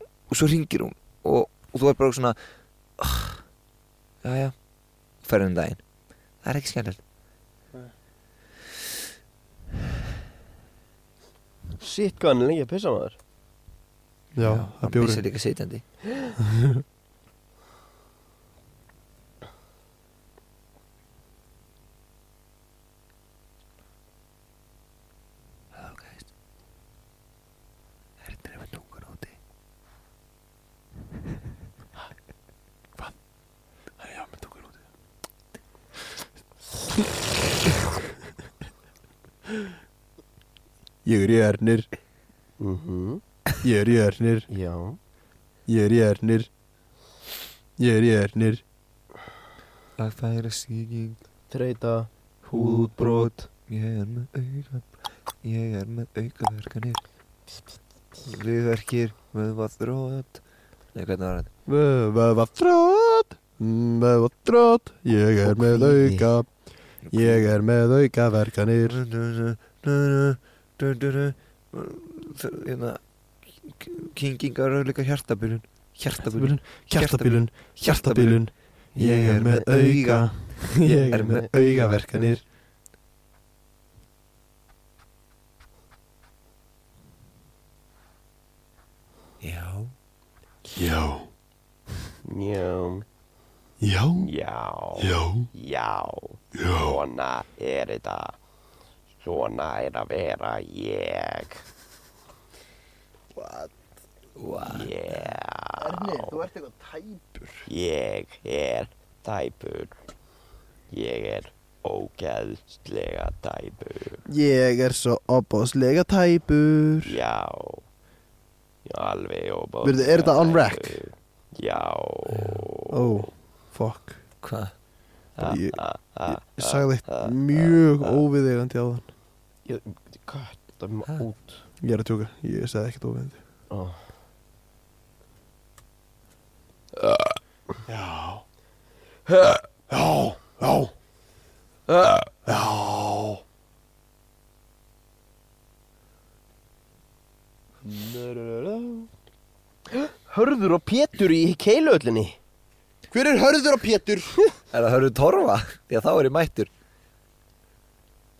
Speaker 4: og svo hringir hún og, og þú ert bara svona oh, Jæja Ferðin um daginn Það er ekki skemmtilegt
Speaker 1: Sitt hvað hann er lengi að pissa maður
Speaker 3: Já, það
Speaker 4: hann
Speaker 3: er bjóri
Speaker 4: pissar líka (laughs) sitjandi Hello guys Það er drefa dungur úti
Speaker 3: Já, með tókur (laughs) út Ég er í ernir
Speaker 1: mm -hmm.
Speaker 3: Ég er í ernir
Speaker 1: Já
Speaker 3: Ég er í ernir Ég er í ernir
Speaker 4: Að færa síking
Speaker 1: Þreita
Speaker 4: húðbrot Ég er með auka Ég er með aukaverkanir Viðverkir Vöðvaþrót Nei, hvernig var þetta?
Speaker 3: Vöfa þrótt Vöfa þrótt Ég er með auka Ég er með auka verkanir
Speaker 4: Ég þ- hérna kyngingar og líka hjartabilun hjartabilun,
Speaker 3: Hjartabilun, hjartabilun, hjartabilun Ég er með auga Ég (laughs) er með augaverkanir
Speaker 4: já,
Speaker 3: Já,
Speaker 1: Já,
Speaker 3: já,
Speaker 1: já,
Speaker 3: já
Speaker 1: já, svona er þetta, svona er að vera ég. What? What? Yeah. Ernir, þú ert eitthvað tæpur. Ég er tæpur. Ég er ógeðslega tæpur.
Speaker 3: Ég er svo opbóðslega tæpur
Speaker 1: Já, já alveg óbóð.
Speaker 3: Verðu, er þetta on rack?
Speaker 1: Já.
Speaker 3: Ó, fuck
Speaker 4: hvað
Speaker 1: Ah,
Speaker 3: ég-
Speaker 1: ah, ah,
Speaker 3: Ég sagði eitt mjög óviðegandi á þann
Speaker 1: Ég- Hvað, það má
Speaker 4: Ha?
Speaker 1: út
Speaker 3: Ég er að tjóka, ég sagði ekkert óviðegandi
Speaker 1: oh.
Speaker 3: Já Já, já Já
Speaker 1: Hörður og Pétur í keiluöllinni
Speaker 3: Hver er hörður á Pétur?
Speaker 4: er það hörðu torfa, því að þá er ég mættur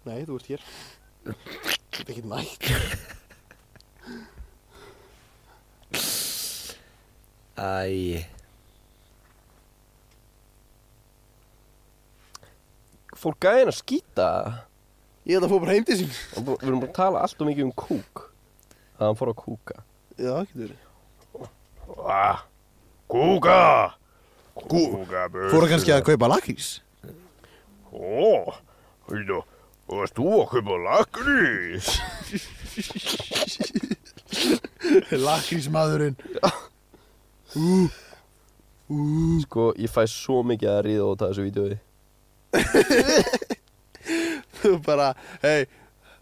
Speaker 3: Nei, þú ert hér Þetta er ekki nætt
Speaker 4: æ,
Speaker 1: Fólk gæði henn að skýta
Speaker 3: Ég ætla að fóra bara heim til sín
Speaker 1: Við erum búin að tala allt og mikið um kúk Það hann fór að kúka
Speaker 3: Já, getur verið
Speaker 6: Kúka Kúka
Speaker 3: Fóra kannski að kaupa (laughs) lakrís
Speaker 6: Ó, hérna Varst þú að kaupa lakrís?
Speaker 3: Lakrísmaðurinn
Speaker 1: Sko, ég fæ svo mikið að ríða út af þessu vídeoi
Speaker 3: Þú bara, hei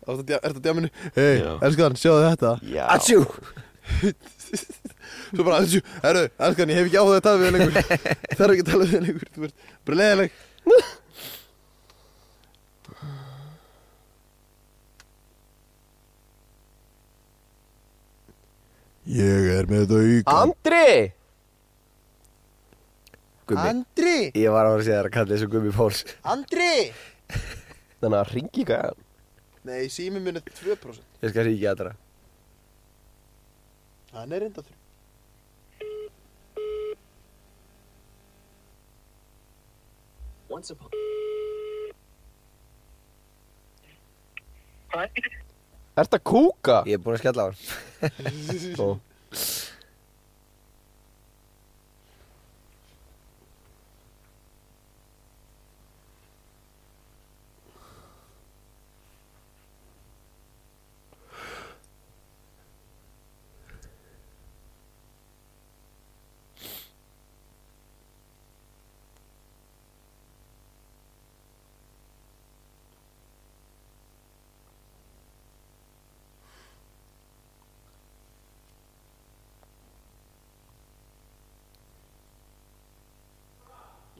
Speaker 3: Ertu að djáminu? Hei,
Speaker 1: Já.
Speaker 3: elskan, sjáðu þetta
Speaker 1: Já
Speaker 4: atsjú
Speaker 3: Svo bara, elsku, herru, elskan, ég hef ekki áhuga að tala við (laughs) þig lengur Þarf ekki að tala við þig lengur Þú ert bara leiðileg Ég er með auka
Speaker 1: Andri
Speaker 4: gummi,
Speaker 3: Andri,
Speaker 4: ég var að vera að segja þér að kalla þessu gummi Páls
Speaker 3: Andri
Speaker 1: Þannig að ringi gæðan
Speaker 3: Nei, sími minn er 2%
Speaker 4: ég skal ríkja aðra
Speaker 3: Hann er enda 3
Speaker 1: Ert að kúka?
Speaker 4: ég er búin að skella á hann
Speaker 1: Ó.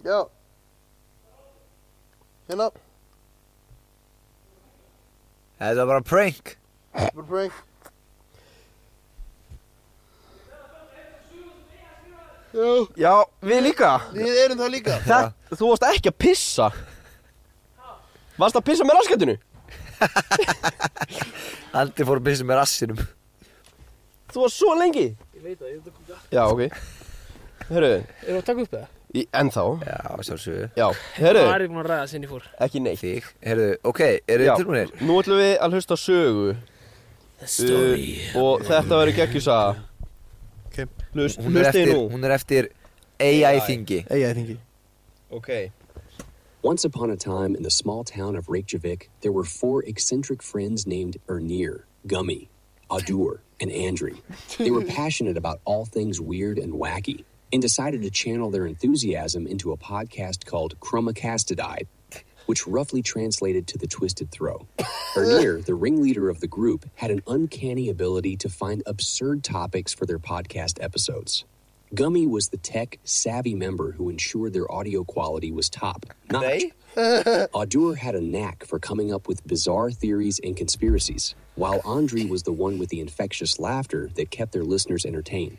Speaker 3: Já Hérna,
Speaker 4: þetta var bara prank
Speaker 3: bara prank Já,
Speaker 1: Já, við líka
Speaker 3: við erum það líka
Speaker 1: Það, þú varst ekki að pissa Varst að pissa með raskatunni?
Speaker 4: Andri fór að pissa með rassinum
Speaker 1: Þú varst svo lengi
Speaker 2: Ég veit það, ég veit að kúka
Speaker 1: Já, ok Hörru,
Speaker 2: Erum við að taka upp það?
Speaker 1: í- ennþá
Speaker 4: já, sjálfsögðu
Speaker 1: Já,
Speaker 2: Það
Speaker 1: hörru,
Speaker 2: er ég búin að ræða sinni fór
Speaker 1: ekki neitt
Speaker 4: þig, heyrðu, ok, eru
Speaker 1: Já,
Speaker 4: þið tilbúinir?
Speaker 1: nú ætlum við að hlusta á sögu uh, Og þetta verður geggjúsa
Speaker 3: Ok.
Speaker 1: Hlust,
Speaker 4: hún
Speaker 1: Hlustið
Speaker 4: er eftir,
Speaker 1: nú
Speaker 4: hún er eftir AI þingi
Speaker 3: Ei, ég þingi
Speaker 1: Ok
Speaker 7: Once upon a time in the small town of Reykjavik, there were four eccentric friends named Ernir, Gummy, Adur, and Andri. They were passionate about all things weird and wacky and decided to channel their enthusiasm into a podcast called Chromacastidae, which roughly translated to the Twisted Throw. Ernir, the ringleader of the group, had an uncanny ability to find absurd topics for their podcast episodes. Gummy was the tech savvy member who ensured their audio quality was top notch.
Speaker 1: Nei?
Speaker 7: (laughs) Audur had a knack for coming up with bizarre theories and conspiracies, while Andre was the one with the infectious laughter that kept their listeners entertained.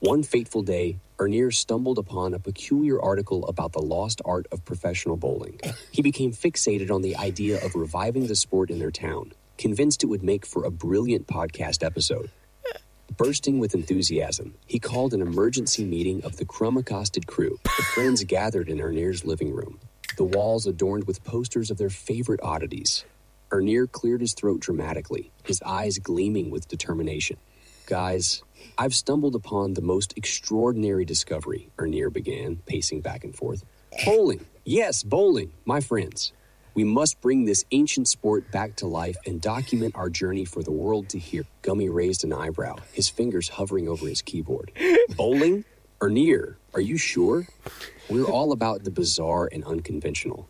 Speaker 7: One fateful day, Ernier stumbled upon a peculiar article about the lost art of professional bowling. He became fixated on the idea of reviving the sport in their town, convinced it would make for a brilliant podcast episode. Bursting with enthusiasm, he called an emergency meeting of the crumb accosted crew. The friends gathered in Ernier's living room, the walls adorned with posters of their favorite oddities. Ernier cleared his throat dramatically, his eyes gleaming with determination. Guys, I've stumbled upon the most extraordinary discovery, Ernier began, pacing back and forth. Bowling! Yes, bowling, my friends. We must bring this ancient sport back to life and document our journey for the world to hear. Gummy raised an eyebrow, his fingers hovering over his keyboard. Bowling? Ernier, are you sure? We're all about the bizarre and unconventional.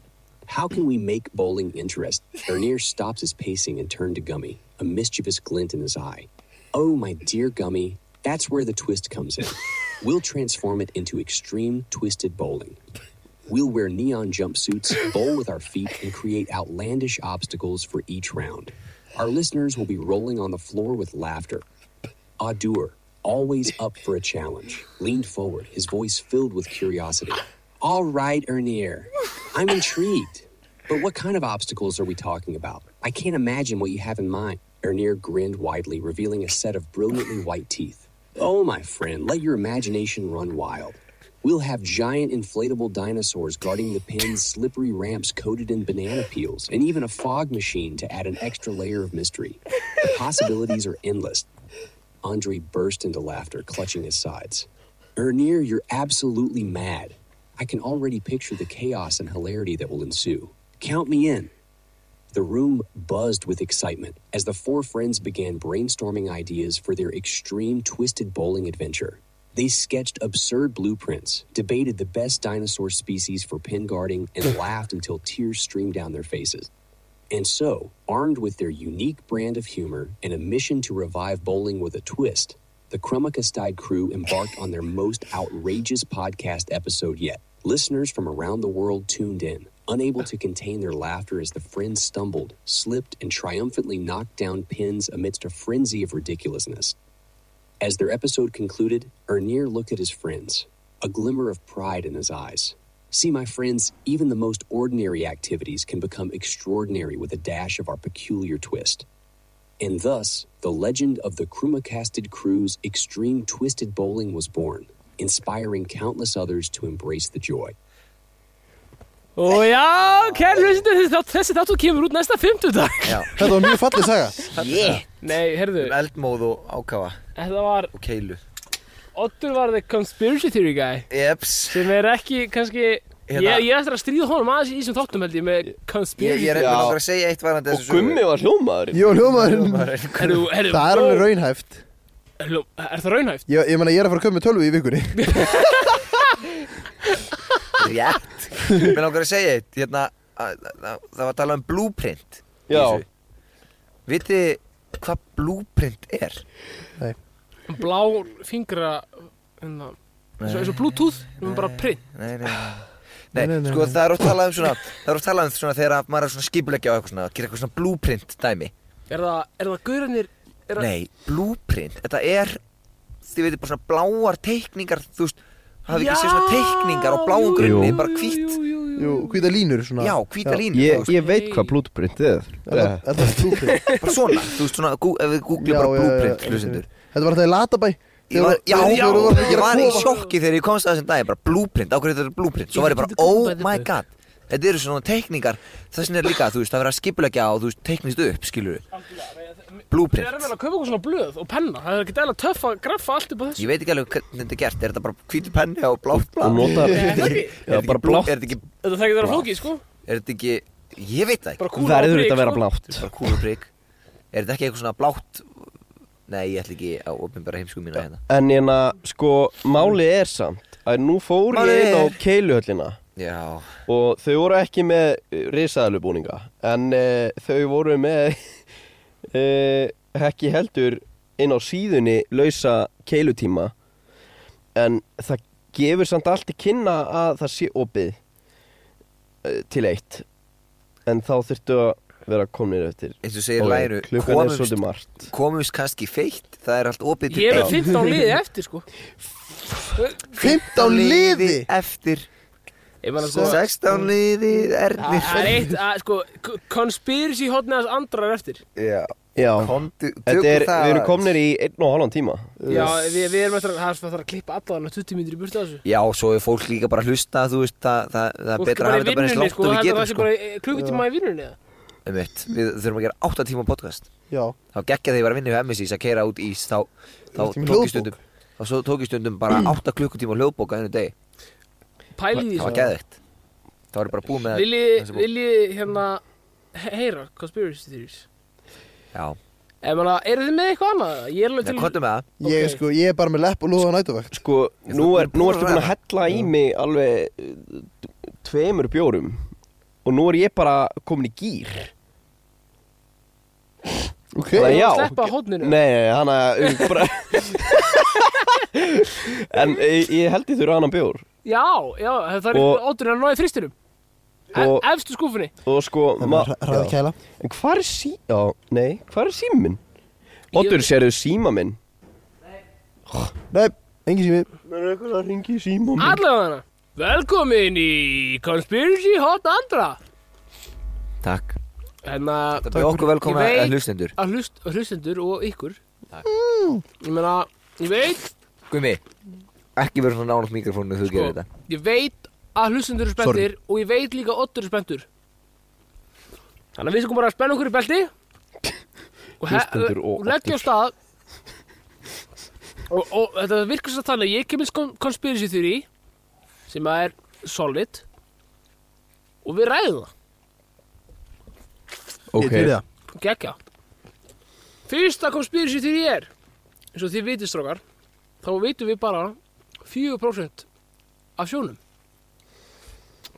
Speaker 7: How can we make bowling interest? Ernier stopped his pacing and turned to Gummy, a mischievous glint in his eye. Oh, my dear Gummy, that's where the twist comes in. We'll transform it into extreme twisted bowling. We'll wear neon jumpsuits, bowl with our feet, and create outlandish obstacles for each round. Our listeners will be rolling on the floor with laughter. Audur, always up for a challenge, leaned forward, his voice filled with curiosity. All right, Ernier, I'm intrigued. But what kind of obstacles are we talking about? I can't imagine what you have in mind. Ernier grinned widely, revealing a set of brilliantly white teeth. Oh, my friend, let your imagination run wild. We'll have giant inflatable dinosaurs guarding the pins, slippery ramps coated in banana peels, and even a fog machine to add an extra layer of mystery. The possibilities are endless. Andre burst into laughter, clutching his sides. Ernier, you're absolutely mad. I can already picture the chaos and hilarity that will ensue. Count me in. The room buzzed with excitement as the four friends began brainstorming ideas for their extreme twisted bowling adventure. They sketched absurd blueprints, debated the best dinosaur species for pin guarding, and laughed until tears streamed down their faces. And so, armed with their unique brand of humor and a mission to revive bowling with a twist, the Krummakastide crew embarked on their most outrageous podcast episode yet. Listeners from around the world tuned in, unable to contain their laughter as the friends stumbled, slipped, and triumphantly knocked down pins amidst a frenzy of ridiculousness. As their episode concluded, Ernier looked at his friends, a glimmer of pride in his eyes. See, my friends, even the most ordinary activities can become extraordinary with a dash of our peculiar twist. And thus, the legend of the Krumacasted Crew's extreme twisted bowling was born, inspiring countless others to embrace the joy.
Speaker 2: Og já, kæri hlustundur, þessi þátt- þessi þáttu kemur út næsta fimmtudag.
Speaker 3: Þetta var mjög fallið saga
Speaker 4: Yeah.
Speaker 2: Nei, heyrðu,
Speaker 4: Um Eldmóð og ákafa
Speaker 2: þetta var,
Speaker 4: og keilu
Speaker 2: Oddur var the conspiracy theory guy
Speaker 4: Jeps
Speaker 2: sem er ekki, kannski,
Speaker 4: Hérna-
Speaker 2: ég, ég ætla að stríða honum aðeins í þessum þáttum held ég með
Speaker 4: Ég,
Speaker 2: conspiracy
Speaker 4: ég er
Speaker 1: Já.
Speaker 4: eitthvað að segja eitt varandi
Speaker 1: Og
Speaker 4: þessu
Speaker 1: Gummi var hljómaðurinn
Speaker 3: Ég og hljómaðurinn
Speaker 4: Maður-
Speaker 2: Heyrðu, heyrðu,
Speaker 3: Það er alveg raunhæft
Speaker 2: raun Er það raunhæft?
Speaker 3: Ég, ég meina ég er að fara að köpa með tölvu í vikunni
Speaker 4: Rétt Mér langar að segja eitt hérna, að, að, að, Það var að tala um blúprint
Speaker 1: Já,
Speaker 4: Vitið þið hvað blúprint er?
Speaker 2: Blá fingra, hérna, eins og- eins og bluetooth, við erum bara print
Speaker 4: Nei, nei, nei. Nei,
Speaker 3: (sighs) Nei, nei, nei,
Speaker 4: sko
Speaker 3: nei.
Speaker 4: það er oft talað um svona Það er oft talað um svona þegar að maður er svona skipulegja á eitthvað svona að Gera eitthvað svona blúprint dæmi
Speaker 2: Er það, er það gaurinnir, er það
Speaker 4: Nei, blúprint, þetta er Þið veitir bara svona bláar teikningar Þú veist, hafið ekki séð svona teikningar á bláum grunni, bara hvít
Speaker 3: Jú, hvíta línur svona
Speaker 4: Já, hvíta línu,
Speaker 1: ég,
Speaker 4: þú
Speaker 1: ég veit hvað blútprint er Eh,
Speaker 3: Er það- er það blúprint?
Speaker 4: veist, bara svona Þú veist svona, gú, ef við
Speaker 3: Já,
Speaker 4: googlið bara
Speaker 3: já, já,
Speaker 4: blúprint,
Speaker 3: já,
Speaker 4: hlustendur
Speaker 3: Þetta var þetta í Latabæ
Speaker 4: Ég var, já,
Speaker 3: Þegar-
Speaker 4: já,
Speaker 3: þegar þú varst að
Speaker 4: ég
Speaker 3: gera
Speaker 4: var í
Speaker 3: kofa.
Speaker 4: sjokki þegar ég komst að þessum daginn, bara blúprint, ákveður þetta er blúprint Svo var ég bara, oh my god, þetta eru svona teikningar Þessin er líka, þú veist, það verður að skipulegja og þú veist, teiknist upp, skilur
Speaker 2: Ég er að
Speaker 4: Blúprint
Speaker 2: vera að kaupa eitthvað svona blöð og penna Það er ekki dæla töff að graffa allt upp á þessu
Speaker 4: Ég veit ekki alveg hvernig þetta er gert, er þetta bara hvítu penni á blátt
Speaker 1: Og
Speaker 4: blað?
Speaker 1: notar
Speaker 2: Er það ekki?
Speaker 1: Já,
Speaker 4: Er þetta
Speaker 1: bara
Speaker 4: ekki blú-
Speaker 1: blátt.
Speaker 4: Er þetta ekki,
Speaker 2: Þetta þarf ekki að vera flókið, sko
Speaker 4: er þetta ekki, ég veit það ekki
Speaker 2: Bara kúla á
Speaker 1: Verður
Speaker 2: prik,
Speaker 1: þetta að vera
Speaker 2: sko.
Speaker 1: blátt
Speaker 4: bara kúluprygg Er þetta ekki eitthvað svona blátt Nei, ég ætla ekki á opinbara heimsku mína hérna
Speaker 1: En hérna, sko, málið er samt að nú fór
Speaker 4: Málið
Speaker 1: ég inn á
Speaker 4: er-
Speaker 1: keiluhöllina
Speaker 4: Já,
Speaker 1: og þau voru ekki með risaðalubúninga en uh, þau voru með (laughs) eh, uh, ekki heldur inn á síðunni lausa keilutíma en það gefur samt allt til kynna að það sé opið eh, til eitt en þá þurftu að vera komnir eftir
Speaker 4: eins og segir
Speaker 1: Ok,
Speaker 4: læru
Speaker 1: klukkan er svolítið margt
Speaker 4: komumst kannski feitt það er allt opið
Speaker 2: Ég er með 15 liði eftir sko
Speaker 3: 15 liði
Speaker 4: eftir
Speaker 2: Ég meina sko
Speaker 4: 16 liði erðir
Speaker 2: Það er eitt að sko k- Conspiracy hotni hans andrar eftir
Speaker 4: já
Speaker 1: já,
Speaker 4: komdu
Speaker 1: þetta
Speaker 4: tökum
Speaker 1: er,
Speaker 4: það
Speaker 1: við erum komnir í einn og halvan tíma
Speaker 2: Já, við, við erum eftir að það er það þarf að klippa allan 20 mínútur í burtu af þessu
Speaker 4: já svo er fólk líka bara að hlusta þú veist það, það, það er
Speaker 2: Fólk
Speaker 4: betra að hafa þetta bara eins
Speaker 2: sko, vinnunni,
Speaker 4: langt og við
Speaker 2: það er
Speaker 4: getum
Speaker 2: það sé
Speaker 4: sko
Speaker 2: bara eh, klukkutíma í vinnunni eða?
Speaker 4: Einmitt. við þurfum að gera 8 tíma podcast
Speaker 3: Já,
Speaker 4: þá geggja þegar ég var að vinna hjá MSIS að keira út ís þá, þá
Speaker 3: Þú ert með
Speaker 4: tók ég
Speaker 3: hljóðbók.
Speaker 4: stundum þá svo tók ég stundum
Speaker 2: Mm.
Speaker 4: bara 8 klukkutíma hljóðbók að einu deg
Speaker 2: Pæli því sko.
Speaker 4: það var
Speaker 2: svo
Speaker 4: geðvegt þá var ég bara búið með
Speaker 2: Viljið
Speaker 4: þessa bók.
Speaker 2: vilji, hérna he- heyra Conspiracy theories
Speaker 4: já
Speaker 2: Ég meina, eru þið með eitthvað annað? Ég er alveg
Speaker 4: það
Speaker 2: til
Speaker 4: kvartum með það
Speaker 3: ég,
Speaker 2: Ok.
Speaker 3: sko, ég er bara með lepp og lúða á nætuvægt
Speaker 1: sko,
Speaker 4: Ég
Speaker 1: nú,
Speaker 4: þú-
Speaker 1: er,
Speaker 4: þú
Speaker 1: nú
Speaker 4: búin
Speaker 1: ertu búin
Speaker 4: að ræða.
Speaker 1: að hella í mig alveg eh, tveimur bjórum og nú er ég bara komin í gýr
Speaker 3: Ok,
Speaker 1: Þannig að já
Speaker 2: Sleppa hotninu
Speaker 1: Nei, nei, hann að um, bara... En ég, ég held ég þurfa annan bjór
Speaker 2: Já, já, það er
Speaker 1: Og-
Speaker 2: ótrúin að ná í fristinum E-
Speaker 1: Og-
Speaker 2: Efstu skúfunni
Speaker 1: Og sko ma-
Speaker 3: ræði
Speaker 1: Já.
Speaker 3: kæla
Speaker 1: En hvað er sí... Já, nei, hvað er síminn minn? Oddur, sérðu síma minn?
Speaker 3: Nei, engin sími
Speaker 1: Það er eitthvað að ringi í síma
Speaker 2: Allavega hana Velkomin í Conspiracy Hot Andra
Speaker 4: takk
Speaker 2: Hérna
Speaker 4: það er okkur velkomin
Speaker 2: Ég veit-
Speaker 4: að hlustendur
Speaker 2: að hlust, að hlustendur og ykkur Ég meina, ég veit
Speaker 4: Gumi ekki verður svona nánast mikrofónu þú gerir þetta
Speaker 2: sko, Ég veit að hlustendur eru spenntir og ég veit líka að Oddur er spenntur Þannig að við sem komum bara að spenna okkur í belti og, he-
Speaker 1: Hlustendur og
Speaker 2: og leggja á stað og, og þetta virkar svo þannig að ég kemur kon conspiracy theory sem að er solid og við ræðum það
Speaker 3: Ég til í það
Speaker 2: Gekja Fyrsta conspiracy theory er eins og þið vitið strókar þá vitum við bara 4% af sjónum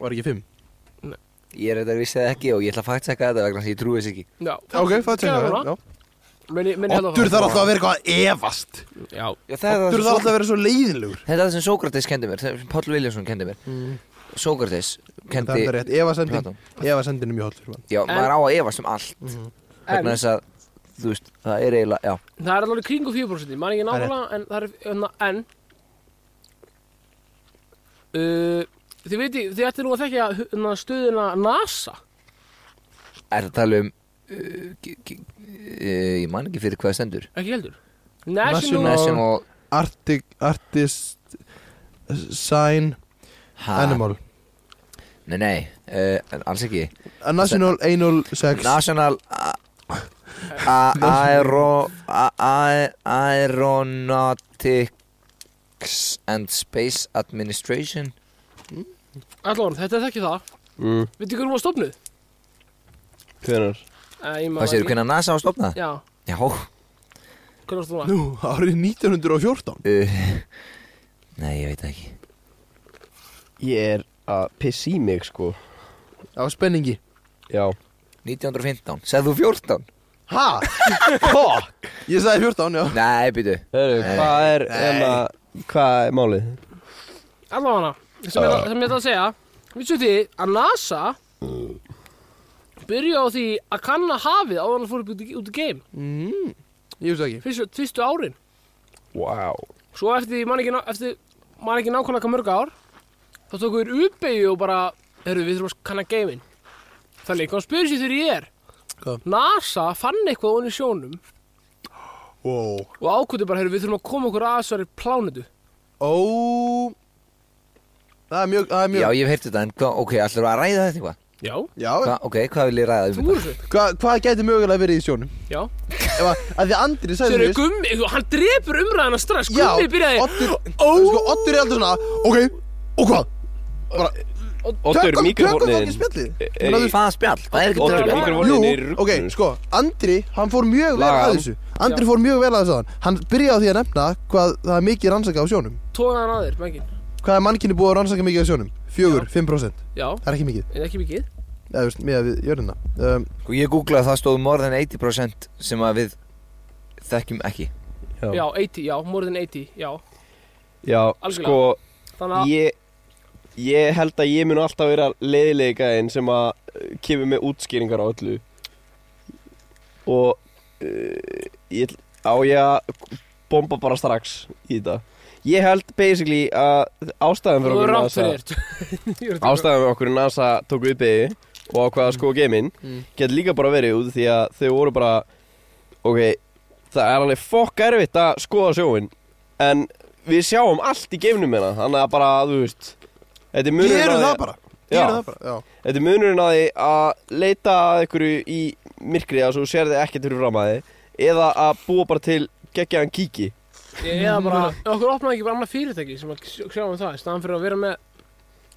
Speaker 3: Var ekki 5
Speaker 4: ég er þetta vissið ekki og ég ætla að faktseka þetta vegna þess að ég trúi þess ekki
Speaker 2: Já,
Speaker 3: Ok, fætt
Speaker 2: Gerðu
Speaker 3: sér
Speaker 2: það. Meni, meni
Speaker 3: Oddur þarf alltaf að vera eitthvað að efast
Speaker 2: Já,
Speaker 4: Já, það er það
Speaker 3: Oddur þarf
Speaker 4: sem Sók-
Speaker 3: alltaf að vera svo leiðinlegur
Speaker 4: þetta er það sem Sókrates kendi mér það sem Páll Viljánsson kendi mér Sókrates
Speaker 3: Það
Speaker 4: kendi
Speaker 3: Mm. er rétt, Mm. efasendin
Speaker 4: Platon.
Speaker 3: Efasendin er mjög hóll fyrir mann
Speaker 4: já
Speaker 2: En-
Speaker 4: maður á að efast um
Speaker 3: Mm.
Speaker 4: allt
Speaker 2: en
Speaker 4: vegna þess að þú veist það er eiginlega já
Speaker 2: það er alveg kringu 4% Man ekki nákvæmlega, en það er en, en uh, Þið veitir, þið ætti nú að þekja hérna, stöðuna NASA
Speaker 4: Er það að tala um uh, g- g- uh, Ég man ekki fyrir hvað það stendur
Speaker 2: Ekki heldur
Speaker 3: National-
Speaker 2: National
Speaker 4: National
Speaker 3: Arctic, Artist Sign
Speaker 4: ha,
Speaker 3: Animal
Speaker 4: Nei, nei, uh, alls ekki
Speaker 3: A National Anal Sex
Speaker 4: National a- a- aero, a- a- Aeronautics and Space Administration
Speaker 2: Allan, þetta er þekki það
Speaker 1: Mm,
Speaker 2: Veitir hvernig var stofnuð?
Speaker 1: hvenar?
Speaker 2: Eh, ég man
Speaker 4: Hvað séu,
Speaker 2: ekki.
Speaker 4: hvernig NASA á að stofna?
Speaker 2: Já,
Speaker 4: Já,
Speaker 2: hvernig var stofnað?
Speaker 3: Nú, árið 1914
Speaker 4: uh, Nei, ég veit það ekki
Speaker 1: Ég er að pissi mig, sko
Speaker 3: Á spenningi
Speaker 1: Já
Speaker 4: 1915, segðu þú 14?
Speaker 3: Ha?
Speaker 1: Fuck!
Speaker 3: Ég sagði 14, já
Speaker 4: Nei, býtu
Speaker 1: Hörru, hvað er, enna, hvað er málið?
Speaker 2: Allan hana, sem ég ætla- sem ég ætla að segja Vitsu því að NASA Byrja á því að kanna hafið áður en það fór upp út í- út í game
Speaker 3: mm, Ég veist ekki
Speaker 2: Fyrstu, fyrstu árin
Speaker 1: Wow
Speaker 2: Svo eftir, ég man ekki, ná- eftir, man ekki nákvæmlega hvað mörg ár Þá tókum við uppeyju og bara Herðu, við þurfum að kanna geiminn Þannig, hvað spyrir sér þegar ég er
Speaker 3: Hvað?
Speaker 2: NASA fann eitthvað ofan í sjónum
Speaker 3: Wow
Speaker 2: Og ákvöldu bara, herðu, við þurfum að koma okkur að þessari plánutu
Speaker 3: Ó Það er mjög, það er mjög
Speaker 4: Já, ég hef heyrt þetta, en hvað, ok, allir að ræða þetta eitthvað
Speaker 2: Já,
Speaker 3: Já,
Speaker 4: Hva, Ok, hvað vil ég ræða um
Speaker 2: þú voru svo
Speaker 3: hva, hvað gæti mögulega verið í sjónum?
Speaker 2: Já,
Speaker 3: Ef að, að því að Andri sagði
Speaker 2: þeir eru gummi, hann drepur umræðana strax
Speaker 3: Já,
Speaker 2: Gummi byrjaði
Speaker 3: Oddur, sko, Oddur er alltaf svona Ok, og hvað? Bara,
Speaker 1: Oddur,
Speaker 3: tökum, tökum
Speaker 1: mikrofónin
Speaker 3: fokkin spjallið
Speaker 1: Ey,
Speaker 4: Hvað er það spjall? Það er ekki
Speaker 1: Oddur,
Speaker 4: dröglega
Speaker 1: mikrofónin er
Speaker 3: Jú, ok, sko, Andri, hann fór mjög vel
Speaker 1: Laga
Speaker 3: að
Speaker 1: hann.
Speaker 3: þessu Andri
Speaker 2: Já.
Speaker 3: fór mjög vel að þessu aðan Hann byrjaði á því að nefna hvað það er mikið rannsaka á sjónum
Speaker 2: tónaðan að þér, mækin
Speaker 3: Hvað er mannkynni búið að rannsaka mikið á sjónum? Fjögur, 5%
Speaker 2: Já,
Speaker 3: Það er ekki mikið,
Speaker 2: en ekki mikið
Speaker 3: eða þú veist, með við jörðina um,
Speaker 4: Sko ég googlaði það stóð more than 80% sem að við þekkjum ekki
Speaker 1: Já.
Speaker 2: Já, 80, já, more than 80, já
Speaker 1: Já,
Speaker 2: Algjörlega.
Speaker 1: sko
Speaker 2: Þannig að
Speaker 1: ég, ég held að ég mun alltaf vera leiðilega gæðin sem að eh, kemur með útskýringar á öllu og uh, ég, á ég að bomba bara strax í þetta ég held basically að ástæðan fyrir
Speaker 2: þú er
Speaker 1: okkur
Speaker 2: rátt
Speaker 1: NASA
Speaker 2: fyrir þér (laughs)
Speaker 1: ástæðan fyrir okkur NASA tóku upp eigi og ákvaða sko geiminn
Speaker 2: Mm.
Speaker 1: getur líka bara verið út af því að þau voru bara ok, það er alveg fokk erfitt að skoða sjóin en við sjáum allt í geimnum hérna þannig að bara, þú veist þetta er munurinn á
Speaker 3: Gerum
Speaker 1: því-
Speaker 3: það bara Gerum það bara Já
Speaker 1: Þetta er munurinn að því að leita að einhverju í myrkri að svo sér þið ekkert fyrir fram að þið eða að búa bara til geggjaðan kíki
Speaker 2: eða bara, okkur opnaði ekki bara annað fyrirtæki sem að sjá sjá um það, í staðan fyrir að vera með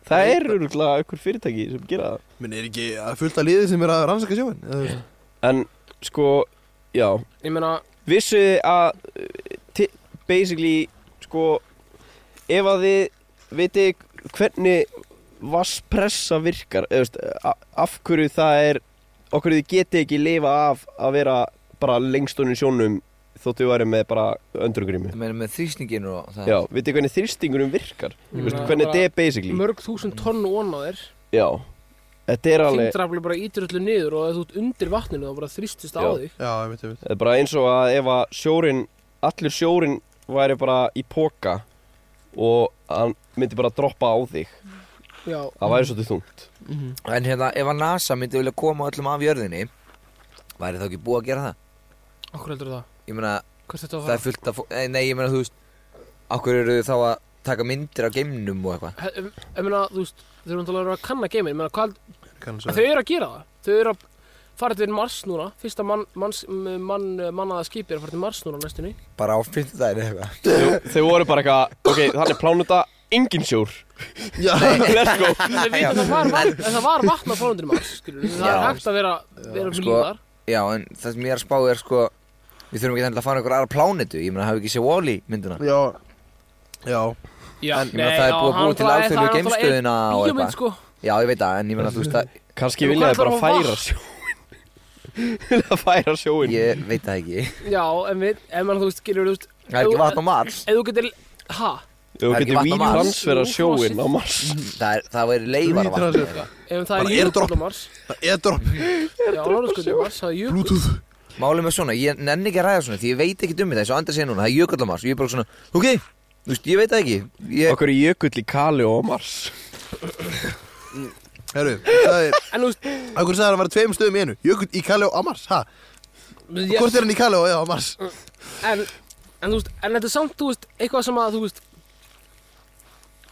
Speaker 1: Það er örgulega einhver fyrirtæki sem gera það
Speaker 3: Menn er ekki að fullt að liði sem er að rannsaka sjóin eða þú veist.
Speaker 1: En sko, já
Speaker 2: ég meina,
Speaker 1: Vissuð þið að eh, ti- basically, sko ef að þið vitið hvernig vasspressa virkar eða, veist, a- af hverju það er okkur þið getið ekki lifa af að vera bara lengstunum sjónum þóttu væri með bara öndrugrými
Speaker 4: Það meina með þrýsningin og það
Speaker 1: Já, veitu hvernig þrýstingurum virkar
Speaker 2: Ég
Speaker 1: Veistu
Speaker 2: meina,
Speaker 1: hvernig
Speaker 2: bara-
Speaker 1: þetta er basically
Speaker 2: mörg þúsund tonn og á þér
Speaker 1: Já, þetta er alveg
Speaker 2: þingdrafli bara ítir öllu niður og ef þú ert undir vatninu þá bara þrýstist á
Speaker 1: Já.
Speaker 2: þig
Speaker 3: Já, ég veit, ég veit
Speaker 1: þetta er Eh, bara eins og að ef að sjórin allur sjórin væri bara í póka og hann myndi bara droppa á þig
Speaker 2: já, Mhm.
Speaker 1: það væri svolítið þungt
Speaker 4: En hérna, ef að NASA myndi vilja koma öllum af jörðinni Væri þá ekki búið að gera það?
Speaker 2: okkur heldur það
Speaker 4: Ég meina,
Speaker 2: hvert þetta á
Speaker 4: það er fullt af fó- Nei, nei, ég meina, þú veist Akkur eru þau þá að taka myndir af geimnum og eitthvað
Speaker 2: það ég meina, þú veist, þau eru náttúrulega að vera að kanna geimin ég meina, hvað,
Speaker 3: Kannan
Speaker 2: þau eru að gera það þau eru að fara til Mars núna fyrsta mann, manns, mann, mannaða skipi er að fara til Mars núna á næstunni
Speaker 4: Bara á fyrndaginn eitthvað
Speaker 1: Þau, þau voru bara eitthvað, ok, þannig plánuta engin sjór
Speaker 3: Já,
Speaker 1: (laughs) Let's go
Speaker 2: þau
Speaker 4: Ah,
Speaker 2: veit að það var, vatn- að það var vatn á fórundinu Mars skilur, það er
Speaker 4: Já.
Speaker 2: hægt að vera, vera
Speaker 4: Sko,
Speaker 2: sko, lífar
Speaker 4: Já, en það sem ég er að spá er sko Við þurfum ekki endilega að fara á einhverja aðra plánetu Ég meina, hafi ekki séð Wall-E myndina
Speaker 3: já Já,
Speaker 2: já,
Speaker 4: en- ég meina, það er búið að búa til alþjóðlegu geimstöðina og
Speaker 2: og
Speaker 4: eitthvað.
Speaker 2: eitthvað sko,
Speaker 4: Já, ég veit það, en ég meina, þú veist að
Speaker 1: Kanski
Speaker 2: En
Speaker 1: vilja
Speaker 2: hvað
Speaker 1: þið bara
Speaker 2: ætlar hún að
Speaker 1: færa sjóin (laughs) Vilja færa sjóin
Speaker 4: Ég veit það ekki
Speaker 2: já, en við, ef mann þú veist, skilur, þú veist
Speaker 4: Það er
Speaker 2: ef-
Speaker 4: ekki vatn á Mars
Speaker 2: ef þú getur, ha,
Speaker 1: Þau
Speaker 4: Það er ekki
Speaker 1: getur
Speaker 4: vatn á Mars.
Speaker 1: vítransfera
Speaker 2: Jú,
Speaker 1: sjóin
Speaker 2: frosið.
Speaker 1: á Mars
Speaker 4: Það, er, það væri leifar af vatni
Speaker 3: Rítrasir.
Speaker 4: eitthvað.
Speaker 2: ef
Speaker 3: Bara
Speaker 2: það er jökull
Speaker 3: airdrop.
Speaker 2: á Mars
Speaker 3: það er drop
Speaker 2: já, á norðurskauti Mars, það er jökull
Speaker 3: Bluetooth
Speaker 4: Málið með svona, ég nenni ekki að ræða svona Því ég veit ekki um þetta, eins og Andri segir núna Það er jökullamars, ég er bara svona, ok Þú veist, ég veit það ekki ég,
Speaker 1: Okkur er jökull í Kali og á Mars
Speaker 3: Herru, það er
Speaker 2: en þú veist,
Speaker 3: Akkur sagði hann að vera tveim stöðum í einu Jökull í Kaleo á Mars, ha?
Speaker 2: ég-
Speaker 3: Hvort er hann í Kaleo, já, á Mars
Speaker 2: en, en þú veist, en þetta er samt, þú veist, eitthvað sem að, þú veist,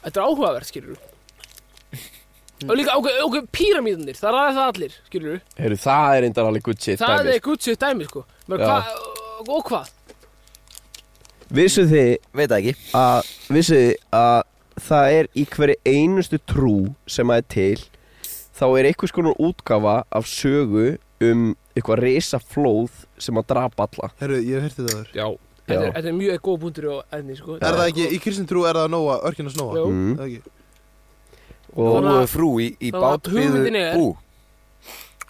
Speaker 2: þetta er áhugavert, skilur
Speaker 1: Hmm.
Speaker 2: Og líka, ok, ok, píramíðunir, það ræði það allir, skilur
Speaker 1: Heyrðu, það er eindar alveg good shit
Speaker 2: Það
Speaker 1: dæmi, sko.
Speaker 2: er gutt sér dæmi, sko. Menn,
Speaker 1: Já.
Speaker 2: hva, og hvað?
Speaker 1: Vissuð þið
Speaker 4: veit það ekki
Speaker 1: að Vissuð þið að það er í hverju einustu trú sem að er til þá er einhvers konar útgafa af sögu um eitthvað risaflóð sem að drapa alla
Speaker 3: Herru, ég hef hirtið það þurr
Speaker 2: Já. Þetta
Speaker 1: Já.
Speaker 2: er, þetta er mjög góð búndur og enni, sko.
Speaker 3: Er það ekki, í kristintrú er það Nóa, örkina Snóa?
Speaker 2: Jú.
Speaker 1: Hmm.
Speaker 4: Mm.
Speaker 3: Er það ekki?
Speaker 1: og
Speaker 2: Þannig að-
Speaker 4: Úlfur frú í, í
Speaker 2: þannig að
Speaker 4: bát við
Speaker 2: hugmyndin er-
Speaker 4: bú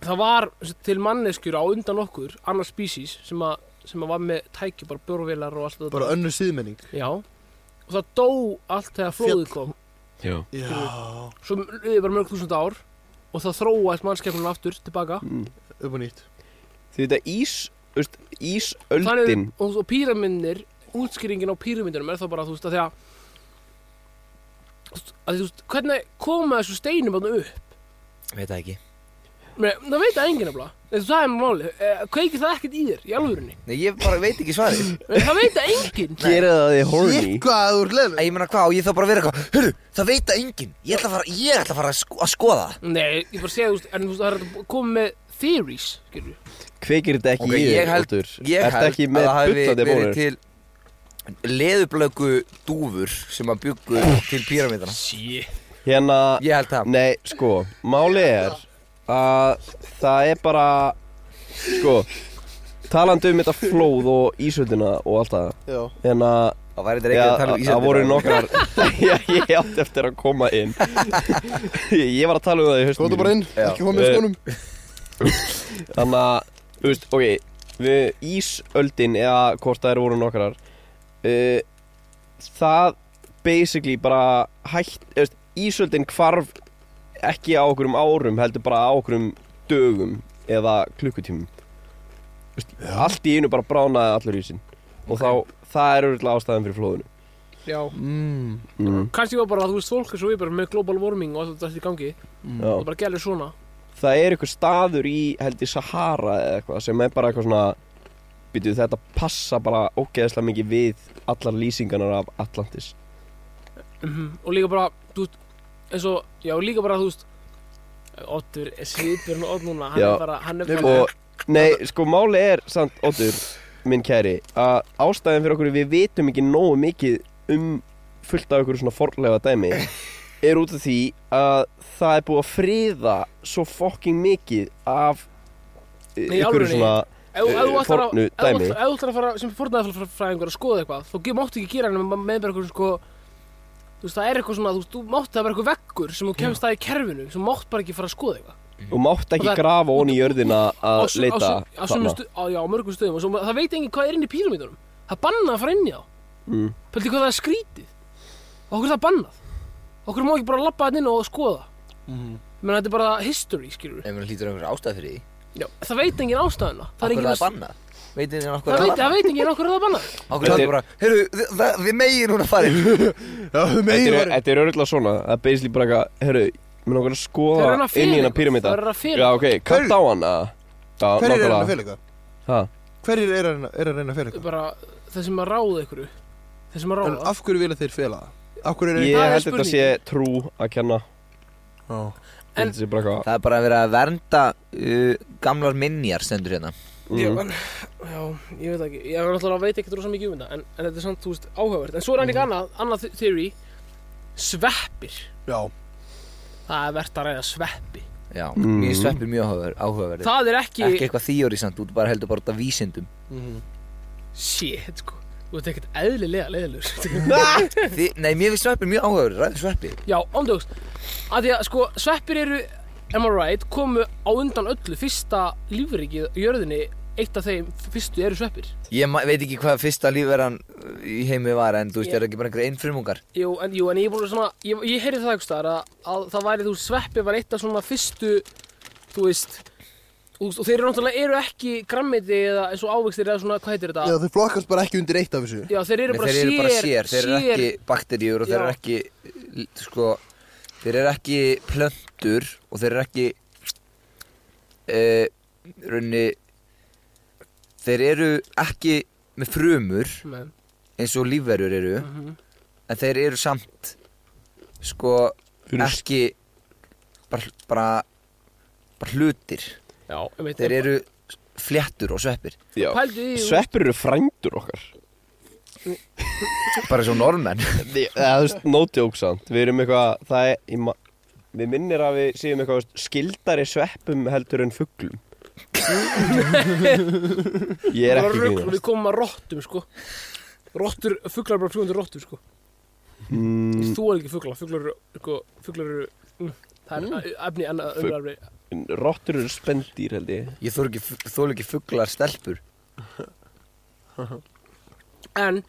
Speaker 2: Það var til manneskjur á undan okkur, annar spísís, sem að, sem að var með tæki, bara bjórvélar og allt þetta.
Speaker 3: Bara önnur síðmenning
Speaker 2: Já. Og það dó allt þegar flóðið
Speaker 3: Féll.
Speaker 2: kom.
Speaker 1: já.
Speaker 3: Já
Speaker 2: Svo liðið bara mörg þúsund ár og það þróaðist mannskepnum aftur tilbaka.
Speaker 3: Upp og nýtt
Speaker 1: því þetta ís veist, ísöldin
Speaker 2: Þannig, og, og píramindin, útskýringin á píramindinum er þá bara, þú veist, að því að, að því, þú veist, hvernig koma þessu steinum bara upp?
Speaker 4: Veit það ekki
Speaker 2: Nei, það veit það enginn nefnilega. Þetta það er máli. Eh, Kveikir það ekkert í þér í alvörunni?
Speaker 4: Nei, ég bara veit ekki svarið
Speaker 1: (laughs)
Speaker 2: Nei, Það veit það enginn.
Speaker 1: gera það þið horny
Speaker 3: Shit, hvað þú ert
Speaker 4: Æ,
Speaker 3: leðileg
Speaker 4: Ég meina hvað, og ég þá bara að vera eitthvað Hörru, það veit það enginn Ég ætla að fara, ég ætla að fara að, sko, að skoða það
Speaker 2: Nei, ég bara segja, þú veist, en þú veist, það er hægt að koma með theories, skilur við.
Speaker 1: kveikir þetta ekki
Speaker 4: Ok,
Speaker 1: í
Speaker 4: ég
Speaker 1: þér
Speaker 4: held,
Speaker 1: Oddur?
Speaker 4: ég
Speaker 1: Ertu
Speaker 4: held
Speaker 1: ekki
Speaker 4: að
Speaker 1: með
Speaker 4: það hafi
Speaker 1: bullandi
Speaker 4: verið
Speaker 1: bólur
Speaker 4: til Leðublöku dúfur sem að byggu til píramindana
Speaker 2: Shit.
Speaker 1: hérna
Speaker 4: Ég held það
Speaker 1: Nei, sko, máli er að það er bara sko, talandi um þetta flóð og ísöldina og allt það
Speaker 3: Já
Speaker 1: en að
Speaker 4: Það væri þetta
Speaker 1: Já,
Speaker 4: ekki að tala um
Speaker 1: það
Speaker 4: Íslandir
Speaker 1: voru nokkrar Já, (laughs) ég átti eftir að koma inn (laughs) Ég ég var að tala um það í haustum
Speaker 3: Góðu bara inn,
Speaker 4: Já.
Speaker 3: ekki koma með
Speaker 1: Eh,
Speaker 3: skónum
Speaker 1: Þannig að, þú veist, ok við Ísöldin eða hvort eh, það eru voru nokkrar uh, Það basically bara hætt þú veist, Ísöldin hvarf ekki á okkurum árum heldur bara á okkurum dögum eða klukkutímum Þú veist, allt í einu bara bránaði allur ísinn og þá, það er auðvitað ástæðan fyrir flóðinu
Speaker 2: já
Speaker 3: mm,
Speaker 1: mm.
Speaker 2: kannski var bara, þú veist, fólk er svo yfir með global warming og allt þetta í gangi
Speaker 1: Já.
Speaker 2: það bara gælir svona
Speaker 1: það er eitthvað staður í held í Sahara eða eitthvað sem er bara eitthvað svona byrju þetta passa bara ógeðslega mikið við allar lýsingarnar af Atlantis
Speaker 2: og líka bara, þú veist, eins og já, líka bara, þú veist Ottur, svipurinn og Ott núna hann
Speaker 1: Já.
Speaker 2: er bara, hann er bara
Speaker 1: og nei, sko máli er samt, Otur, minn kæri að ástæðan fyrir okkur er við vitum ekki nógu mikið um fullt af okkur svona forlega
Speaker 2: (laughs)
Speaker 1: dæmi er út af því að það er búið að friða svo fokking mikið af eh,
Speaker 2: Nei, í
Speaker 1: einhverju
Speaker 2: alvörunni.
Speaker 1: svona
Speaker 2: ef ef þú ætlar að-
Speaker 1: Eh, fornu
Speaker 2: ef þú
Speaker 1: dæmi.
Speaker 2: ætlar- ef þú ætlar að fara sem fornaðarfræðingur að skoða eitthvað þá ge- máttu ekki gera hann með með bara eitthvað sko þú veist það er eitthvað svona þú, veist, þú máttu það er bara eitthvað veggur sem þú kemst að í kerfinu sem mátt bara ekki fara að skoða eitthvað
Speaker 1: og mátt
Speaker 2: Og
Speaker 1: ekki
Speaker 2: það-
Speaker 1: grafa onni í jörðina að
Speaker 2: Á su- á
Speaker 1: leita
Speaker 2: su- á sumum
Speaker 1: þarna.
Speaker 2: stu- á- já, á mörgum stöðum og svo, það veit enginn hvað er inn í píramítunum það bannað að fara inn í þá
Speaker 1: Mm.
Speaker 2: Pöldi hvað það er skrítið Og okkur er það bannað Okkur má ekki bara labba hann inn og skoða
Speaker 4: Mhm.
Speaker 2: Menn þetta er bara history, skilur
Speaker 4: Ef maður hlýtur einhver ástæð fyrir því
Speaker 2: Já, það veit enginn ástæðuna Það er
Speaker 4: Akkur
Speaker 2: enginn
Speaker 4: það er
Speaker 2: að-
Speaker 4: bannað Veitir þið okkur
Speaker 2: Það
Speaker 4: það
Speaker 2: veit,
Speaker 4: er
Speaker 2: það
Speaker 4: bannað
Speaker 2: veit enginn okkur er það bannað
Speaker 4: Akkur það er bara Heyrðu, þið- það- þið megin núna farið
Speaker 3: Já,
Speaker 1: Þetta er-
Speaker 3: meira
Speaker 1: þetta er örgulega svona það er basically bara eitthvað herru, mér langar að
Speaker 2: Það
Speaker 1: skoða
Speaker 2: er hann að fela
Speaker 1: inn í hennar
Speaker 2: eitthvað,
Speaker 1: píramíta
Speaker 2: það er hann að fela
Speaker 1: já ok, kallt á hann að já,
Speaker 3: Hverjir er
Speaker 1: nákvæmlega.
Speaker 3: hann að fela eitthvað?
Speaker 1: Ha?
Speaker 3: Hverjir er hann er að reyna að fela
Speaker 2: Það er
Speaker 3: eitthvað?
Speaker 2: bara þeir sem að ráða ykkur Þeir sem að
Speaker 3: En
Speaker 2: ráða
Speaker 3: af hverju vilja þeir fela það? Af hverju er
Speaker 1: ég
Speaker 2: Það er
Speaker 1: held þetta sé
Speaker 2: spurningin.
Speaker 1: trú að kenna
Speaker 3: einhvern
Speaker 2: En-
Speaker 1: þetta sé bara eitthvað
Speaker 4: Það er bara að vera að vernda uh, gamlar minjar stendur hérna
Speaker 1: mm,
Speaker 2: ég, en, Já, ég veit það ekki Ég er náttúrulega að veit ekkert rosa mikið um þetta en, en þetta er samt, þú veist, áhugavert En svo er hann líka annað, annað the- theory Sveppir
Speaker 3: Já,
Speaker 2: Það er verðt að ræða sveppi
Speaker 4: Já,
Speaker 1: Mm.
Speaker 4: mér sveppir mjög áhugaverð- áhugaverðir
Speaker 2: Það er ekki,
Speaker 4: Ekki eitthvað þýjóri samt, þú ert bara heldur bara út af vísindum
Speaker 2: Shit, sko Þú ert ekkert eðlilega leiðilegur
Speaker 4: (laughs) Þi, Nei, mér finnst sveppir mjög áhugaverðir, ræðu sveppir
Speaker 2: (laughs) Já, ándjóks að Því að sko, sveppir eru Am I right, komu á undan öllu Fyrsta lífrikið á jörðinni Eitt af þeim fyrstu eru sveppir
Speaker 4: Ég ma- veit ekki hvað fyrsta lífverðan í heimi var En þú veist,
Speaker 2: Ég-
Speaker 4: er ekki bara einhver einn frumungar
Speaker 2: Jú, en, jú, en ég, er búin að svona, ég, ég heyrði það eitthvað að, að það væri þú sveppi var eitt af svona fyrstu Þú veist Og, og þeir eru náttúrulega eru ekki grammiti eða eins og ávegstir eða svona, hvað heitir þetta?
Speaker 3: Já, þau flokkast bara ekki undir eitt af þessu
Speaker 2: Já, þeir eru
Speaker 4: Nei,
Speaker 2: bara
Speaker 4: þeir eru
Speaker 2: sér,
Speaker 4: bara sér, þeir eru ekki bakteríur og þeir
Speaker 2: Já.
Speaker 4: eru ekki, l- sko, þeir eru ekki plöntur og þeir eru ekki, uh, raunni, þeir eru ekki með frumur
Speaker 2: Men,
Speaker 4: eins og lífverjur eru,
Speaker 2: Mhm.
Speaker 4: en þeir eru samt, sko,
Speaker 1: Fyrir-
Speaker 4: ekki, bara, bara, bara hlutir,
Speaker 2: Já, ég veit
Speaker 4: þeir eru fléttur og sveppir,
Speaker 1: Já.
Speaker 2: Pældu í
Speaker 1: sveppir eru frændur okkar
Speaker 4: bara eins og normenn.
Speaker 1: Þi- eða þú veist, no joke samt við erum eitthvað, það er ég ma- við minnir að við séum eitthvað þú veist, skyldari sveppum heldur en
Speaker 2: (laughs)
Speaker 1: fugglum ég er ekki að
Speaker 2: rugl,
Speaker 1: grínast
Speaker 2: Við komum að rottum sko Rottur, fuglar eru bara fljúandi rottur sko
Speaker 1: Mm,
Speaker 2: Þú er ekki fugla, fuglar eru sko, Fuglar eru mm, Það er mm. efni annað
Speaker 1: Fugl-
Speaker 2: umræfni
Speaker 1: rottur eru spendýr held ég
Speaker 4: (laughs) Ég þólu ekki, þólu ekki fuglar stelpur.
Speaker 2: En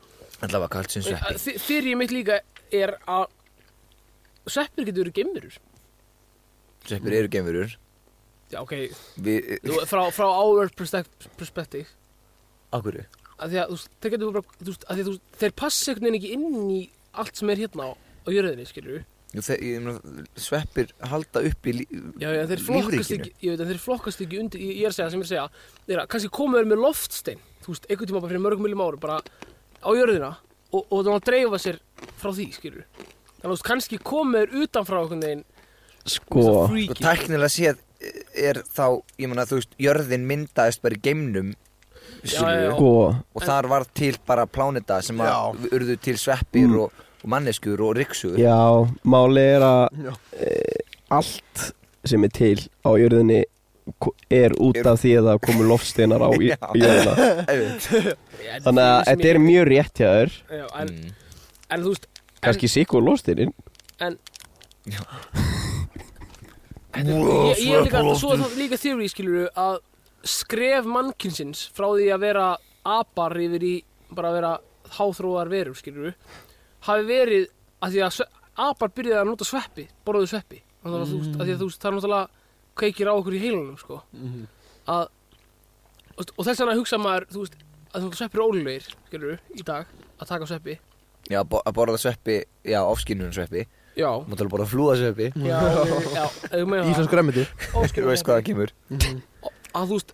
Speaker 4: Allavega kalt sem sveppi
Speaker 2: þi- þeoríu mitt líka er að Sveppir getur verið geimurur
Speaker 4: Sveppir eru geimurur
Speaker 2: Já ok,
Speaker 4: Við,
Speaker 2: þú, frá, frá our perspec- perspective
Speaker 4: akkur
Speaker 2: að því að þú veist, þeir getur bara þú veist, að því að þú veist, þeir passa einhvern veginn ekki inn í allt sem er hérna á, á jörðinni skilur við
Speaker 4: Sveppir halda upp í lí,
Speaker 2: Já, já, en þeir flokkast
Speaker 4: lífríkinu
Speaker 2: ekki, ég veit, en þeir flokkast ekki undir, ég, ég er að segja það sem ég er að segja, þeir að kannski komu þeir með loftstein, þú veist, einhvern tíma bara fyrir mörgum miljum árum, bara á jörðina og, og þannig að dreifa sér frá því, skilur. Þannig að þú veist, kannski komu þeir utan frá einhvern veginn,
Speaker 1: sko
Speaker 2: það
Speaker 4: Og
Speaker 2: freaky.
Speaker 4: tæknilega séð er þá Ég meina þú veist, jörðin myndaðist bara í geimnum
Speaker 2: já,
Speaker 4: skilur við,
Speaker 2: já.
Speaker 1: sko
Speaker 4: Og þar var til bara pláneta sem að urðu til sveppir og, og manneskur og ryksugur
Speaker 1: Já, máli er að
Speaker 3: Já.
Speaker 1: e, allt sem er til á jörðinni ko- er út af því að það komu loftsteinar
Speaker 4: (laughs)
Speaker 1: á í-
Speaker 4: Já.
Speaker 1: jörðina
Speaker 4: Æ,
Speaker 2: Já, þetta
Speaker 1: Þannig að
Speaker 2: þeory sem
Speaker 1: þetta er
Speaker 2: ég-
Speaker 1: mjög rétt hjá þér
Speaker 2: Já, en, en þú veist,
Speaker 1: Kanski sikur loftsteinin
Speaker 2: en... (laughs) Þetta er- Ég ég er líka, svo er það líka theory, skilur við, að skref mannkynsins frá því að vera apar yfir í bara að vera háþróar verur, skilur við, hafi verið að því að sve- apar byrjaði að nota sveppi borðuðu sveppi mm. að, þú, veist, að því að þú veist, það er náttúrulega kveikir á okkur í heilunum sko. að, þú veist, og þess vegna hugsa maður þú veist, að þú sveppir ólulegir skilur, í dag, að taka sveppi
Speaker 4: (laughs) Já, bo að borða sveppi, já, ofskinnun sveppi
Speaker 2: já,
Speaker 4: Máttu alveg borða flúða sveppi
Speaker 2: já, já, ef þú meina
Speaker 3: Íslensk remmiti
Speaker 2: það
Speaker 4: Þú veist hvað það kemur
Speaker 2: að þú veist,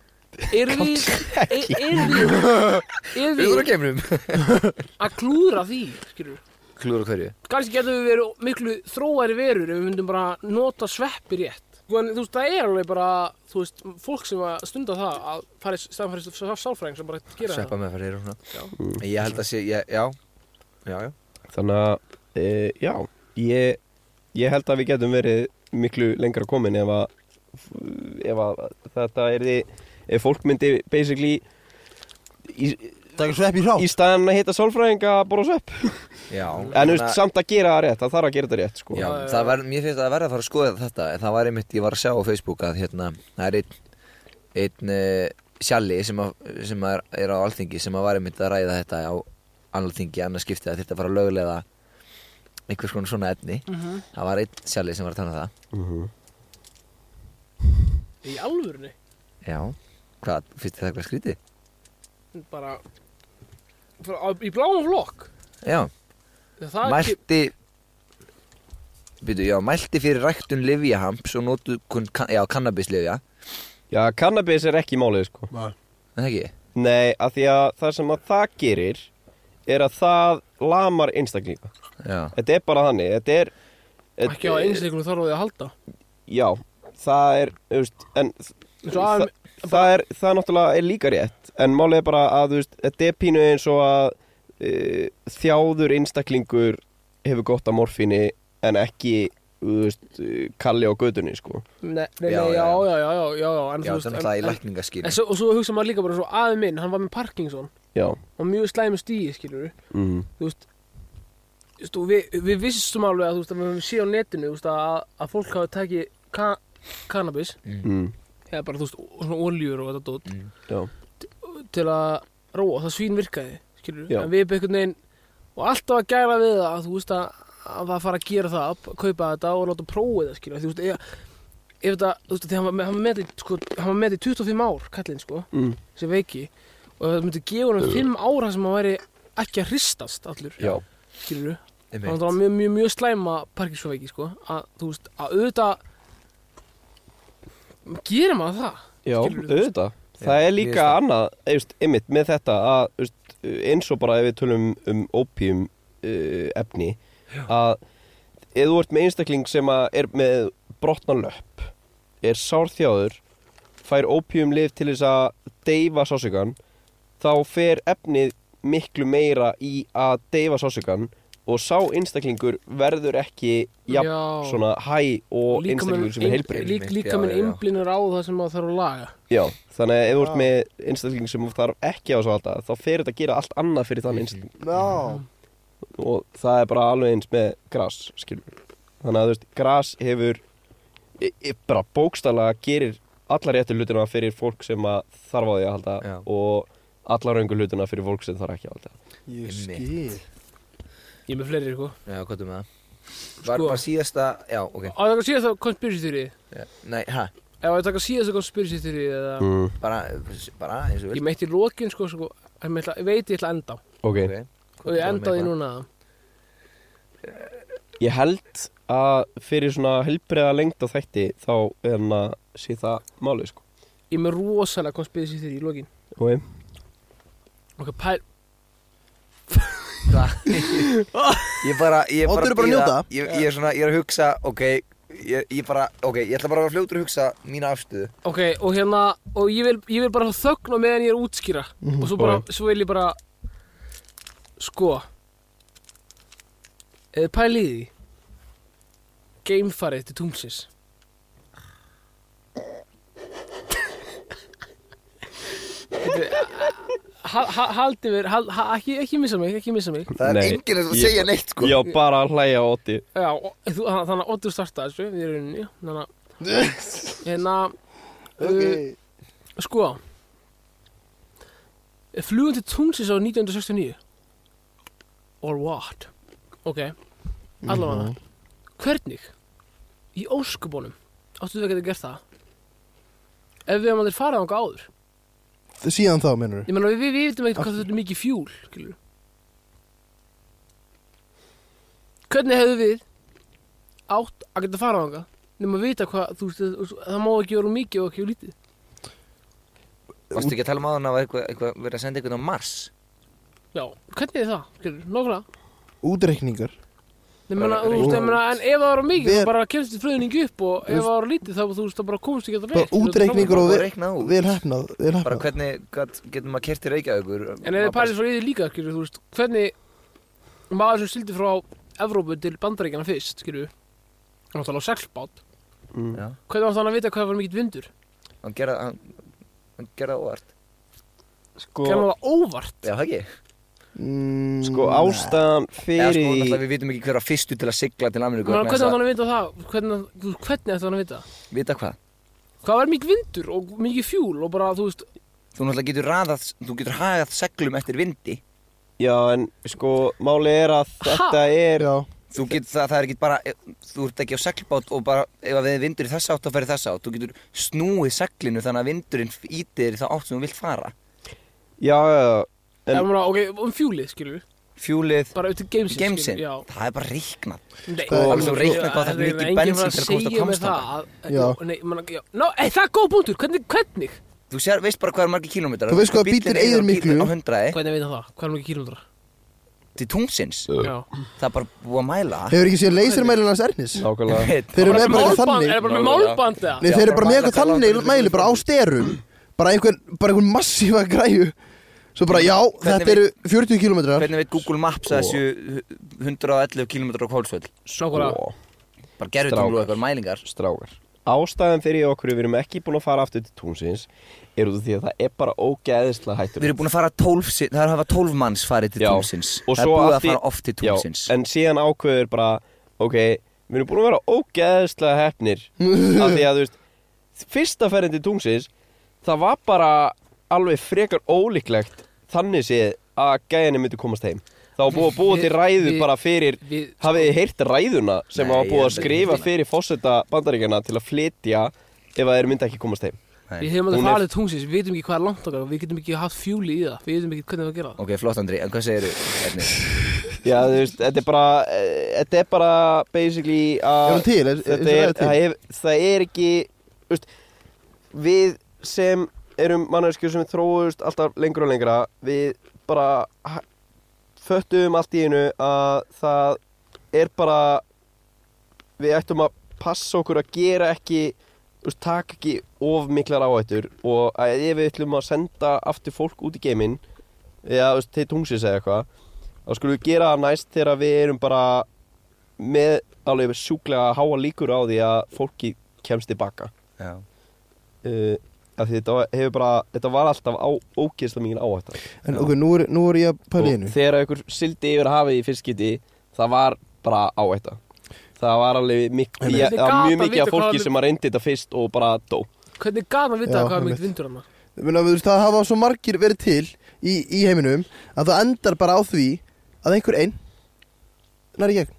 Speaker 2: erum við e- erum við erum
Speaker 4: Þú
Speaker 2: við
Speaker 4: veist kemur
Speaker 2: að klúðra því skilur
Speaker 4: Klúður á hverju
Speaker 2: kannski getum við verið miklu þróæri verur ef við myndum bara nota sveppi rétt en þú veist, það er alveg bara þú veist, fólk sem að stunda það að fara í staðfæri sálfræðing sem bara gera
Speaker 4: Sveppa með fyrir og svona
Speaker 2: Já.
Speaker 4: Ég held að sé, ég, já Já, já
Speaker 1: Þannig að, e, já, ég, ég held að við getum verið miklu lengra komin ef að, ef að þetta er því, ef fólk myndi basically í,
Speaker 3: Takk svepp í hrá
Speaker 1: í staðan að hitta sálfræðinga bara svepp.
Speaker 4: Já
Speaker 1: En þú
Speaker 4: Þannig
Speaker 1: veist,
Speaker 4: að-
Speaker 1: samt að gera það rétt, það þarf að gera þetta rétt, sko.
Speaker 4: Já,
Speaker 2: Já, já,
Speaker 4: það var, mér finnst að það verða að fara að skoða þetta En það var einmitt, ég var að sjá á Facebook að hérna Það er einn, einn uh, sjalli sem, að, sem að er, er á alþingi Sem að var einmitt að ræða þetta á alþingi Annars skipti að þetta fara að löglega Einhvers konar svona efni
Speaker 2: Mhm.
Speaker 4: Það var einn sjalli sem var að tala um það
Speaker 1: Mhm.
Speaker 2: í alvörunni
Speaker 4: Já, hvað, finnst þið það eitthvað skrítið?
Speaker 2: bara frá, á, í bláum flokk
Speaker 4: Já,
Speaker 2: það er ekki
Speaker 4: mælti Býtu, já, mælti fyrir ræktun livjahamps og notu kun, já, kannabislyfja
Speaker 1: Já, cannabis er ekki málið, sko.
Speaker 4: Er Það ekki?
Speaker 1: Nei, af því að það sem að það gerir er að það lamar einstaklinga.
Speaker 4: Já,
Speaker 1: Þetta er bara þannig, þetta er...
Speaker 2: ekki á einsleikunum þarf á því að halda
Speaker 1: Já, það er, þú veist, en
Speaker 2: eins og aðeim
Speaker 1: það er, það er náttúrulega er líka rétt en málið er bara að þú veist, þetta er pínu eins og að uh, þjáður einstaklingur hefur gott af morfíni en ekki þú veist, eh, kalli á gödunni sko.
Speaker 2: nei, nei, nei,
Speaker 4: Já,
Speaker 2: já,
Speaker 4: já,
Speaker 2: já,
Speaker 4: já.
Speaker 2: já, já, já, já, en þú
Speaker 4: já það er náttúrulega í
Speaker 2: en, en,
Speaker 4: lækningaskýr
Speaker 2: en, svo- og svo hugsa maður líka bara svo aðeim minn, hann var með Parkinson
Speaker 1: já,
Speaker 2: og mjög slæmi stíi, skilur
Speaker 1: mm.
Speaker 2: þú veist, þú veist og við, við vissum alveg að þú veist að við höfum séð á netinu þú veist, að, að fólk hafi tekið ka cannabis
Speaker 1: Mm.
Speaker 2: eða bara þú veist og svona oljur og þetta dót
Speaker 1: já,
Speaker 2: til að róa það svín virkaði skilur
Speaker 1: Já.
Speaker 2: en við erum einhvern veginn og alltaf að gæra við það þú veist að, að það fara að gera það að kaupa þetta og láta prófið það skilur þú veist ef, ef þetta þú veist því hann var með- hann var með þetta sko, hann var með þetta í 25 ár kallinn sko
Speaker 1: Mm.
Speaker 2: sem veiki og það myndi gefa hann 5 ára sem hann væri ekki að hristast allur
Speaker 1: já,
Speaker 2: skilur
Speaker 4: Einmitt.
Speaker 2: þannig að það var mjög, mjög, mjög slæma parkinsonveiki sko, að þú veist, að auðvitað gerir maður það
Speaker 1: já
Speaker 2: Skilurðu, þú veist.
Speaker 1: auðvitað það
Speaker 4: Já,
Speaker 1: er líka
Speaker 4: niðurstaða.
Speaker 1: annað þú veist, einmitt með þetta að þú veist, eins og bara ef við tölum um opium uh, efni að ef þú ert með einstakling sem að er með brotnan löpp er sárþjáður fær opiumlif til þess að deyfa sásugan þá fer efnið miklu meira í að deyfa sásugan og sá einstaklingur verður ekki jafn
Speaker 2: Já.
Speaker 1: svona hæ og einstaklingur sem er
Speaker 2: ein,
Speaker 1: heilbrið
Speaker 2: lík,
Speaker 4: Einmitt,
Speaker 2: líka
Speaker 4: já,
Speaker 2: minn
Speaker 4: já, já.
Speaker 2: einblínur á það sem maður þarf að laga
Speaker 1: Já, þannig að ef þú ert með einstakling sem þarf ekki á þessu að halda þá fer þetta að gera allt annað fyrir þann einstakling
Speaker 3: Já
Speaker 1: og það er bara alveg eins með gras skilur. þannig að þú veist, gras hefur e, e, bara bókstala gerir alla réttu hlutina fyrir fólk sem að þarf á því að halda
Speaker 4: Já.
Speaker 1: og alla raungu hlutina fyrir fólk sem þarf ekki að halda
Speaker 3: Ég
Speaker 4: Einmitt.
Speaker 3: skil
Speaker 2: ég er með fleiri sko
Speaker 4: Já, hvað er með það? Var bara síðasta, já, ok
Speaker 2: á þetta síðast að conspiracy theory
Speaker 4: Já, Nei, hæ,
Speaker 2: ef þetta síðast að conspiracy theory eða,
Speaker 1: mm.
Speaker 4: bara, bara eins og
Speaker 2: ég
Speaker 4: vil
Speaker 2: meitt í lokin sko, sko ég, ætla, ég veit ég ætla að enda á.
Speaker 1: Ok,
Speaker 2: og ég endaði núna
Speaker 1: ég held að fyrir svona helbriða lengt á þætti þá er hann að sé það málið sko
Speaker 2: ég er með rosalega conspiracy theory í lokin
Speaker 1: Ok,
Speaker 2: ok, pæl
Speaker 4: Ég bara,
Speaker 3: Oddur er
Speaker 4: ég bara
Speaker 3: bara að
Speaker 4: bíða.
Speaker 3: njóta.
Speaker 4: ég, ég er svona, ég er að hugsa, ok Ég, ég bara, ok, ég ætla bara að vera fljótur að hugsa mína afstöðu
Speaker 2: Ok, og hérna, og ég vil, ég vil bara fá þögn á meðan ég er að útskýra og svo bara, svo vil ég bara sko eða pæli í því geimfarið til tungsis Haldi mér, hal, ha, ekki, ekki missa mig, ekki missa mig
Speaker 4: Það er
Speaker 1: Nei,
Speaker 4: enginn að
Speaker 1: ég-
Speaker 4: segja neitt, sko
Speaker 1: Já, bara að hlæja á otti
Speaker 2: Já, og- þú- þannig þannig að Oddur startaði þessu í rauninni, þannig að hérna uh,
Speaker 3: Ok
Speaker 2: Sko Flugum til tungsis á 1969 Or what? Ok allavega hvernig í óskubónum áttu þau að geta gert það ef við hefum allir farað þangað áður
Speaker 3: Síðan þá, mennur
Speaker 2: ég meina við, við, við vitum ekkert hvað þetta er mikið fjúl skilur. hvernig hefðu við átt að geta farað þangað nema að vita hvað þú veist það- það má ekki vera of mikið og ekki of lítið
Speaker 4: Varstu ekki að tala um áðan að var eitthvað, eitthvað verið að senda eitthvað á Mars?
Speaker 2: já hvernig er það skilur nokkla
Speaker 3: Útreikningar
Speaker 2: Nei, meina,
Speaker 4: Bara
Speaker 2: þú veist, ég meina, en ef það var of mikið
Speaker 3: Ver-
Speaker 2: þá bara kemst þið fröðningi upp og ef
Speaker 3: Þú-
Speaker 2: það var of lítið þá þú veist það bara komst ekki að það
Speaker 3: Bara útreikningur og
Speaker 4: Bara
Speaker 3: vel-
Speaker 4: reikna út.
Speaker 3: vel hefnað Vel
Speaker 4: Bara
Speaker 3: hefnað
Speaker 4: hvernig gat, getum maður kert í Reykjavíkur?
Speaker 2: En ef þið pælið svo í því líka, skilur, þú veist, hvernig maður sem sildi frá Evrópu til Bandaríkjana fyrst, skilur, hann átti alveg seglbát,
Speaker 1: Mm.
Speaker 4: Já,
Speaker 2: hvernig átti hann að vita hvað var mikill vindur?
Speaker 4: hann gera, hann, hann gera það óvart.
Speaker 1: Sko,
Speaker 2: Hvernig var það óvart?
Speaker 4: Já, það ekki?
Speaker 3: Mm,
Speaker 1: sko ástæðan
Speaker 4: Eða sko,
Speaker 1: fyrir
Speaker 4: náttúrulega við vitum ekki hver var fyrstur til að sigla til Ameríku.
Speaker 2: Ég meina,
Speaker 4: vegna
Speaker 2: Hvernig átti hann
Speaker 4: þess
Speaker 2: að vita það? Hvernig, þú veist, hvernig átti hann að vita það?
Speaker 4: að- Vita hvað?
Speaker 2: Hvað var mikill vindur og mikið fjúl og bara, þú veist,
Speaker 4: Þú náttúrulega getur raðað, þú getur hagað seglum eftir vindi.
Speaker 1: Já en sko máli er að þetta er
Speaker 3: Já,
Speaker 4: Þú getur það, það er ekki bara, þú ert ekki á seglbát og bara, ef að við vindur í þessa átt, þá ferði þessa átt. Þú getur snúið seglinu þannig að vindurinn ítir þér í þá átt sem þú vilt fara.
Speaker 1: Já já já En-
Speaker 2: en, bara, ok, um fjúlið, skilur,
Speaker 4: Fjúlið,
Speaker 2: bara upp til gamesins,
Speaker 4: gamesinn,
Speaker 2: já.
Speaker 4: það er bara reiknað.
Speaker 2: Nei,
Speaker 3: Sko,
Speaker 4: alveg svo reikna hvað það er
Speaker 2: það
Speaker 4: mikið
Speaker 2: enginn
Speaker 4: bensín
Speaker 2: fara segja
Speaker 4: til að komast á
Speaker 2: mér
Speaker 4: Hvammstanga.
Speaker 2: það að-
Speaker 3: Já.
Speaker 2: Nei, man, já. Ná, ey, það er góð punktur, hvernig, hvernig?
Speaker 4: Þú sér, veist bara hvað er margir kílómetrar
Speaker 3: Þú veist hvað
Speaker 4: Bíllinn
Speaker 3: bíllinn eyðir
Speaker 4: á-
Speaker 3: miklu.
Speaker 4: Á hundraði
Speaker 2: Hvernig veit hann það? Hvað er mikið kílómetrar?
Speaker 4: Til tungsins
Speaker 2: Já.
Speaker 4: Það er bara búið að mæla það.
Speaker 3: hefur ekki séð leysirmælinn hans Ernis?
Speaker 4: (laughs)
Speaker 1: Nákvæmlega
Speaker 3: Þeir eru
Speaker 2: Bara
Speaker 4: Eh,
Speaker 3: með bara eitthvað
Speaker 2: málband-
Speaker 3: þannig
Speaker 2: Er bara með málband eða?
Speaker 3: Nei,
Speaker 4: Já,
Speaker 3: þeir eru
Speaker 4: bara
Speaker 3: bara með eitthvað
Speaker 4: mæla-
Speaker 3: þannig
Speaker 4: mæla-
Speaker 3: mæli bara á styrum bara einhver, bara einhver massífa græju svo bara, já,
Speaker 4: Hvernig
Speaker 3: þetta eru 40 kilometrar
Speaker 4: Hvernig veit Google Maps að þessu 111 kílómetrar á Kólsvöll
Speaker 2: Nákvæmlega
Speaker 1: Ó,
Speaker 4: Bara gerður þú
Speaker 1: Strákar.
Speaker 4: eitthvað mælingar
Speaker 1: Strákar Ástæðan fyrir okkur við erum ekki búin að fara aftur til túnsins Er út af því að það er bara ógeðislega hættur
Speaker 4: Við erum búin að fara 12 si- Það er að hafa 12 manns farið til tungsins Það er búið að fara oft til tungsins
Speaker 1: En síðan ákveður bara Ok, við erum búin að vera ógeðislega hefnir Af því að þú veist Fyrsta ferðin til tungsins Það var bara alveg frekar ólíklegt Þannig séð að gæðinni myndi komast heim Það var búið að búa
Speaker 2: Við-
Speaker 1: til ræðu
Speaker 2: við-
Speaker 1: bara fyrir
Speaker 2: við-
Speaker 1: Hafið þið heyrt ræðuna sem
Speaker 4: sko- Nei,
Speaker 1: var búið að
Speaker 4: ég-
Speaker 1: skrifa fyrir fósetta bandaríkjana til að flytja ef að þeir myndi ekki komast heim
Speaker 4: Nei.
Speaker 2: Við hefum
Speaker 1: Hún
Speaker 2: alltaf
Speaker 1: er-
Speaker 2: farið til tungsins, við veitum ekki hvað er langt okkar og við getum ekki haft fjúli í það, við veitum ekki hvernig það gera það.
Speaker 4: Ok, flott Andri, en hvað segir þú?
Speaker 1: Já, þú veist, þetta er bara eh, Þetta er bara basically
Speaker 3: Er
Speaker 1: að
Speaker 3: hún til? Er- er-
Speaker 1: þetta
Speaker 3: er-
Speaker 1: er,
Speaker 3: er til?
Speaker 1: það, er, það er ekki veist, við sem erum manneskjur sem þróust alltaf lengra og lengra við bara ha- föttum allt í einu að það er bara við ættum að passa okkur að gera ekki veist, taka ekki of miklar áhættur og að ef við ætlum að senda aftur fólk út í geiminn eða veist, til tungsins eða eitthvað þá skulum við gera það næst þegar við erum bara með alveg sjúklega háa líkur á því að fólki kemst tilbaka
Speaker 4: Já
Speaker 1: uh, af því þetta var- hefur bara þetta var alltaf á ógeðslega mikið áhætt
Speaker 3: En ok, nú er, nú er ég að
Speaker 1: og
Speaker 3: pæla í einu
Speaker 1: þegar einhver sildi yfir hafið í fyrstskiti það var bara áhætta það var alveg mik
Speaker 3: Einmitt.
Speaker 1: ég,
Speaker 2: Þið
Speaker 1: það var
Speaker 2: gat
Speaker 1: mjög
Speaker 2: að
Speaker 1: mikið
Speaker 2: vita
Speaker 1: af
Speaker 2: hvað
Speaker 1: fólki
Speaker 2: við-
Speaker 1: sem að reyndi þetta fyrst og bara dó
Speaker 2: Hvernig gaf að vita
Speaker 3: Já,
Speaker 2: hvað er
Speaker 3: einmitt.
Speaker 2: mikill vindur hann?
Speaker 3: Ég meina, þú veist, Það hafa svo margir verið til í, í heiminum að það endar bara á því að einhver einn næri gegn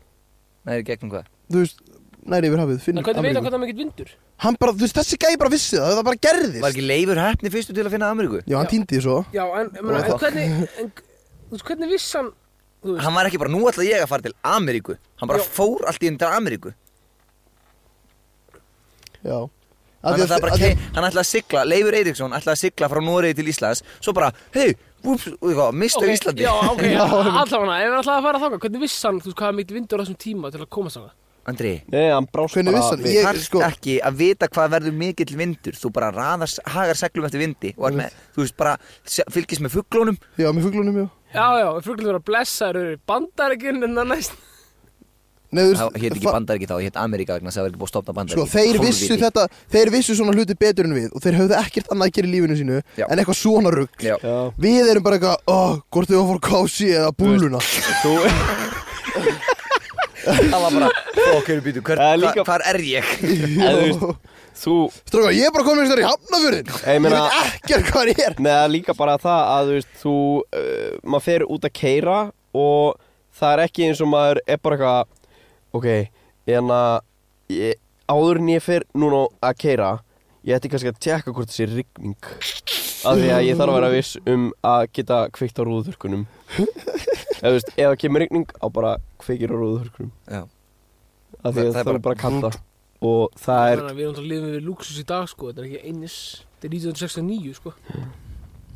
Speaker 4: Nei, í gegnum hvað?
Speaker 3: þú veist, næri yfir
Speaker 2: En
Speaker 3: hafið finnur
Speaker 2: hvernig veit hann
Speaker 3: Ameríku.
Speaker 2: hvað það er mikill vindur?
Speaker 3: Hann bara, þú veist, þessi gæði bara vissi það, það bara gerðist
Speaker 4: Var ekki Leifur hefni fyrstu til að finna Ameríku?
Speaker 3: Já, hann
Speaker 2: Já.
Speaker 3: týndi því svo
Speaker 2: Já, en, en, en, en hvernig, en, þú veist, hvernig viss hann, þú veist,
Speaker 4: Hann var ekki bara, nú ætla ég að fara til Ameríku Hann bara
Speaker 2: Já.
Speaker 4: fór allt í enn til Ameríku
Speaker 3: Já Af
Speaker 4: Hann
Speaker 3: því að-
Speaker 4: ætlaði bara
Speaker 3: af
Speaker 4: að
Speaker 3: því að-
Speaker 4: kei- hann ætlaði að sigla, Leifur Eiríksson ætlaði að sigla frá Noregi til Íslands Svo bara, hei, úps, og eitthvað, mistu
Speaker 2: Ok,
Speaker 4: Íslandi
Speaker 2: Já,
Speaker 4: (laughs)
Speaker 2: ok, allavega, ef hann ætlaði að fara þáka, hvernig viss hann, þú veist, hvað er mikill vindur á þessum tíma til að komast þáka?
Speaker 4: Andri,
Speaker 1: Nei, hann brást
Speaker 3: Hvernig
Speaker 1: bara
Speaker 3: vissi hann?
Speaker 1: við-
Speaker 3: Ég-
Speaker 4: ég, þarft
Speaker 3: sko-
Speaker 4: ekki að vita hvað verður mikill vindur Þú bara raðar, hagar seglum eftir vindi Og er með, þú veist, bara se- fylgist með fugglónum
Speaker 3: Já, með fuglunum, já
Speaker 2: Já, já, fruglum vera blessaður eru bandarækjun en það hérna næst.
Speaker 3: Nei, þú
Speaker 4: Það hétt ekki
Speaker 3: fa-
Speaker 4: bandar ekki þá, ég hétt Ameríka vegna þess að það var ekki búið að stopna bandar
Speaker 3: Sko, þeir vissu þetta, þeir vissu svona hluti betur en við og þeir höfðu ekkert annað að gera í lífinu sínu
Speaker 4: Já.
Speaker 3: en eitthvað svona rugg
Speaker 4: Já,
Speaker 1: Já,
Speaker 3: Við erum bara eitthvað, oh, hvort þau var kási eða búluna
Speaker 1: þú (laughs)
Speaker 4: það var bara, ok, býtu, hver,
Speaker 1: Það er
Speaker 4: hva,
Speaker 1: líka-
Speaker 4: hvar er ég?
Speaker 3: (laughs)
Speaker 1: en þú veist, þú
Speaker 3: Stráka, ég er bara komin einhvers þar í hafnafjörðin
Speaker 1: Ég
Speaker 3: Ég
Speaker 1: meina-
Speaker 3: veit ekkert hvað hann er
Speaker 1: Nei, það er líka bara það að þú veist, þú, eh, uh, maður fer út að keira og það er ekki eins og maður er bara eitthvað Ok, en að ég- áður en ég fer núna að keira Ég ætti kannski að tjekka hvort þessi rigning Af því að ég þarf að vera viss um að geta kveikt á rúðuþurkunum Ef þú veist, ef það kemur rigning á bara kveikir á rúðuþurkunum
Speaker 4: Já.
Speaker 1: Af því að
Speaker 4: Það- það er
Speaker 1: það er
Speaker 4: bara
Speaker 1: bara að kalla Og það er
Speaker 2: Þannig að við erum alltaf lifið við luxus í dag sko, þetta er ekki einis, þetta er 1969 sko.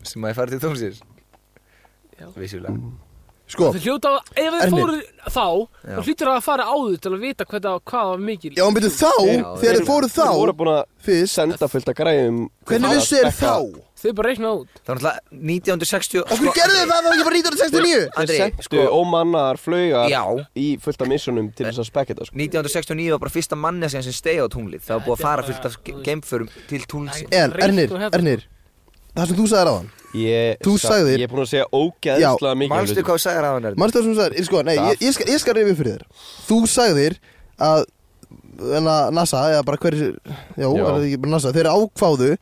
Speaker 4: sem að ég fara til tómsins
Speaker 2: Já.
Speaker 4: Vissulega
Speaker 3: Sko,
Speaker 2: Þau hljóta að, ef þau
Speaker 3: Ernir.
Speaker 2: fóru þá,
Speaker 4: Já.
Speaker 2: þá hlýtur það að fara áður til að vita hvað, hvað var mikil.
Speaker 3: já, en byrju þá,
Speaker 4: Já,
Speaker 3: þegar þið fóru
Speaker 4: þeir-
Speaker 1: Þeir voru
Speaker 3: þá
Speaker 1: búin að
Speaker 3: fyrst,
Speaker 1: senda fullt að græðum
Speaker 3: hvernig vissu þér þá?
Speaker 2: Þau bara reiknaði út.
Speaker 4: Það var náttúrulega sko, 1960
Speaker 3: Okkur gerðu þið það þegar ég var 1969?
Speaker 1: Þeir
Speaker 4: Andri,
Speaker 1: sendu
Speaker 4: sko,
Speaker 1: ómannar flaugar
Speaker 4: Já.
Speaker 1: í fullt af missunum til þess að spekja þetta sko.
Speaker 4: 1969 var bara fyrsta manneskjan sem stegi á tunglið Það var búið að fara fullt af ge- geimförum til tunglsins
Speaker 3: En, Ernir, Ernir Það sem þú sagði ráðan
Speaker 1: Ég,
Speaker 3: Þú
Speaker 1: sa-
Speaker 3: sagðir-
Speaker 1: Ég er búin að segja ógeðslega mikið af
Speaker 4: Manstu
Speaker 1: hlutum.
Speaker 4: hvað þú sagði ráðan er?
Speaker 3: Manstu það sem þú sagðir, sko, nei, ég, ég skal, ég skal reyfi fyrir þér Þú sagðir að en að NASA, eða bara hverjir Já, er það ekki bara NASA, þeir ákváðu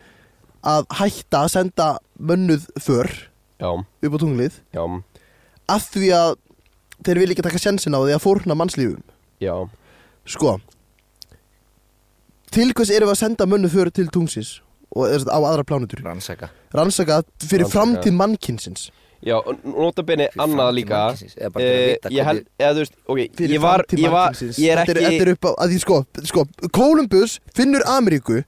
Speaker 3: að hætta að senda mönnuð för
Speaker 1: Já,
Speaker 3: upp á tunglið
Speaker 1: já,
Speaker 3: af því að þeir vilja ekki taka sjensin á því að fórna mannslífum
Speaker 1: já
Speaker 3: Sko Til hvers erum við að senda mönnuð för til tungsins og eða sem sagt á aðra plánutur
Speaker 4: Rannsaka
Speaker 3: rannsaka fyrir
Speaker 1: Rannsaka.
Speaker 3: framtíð mannkynsins
Speaker 1: Já, og notabene annað
Speaker 4: framtíð
Speaker 1: líka
Speaker 4: mannkynsins, eða bara til að
Speaker 1: eh,
Speaker 4: vita
Speaker 1: Ég held, eða þú veist, ok
Speaker 3: fyrir
Speaker 1: Ég var,
Speaker 3: framtíð
Speaker 1: ég var,
Speaker 3: mannkynsins.
Speaker 1: ég er
Speaker 3: Þetta
Speaker 1: ekki
Speaker 3: þetta er upp á, að því sko, sko Columbus finnur Ameríku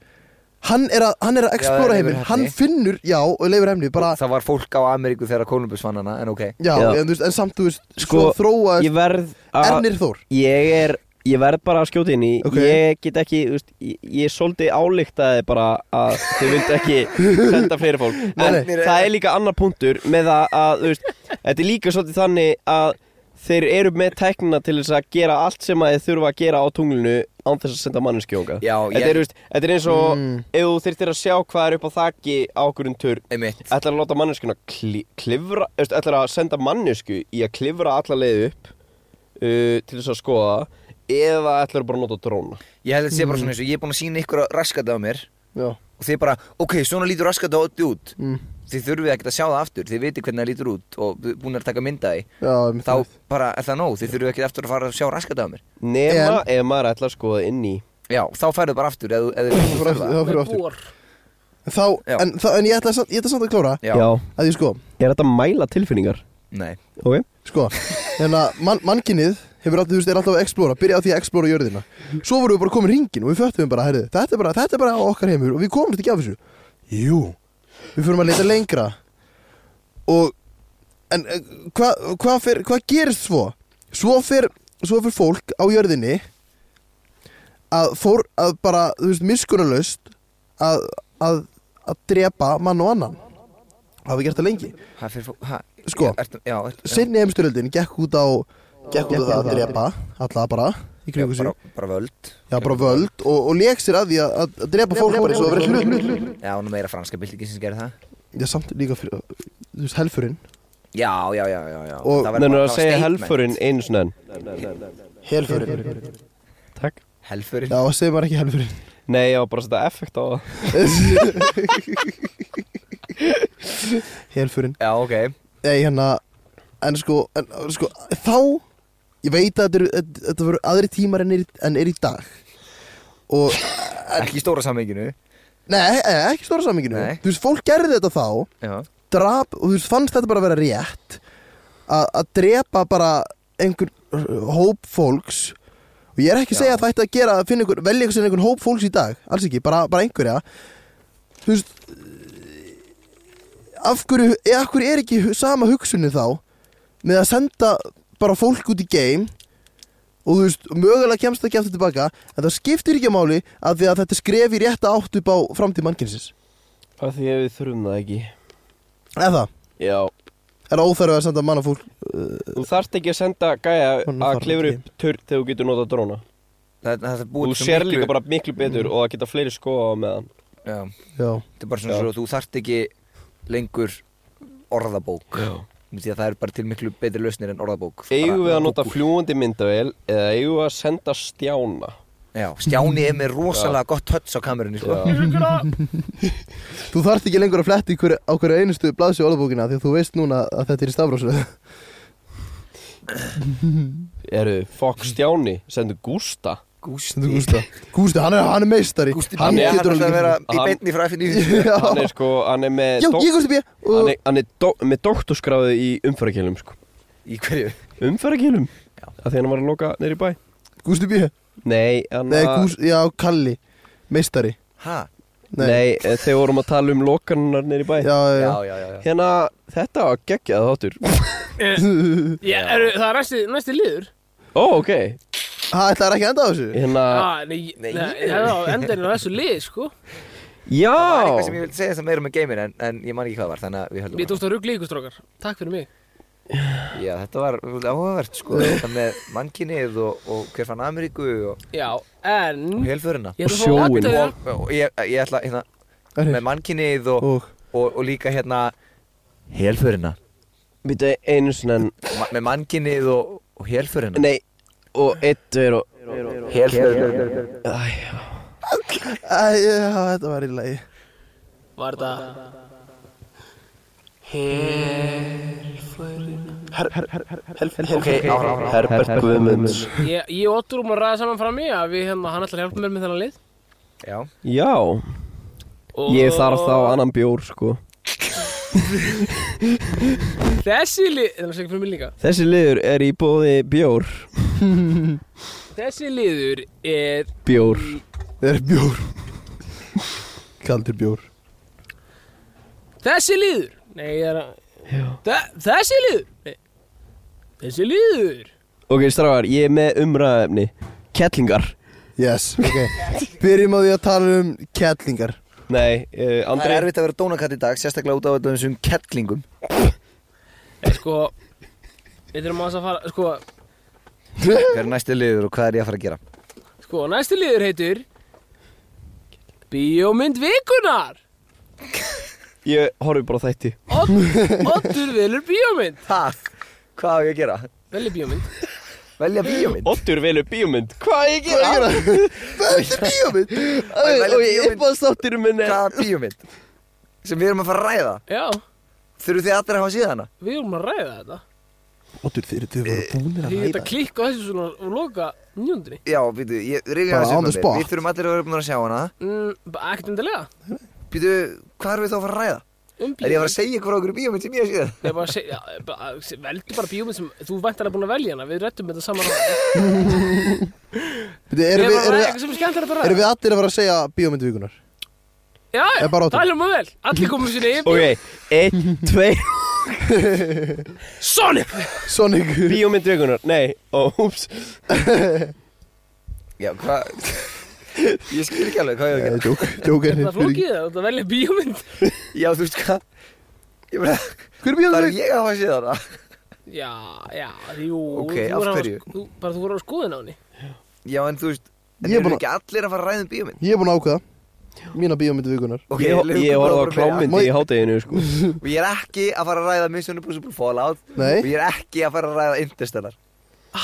Speaker 3: hann er að, hann er að explora heiminn
Speaker 4: leifur heppni.
Speaker 3: hann finnur, já, og leifur heimni bara,
Speaker 4: Það var fólk á Ameríku þegar Kolumbus vann hana En ok
Speaker 3: já,
Speaker 1: Já.
Speaker 3: En, þú veist, en samt, þú veist,
Speaker 1: Sko,
Speaker 3: svo þróa
Speaker 1: Ég verð að,
Speaker 3: Ernir Þór
Speaker 1: ég er Ég verð bara að skjóta inn í
Speaker 3: Ok.
Speaker 1: Ég get ekki, þú veist, ég, ég svolítið álíktaði bara að þau vildu ekki senda fleiri fólk
Speaker 3: Nei,
Speaker 1: En
Speaker 3: nei.
Speaker 1: það er líka annar punktur með það að, þú veist, þetta er líka svolítið þannig að þeir eru með tæknina til þess að gera allt sem að þeir þurfa að gera á tunglinu án þess að senda manneskjóka
Speaker 4: Já,
Speaker 1: Þetta er,
Speaker 4: ég,
Speaker 1: veist, þetta er eins og
Speaker 3: Mm.
Speaker 1: ef þú þyrftir að sjá hvað er upp á þakki á okkur um tur
Speaker 4: einmitt
Speaker 1: ætlar að láta manneskuna kli, klifra veist, ætlar að senda mannesku í að klifra alla leið upp uh, til þess að skoða eða ætlar bara að nota dróna
Speaker 4: Ég held að þetta sé bara svona eins og ég er búin að sína ykkur raskat á mér
Speaker 3: já,
Speaker 4: og þið bara, ok, svona lítur raskat á öllu út
Speaker 3: mm,
Speaker 4: Þið þurfið ekkert að sjá það aftur, þið viti hvernig það lítur út og búin að taka mynda því
Speaker 3: já, einmitt
Speaker 4: Þá bara er það nóg, þið þurfið ekkert aftur að fara að sjá raskat á mér
Speaker 1: nema ef maður ætlar að skoða inn í
Speaker 4: Já, þá færðu bara aftur eða, eða
Speaker 3: Þá fyrir aftur, þá fyrir
Speaker 2: Með
Speaker 3: aftur.
Speaker 2: bor.
Speaker 3: En þá,
Speaker 4: Já.
Speaker 3: en, þá, en ég ætla, samt- ég ætla samt að klára
Speaker 4: Já,
Speaker 3: að því sko,
Speaker 1: er þetta að mæla tilfinningar?
Speaker 4: nei
Speaker 1: ok
Speaker 3: sko hérna, man, mannkynnið hefur alltaf, þú veist, er alltaf að explora byrja á því að explora jörðina svo vorum við bara komin hringin og við föttum bara, herri, þetta er bara, þetta er bara okkar heimur og við komumst ekki af þessu jú, við fyrir að leita lengra og en eh, hvað hva hva hva gerist svo? svo fyrir svo fyrir fólk á jörðinni að fór að bara, þú veist, miskunnulegst að, að, að drepa mann og annan hafa gert það lengi
Speaker 4: Ha, fyrir, fó- ha,
Speaker 3: Sko.
Speaker 4: ertu, já, ertu,
Speaker 3: sinni heimstyröldin gekk út á gekk út á það að drepa alla bara í
Speaker 4: já,
Speaker 3: kringu sig
Speaker 4: bara, bara völd
Speaker 3: já bara völd og, og lék sér að því að, að að drepa fólk bara eins og að vera hlut
Speaker 4: Já, nú meira franska byltingin sem gerir það
Speaker 3: já samt líka fyrir þú veist helfurinn
Speaker 4: Já, já, já, já, já
Speaker 3: Og-
Speaker 4: Það var-
Speaker 1: Nennar að
Speaker 4: það var
Speaker 1: segja
Speaker 4: statement.
Speaker 1: helfurinn einu svona enn
Speaker 3: helfurinn
Speaker 1: Takk
Speaker 4: Helfurinn
Speaker 3: já segir maður ekki helfurinn
Speaker 1: Nei, ég var bara að setja effekt á það
Speaker 3: helfurinn
Speaker 4: Já, ok
Speaker 3: nei hérna en sko en sko þá ég veit að þetta eru- þetta- þetta voru aðri tímar en er, í- en er í dag og
Speaker 4: Ekki í stóra sammenginu
Speaker 3: nei e- ekki í stóra saminginu
Speaker 4: Nei.
Speaker 3: þú veist fólk gerði þetta þá
Speaker 4: Já,
Speaker 3: drap og þú veist, fannst þetta bara að vera rétt að að drepa bara einhver uh, hóp fólks og ég er ekki að segja að það ætti að gera að finna einhver, velja einhver sem einhvern hóp fólks í dag alls ekki, bara, bara einhverja þú veist af hverju, eða af hverju er ekki hu- sama hugsunni þá með að senda bara fólk út í game og þú veist, mögulega kemst það ekki aftur tilbaka en það skiptir ekki máli að því að þetta skref í rétta átt upp á framtíð mannkynsins
Speaker 1: Af því að við þurfum það ekki
Speaker 3: eða,
Speaker 1: Já
Speaker 3: er það óþarf að senda manna fólk
Speaker 1: Þú þarft ekki að senda gæja
Speaker 3: Honum
Speaker 1: að
Speaker 3: þarf
Speaker 1: klifra
Speaker 3: ekki.
Speaker 1: upp törn þegar þú getur notað dróna
Speaker 4: það, það, það búið
Speaker 1: Þú sér líka bara miklu betur og það geta fleiri skoða á meðan
Speaker 4: Já,
Speaker 3: já
Speaker 4: þetta er bara svona
Speaker 1: Já.
Speaker 4: svo þú þarft ekki lengur orðabók Já Því að það er bara til miklu betri lausnir en orðabók
Speaker 1: Eigum við
Speaker 4: Bara-
Speaker 1: að nota
Speaker 4: Google.
Speaker 1: fljúandi myndavél eða eigum við að senda stjána?
Speaker 4: Já, Stjáni er með rosalega gott hötts á kamerunni sko.
Speaker 3: Þú þarft ekki lengur að fletti (laughs) hver, á hverju einustu blaðsju orðabókina því að þú veist núna að þetta er í stafrósu
Speaker 1: Eru Fokk
Speaker 3: Mm.
Speaker 1: Stjáni sendur Gústa
Speaker 3: Sendur Gústa Gústa, hann er, hann er meistari
Speaker 4: Gústi
Speaker 3: Hann
Speaker 4: B.
Speaker 1: er-
Speaker 3: getur
Speaker 4: hann ætlaði að vera í
Speaker 1: Hann-
Speaker 4: beinni frá FNÍ
Speaker 3: Já,
Speaker 1: Hann er sko, hann er með
Speaker 3: Já,
Speaker 1: dok-
Speaker 3: ég Gústi B
Speaker 1: Hann
Speaker 3: og,
Speaker 1: er, hann er do, með doktorskráðu í umfærakilum sko.
Speaker 4: Í hverju?
Speaker 1: Umfærakilum? Af því hann var að loka neyri bæ
Speaker 3: Gústi B
Speaker 1: Nei, hann
Speaker 3: Nei, Gústi, já, Kalli Meistari
Speaker 4: Ha?
Speaker 1: nei. nei þegar vorum að tala um lokanunar neyri bæ
Speaker 3: Já, já,
Speaker 4: Já,
Speaker 3: já
Speaker 4: já, já, já.
Speaker 1: Hérna, þetta var geggjað þáttur
Speaker 2: Ég, er, það er næsti, næsti liður
Speaker 1: Ó, ok
Speaker 3: Það ætlar ekki að enda á þessu
Speaker 1: Hérna,
Speaker 2: ah, Nei, nei, nei endan er þessu lið sko
Speaker 4: Það var eitthvað
Speaker 1: já
Speaker 4: sem ég vildi segja sem meira með geiminn en, en ég man ekki hvað það var þannig að við höldum
Speaker 2: Mér tókst að ruggla ykkur strókar Takk fyrir mig
Speaker 4: áfram. Já, þetta var svolítið áhugavert sko Þetta með mannkinnið og, og hver fann Ameríku og,
Speaker 2: Já, en
Speaker 1: Mm.
Speaker 4: og helförina
Speaker 2: Ég ætla
Speaker 1: Og
Speaker 2: að fá
Speaker 1: sjóinn.
Speaker 2: update-
Speaker 4: og, og ég, ég ætla hérna með mannkinnið og,
Speaker 3: Og
Speaker 4: og, og líka hérna helförina
Speaker 1: Býta einu sinna en-
Speaker 4: Ma, með mannkinnið og, og helförina
Speaker 1: Nei, og eitt, tveir og
Speaker 4: helförina
Speaker 3: Æ, já, þetta var í lagi
Speaker 2: Var þetta
Speaker 1: Herbert Guðmunds
Speaker 2: Ég, ég og Ottur um að ræða saman fram í að við, hérna, hann ætlar að hjálpa mér með þennan lið
Speaker 4: Já,
Speaker 1: Já,
Speaker 2: og
Speaker 1: ég þarf þá annan bjór sko
Speaker 2: Þessi lið, þannig að segja fyrir mig líka
Speaker 1: Þessi liður er í bóði bjór
Speaker 2: Þessi liður er
Speaker 1: Bjór
Speaker 3: Það er bjór Kaldur bjór
Speaker 2: Þessi liður Nei, ég er að Þe, Þessi liður Nei. Þessi liður
Speaker 1: Ok, strafar, ég er með umræðefni Kettlingar
Speaker 3: Yes, ok Byrjum á því að tala um kettlingar
Speaker 1: Nei, uh,
Speaker 4: það er
Speaker 1: Andri
Speaker 4: erfitt að vera dónakatt í dag sérstaklega út af þessum (laughs) kettlingum
Speaker 2: Nei, sko Við þurfum aðeins að fara Sko,
Speaker 4: Hver er næsti liður og hvað er ég að fara að gera?
Speaker 2: sko næsti liður heitir Bíómynd vikunar
Speaker 1: Ég horfi bara á þætti
Speaker 2: Odd- Oddur velur bíómynd
Speaker 4: Ha? Hvað á ég að gera?
Speaker 2: Velur bíómynd
Speaker 4: Velja bíómynd?
Speaker 1: Oddur velur bíómynd Hvað ég gera? Hvað ég
Speaker 3: Þetta er bíómynd
Speaker 1: gera?
Speaker 4: velja
Speaker 1: Og ég
Speaker 4: bíómynd.
Speaker 1: uppáðstáttirum minni
Speaker 4: Hvaða bíómynd? Sem við erum að fara að ræða
Speaker 2: Já,
Speaker 4: Þurfu þið allir að hafa síðan hana?
Speaker 2: við erum að ræða þetta
Speaker 3: Óttur, þeir eru bara búinir að
Speaker 2: Því þetta
Speaker 3: hæða
Speaker 2: klikka á þessu svona og loka njúndri
Speaker 4: Já, býtu, ég rifja
Speaker 3: Bara
Speaker 4: þessu
Speaker 3: on the
Speaker 4: upp með
Speaker 3: spot.
Speaker 4: mér. Við þurfum allir að vera búin að sjá hana
Speaker 2: mm, bara Ekkert undarlega
Speaker 4: Býtu, hvað erum við þá að fara að ræða?
Speaker 2: Um
Speaker 4: Er ég að
Speaker 2: bíómynd
Speaker 4: fara að segja ykkur á okkur bíómynd sem ég hef síðan?
Speaker 2: Ég er bara að segja, já, bara- veldu bara bíómynd sem þú væntanlega búin að velja hana, við rettum þetta saman á Ég
Speaker 3: Erum við,
Speaker 2: er bara að ræða
Speaker 3: erum við,
Speaker 2: eitthvað sem er skemmtilegt að
Speaker 3: erum
Speaker 2: ræða
Speaker 3: við allir að vera að segja bíómynd vikunar?
Speaker 2: Já, já,
Speaker 3: er bara ótrú.
Speaker 2: það er mjög vel, allir komum sinni yfir
Speaker 1: Ok, einn, tveir
Speaker 2: Sonic!
Speaker 3: Sonic
Speaker 1: Bíómynd vikunar Nei, ó, úps
Speaker 4: Já, hvað? (laughs) Ég skil ekki alveg hvað ég á að gera
Speaker 3: Jók, jók er
Speaker 2: Það er flókið það, þú velja bíómynd
Speaker 4: Já, þú veist hvað? Ég bara,
Speaker 3: Hver er
Speaker 4: það
Speaker 3: bíómynd
Speaker 4: er
Speaker 3: vikunar?
Speaker 4: ég að hafa síðan hana
Speaker 2: Já, já, jú
Speaker 4: Ok,
Speaker 2: þú
Speaker 4: af
Speaker 2: voru að-
Speaker 4: hverju?
Speaker 2: þú- Bara þú voru á skoðun á henni
Speaker 4: Já, en þú veist, en
Speaker 3: Ég er
Speaker 4: eru
Speaker 3: búin að-
Speaker 4: ekki allir að fara að ræða um bíómynd?
Speaker 3: Ég er búin að ákveða Mína bíómynd vikunar
Speaker 4: Ok,
Speaker 1: Ég,
Speaker 4: leyfum
Speaker 1: ég
Speaker 4: ykkur bara
Speaker 1: horfði á
Speaker 4: að byrja.
Speaker 1: klámyndi í hádeginu sko
Speaker 4: Og ég er ekki að fara að ræða Mission Impossible Fallout
Speaker 3: Nei.
Speaker 4: Og ég er ekki að fara að ræða Interstellar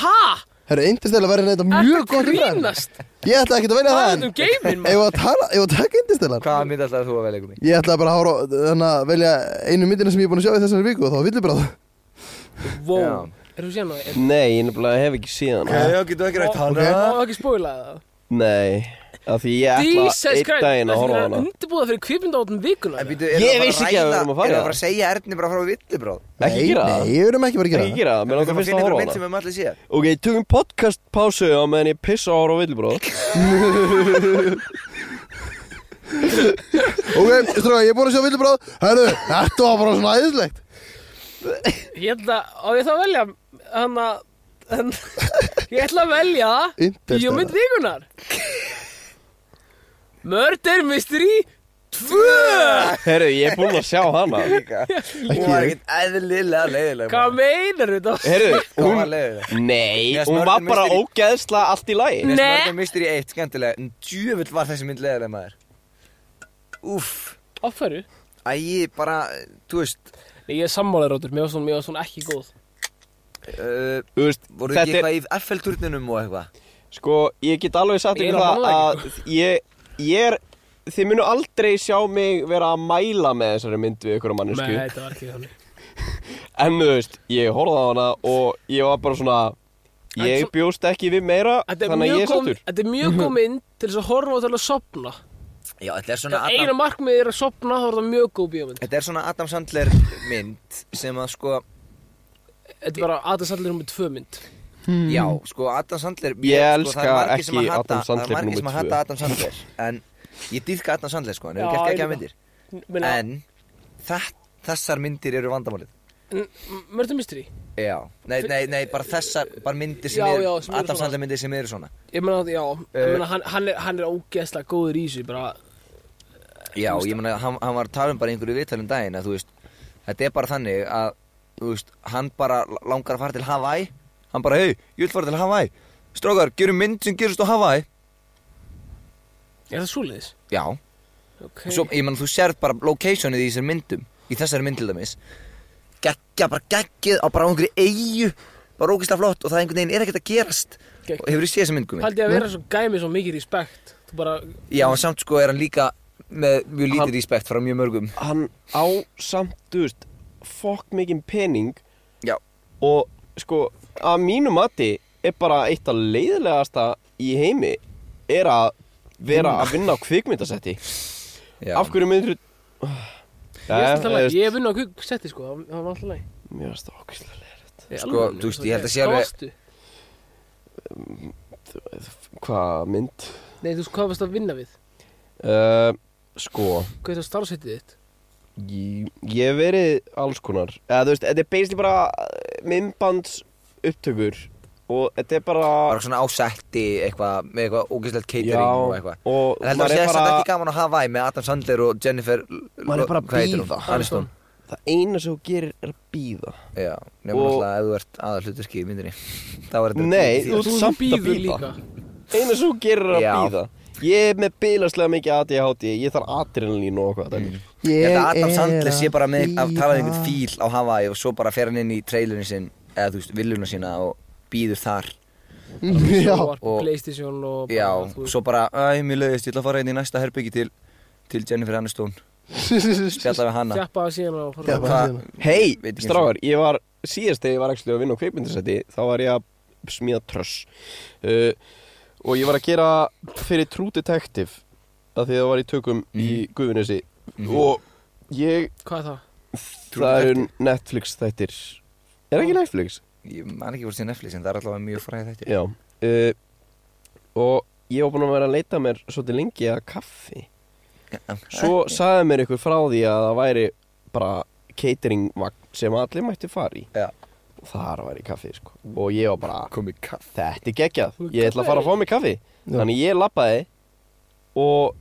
Speaker 2: Ha?
Speaker 3: Herru, Interstellar verður neitt
Speaker 2: Ertu
Speaker 3: mjög
Speaker 2: að
Speaker 3: gott
Speaker 2: grínast?
Speaker 3: Ég ætla ekki að velja
Speaker 2: Það
Speaker 3: það
Speaker 2: er
Speaker 3: en
Speaker 2: þetta um geiminn, maður
Speaker 3: Ef að tala, ef að taka Interstellar
Speaker 4: Hvaða mynd ætlaði þú að velja ykkur
Speaker 3: Ég ætla bara að hára, þannig að velja einu myndina sem ég er búin að sjá í þessari viku og þá villir bara það
Speaker 4: Já.
Speaker 2: Vó, erum við sérna það?
Speaker 1: Nei, ég nefnilega hef ekki síðan
Speaker 4: já, getur ekki rætt hana
Speaker 2: Má ekki spóila það
Speaker 1: Nei, af því ég ætla
Speaker 2: Jesus
Speaker 1: einn
Speaker 2: Christ,
Speaker 1: daginn að
Speaker 2: ertu
Speaker 1: horfa á
Speaker 2: að
Speaker 1: hana
Speaker 2: undirbúða fyrir kvipindáttum vikuna
Speaker 4: En býtu,
Speaker 1: Ég
Speaker 4: erum við
Speaker 1: vissi ekki að við vorum að fara
Speaker 4: Erum við
Speaker 1: í
Speaker 4: að fara að segja Erni bara frá villibráð
Speaker 1: Ekki gera
Speaker 3: Nei,
Speaker 1: það
Speaker 3: nei, við erum ekki bara að gera
Speaker 1: Ekki
Speaker 3: það
Speaker 1: gera það, mér
Speaker 4: Við
Speaker 1: langar
Speaker 4: þurfum að
Speaker 1: fyrst að
Speaker 4: finna
Speaker 1: horfa á
Speaker 4: ykkur mynd
Speaker 1: hana
Speaker 4: sem við erum allir síðan
Speaker 1: Ok, tökum podcast pásu á meðan ég pissa á horfa á villibróð
Speaker 3: Ok, stróka, ég er búin að sjá villibráð Herru, þetta var bara svona æðislegt
Speaker 2: Ég ætla, á ég þá að velja hann að hann- Ég ætla að velja
Speaker 3: Interstellar.
Speaker 2: Bíómynd vikunar Murder Mystery 2
Speaker 1: Herru, ég er búinn að sjá hana
Speaker 4: Hún var ekkert eðlilega leiðileg
Speaker 2: Hvað meinar þetta?
Speaker 1: Herru,
Speaker 4: Hún var
Speaker 1: hún
Speaker 4: leiðileg
Speaker 1: Nei,
Speaker 4: Yes,
Speaker 1: hún
Speaker 4: Murder
Speaker 1: var bara
Speaker 4: Mystery.
Speaker 1: ógeðsla allt í lagi
Speaker 2: Nei.
Speaker 4: Mörgum mistur í eitt, skemmtilega En djöfull var þessi mynd leiðileg maður Úff
Speaker 2: Af hverju?
Speaker 4: Æi, bara, þú veist
Speaker 2: Nei, ég er sammálaður áttur, mér var svona, mér var svona ekki góð
Speaker 4: uh,
Speaker 1: Þú veist,
Speaker 4: Voru
Speaker 1: þetta er,
Speaker 4: ekki eitthvað í Eiffel-turninum og eitthvað
Speaker 1: sko, ég get alveg sagt
Speaker 2: Ég er
Speaker 1: ykkur
Speaker 2: að
Speaker 1: það
Speaker 2: mála
Speaker 1: að ég, ég er, þið munu aldrei sjá mig vera að mæla með þessari mynd við ykkur
Speaker 2: Nei,
Speaker 1: mannesku
Speaker 2: þetta var ekki þannig
Speaker 1: En þú veist, ég horfði á hana og ég var bara svona Ég
Speaker 2: Þetta-
Speaker 1: bjóst ekki við meira
Speaker 2: Þetta er,
Speaker 1: Þannig að
Speaker 2: mjög
Speaker 1: ég er
Speaker 2: góð-
Speaker 1: sáttur
Speaker 2: þetta er mjög góð mynd til þess að horfa og til að sopna
Speaker 4: Já, þetta er svona
Speaker 2: Þegar eina
Speaker 4: Adam,
Speaker 2: markmið er að sopna þá er það mjög góð bíómynd
Speaker 4: þetta er svona Adam Sandler mynd sem að sko,
Speaker 2: Þetta er bara Adam Sandler nummer tvö mynd
Speaker 4: já, sko Adam Sandler
Speaker 1: Ég
Speaker 4: sko, það er
Speaker 1: elska
Speaker 4: margir sem að
Speaker 1: ekki
Speaker 4: hata-
Speaker 1: Adam Sandler
Speaker 4: Það er margir
Speaker 1: númer
Speaker 4: sem að
Speaker 1: tvö.
Speaker 4: hata Adam Sandler En ég dýrka Adam Sandler sko, hann hefur
Speaker 2: Já,
Speaker 4: gert
Speaker 2: ég
Speaker 4: ekki
Speaker 2: líka.
Speaker 4: að myndir
Speaker 2: Meina,
Speaker 4: En það, þessar myndir eru vandamálið
Speaker 2: Mördu Mystery
Speaker 4: Já, nei, nei, nei, bara þessar, bara myndir sem
Speaker 2: Já,
Speaker 4: eru,
Speaker 2: já, sem eru
Speaker 4: Adam
Speaker 2: svona.
Speaker 4: Sandler myndir sem eru svona
Speaker 2: Ég meina, já, ég meina, hann, hann, er, hann er ógeðslega góður í þessu bara,
Speaker 4: Já, ég meina, hann, hann var að tala um bara í einhverju viðtalum daginn að þú veist, þetta er bara þannig að, þú veist, hann bara langar að fara til Hawaii, hann bara, hei, ég vil fara til Hawaii, strókar, gerum mynd sem gerist á Hawaii,
Speaker 2: Er það svoleiðis?
Speaker 4: já,
Speaker 2: Okay.
Speaker 4: svo, ég meina, þú sérð bara locationið í þessar myndum, í þessari mynd til dæmis, geggja, bara geggið á bara einhverju eigu, bara ógislega flott og það einhvern veginn er ekkert að gerast,
Speaker 2: Gegg-
Speaker 4: og hefur þú séð þessa mynd, Gumi?
Speaker 2: Paldi að vera svo gæmi svo mikið respekt Þú bara,
Speaker 4: Já, en samt sko er hann líka með mjög lítið
Speaker 1: Hann-
Speaker 4: respekt frá mjög mörgum,
Speaker 1: Hann á samt, þú veist Fokk mikið pening
Speaker 4: já,
Speaker 1: Og sko, að mínu mati Er bara eitt af leiðilegasta í heimi Er að vera
Speaker 2: Mm.
Speaker 1: að vinna á kvikmyndasetti
Speaker 2: (laughs)
Speaker 4: já.
Speaker 1: Af hverju Eh, myndir
Speaker 2: ég er alltaf læg Ég vinn á kuksetti sko, það- það var alltaf læg
Speaker 1: Mér finnst það okkislega leiðilegt
Speaker 4: Sko, þú veist, ég held að sé alveg-
Speaker 1: Hvað mynd?
Speaker 2: Nei, þú veist, hvað varst að vinna við?
Speaker 1: Uh, sko
Speaker 2: Hvað er það starfsættið þitt?
Speaker 1: Ég ég hef verið alls konar Eða þú veist, þetta er basically bara eh, myndbands upptökur Og þetta er bara
Speaker 4: bara svona ásetti eitthvað með eitthvað ógæslegt catering og eitthvað
Speaker 1: og
Speaker 4: En heldur
Speaker 1: maður
Speaker 4: að
Speaker 1: er
Speaker 4: sé þetta ekki
Speaker 1: bara
Speaker 4: gaman á Hawaii með Adam Sandler og Jennifer
Speaker 1: Maður er bara að
Speaker 4: hvað heitir hún?
Speaker 1: bíða.
Speaker 4: Aniston
Speaker 1: Það eina sem þú gerir er að
Speaker 4: (laughs)
Speaker 1: býða
Speaker 4: Já, nefnum
Speaker 1: Og-
Speaker 4: alltaf ef þú ert aðal hluturki í myndinni (laughs) Þá er þetta
Speaker 1: Nei,
Speaker 4: því
Speaker 1: þú
Speaker 4: að-
Speaker 1: ert samt að
Speaker 2: bíður
Speaker 1: bíða.
Speaker 2: líka
Speaker 1: Eina sem þú gerir er
Speaker 4: Já.
Speaker 1: að býða Ég er með bilarslega mikið ADHD Ég þarf adrenalín og eitthvað mm.
Speaker 4: Ég held að Adam Sandler sé bara með að tala við einhvern fíl á Hawaii og svo bara fer hann inn í trailerinu sinn eða þú veist, villuna sína og býður þar
Speaker 3: Já,
Speaker 2: Sjónvarp,
Speaker 4: og-
Speaker 2: Playstation og bara,
Speaker 4: Já,
Speaker 2: þú veist.
Speaker 4: svo bara, æ, mér leiðist, ég ætla að fara inn í næsta herbyggi til til Jennifer Aniston Spjalla við hanna
Speaker 2: Þjappa það síðan og
Speaker 3: Já,
Speaker 2: fara
Speaker 4: Og
Speaker 3: bara
Speaker 4: hvað-
Speaker 3: síðan.
Speaker 1: Hei,
Speaker 4: Veit ekki
Speaker 1: strákar, ég var síðast þegar ég var ekki að vinna á kveikmyndasæti þá var ég að smíða tröss uh, og ég var að gera fyrir True Detective af því að það var í tökum í
Speaker 4: Mhm.
Speaker 1: Guðunessi og ég
Speaker 2: Hvað er það?
Speaker 4: True
Speaker 1: það eru Netflix þættir er ekki Netflix?
Speaker 4: Ég man ekki voru til Netflix en það er allavega mjög fræði þetta
Speaker 1: Já uh, og ég var búinn að vera að leita mér svolítið lengi að kaffi svo sagði mér ykkur frá því að það væri bara catering vagn sem allir mættu fara í
Speaker 4: Já.
Speaker 1: og þar var í kaffi sko. og ég var bara
Speaker 4: Komið kaff
Speaker 1: þetta er geggjað, ég ætla að fara að fá mig kaffi þannig ég lappaði og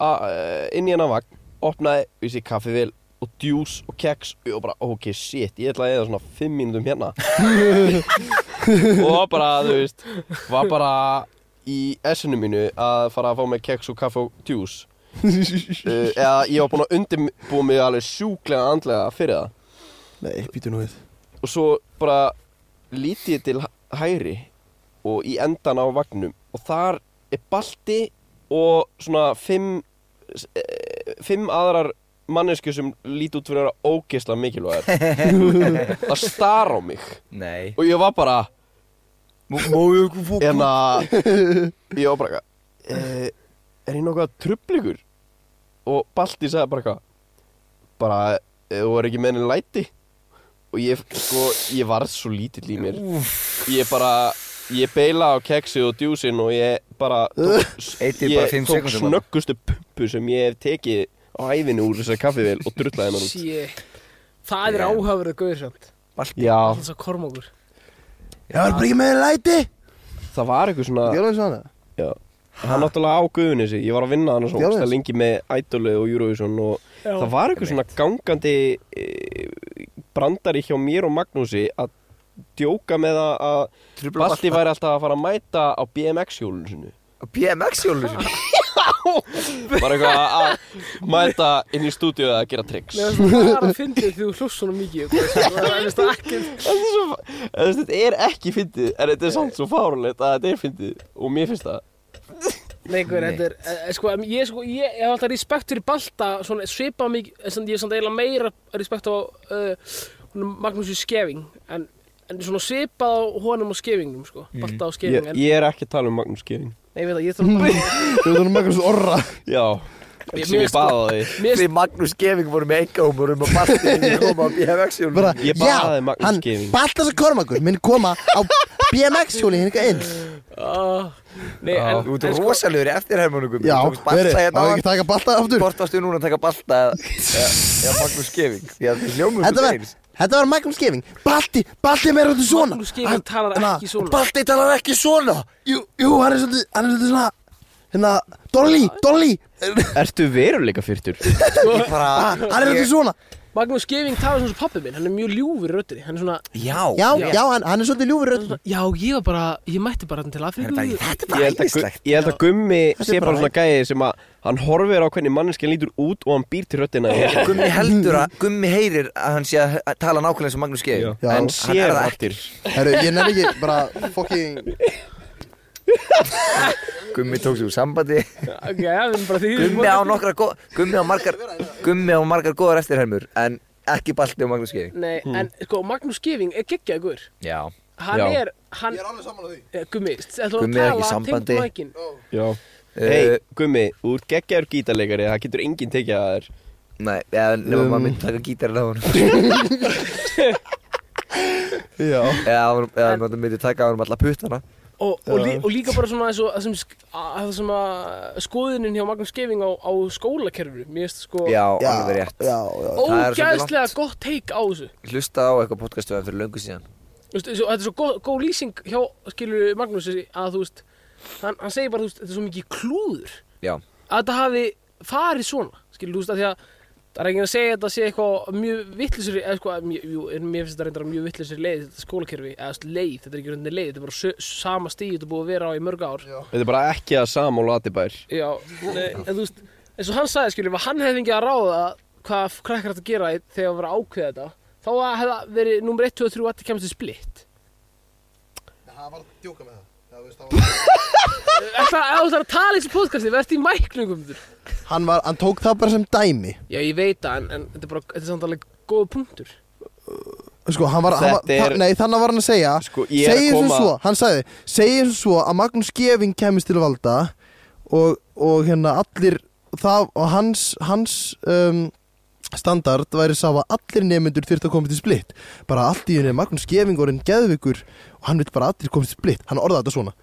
Speaker 1: a- eh, inn í hennan vagn opnaði þessi kaffivél og djús og keks og bara ok shit, ég ætla að eða svona 5 mínútum hérna og bara, þú veist var bara í essinu mínu að fara að fá mig keks og kaffi og djús uh, eða ég var búinn að undirbúa mig alveg sjúklega andlega fyrir það
Speaker 3: Nei, býtu nú við
Speaker 1: og svo bara lítið ég til hæ- hægri og í endan á vagnum og þar er balti og svona fimm s- eh, fimm aðrar mannesku sem líti út fyrir að vera ógeðslega mikilvægar að stara á mig
Speaker 4: Nei
Speaker 1: og ég var bara
Speaker 4: Má ég ekki fók
Speaker 1: en að ég var bara eitthvað eh, er ég nokkuð trublingur og Balti sagði bara eitthvað bara eh, þú er ekki með henni læti og ég sko ég varð svo lítill í mér ég bara ég beila á keksið og djúsin og ég bara tók,
Speaker 4: Eitir bara
Speaker 1: ég
Speaker 4: fimm
Speaker 1: tók
Speaker 4: sekúndum bara.
Speaker 1: snöggustu pumpu sem ég hef tekið á æfinu úr þessari kaffivél og drullaði hennar út
Speaker 2: Shit Það er
Speaker 4: Já.
Speaker 2: áhafrið gauður samt
Speaker 1: já
Speaker 2: Alltaf svo kormokur
Speaker 3: Já, það er bara ekki með þér læti
Speaker 1: það var eitthvað svona
Speaker 3: Gjörðu svona
Speaker 1: Já. Hann náttúrulega á guðunni sig, ég var að vinna hann og
Speaker 3: Já,
Speaker 1: svona
Speaker 3: veist.
Speaker 1: lengi með Idolu og Eurovision og
Speaker 2: Já.
Speaker 1: það var eitthvað svona gangandi e, brandari hjá mér og Magnúsi að djóka með að- að
Speaker 4: Trufla
Speaker 1: Balti væri alltaf að fara að mæta á BMX hjólun sinu
Speaker 4: BMX hjólur sem
Speaker 1: Var eitthvað að- að mæta inn í stúdíu að gera tricks
Speaker 2: Mér finnst það bara að fyndi því þú hlust svona mikið og hvað Það er það ekki
Speaker 1: Þetta er svo- þú veist, Þetta er ekki fyndið, en þetta er samt svo fárulegt að þetta er fyndið og mér finnst það
Speaker 2: Nei, hver, þetta er, e, e, sko, em, ég, sko, ég, ég hef alltaf respekt fyrir Balta, svona svipa mikið, en samt- ég hef samt eiginlega meira respekt á uh, honum Magnúsi Skeving en, en svona svipað á honum og Skevingum sko,
Speaker 4: Mm.
Speaker 2: Balta á Skeving
Speaker 1: ég,
Speaker 2: en,
Speaker 1: ég er ekki að tala um Magnús Gering
Speaker 2: Nei, ég veit að ég þarf
Speaker 4: (laughs)
Speaker 2: bara
Speaker 3: Þú erum Magnús Orra
Speaker 1: Já,
Speaker 2: Ég-
Speaker 1: sem
Speaker 2: mér
Speaker 1: ég
Speaker 2: sko-
Speaker 1: baðaði
Speaker 2: Mér
Speaker 4: Því Magnús Geving voru með enga og voru með bastið og koma á BMX hjólum.
Speaker 3: bara,
Speaker 1: Ég baðaði
Speaker 3: Já,
Speaker 1: Magnús
Speaker 3: hann
Speaker 1: Geving.
Speaker 3: Baltas og Kormakur minn koma á BMX hjóli hérna inn
Speaker 2: Ah, Nei, en,
Speaker 4: Þú ert
Speaker 2: en sko,
Speaker 4: rosalegur í eftirhermunugum
Speaker 3: Já,
Speaker 4: verið,
Speaker 3: verið, má ekki taka hérna Balta aftur
Speaker 4: Hvort varstu núna að taka balta eða- eða eða Magnús Geving Því að hljómum
Speaker 3: Þetta var, þetta var Magnús Geving Balti, Balti er meira þetta svona
Speaker 2: Magnús Geving
Speaker 3: Hann-
Speaker 2: talar
Speaker 3: hérna,
Speaker 2: ekki svona.
Speaker 3: Balti talar ekki svona Jú, jú hann er svolítið, hann er svolítið svona Hérna, Dolly, Dolly
Speaker 1: Ertu veruleika fyrtur?
Speaker 3: Ah, Hann er svolítið svona
Speaker 2: Magnús Skeving talar svona svo pappi minn, hann er mjög ljúfur í röddinni Hann er svona,
Speaker 4: Já,
Speaker 3: Já, já, hann, hann er svolítið ljúfur rödd
Speaker 2: já, ég var bara, ég mætti bara hann til Afríku
Speaker 4: Þetta er bara- þetta er
Speaker 1: Ég
Speaker 4: bara
Speaker 1: held að, gu-
Speaker 4: æðislegt
Speaker 1: ég held að Gummi
Speaker 3: Þetta er
Speaker 1: sé
Speaker 3: bara
Speaker 1: bara svona gæði sem að hann horfir á hvernig manneskinn lítur út og hann býr til röddina í henni.
Speaker 4: Gummi heldur að, Gummi heyrir að hann sé að að tala nákvæmlega sem Magnús Geving
Speaker 3: Já.
Speaker 1: En
Speaker 4: Hann er
Speaker 1: sér
Speaker 4: það
Speaker 1: hattir
Speaker 3: Herru, ég nefn ekki, bara fucking
Speaker 4: Gummi tók sig úr sambandi
Speaker 2: Ok, já, við erum bara því
Speaker 4: Gummi á nokkra góð Gummi á margar Gummi á margar góðar eftirhermur En ekki balti og Magnús Geving
Speaker 2: Nei, en sko, Magnús Skeving er geggjaði guður
Speaker 4: Já
Speaker 2: Hann
Speaker 1: Já.
Speaker 2: er, hann
Speaker 3: er alveg saman á því
Speaker 2: Eh, Gummi, ætlum
Speaker 4: Gummi
Speaker 2: við að
Speaker 4: er ekki í
Speaker 2: tala tengt
Speaker 4: sambandi.
Speaker 2: mækin
Speaker 1: Já
Speaker 4: Eh,
Speaker 1: Hei, Gummi, þú ert geggjaður gítarleikari, það getur enginn tekið að þér
Speaker 4: Nei, eða nema
Speaker 1: Um.
Speaker 4: maður myndi taka gítarinn á hann
Speaker 3: Já
Speaker 4: Eða hann- eða maður myndi taka á hann alla puttana
Speaker 2: og, og, lí, og líka bara svona eins og það sem, sk- að- það sem að skoðunin hjá Magnús Geving á, á skólakerfinu Mér finnst sko
Speaker 4: Já,
Speaker 3: Já,
Speaker 4: alveg rétt
Speaker 3: já, já
Speaker 4: það er svolítið
Speaker 2: ógæðslega gott teik á þessu
Speaker 4: Hlustaði á eitthvað podcastu fyrir löngu síðan
Speaker 2: Vistu, svo, Þetta er svo góð, góð lýsing hjá skilur Magnús að þú veist hann, hann segir bara þú veist, þetta er svo mikið klúður
Speaker 4: Já,
Speaker 2: að þetta hafi farið svona skilur þú veist að því að það er enginn að segja að þetta sé eitthvað mjög vittlisir eða sko, mjög, jú, en mér finnst þetta reyndar mjög vittlisir leið þetta skólakerfi, eða þú veist, leið, þetta er ekki reyndar leið þetta er bara sö, sama stíð þetta er búið að vera á í mörg ár
Speaker 1: Þetta er bara ekki að Sam og Latibær
Speaker 2: Já, nei, en þú veist, eins og hann sagði skilur, ef hann hefði ekki að ráða hvað krakkar þetta gera í- þegar að vera að ákveða þetta, þá hefði það verið nummer 1, 2 og 3 að þetta kemst í splitt.
Speaker 3: Það var djóka með það
Speaker 2: Ef það ef þú ætlar að tala í þessu podcasti, verðst í mækningum þurr.
Speaker 3: Hann var, hann tók það bara sem dæmi
Speaker 2: Já, ég veit það, en, en þetta er bara, þetta er samt alveg góð punktur.
Speaker 3: Sko, hann var, hann var
Speaker 1: Þetta er-
Speaker 3: þa- Nei, þannig var hann að segja
Speaker 1: Sko, ég er að
Speaker 3: Segir sem
Speaker 1: koma-
Speaker 3: svo, hann sagði Segir sem svo að Magnús Geving kemist til valda Og, og hérna allir það, Og hans, hans um, Standard væri sá að allir nefnendur þyrfti að koma til splitt Bara allt í henni Magnús Geving orðin geðvikur Og hann vil bara allir koma til splitt Hann orðaði þetta svona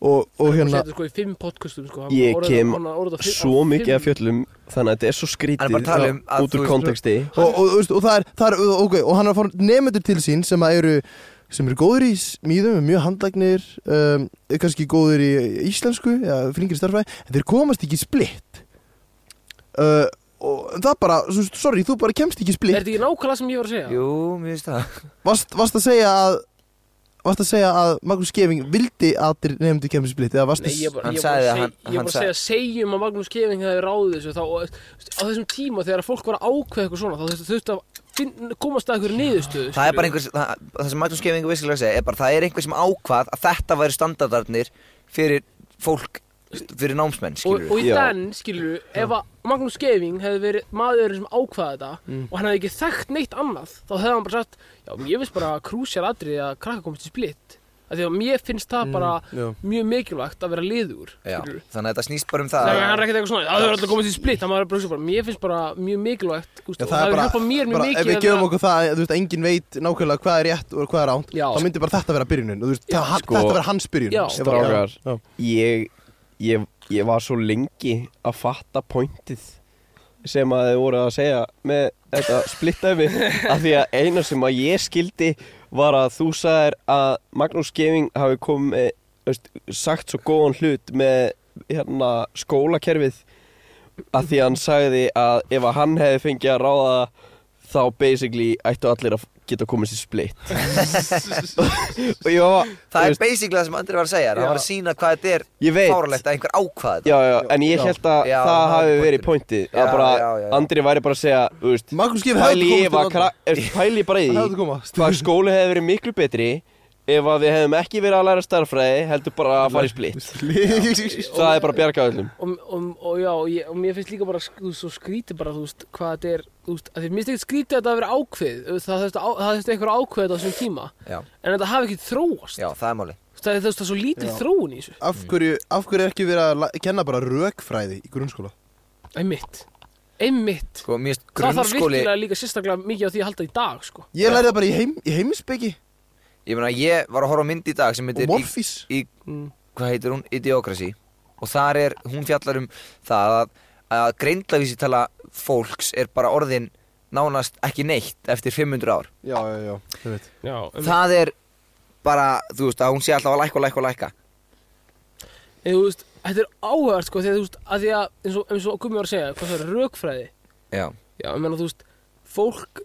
Speaker 3: Og, og
Speaker 2: Hún
Speaker 3: hérna
Speaker 2: setur sko í fimm podcastum, sko. hann
Speaker 1: Ég
Speaker 2: orðaði-
Speaker 1: kem
Speaker 2: hann orðaði á fimm-
Speaker 1: svo
Speaker 2: á
Speaker 1: mikið að
Speaker 2: fimm-
Speaker 1: fjöllum Þannig að þetta er svo skrítið
Speaker 4: Hann er bara að tala um að
Speaker 1: út úr
Speaker 4: þú-
Speaker 1: konteksti
Speaker 3: og, og, og, veist, og það er, það er ok, og hann er að fá nefnendur til sín sem að eru sem eru góður í smíðum, mjög handlagnir um, kannski góður í íslensku eða fringir starfæði, en þeir komast ekki í splitt uh, og það bara, svo, sorry, þú bara kemst ekki í
Speaker 2: Er
Speaker 3: splitt,
Speaker 2: þetta ekki nákvæmlega sem ég var að segja?
Speaker 4: jú, mér finnst það
Speaker 3: varst, varst að segja að varst að segja að Magnús Geving vildi að þeir nefnendur kemst í splitt eða varst
Speaker 2: Nei, ég er bara, ég
Speaker 4: Hann
Speaker 2: er bara, að
Speaker 4: sagði að
Speaker 2: seg,
Speaker 4: hann-
Speaker 2: ég er bara
Speaker 4: hann
Speaker 2: að segja, segjum að Magnús Kefing hefði ráðið þessu þá, og á þessum tíma þegar fólk var að ákveða eitthvað svona þá þurfti- þurfti að finn, komast að einhverju niðurstöðu
Speaker 4: Það er
Speaker 2: skilurðu.
Speaker 4: bara einhvers, það, það sem Magnús Geving vissilega segja er bara, það er einhver sem ákvað að þetta væri standardarnir fyrir fólk, fyrir námsmenn,
Speaker 2: og,
Speaker 4: skilur
Speaker 2: og í
Speaker 1: Já.
Speaker 2: þann, skilur ef að Magnús Geving hefði verið maðurinn sem ákvaða þetta
Speaker 4: Mm.
Speaker 2: og hann hefði ekki þekkt neitt annað þá hefði hann bara sagt, já, ég veist bara að krúsjar atriði að krakka komist í splitt af því að mér finnst það bara
Speaker 3: já.
Speaker 2: mjög mikilvægt að vera liður
Speaker 4: Mm, Já,
Speaker 2: skilur
Speaker 4: þannig að þetta snýst bara um
Speaker 2: Nei,
Speaker 4: það
Speaker 2: hann er ekkert eitthvað svona, það er alltaf komist í splitt, hann var bara, bara, mér finnst bara mjög mikilvægt, úst,
Speaker 3: Já,
Speaker 2: og það hefur hjálpað mér mjög
Speaker 3: bara,
Speaker 2: mikið
Speaker 3: ef við
Speaker 2: að
Speaker 3: gefum
Speaker 2: vera-
Speaker 3: okkur það, þú veist, engin veit nákvæmlega hvað er rétt og hvað er ánt
Speaker 2: Já.
Speaker 3: þá myndi bara þetta vera byrjunin, þú veist, já,
Speaker 1: sko,
Speaker 3: þetta vera hans byrjun
Speaker 2: já.
Speaker 3: Ef-
Speaker 1: Strákar,
Speaker 3: já.
Speaker 1: ég, ég, ég var svo lengi að fatta pointið sem að þið voru að segja með þetta splittæmi af því að eina sem að ég skildi var að þú sagðir að Magnús Geving hafi komið veist, sagt svo góðan hlut með hérna, skólakerfið af því að hann sagði að ef að hann hefði fengið að ráða þá basically ættu allir að geta komið sér splitt og ég var
Speaker 4: Það
Speaker 1: þú
Speaker 4: er basically það sem Andri var að segja, það var að sína hvað þetta er
Speaker 1: Ég veit.
Speaker 4: fárlegt að einhver ákvað þetta
Speaker 1: Já, já, en ég held að
Speaker 4: Já,
Speaker 1: það
Speaker 4: það
Speaker 1: hafi
Speaker 4: er
Speaker 1: verið pointið Að
Speaker 4: Já,
Speaker 1: bara,
Speaker 4: já, já, já.
Speaker 1: Andri væri bara að segja, þú veist
Speaker 3: Magnús Geving hefði
Speaker 1: Pæli
Speaker 3: komist
Speaker 1: ég
Speaker 3: til
Speaker 1: var,
Speaker 3: valda.
Speaker 1: kra- þú veist, pæli bara í
Speaker 3: Hann hefði
Speaker 1: því
Speaker 3: komast.
Speaker 1: Hvað skóli hefði verið miklu betri ef að við hefum ekki verið að læra starffræði heldur bara að fara í
Speaker 3: (laughs)
Speaker 1: splitt það er bara að bjarga öllum
Speaker 2: og, og, og já, og, ég, og mér finnst líka bara sk- þú veist, svo skrítið bara, þú veist, hvað þetta er þú veist, að því mér finnst ekkert skrítið að þetta hafi verið ákveð það þurfti á- það þurfti eitthvað ákveð á þessum tíma
Speaker 4: Já,
Speaker 2: en þetta hafi ekki þróast
Speaker 4: já, það er máli
Speaker 2: það er þú veist, það er svo lítið
Speaker 3: Já.
Speaker 2: þróun í þessu
Speaker 3: af, hverju, af hverju er ekki verið að la- kenna bara rökfræði í grunnskóla?
Speaker 2: einmitt, einmitt
Speaker 4: Sko, mér finnst
Speaker 2: það þarf
Speaker 4: grunnskóli
Speaker 2: virkilega líka sérstaklega mikið á því að halda í dag sko.
Speaker 3: Ég læri það bara í, heim, í heimsbyggi
Speaker 4: Ég meina, ég var að horfa á mynd í dag sem
Speaker 3: og
Speaker 4: heitir í,
Speaker 3: morfís
Speaker 4: í,
Speaker 2: Mm.
Speaker 4: Hvað heitir hún? Idiokrasi Og þar er, hún fjallar um það að, að greindlavísitala fólks er bara orðin nánast ekki neitt eftir 500 ár
Speaker 3: Já, já, já, ég veit
Speaker 2: já,
Speaker 4: Það er bara, þú veist, að hún sé alltaf að lækka og lækka og lækka
Speaker 2: en, þú veist, þetta er áhugavert sko, því að, þú veist, að því að eins og, eins og Gumi var að segja, hvað það er rökfræði
Speaker 4: Já,
Speaker 2: já, ég meina, þú veist, fólk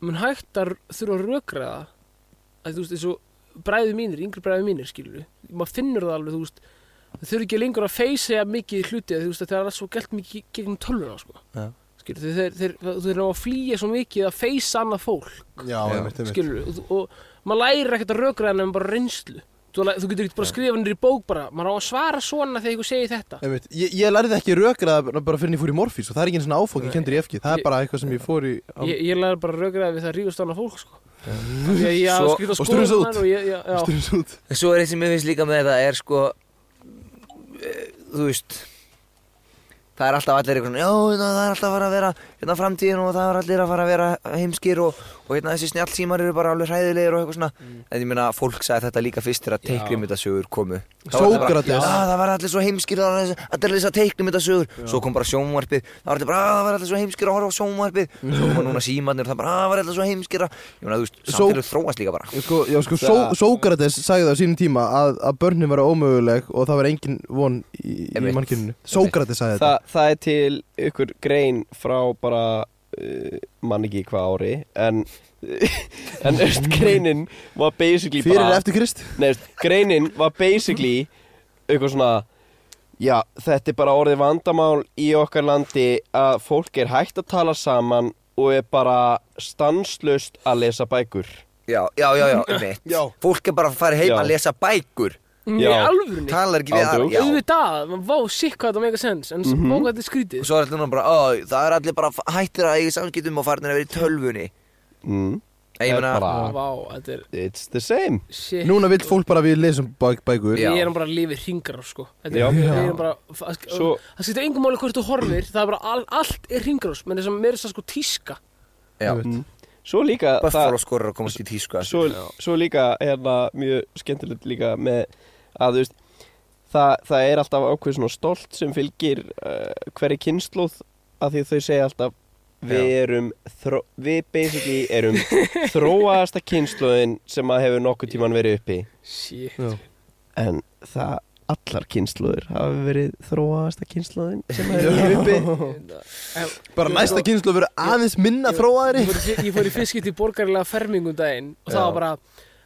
Speaker 2: mun hægt að r- þurfa að rökræða að þú veist, eins og bræði mínir, yngri bræði mínir, skilur maður finnur það alveg, þú veist þau þurfa ekki lengur að feysa jafn mikið hluti þú veist, það er allt svo gælt mikið í gegnum tölvuna sko.
Speaker 4: Já.
Speaker 2: skilur, þeir, þeir, þeir, þeir ná að flýja svo mikið að feysa annað fólk
Speaker 3: Já,
Speaker 4: Já.
Speaker 3: ég veit, ég veit
Speaker 2: skilur og, þú- og maður lærir ekkert að rökræða nefnum bara reynslu þú, læ- þú getur ekkert bara að skrifa nýri bók bara maður á að svara svona þegar ykkur segir þetta
Speaker 3: Ég, veit, ég, ég lærði ekki rökræða bara fyrir en ég fór í morfís og það er ekki eins og áfók ég kendur í FG, það
Speaker 2: Ég-
Speaker 3: er bara eitthvað sem ég fór í á- (laughs)
Speaker 2: ég, ég lærir bara að rökræða við það rífast annað fólk sko. Af því að ég
Speaker 4: Svo-
Speaker 2: skrifa
Speaker 3: og strunsa út.
Speaker 2: skoðunar og ég, já, já,
Speaker 3: Stundum svo út.
Speaker 4: En Svo er eitt sem ég finnst líka með þetta er sko eh, Þú veist Það er alltaf allir einhvern Já, hérna, það er alltaf að fara að vera Hérna framtíðin og það er allir að fara að vera heimskir Og, og hérna þessi snjallsímar eru bara alveg hræðilegir og eitthvað svona En ég meina, fólk sagði þetta líka fyrst Þegar teiknumyndasögur komu Þá var þetta bara,
Speaker 3: Sókrates.
Speaker 4: "Ah, Það var allir svo heimskir Það var allir þess að teiknumyndasögur Svo kom bara sjónvarpið Það var allir bara, "Ah, það var allir svo heimskir að horfa á sjónvarpið Svo kom núna símarnir og það bara, "Ah, það var allir svo heimskir að-" Ég meina, þú veist,
Speaker 3: Só-
Speaker 4: samfélag þróast líka bara.
Speaker 3: Ég Sko, já, sko, Só, Sókrates sagði það á sínum tíma að, að börnin var ómöguleg og það var engin von í, í
Speaker 4: Einmitt.
Speaker 3: mannkyninu Sókrates sagði
Speaker 1: Þa, það er til ykkur grein frá bara uh, mann ekki hvað ári en, (laughs) en öst greinin var basically
Speaker 3: þetta Fyrir
Speaker 1: bara,
Speaker 3: eftir Krist
Speaker 1: Nei, veist, greinin var basically eitthvað svona Já, þetta er bara orðið vandamál í okkar landi að fólk er hægt að tala saman og er bara stanslust að lesa bækur
Speaker 4: Já, já, já, já,
Speaker 2: (laughs)
Speaker 4: einmitt
Speaker 3: Já.
Speaker 4: Fólk er bara að fara heim
Speaker 1: Já.
Speaker 4: að lesa bækur
Speaker 2: Mm, í
Speaker 1: Já.
Speaker 2: alvörunni
Speaker 4: Talar ekki við
Speaker 1: Ándjú.
Speaker 4: aðra Já.
Speaker 2: auðvitað, maður vá sikk hvað þetta mega sens en mm -hmm. þetta er
Speaker 4: Og
Speaker 2: skrítið
Speaker 4: svo er allir núna bara, ó, það er allir bara hættir að eiga samskiptum og farinir að vera í tölvunni
Speaker 1: mm,
Speaker 4: En Ég
Speaker 1: Það er
Speaker 4: meina,
Speaker 1: bara-
Speaker 2: vá, þetta er
Speaker 1: It's the same
Speaker 2: shit
Speaker 3: Núna vill fólk bara að við lesum bæk, bækur
Speaker 4: Já.
Speaker 2: Við erum bara að lifa hringar sko. Þetta
Speaker 1: Já.
Speaker 2: er- við erum bara
Speaker 1: Svo-
Speaker 2: Það skiptir engum máli hvort þú horfir Það er bara all, allt er hringar menn þess að mér er það sko tíska
Speaker 4: já
Speaker 1: Svo líka
Speaker 4: Buffalo skorur að komast í tísku sko. að
Speaker 1: svo, svo líka hérna mjög skemmtilegt líka með að þú veist það, það er alltaf ákveð svona stolt sem fylgir uh, hverri kynnslóð að því þau segja alltaf við erum þró, við basically erum þróaðasta kynnslóðin sem að hefur nokkuð tíman verið uppi
Speaker 2: Shit
Speaker 1: en það allar kynnslóður hafa verið þróaðasta kynnslóðin sem að hefur verið uppi
Speaker 3: Bara næsta kynslu verður aðeins minna þróaðri
Speaker 2: Ég fór, í- ég fór í fiskitt í borgarlega fermingum daginn og það var bara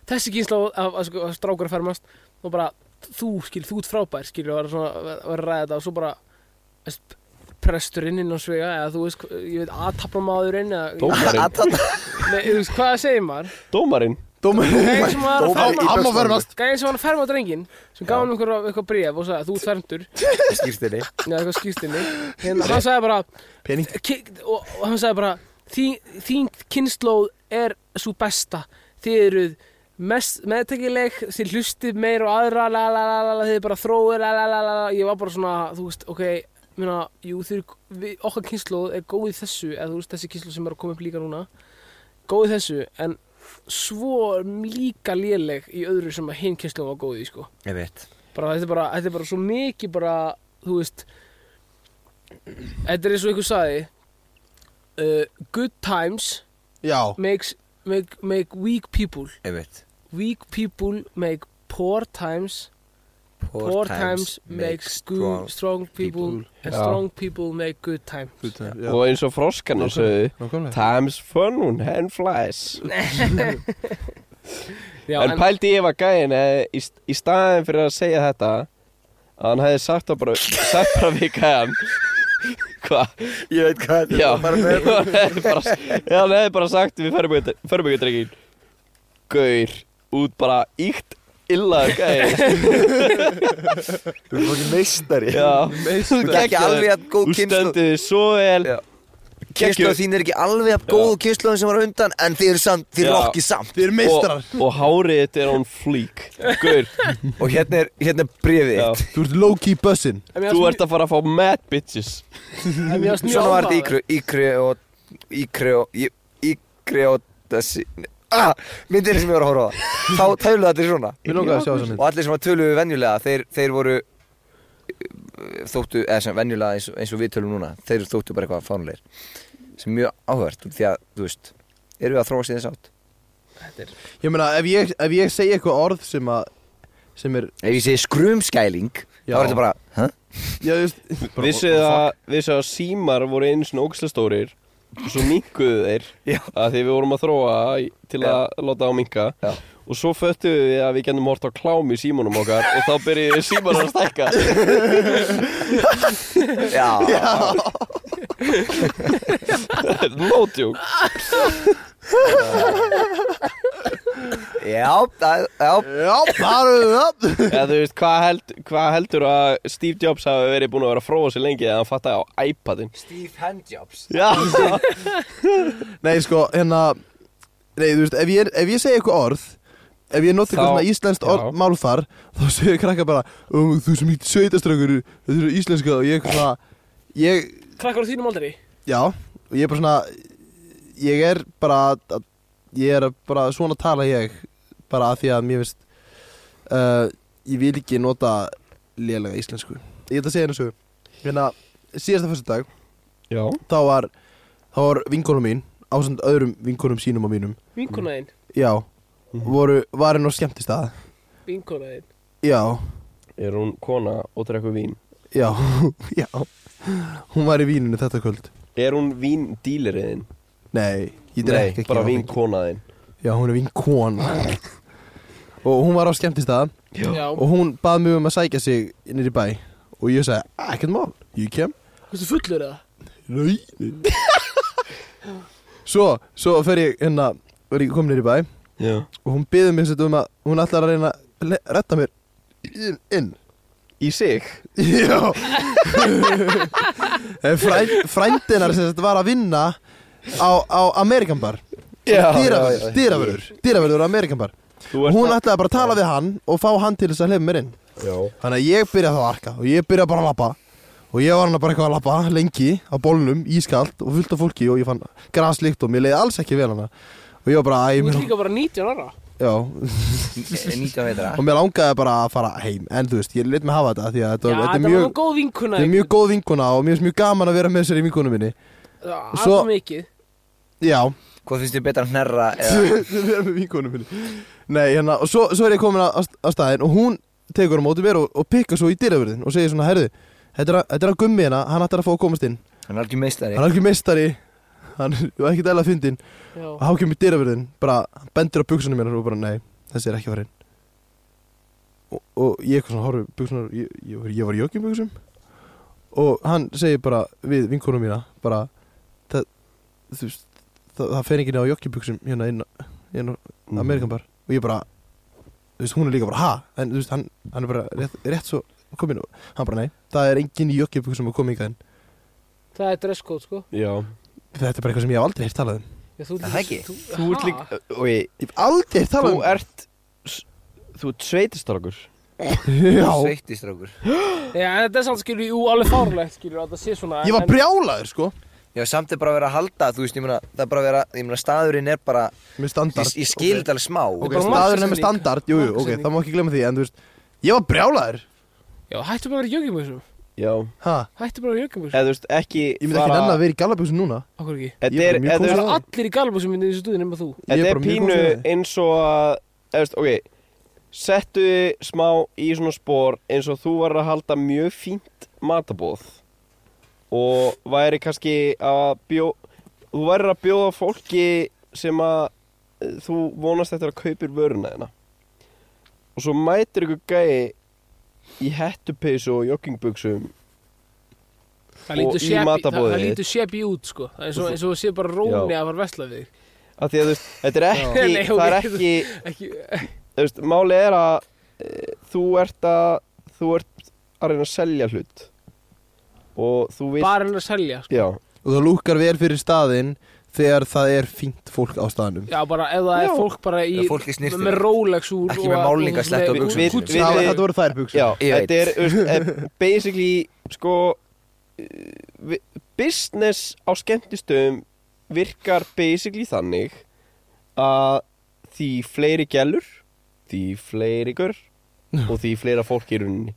Speaker 2: þessi kynsla af, af, af, af strákur að fermast og bara þú skil, þú ert frábær skil og var svona var var að ræða þetta og svo bara veist, presturinn inn á svega eða þú veist, hva- ég veit, aðtapramáðurinn eða,
Speaker 1: dómarinn,
Speaker 2: nei, þú veist, hvað segir maður?
Speaker 1: dómarinn
Speaker 3: Dómurinn
Speaker 2: Gæðin sem var að
Speaker 3: Dómari í
Speaker 2: ferma
Speaker 3: Amma fermast.
Speaker 2: Gæðin sem var að ferma drengin sem gaf hann einhver eitthvað bréf og sagði þú ert fermdur
Speaker 4: skýrstinni
Speaker 2: eða eitthvað skýrstinni hérna, hann sagði bara
Speaker 3: Pening
Speaker 2: ki- og, og hann sagði bara þín, þín kynnslóð er svo besta þið eruð mest meðtekileg þið hlustið meir og aðra la, la, la, la, la, þið er bara þróið la, la, la, la, la. ég var bara svona, þú veist, ok minna, jú, þið, eru- við, okkar kynnslóð er góð í þessu eða þú veist, þessi kynnslóð sem er að koma upp líka núna góð í þessu, en svo líka léleg í öðru sem að hinn kynnslóð var góð í, sko
Speaker 4: Ég veit
Speaker 2: bara þetta er bara, þetta er bara svo mikið bara, þú veist þetta er eins og ykkur sagði uh, good times
Speaker 3: Já,
Speaker 2: makes, make, make weak people
Speaker 4: Ég veit
Speaker 2: weak people make poor times poor, times, makes good, strong, people, and
Speaker 1: Já.
Speaker 2: strong people make good time
Speaker 3: já.
Speaker 1: og eins og froskanir sögðu
Speaker 3: Nákvæmlega.
Speaker 1: Time's fun when hand flies
Speaker 2: Já,
Speaker 1: en,
Speaker 2: en-
Speaker 1: pældi ég var gæðin eh, í, í staðin fyrir að segja þetta að hann hefði sagt það bara sagt bara við (laughs) gæðan hvað,
Speaker 4: Ég veit hvað
Speaker 1: já hann hefði bara, hann hefði bara sagt við förbyggjadrengin Gaur, út bara íkt illaður gæði (laughs)
Speaker 4: Þú erum ekki meistari
Speaker 1: Já.
Speaker 4: Þú ert ekki alveg að góð
Speaker 1: Þú
Speaker 4: kynnslóð
Speaker 1: stendur þig svo vel
Speaker 4: Já. Kynnslóð þín er ekki alveg að góð kynnslóðin sem var á undan En þið eru samt, þið
Speaker 1: Já.
Speaker 4: eru okki samt
Speaker 3: Þið eru meistrar
Speaker 1: og, og hárið þetta er on fleek Gaur,
Speaker 4: Og hérna er, hérna er bréfið
Speaker 1: já,
Speaker 4: þitt
Speaker 3: Þú ert low-key bussin
Speaker 1: þú ert að fara að fá mad bitches
Speaker 4: Svona var þetta íkru, íkru og Íkru og, í- íkru og Þessi, ah, myndir sem ég var að horfa á Þá töluðu allir svona
Speaker 3: Mér langaði að sjá þessa mynd
Speaker 4: Og allir sem að töluðu venjulega, þeir, þeir voru eh, Þóttu, eða sem venjulega eins, og- eins og við tölum núna Þeir þóttu bara eitthvað fánulegir Sem er mjög áhvert, því að, þú veist Erum við að þróa sér þess átt?
Speaker 3: Ég meina, ef ég, ef ég segi eitthvað orð sem að sem er,
Speaker 4: Ef ég segi skrumskæling
Speaker 3: Já.
Speaker 4: Þá er þetta bara, hæ?
Speaker 3: já, þú veist
Speaker 1: Vissið að, vissið að símar voru einu svona ógislega stórir og svo minkuðu þeir
Speaker 4: Já.
Speaker 1: að því við vorum að þróa í- til að láta á minka
Speaker 4: Já.
Speaker 1: og svo föttuðu við að við gennum hort á klám í símanum okkar og þá byrjuðu (laughs) símar að stækka
Speaker 4: Já,
Speaker 1: (laughs) No joke
Speaker 4: já, já, já.
Speaker 3: Já, bara það
Speaker 1: Eða þú veist, hvað, held, hvað heldur að Steve Jobs hafi verið búin að vera að fróa sér lengi eða hann fattaði á iPadin
Speaker 4: Steve Handjobs
Speaker 1: Já
Speaker 3: Nei, sko, hérna Nei, þú veist, ef ég, ef ég segi eitthvað orð Ef ég noti eitthvað
Speaker 1: Þá-
Speaker 3: svona íslenskt orð,
Speaker 1: já.
Speaker 3: málfar Þá segir krakka bara um, Þú sem ít sveitaströkkur, þetta eru íslenska Og ég eitthvað svona Ég,
Speaker 2: Krakkar á þínum aldrei
Speaker 3: já, og ég er bara svona Ég er bara að- Ég er bara svona tala ég Bara að því að mér finnst uh, Ég vil ekki nota Lélega íslensku Ég ætla að segja henni svo Hérna, síðasta fyrstu dag
Speaker 1: Já
Speaker 3: Þá var, þá var vinkonum mín Ásand öðrum vinkonum sínum og mínum
Speaker 2: Vinkonaðinn
Speaker 3: Já, voru varin á skemmtistað
Speaker 2: Vinkonaðinn
Speaker 3: Já,
Speaker 1: Er hún kona og drekku vín?
Speaker 3: já, (laughs) já Hún var í víninu þetta kvöld
Speaker 1: Er hún víndíleriðin?
Speaker 3: Nei, ég drek ekki
Speaker 1: bara
Speaker 3: áfengi.
Speaker 1: vínkonaðin
Speaker 3: Já, hún er vinkon Og hún var á skemmtistað
Speaker 2: Já
Speaker 3: Og hún bað mig um að sækja sig innir í bæ Og ég sagði, "Ah, ekkert mál, ég kem
Speaker 2: Hversu fullur er það?
Speaker 3: Nei Svo, svo fer ég hérna Var ég komin nýr í bæ
Speaker 1: Já
Speaker 3: Og hún byður mig sér um að Hún ætlar að reyna að le- redda mér inn, inn.
Speaker 1: Í sig?
Speaker 3: Já (laughs) En frænd, Frændinar sem þetta var að vinna á, á Amerikan bar
Speaker 1: Já,
Speaker 3: Dýravörður, dýravörður, dýravörður á Amerikan bar
Speaker 1: Þú
Speaker 3: Og
Speaker 1: ert
Speaker 3: hún
Speaker 1: að-
Speaker 3: ætlaði bara að tala við hann og fá hann til þess að hleypa mér inn
Speaker 1: Já
Speaker 3: Þannig að ég byrja þá að arka og ég byrja bara að lappa Og ég var hann bara eitthvað að lappa lengi á bólnum, ískalt og fullt af fólki og ég fann graslikt og mér leiði alls ekki vel hana Og ég var bara, æ,
Speaker 2: Þú ert
Speaker 3: mér,
Speaker 2: líka bara 19 ára
Speaker 3: já,
Speaker 4: 19 veitra
Speaker 3: og mér langaði bara að fara heim En þú veist, ég let mig hafa þetta því að þetta,
Speaker 2: Já,
Speaker 3: var-
Speaker 2: þetta
Speaker 3: þetta er
Speaker 2: var nú
Speaker 3: mjög
Speaker 2: góð
Speaker 3: Þetta er
Speaker 2: vinkonaðinn
Speaker 3: mjög góð vinkona og mér finnst mjög gaman að vera með sér í vinkonu minni
Speaker 2: Alltaf
Speaker 3: svo-
Speaker 2: mikið
Speaker 3: Já
Speaker 4: Hvað finnst þér betra að hnerra
Speaker 3: (laughs)
Speaker 4: eða
Speaker 3: Vera með vinkonu minni Nei, hérna, og svo, svo er ég komin að, að staðinn og hún tekur á móti mér og, og pikkar svo í dyrafurðin og segir svona, herðu, þetta er að- þetta er að gummi hérna, hann ætlar að fá að komast inn
Speaker 4: Hann er algjör meistari
Speaker 3: Hann er ekki meistari, hann er ekki dæla að fyndin
Speaker 2: Já
Speaker 3: og hann kemur í dyrafurðin, bara, hann bendur á buksunum minnar og bara, nei, þessi er ekki að fara inn og, og ég eitthvað svona horfi buksunar, ég, ég, var- ég var í jökjum buksum og hann segir bara við vinkonum mína bara það, þú veist, það, það fer enginn á jogginbuxum hérna inn, á- inn á
Speaker 1: Mhm.
Speaker 3: Amerikan bar og ég bara þú veist, hún er líka bara ha en þú veist, hann, hann er bara rétt, rétt svo komin og hann bara nei, það er enginn í jogginbuxum að koma ykkar en
Speaker 2: Það er dresscode sko
Speaker 1: Já
Speaker 3: þetta er bara eitthvað sem ég hef aldrei heyrt talað um
Speaker 2: Já, þú
Speaker 4: Er það ekki?
Speaker 1: Þú ert líka Oi,
Speaker 3: ég hef aldrei heyrt talað
Speaker 1: Þú
Speaker 3: um
Speaker 1: ert s- Þú ert sveitistrákur
Speaker 3: já,
Speaker 4: Sveittistrákur
Speaker 2: Já, en þetta er samt skilur Jú, alveg fárlegt skilur að það sé svona
Speaker 3: ég var
Speaker 2: en-
Speaker 3: brjálaður sko
Speaker 4: Já, samt er bara að vera að halda Þú veist, ég meina Það er bara að vera Ég meina, staðurinn er bara
Speaker 3: með
Speaker 4: Ég,
Speaker 3: standard
Speaker 4: ég skil þetta alveg smá
Speaker 3: ok,
Speaker 2: bara
Speaker 3: staðurinn er
Speaker 2: markaðssetning.
Speaker 3: með standard jú, jú, ok,
Speaker 2: Markaðssetning.
Speaker 3: það má ekki glemma því en þú veist, ég var brjálaður
Speaker 2: Já, hættu bara að vera í joggingböksum
Speaker 1: Já
Speaker 3: ha,
Speaker 2: Hættu bara að vera í joggingböksum
Speaker 1: Eða þú veist ekki
Speaker 3: ég myndi ekki nenni að vera í gallabjöksum núna
Speaker 2: Akkur ekki
Speaker 1: Þetta
Speaker 3: Ég er
Speaker 1: er,
Speaker 3: bara mjög
Speaker 1: þetta
Speaker 3: kósí
Speaker 1: er,
Speaker 2: Það
Speaker 3: Já.
Speaker 2: er allir í gallaböksum í þessu stuðinu með þú
Speaker 3: Ég
Speaker 1: þetta
Speaker 3: er
Speaker 1: er
Speaker 3: bara mjög
Speaker 1: pínu
Speaker 3: góð fyrir það.
Speaker 1: eins og að eða, þú veist, ok, settu þig smá í svona spór eins og þú var að halda mjög fínt matabóð og væri kannski að bjó þú væri að bjóða fólki sem að eh, þú vonast eftir að kaupir vöruna þina og svo mætir ykkur gæi í hettupeysu og joggingbuxum
Speaker 2: Það
Speaker 1: Og
Speaker 2: lítur
Speaker 1: í
Speaker 2: shabby-
Speaker 1: matarboðið.
Speaker 2: það- það lítur shabby út sko Það er svo- eins og þú sé bara róni
Speaker 1: Já.
Speaker 2: að fara að vesla við þig
Speaker 1: af því að þú veist, þetta er ekki,
Speaker 2: Nei, ok,
Speaker 1: það er ekki
Speaker 2: Ekki
Speaker 1: þú veist, máli er að e, þú ert að þú ert að reyna að selja hlut og þú vilt
Speaker 2: bara hennar að selja sko.
Speaker 1: já,
Speaker 3: Og það lúkar vel fyrir staðinn þegar það er fínt fólk á staðnum
Speaker 2: já, bara ef það
Speaker 1: Já.
Speaker 2: er fólk bara í
Speaker 4: Ef fólk í snyrtivörum.
Speaker 2: með Rolex úr
Speaker 4: Ekki með
Speaker 2: og-
Speaker 4: málningarslettu á
Speaker 2: með-
Speaker 4: buxum
Speaker 2: úr-
Speaker 1: sínum.
Speaker 2: úr-
Speaker 1: Við-
Speaker 3: Það
Speaker 1: við-
Speaker 3: þetta voru þær buksur
Speaker 1: já
Speaker 4: Ég veit.
Speaker 1: þetta er þú veist,
Speaker 4: (laughs)
Speaker 1: er basically sko e, vi- business á skemmtistöðum virkar basically þannig að því fleiri gælur því fleiri
Speaker 4: (laughs)
Speaker 1: gaur og því fleira fólk í rauninni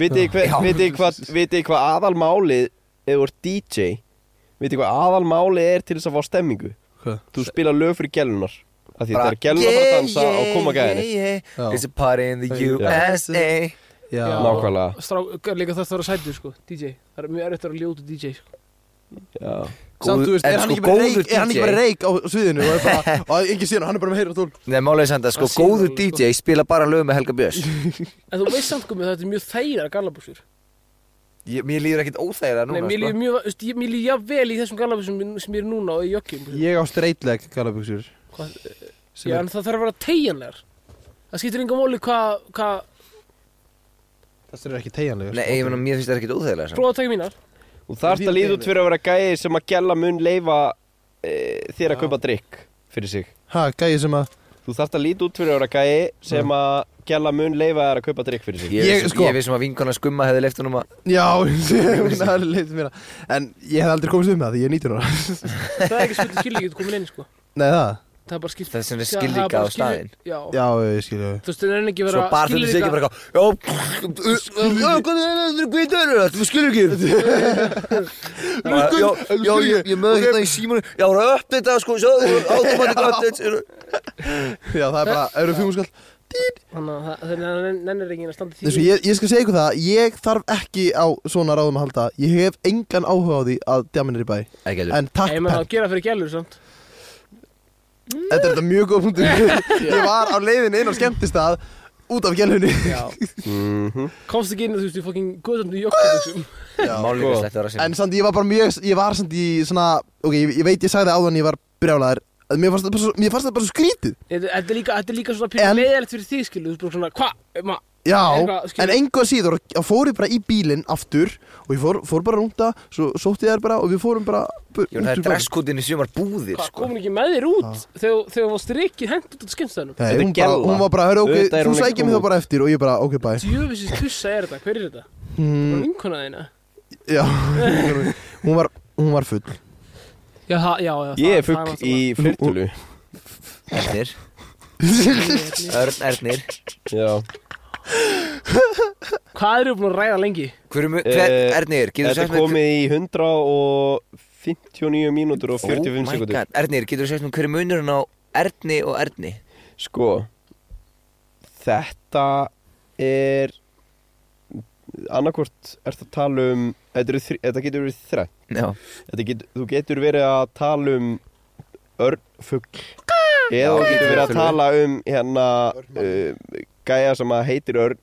Speaker 1: vitið þið
Speaker 4: Já.
Speaker 1: hva, vitið þið hvað vitið þið hvað aðalmálið ef þú ert DJ vitið þið hvað aðalmálið er til þess að fá stemmingu
Speaker 3: Hvað?
Speaker 1: þú spila lög fyrir gælunar af því það er gælunar að fara að dansa og koma gæðinni
Speaker 4: yeah,
Speaker 3: Já.
Speaker 4: yeah. It's a party in the USA
Speaker 3: Já,
Speaker 2: Já.
Speaker 1: nákvæmlega
Speaker 2: strák- líka það þarf að sætu sko, DJ það er mjög erfitt að vera ljótu DJ sko.
Speaker 1: já.
Speaker 3: Samt, þú veist,
Speaker 4: en
Speaker 3: er hann
Speaker 4: sko
Speaker 3: ekki bara
Speaker 4: góður
Speaker 3: reik, er hann ekki bara
Speaker 4: DJ
Speaker 3: reik á sviðinu og, er bara, og engin síðan, hann er bara með heyra tól
Speaker 4: Nei, málega samt að sko
Speaker 2: Það sé
Speaker 4: góður
Speaker 2: alveg, sko.
Speaker 4: DJ spila bara lög með Helga Björns
Speaker 2: en þú veist samt komið þetta er mjög þægilega gallabúsur
Speaker 4: Ég- Mér líður ekkit óþægilega
Speaker 2: Nei,
Speaker 4: núna
Speaker 2: mér
Speaker 4: sko.
Speaker 2: líður mjög, veist, ég- mér líður jafnvel í þessum gallabúsum sem ég er núna og í jökkjum
Speaker 3: Ég á streitleg galabuksur
Speaker 2: Hvað-
Speaker 3: sem
Speaker 2: Já,
Speaker 3: er
Speaker 2: en það þarf að vera tegjanlegar Það skiptir enga móli hvað hva,
Speaker 3: Þessar eru ekki sko. tegjanlegur
Speaker 4: Nei, ég meina, mér finnst það ekkit óþægilega samt.
Speaker 2: prófatæki mínar
Speaker 1: og það er að líða út fyrir að vera gæði sem að gæla mun leifa e, þér að kaupa drikk fyrir sig
Speaker 3: Ha, gæði sem að
Speaker 1: þú þarft að líta út fyrir að vera gæði sem að gæla mun leifa þér að kaupa drikk fyrir sig
Speaker 4: Ég,
Speaker 3: Ég,
Speaker 4: ég,
Speaker 3: sko-
Speaker 4: sko. ég vissum að vinkona skumma hefði leift honum að
Speaker 3: Já, (laughs) hún er leitt mér að- En ég hef aldrei komist um það því ég er 19 ára (laughs)
Speaker 2: Það er ekki svolítið skilíkið þú komin inn sko.
Speaker 3: Nei, það?
Speaker 2: Það er bara skipt
Speaker 4: Það er sem
Speaker 2: Já,
Speaker 4: er
Speaker 2: það
Speaker 4: skilríka
Speaker 2: bara
Speaker 4: á staðinn.
Speaker 2: skilrík- Já,
Speaker 3: Já, ég skilja
Speaker 2: þú veist, það er ekki að
Speaker 4: Svo
Speaker 2: vera
Speaker 4: bara þetta sé ekki bara eitthvað Þú skilur (laughs) ekki Já, já, já, ég- ég mögði hérna í símanu Já, það er uppdate það sko Automatic updates eru-
Speaker 3: Já, það er bara, eru fjóðum skall
Speaker 2: Þannig að það- þannig að það nennir ekki að standa
Speaker 3: Þessu,
Speaker 2: því
Speaker 3: ég, ég skal segja ykkur það, ég þarf ekki á svona ráðum að halda Ég hef engan áhuga á því að djamin er í bæ
Speaker 4: Ekki heldur.
Speaker 3: En takk
Speaker 2: Ég menn
Speaker 3: Penn,
Speaker 2: að gera fyrir gælur
Speaker 3: (laughs)
Speaker 2: samt
Speaker 3: þetta er þetta mjög góð punktur Ég var á leiðin inn á skemmtistað út af gælunni
Speaker 2: Já,
Speaker 1: mm
Speaker 2: komst ekki inn þú veist, ég fokkin guðsandi í jökkjum
Speaker 4: Málíka slett að vera
Speaker 3: En samt ég var bara mjög, ég var samt í svona Ok, ég, ég veit ég sagði áðan ég var brjálæður að Mér fannst það bara svo, mér fannst það bara svo skrítið
Speaker 2: Þetta þetta er líka, þetta er líka svona
Speaker 3: En-
Speaker 2: pínu leiðilegt fyrir þig skilu Þú veist, bara svona, hva, ma,
Speaker 3: Já,
Speaker 2: Eitthvað, skilur-
Speaker 3: en engu að síður þá fór ég bara í bílinn aftur og ég fór, fór bara rúnda, svo sótti ég þær bara og við fórum bara bu-
Speaker 4: Jón,
Speaker 3: út úr
Speaker 4: það er
Speaker 3: bænum.
Speaker 4: dresskótin í sumar búðir
Speaker 2: hva,
Speaker 4: sko
Speaker 2: komin ekki með þér út Þegar þegar þú varst rikið hent út á skemmstæðanum
Speaker 3: Nei,
Speaker 1: Þetta er
Speaker 3: hún, bara,
Speaker 1: gella.
Speaker 3: hún var bara, hörru, ok,
Speaker 1: Auðvitað er
Speaker 3: þú
Speaker 1: hún ekki
Speaker 3: sækir mig
Speaker 1: komin
Speaker 3: þá bara eftir og ég bara, ok, bye
Speaker 2: Jöfisins tussa er þetta, hver er þetta?
Speaker 3: mm,
Speaker 2: Mm. Vinkona þína?
Speaker 3: Já, hún var, hún var full
Speaker 2: Já, það, já, já
Speaker 1: ég
Speaker 2: það-
Speaker 1: er fugg
Speaker 2: það
Speaker 1: í fyrtölu
Speaker 4: Ernir,
Speaker 1: (laughs)
Speaker 2: náttúrulega-
Speaker 4: Örn Ernir
Speaker 1: já.
Speaker 2: (laughs) Hvað eru búin að ræða lengi?
Speaker 4: Hver er mu-
Speaker 1: Eh,
Speaker 4: hver- Ernir, getur
Speaker 1: þetta er komið í 159 mínútur og 45 sekundur
Speaker 4: Oh Ernir, getur þú sagt mér hver er munurinn á Erni og Erni
Speaker 1: sko þetta er annarkvort er það tala um þetta, eru þri, þetta getur verið þrætt
Speaker 4: Já,
Speaker 1: Þetta get, þú getur verið að tala um örnfugl eða þú getur verið að tala um hérna uh, gæja sem að heitir örn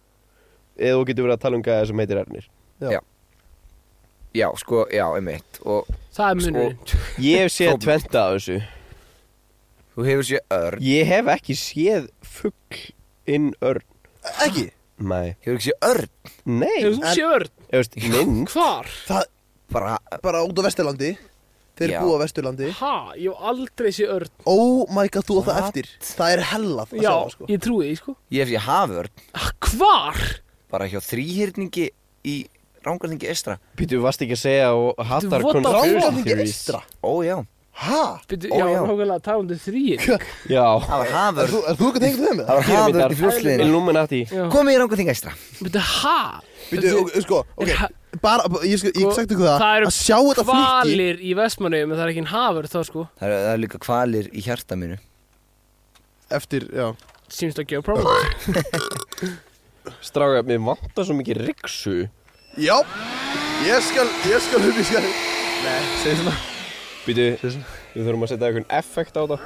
Speaker 1: eða þú getur verið að tala um gæja sem heitir örnir
Speaker 4: já, sko, já, einmitt Og
Speaker 2: Það er
Speaker 4: Sko-
Speaker 2: munurinn
Speaker 1: Ég hef séð
Speaker 4: Svo-
Speaker 1: tventa af þessu
Speaker 4: þú hefur séð Örn
Speaker 1: Ég hef ekki séð fugl inn örn
Speaker 3: Ekki,
Speaker 1: Nei,
Speaker 4: Hefur ekki séð Örn
Speaker 1: nei
Speaker 2: Hefur þú séð örn?
Speaker 1: Ef veist, mynd
Speaker 2: Hvar?
Speaker 3: það,
Speaker 4: Bara,
Speaker 3: bara út á Vesturlandi Þeir
Speaker 4: Já.
Speaker 3: búa á Vesturlandi
Speaker 2: Ha, ég hef aldrei séð örn
Speaker 3: Oh my god, þú á það eftir Það er hellað að sjá
Speaker 2: Já,
Speaker 3: það, sko
Speaker 2: ég trúi því, sko
Speaker 4: ég hef séð Haförn
Speaker 2: Ah, Hvar?
Speaker 4: Bara hjá þrýhyrningi í Rángarningi Estra
Speaker 1: Býtu, þú varst ekki að segja og hattar
Speaker 2: what the
Speaker 1: conspiracy
Speaker 2: fuck?
Speaker 3: Ráðningi
Speaker 1: theories
Speaker 3: ekstra
Speaker 4: Ó, já,
Speaker 3: Ha?
Speaker 2: Byrju,
Speaker 4: Ó,
Speaker 2: já,
Speaker 4: já.
Speaker 2: nákvæmlega talandi um þrýir
Speaker 1: Já,
Speaker 4: það var
Speaker 3: Er
Speaker 4: Haförn
Speaker 3: þú, er þú ekki tengið með
Speaker 4: Það
Speaker 3: það?
Speaker 4: var Haförn í
Speaker 1: Píramídar,
Speaker 4: fljóðsliðinu
Speaker 1: Illuminati
Speaker 4: Komið í Rángarningi Estra
Speaker 2: Byrju, ha?
Speaker 3: Býtu, ok, sko, ok
Speaker 2: Ha-
Speaker 3: Bara, ég, skal- ég
Speaker 2: Sko,
Speaker 3: sagt ykkur það
Speaker 2: það eru
Speaker 3: Að sjá þetta fylki
Speaker 2: Hvalir í Vestmannaugum, en það er ekki en hafur þá, sko
Speaker 4: Það eru- það eru líka kvalir í hjarta mínu
Speaker 3: Eftir, já
Speaker 2: Seems to give a problem
Speaker 1: Stráka, mér vantar svo mikið riksu
Speaker 3: Já, ég skal, ég skal hugga, ég skal Nei, segi svona
Speaker 1: Býtu, við þurfum að setja einhvern effekt á það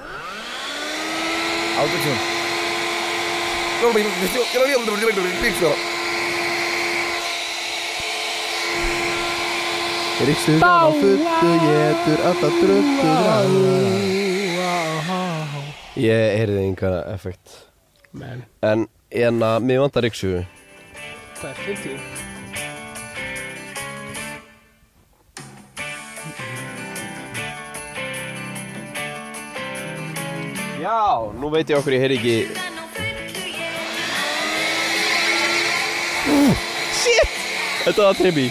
Speaker 4: Autotune
Speaker 3: Ríkstur á fullu, getur alltaf dröttu græn
Speaker 1: Ég heyrði einhverja effekt
Speaker 2: Men,
Speaker 1: En, en að mér vantar ryksugu
Speaker 2: það er fyndið.
Speaker 1: Já, nú veit ég okkur ég heyri ekki Shit Þetta var Trimby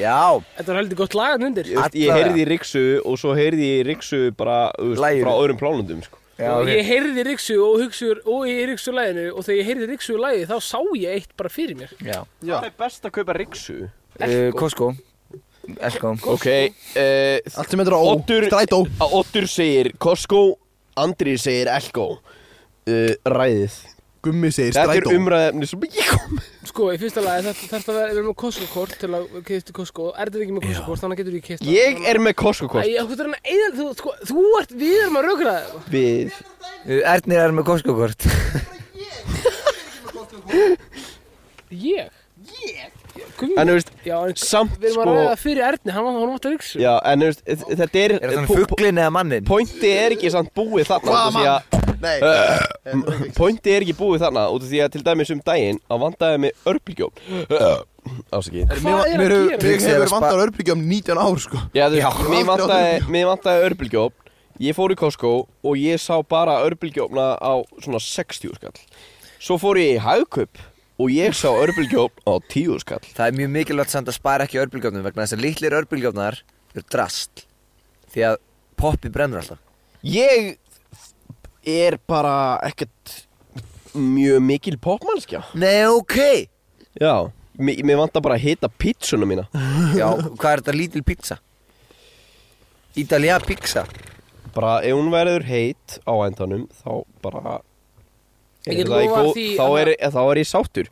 Speaker 4: Já,
Speaker 2: Þetta var heldur gott lagan undir.
Speaker 1: Ég, veist, ég
Speaker 4: Alla vega.
Speaker 1: heyrði í Riksu og svo heyrði ég í Riksu bara þú veist,
Speaker 4: Læginu.
Speaker 1: frá öðrum plánundum sko.
Speaker 4: já
Speaker 2: og
Speaker 4: ok.
Speaker 2: ég heyrði Riksu og hugsuður og ég Riksu læginu og þegar ég heyrði Riksu lægi þá sá ég eitt bara fyrir mér.
Speaker 4: Já.
Speaker 1: Það er best að kaupa Riksu
Speaker 4: Uh, Costco Elko
Speaker 1: Ok, uh,
Speaker 3: Allt sem heitir á ó,
Speaker 1: Oddur-
Speaker 3: strætó
Speaker 1: Ottur segir Costco Andri segir Elko uh, Ræðið
Speaker 3: Gummi segir
Speaker 1: Þetta er
Speaker 3: strætó
Speaker 1: umræðefni sem ég kom
Speaker 2: Sko, í fyrsta lagi þarf þarf að vera við erum með Costco-kort til að kifta Costco og erður ekki með Costco-kort þannig getur þú ekki kifta.
Speaker 1: Ég er með Costco kort
Speaker 2: Æ, þú ert hann að eða, þú, sko, þú ert, við erum að raugra það.
Speaker 1: Við
Speaker 4: Uh, Ernir er með Costco kort
Speaker 2: Ég? Ég? Gummi?
Speaker 1: En þú veist,
Speaker 2: Já, en
Speaker 1: samt
Speaker 2: við erum að
Speaker 1: sko
Speaker 2: ræða fyrir Erni, hann var hann átt að Riksu.
Speaker 1: Já, en þú veist, þ- þetta er
Speaker 4: Er það
Speaker 1: po-
Speaker 4: þannig fugglin eða mannin?
Speaker 1: Pointi er ekki samt búið þarna út af því að-
Speaker 3: Nei Eh,
Speaker 1: m- Pointi er ekki búið þarna út af því að til dæmis um daginn að vandaði mig örbygjón Ásaki
Speaker 2: Hvað er
Speaker 3: Mér
Speaker 2: að
Speaker 3: hefur-
Speaker 2: gera?
Speaker 3: mér
Speaker 4: Ég er
Speaker 3: hefur
Speaker 4: að spa-
Speaker 3: vantar örbyggjum 19 ár sko
Speaker 1: Já, þú veist,
Speaker 3: Já.
Speaker 1: mér vantaði, mér vantaði örbygjón Ég fór í Costco og ég sá bara örbylgjófna á svona 60 skall Svo fór ég í Hagkaup og ég sá örbylgjófn á 10 skall
Speaker 4: Það er mjög mikilvægt samt að spara ekki örbílgjöfnum vegna þess að litlir örbílgjöfnar eru drast því að poppi brennur alltaf
Speaker 1: Ég er bara ekkert mjög mikil popmannskja
Speaker 4: Nei, ok
Speaker 1: Já, mér, mér vantar bara að hita pítsuna mína
Speaker 4: Já, hvað er þetta lítil pizza? Ítalja pizza
Speaker 1: Bara ef hún verður heit á endanum þá bara
Speaker 2: Ég get
Speaker 1: það í
Speaker 2: lofað
Speaker 1: góð-
Speaker 2: því
Speaker 1: þá,
Speaker 2: að-
Speaker 1: er, þá er ég sáttur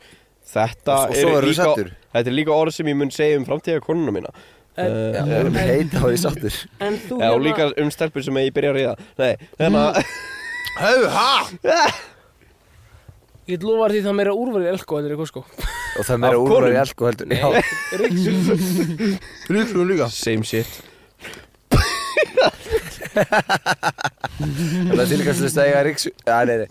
Speaker 1: Þetta
Speaker 4: Og- og svo
Speaker 1: eru
Speaker 4: verður þú
Speaker 1: líka,
Speaker 4: sáttur?
Speaker 1: Þetta er líka orð sem ég mun segja um framtíða konuna mína
Speaker 2: En-
Speaker 1: Eh,
Speaker 4: Já,
Speaker 1: eh,
Speaker 4: erum heit á því sáttur
Speaker 2: En þú hérna-
Speaker 1: Já, og líka um stelpur sem ég byrja að ríða Nei, hérna- þannig
Speaker 2: Mm.
Speaker 1: að
Speaker 3: Hefur, ha?
Speaker 2: Ég lofa þér því það er meira úrvarið elko en er eitthvað sko.
Speaker 4: og það er meira
Speaker 1: Af
Speaker 4: úrvar í
Speaker 1: konum?
Speaker 4: alko heldur Já,
Speaker 3: Ríksum
Speaker 1: (laughs)
Speaker 3: líka
Speaker 1: Same shit
Speaker 4: það er tilkastlega stæðið að ríksu Já, nei, nei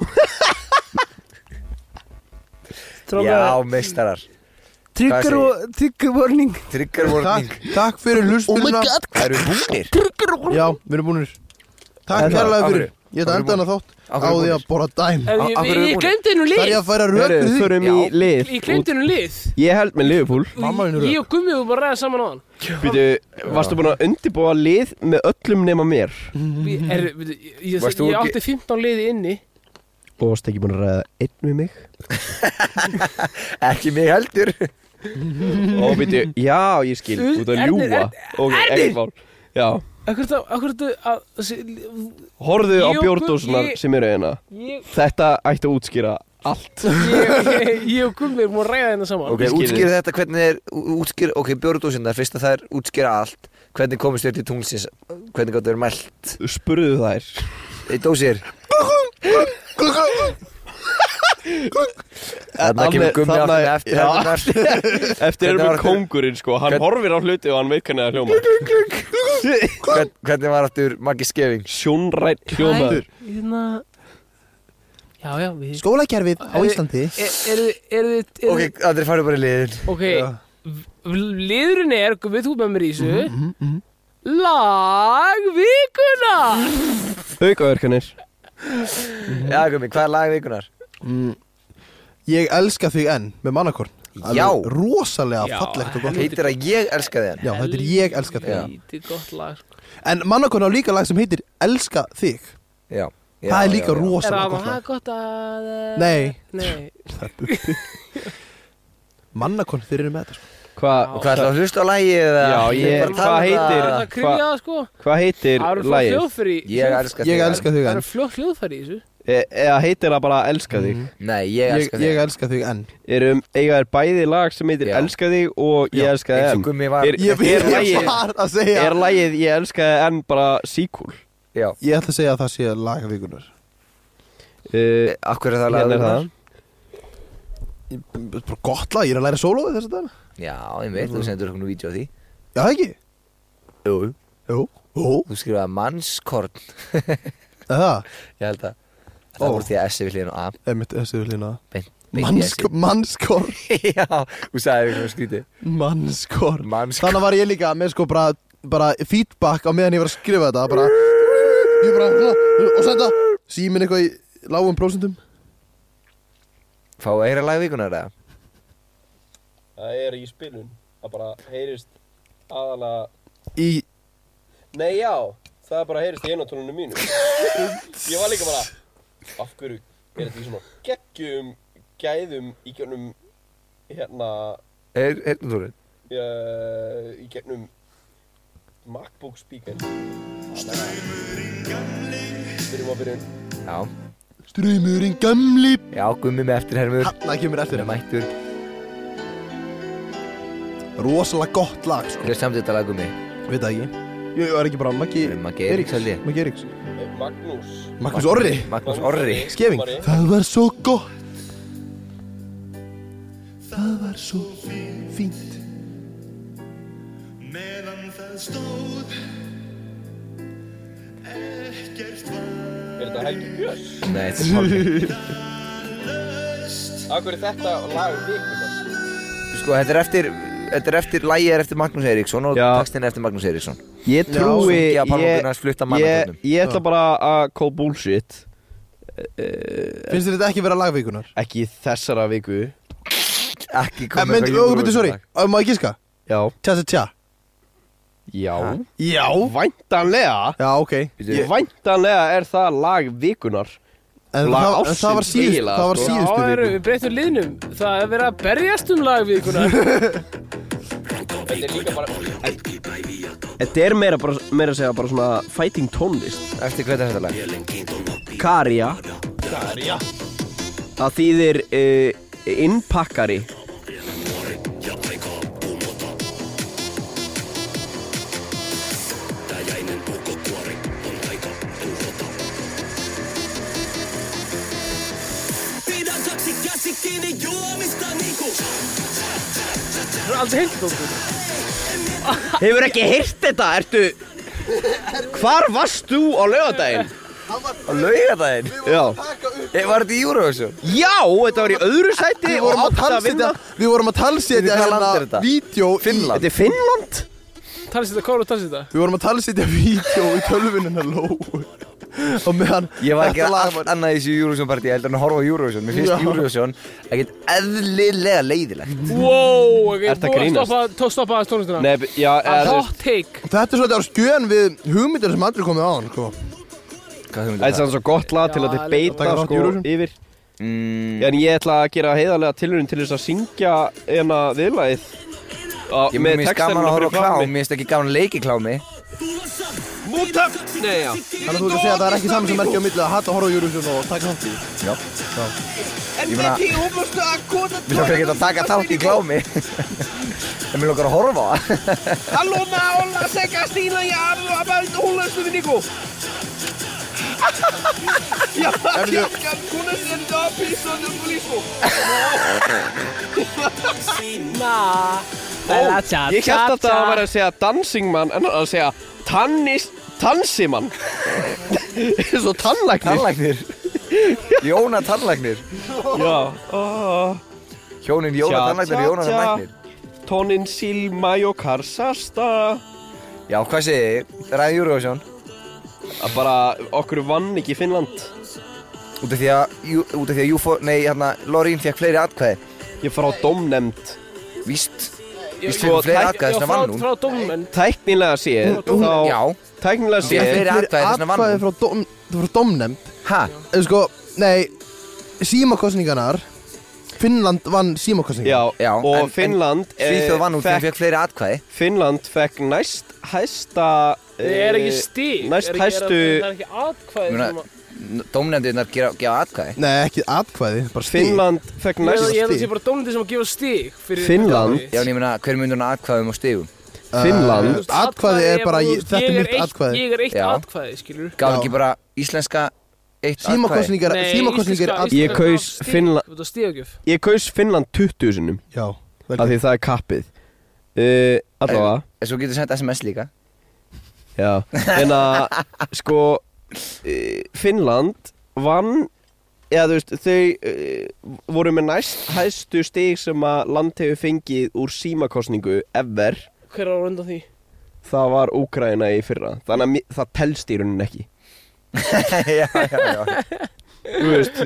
Speaker 4: Já, meistarar
Speaker 2: trigger,
Speaker 4: Hvað segir-
Speaker 2: og, trigger warning.
Speaker 4: Trigger warning
Speaker 3: Takk, takk fyrir hlustununa
Speaker 4: Það eru búnir
Speaker 3: Já, við erum búinir Takk
Speaker 4: En-
Speaker 3: kærlega
Speaker 4: Af
Speaker 3: fyrir
Speaker 4: hverju?
Speaker 3: Ég ætla að enda hana þátt
Speaker 4: Af
Speaker 3: á
Speaker 4: hverju
Speaker 3: því að
Speaker 4: búnir?
Speaker 3: borra dæm
Speaker 2: En
Speaker 4: Af-
Speaker 2: ég,
Speaker 4: af hverju
Speaker 2: ég,
Speaker 4: er
Speaker 2: ég
Speaker 4: búin?
Speaker 2: glemdi hennu
Speaker 3: Það er ég
Speaker 2: lið.
Speaker 3: að færa rök
Speaker 1: Hörru,
Speaker 3: fyrir því
Speaker 1: förum í
Speaker 4: Já.
Speaker 1: lið
Speaker 2: Ég glemdi hennu lið.
Speaker 1: Ég held með Liverpool
Speaker 3: Mamma þín er
Speaker 2: Ég og Gummi vorum bara að ræða saman á hann.
Speaker 1: Býtu, varstu búin að undirbúa lið með öllum nema mér
Speaker 2: Mm. Er, ég, ég,
Speaker 4: Mm-hmm. Varst þú
Speaker 2: ég
Speaker 4: ekki-
Speaker 2: átti 15 liði inni.
Speaker 1: Og varstu ekki búin að ræða einn við mig
Speaker 4: Ekki mig heldur
Speaker 1: Ó, býtu, já, ég skil,
Speaker 2: Þú-
Speaker 1: þú ert að
Speaker 2: Ernir,
Speaker 1: ljúa Ok, ekkert mál Já,
Speaker 2: Akkur þetta, akkur þetta, að, þessi-
Speaker 1: horfðu á
Speaker 2: Jú,
Speaker 1: Bjórdósunar
Speaker 2: ég-
Speaker 1: sem eru hérna
Speaker 4: (laughs)
Speaker 2: ég,
Speaker 1: Þetta ætti að útskýra allt
Speaker 2: ég, ég, ég og Gummi vorum að ræða hennu saman.
Speaker 4: Ok,
Speaker 1: Ég skil
Speaker 4: útskýra
Speaker 1: þig.
Speaker 4: þetta hvernig er útskýra, Ok, björðdósinnar, fyrst að það er útskýra allt Hvernig komist þér til tunglsins Hvernig gott þér mælt
Speaker 1: Spurðu þær
Speaker 4: Í dósir Þarna
Speaker 1: Alveg-
Speaker 4: kemur gummi
Speaker 1: þarna-
Speaker 4: aftur eftir
Speaker 1: já.
Speaker 4: hefðunar
Speaker 1: Eftir
Speaker 4: Hvernig
Speaker 1: erum
Speaker 4: var
Speaker 1: við
Speaker 4: þetta-
Speaker 1: kóngurinn, sko Hann
Speaker 4: Hvern-
Speaker 1: horfir á hluti og hann veit hvernig það hljóma
Speaker 4: Hvernig var aftur Maggi Skeving
Speaker 1: Sjónrætt hljómaður
Speaker 2: Hérna, já, já, við...
Speaker 3: Skólakerfið á
Speaker 2: Er-
Speaker 3: Íslandi
Speaker 2: Er, er, er, er, er,
Speaker 4: Sko. Ok, Andri farið bara í liðin
Speaker 2: Ok, v- liðurinn er, við þú með mér í
Speaker 3: Mhm,
Speaker 2: þessu, lag vikuna!
Speaker 1: Aukaverkanir
Speaker 4: Já, gummi, hvað er lag vikunar?
Speaker 3: mm, Ég elska þig enn með mannakorn Alveg
Speaker 4: Já.
Speaker 3: Rosalega
Speaker 2: Já,
Speaker 3: fallegt og gott lag.
Speaker 4: Heitir að ég elska þér
Speaker 3: Já, þetta er ég elska þig
Speaker 4: Já.
Speaker 2: Lítið gott lag, sko.
Speaker 3: En mannakorn á líka lag sem heitir Elska þig
Speaker 4: Já, já
Speaker 3: Það er líka
Speaker 4: já, já.
Speaker 2: Er
Speaker 3: rosalega
Speaker 2: það
Speaker 3: gott
Speaker 2: að
Speaker 3: lag
Speaker 2: gott að... eh,
Speaker 3: Nei.
Speaker 1: (laughs)
Speaker 2: Nei,
Speaker 3: (laughs) Mannakorn þeir eru með þetta sko.
Speaker 1: Hvað
Speaker 4: Hvað ætlaðu að hlusta á lagi eða
Speaker 1: Já, ég-
Speaker 4: Bara tala
Speaker 1: hvað
Speaker 4: um
Speaker 1: heitir-
Speaker 2: það
Speaker 4: það.
Speaker 2: er krifjað, sko.
Speaker 1: hva heitir
Speaker 2: Það eru flott
Speaker 1: lagið?
Speaker 2: hljóðfæri. í-
Speaker 4: Ég elska þig
Speaker 3: Ég elska þig
Speaker 2: Það
Speaker 3: enn
Speaker 2: eru flott hljóðfæri í þessu.
Speaker 1: E- Eða heitir það bara Elska þig
Speaker 4: Nei, ég
Speaker 3: Ég,
Speaker 4: elska
Speaker 3: ég
Speaker 4: þig
Speaker 3: elska þig enn
Speaker 1: Erum, eiga þér bæði lag sem heitir
Speaker 4: Já.
Speaker 1: Elska þig og Ég elska þig
Speaker 4: eins og
Speaker 1: enn
Speaker 4: Gummi var-
Speaker 1: Er-
Speaker 3: Ég,
Speaker 1: Er
Speaker 3: ég
Speaker 1: lagið-
Speaker 3: var að segja
Speaker 1: er lagið Ég elska þig enn bara sequel?
Speaker 4: Já
Speaker 3: Ég ætla að segja að það sé lagavíkunar
Speaker 1: Uh,
Speaker 4: Akkur er það lag
Speaker 1: hérna er
Speaker 4: vikunar?
Speaker 1: það
Speaker 3: Bara gott lag, ég er að læra sólóið þess að dana
Speaker 4: Já, ég veit, þú sendur okkur nú vídeo á því
Speaker 3: Já, það ekki?
Speaker 4: Jú
Speaker 3: Jú, jú,
Speaker 4: Þú skrifaði mannskorn
Speaker 3: er það
Speaker 4: Ég held að
Speaker 3: Ó.
Speaker 4: Það voru því að S er við hliðin á A
Speaker 3: Einmitt, þessi vil hérna
Speaker 4: beint, beint í
Speaker 3: Mannskor, mannskor,
Speaker 4: S-ið. (laughs) Já, þú sagði eitthvað um skrítið
Speaker 3: mannskor
Speaker 4: Mannskor.
Speaker 3: Þannig var ég líka með sko bara, bara feedback á meðan ég var að skrifa þetta bara, Ég bara, og senda Símin eitthvað í lágum prósentum
Speaker 4: Fá að heyra lag vikunar eða?
Speaker 1: Það er í spilun Það bara heyrist aðalega
Speaker 3: Í,
Speaker 1: Nei já, það bara heyrist í einatónunum mínu Ég var líka bara Af hverju er þetta í svona geggjum gæðum í gegnum hérna
Speaker 4: Er, hérna þú
Speaker 1: uh,
Speaker 4: reynd
Speaker 1: í gegnum MacBook speaker Byrjum á byrjun
Speaker 4: Já,
Speaker 3: ströymurinn gamli
Speaker 4: já, gummi með eftirhermur
Speaker 3: Hanna kemur eftir
Speaker 4: Þeir
Speaker 3: þeim
Speaker 4: mættur
Speaker 3: Rosalega gott lag sko
Speaker 4: Hver samt þetta lag gummi?
Speaker 3: Veit það ekki Jú, jú, er ekki bara Maggi
Speaker 4: Maggi Eiríks held ég
Speaker 3: Maggi Eriks
Speaker 1: Eh, Magnús
Speaker 3: Magnús Orri
Speaker 4: Magnús Orri
Speaker 3: Skefing
Speaker 1: Orri.
Speaker 3: Það var svo gott Það var svo fínt
Speaker 1: Er þetta Helgi Björns?
Speaker 4: Nei, þetta er Pálmi
Speaker 1: Af hverju er þetta lag vikunar?
Speaker 4: Sko, þetta er eftir Þetta er eftir, lagið er eftir Magnús Eiríksson og
Speaker 1: Já.
Speaker 4: textin er eftir Magnús Eiríksson
Speaker 1: Ég trúi
Speaker 4: Sungið að Pálmi Gunnars flutta
Speaker 1: ég,
Speaker 4: mannaföldum
Speaker 1: ég ætla bara að call bullshit Eh,
Speaker 3: Finnst þér þetta ekki vera lagvíkunar?
Speaker 1: Ekki þessara viku
Speaker 4: Ekki
Speaker 3: En
Speaker 4: komið
Speaker 3: mynd, og byrju, sorry, og má ég gíska?
Speaker 1: Já
Speaker 3: Tja, tja, tja
Speaker 1: Já
Speaker 4: Ha?
Speaker 3: Já
Speaker 1: Væntanlega
Speaker 3: Já, ok
Speaker 1: Ég- Væntanlega er það lag vikunar
Speaker 3: En
Speaker 1: Lag
Speaker 3: það, en
Speaker 1: ársins
Speaker 3: það var síðust,
Speaker 1: eiginlega,
Speaker 3: það var
Speaker 1: sko.
Speaker 2: Já,
Speaker 3: síðustu
Speaker 2: eru,
Speaker 3: viku
Speaker 2: við breytum liðnum. Það er verið að berjast um lag við
Speaker 3: (laughs)
Speaker 2: ykkur.
Speaker 1: Þetta er líka bara Þetta er meira, bara, meira að segja bara svona fighting tónlist
Speaker 4: Eftir hvað er þetta lag?
Speaker 1: Karja Karja Það þýðir uh, innpakkari
Speaker 2: Það er aldrei heilt tónlist.
Speaker 1: Hefur ekki heyrt þetta? Ertu Hvar varst þú á laugardaginn?
Speaker 4: Á laugardaginn?
Speaker 1: Já
Speaker 4: Ég var þetta í Eurovision
Speaker 1: Já, þetta var í öðru sæti
Speaker 3: Við
Speaker 1: og
Speaker 3: vorum að
Speaker 1: átt að
Speaker 3: talsetja,
Speaker 1: vinna
Speaker 3: við vorum að talsetja
Speaker 4: Veitir hvað land er
Speaker 3: hérna
Speaker 4: þetta?
Speaker 3: vídeo
Speaker 4: Finnland.
Speaker 1: Þetta er Finnland
Speaker 2: Talsið þetta, hvað er það talsið þetta?
Speaker 3: Við vorum að talsetja vídeo í tölvunina lóu Og meðan
Speaker 4: Ég var að
Speaker 3: þetta
Speaker 4: gera
Speaker 3: lag
Speaker 4: allt annað í þessu Eurovision partí heldur en að horfa á Eurovision Mér finnst
Speaker 3: Já.
Speaker 4: Eurovision ekkert eðlilega leiðilegt
Speaker 2: Mm. Wow, ok,
Speaker 1: Ertu að
Speaker 2: búið
Speaker 1: grínast?
Speaker 2: stoppa- tó- stoppa aðeins tónlistina.
Speaker 1: Nei, já, eða, þú veist,
Speaker 2: Hot take.
Speaker 3: Þetta er svolítið á skjön við hugmyndir sem aldrei komið á hann sko.
Speaker 4: Hvað þú
Speaker 1: þetta er
Speaker 4: myndir það?
Speaker 1: svona svo gott lag til að
Speaker 2: Já,
Speaker 1: þetta beita
Speaker 3: taka þátt í
Speaker 1: sko
Speaker 3: Eurovision.
Speaker 1: yfir
Speaker 4: Mm,
Speaker 1: En ég ætla að gera heiðarlega tilurinn til þess að syngja hérna viðlagið á-
Speaker 4: Ég mér finnst gaman að horfa á
Speaker 1: fyrir framan
Speaker 4: klám,
Speaker 1: mig.
Speaker 4: mér finnst ekki gaman að leiki klámi
Speaker 1: Nei, já
Speaker 3: Þannig að þú ert að segja að það er ekki saman sem merkja á milli að hata að horfa á Eurovision og taka hans í
Speaker 4: Já Ég meina, mér lókar ekki að taka þátt í klámi (laughs) En mér lókar að horfa á það
Speaker 2: Na, bella, tja,
Speaker 1: Ég
Speaker 2: tja,
Speaker 1: held að
Speaker 2: tja.
Speaker 1: það var að segja dansingmann en að segja tannis, tansimann Svo tannlæknir
Speaker 4: Tannlagnir (laughs) Jóna Tannlagnir
Speaker 1: Já oh.
Speaker 4: Hjónin Jóna
Speaker 1: Tja,
Speaker 4: Tannlagnir og
Speaker 1: tja,
Speaker 4: Jóna
Speaker 1: tja.
Speaker 4: Tannlagnir
Speaker 1: Tónin silma jo karsasta
Speaker 4: Já, hvað segir þið? Ræði Eurovision
Speaker 1: Að bara okkur vann ekki Finnland
Speaker 4: Út af því að, jú- út af því að UFO, nei, hérna, Lorín fekk fleiri atkvæði
Speaker 1: Ég fór á dómnefnd
Speaker 4: Víst,
Speaker 2: Ég-
Speaker 4: víst fekk fleiri
Speaker 1: tæk-
Speaker 4: atkvæði
Speaker 2: Já,
Speaker 4: sem vann
Speaker 2: frá,
Speaker 4: hún
Speaker 2: frá dómmenn.
Speaker 1: Tæknilega séð
Speaker 4: Já,
Speaker 1: þá Tæknilega
Speaker 4: Ég
Speaker 1: séð
Speaker 4: fyrir atkvæði, þess vegna vann
Speaker 3: Atkvæði
Speaker 4: hún.
Speaker 3: frá, dóm, frá domnem
Speaker 4: ha,
Speaker 3: En sko, nei Símakostningarnar Finnland vann símakostningar
Speaker 1: Já,
Speaker 4: Já,
Speaker 1: og
Speaker 4: en- en
Speaker 1: Finnland eh,
Speaker 4: Svíþjóð vann út því hún
Speaker 1: fekk,
Speaker 4: fekk fleiri atkvæði
Speaker 1: Finnland fekk næst hæsta eh,
Speaker 2: Það er ekki
Speaker 3: Eh,
Speaker 2: stík.
Speaker 1: næst hæstu
Speaker 2: Það er ekki atkvæði.
Speaker 4: Muna,
Speaker 2: sem að-
Speaker 4: Dómnefndirnar gefa, gefa atkvæði
Speaker 3: Nei, ekki atkvæði, bara stig
Speaker 1: Finnland fekk
Speaker 2: Ég held-
Speaker 1: næst
Speaker 2: Ég held að það
Speaker 3: stig.
Speaker 2: sé bara dómlendir sem að gefa stík.
Speaker 1: Finnland?
Speaker 4: Já, en ég meina, hver myndur hún atkvæðum og stigum?
Speaker 3: Uh,
Speaker 1: Finnland?
Speaker 3: Atkvæði er bara, ég, þetta er mitt atkvæði
Speaker 2: Ég er eitt
Speaker 4: Já.
Speaker 2: atkvæði, skilur.
Speaker 4: Gaf
Speaker 3: Já.
Speaker 4: ekki bara íslenska eitt atkvæði?
Speaker 3: Símakostningar, símakostningar
Speaker 2: íslenska-
Speaker 3: er
Speaker 1: Ég
Speaker 2: íslenska
Speaker 1: kaus
Speaker 2: stig-
Speaker 1: Finnla-
Speaker 2: Þú veit að stíðagjöf.
Speaker 1: Ég kaus Finnland 20 sinum
Speaker 3: atkvæði Já,
Speaker 1: af
Speaker 3: velkvæði
Speaker 1: því það er kappið uh, Allavega
Speaker 2: Eh.
Speaker 4: En svo getur sendt SMS líka (laughs)
Speaker 2: (laughs)
Speaker 1: Já En að sko uh, Finnland eh, vann Já, þú veist, þau uh, voru með næst hæstu stig sem að land hefur fengið úr símakostningu ever
Speaker 2: Hver er á undan því?
Speaker 1: það var Úkraina í fyrra þannig að mi- það telst í rauninni ekki
Speaker 4: já, já, já
Speaker 1: Þú veist,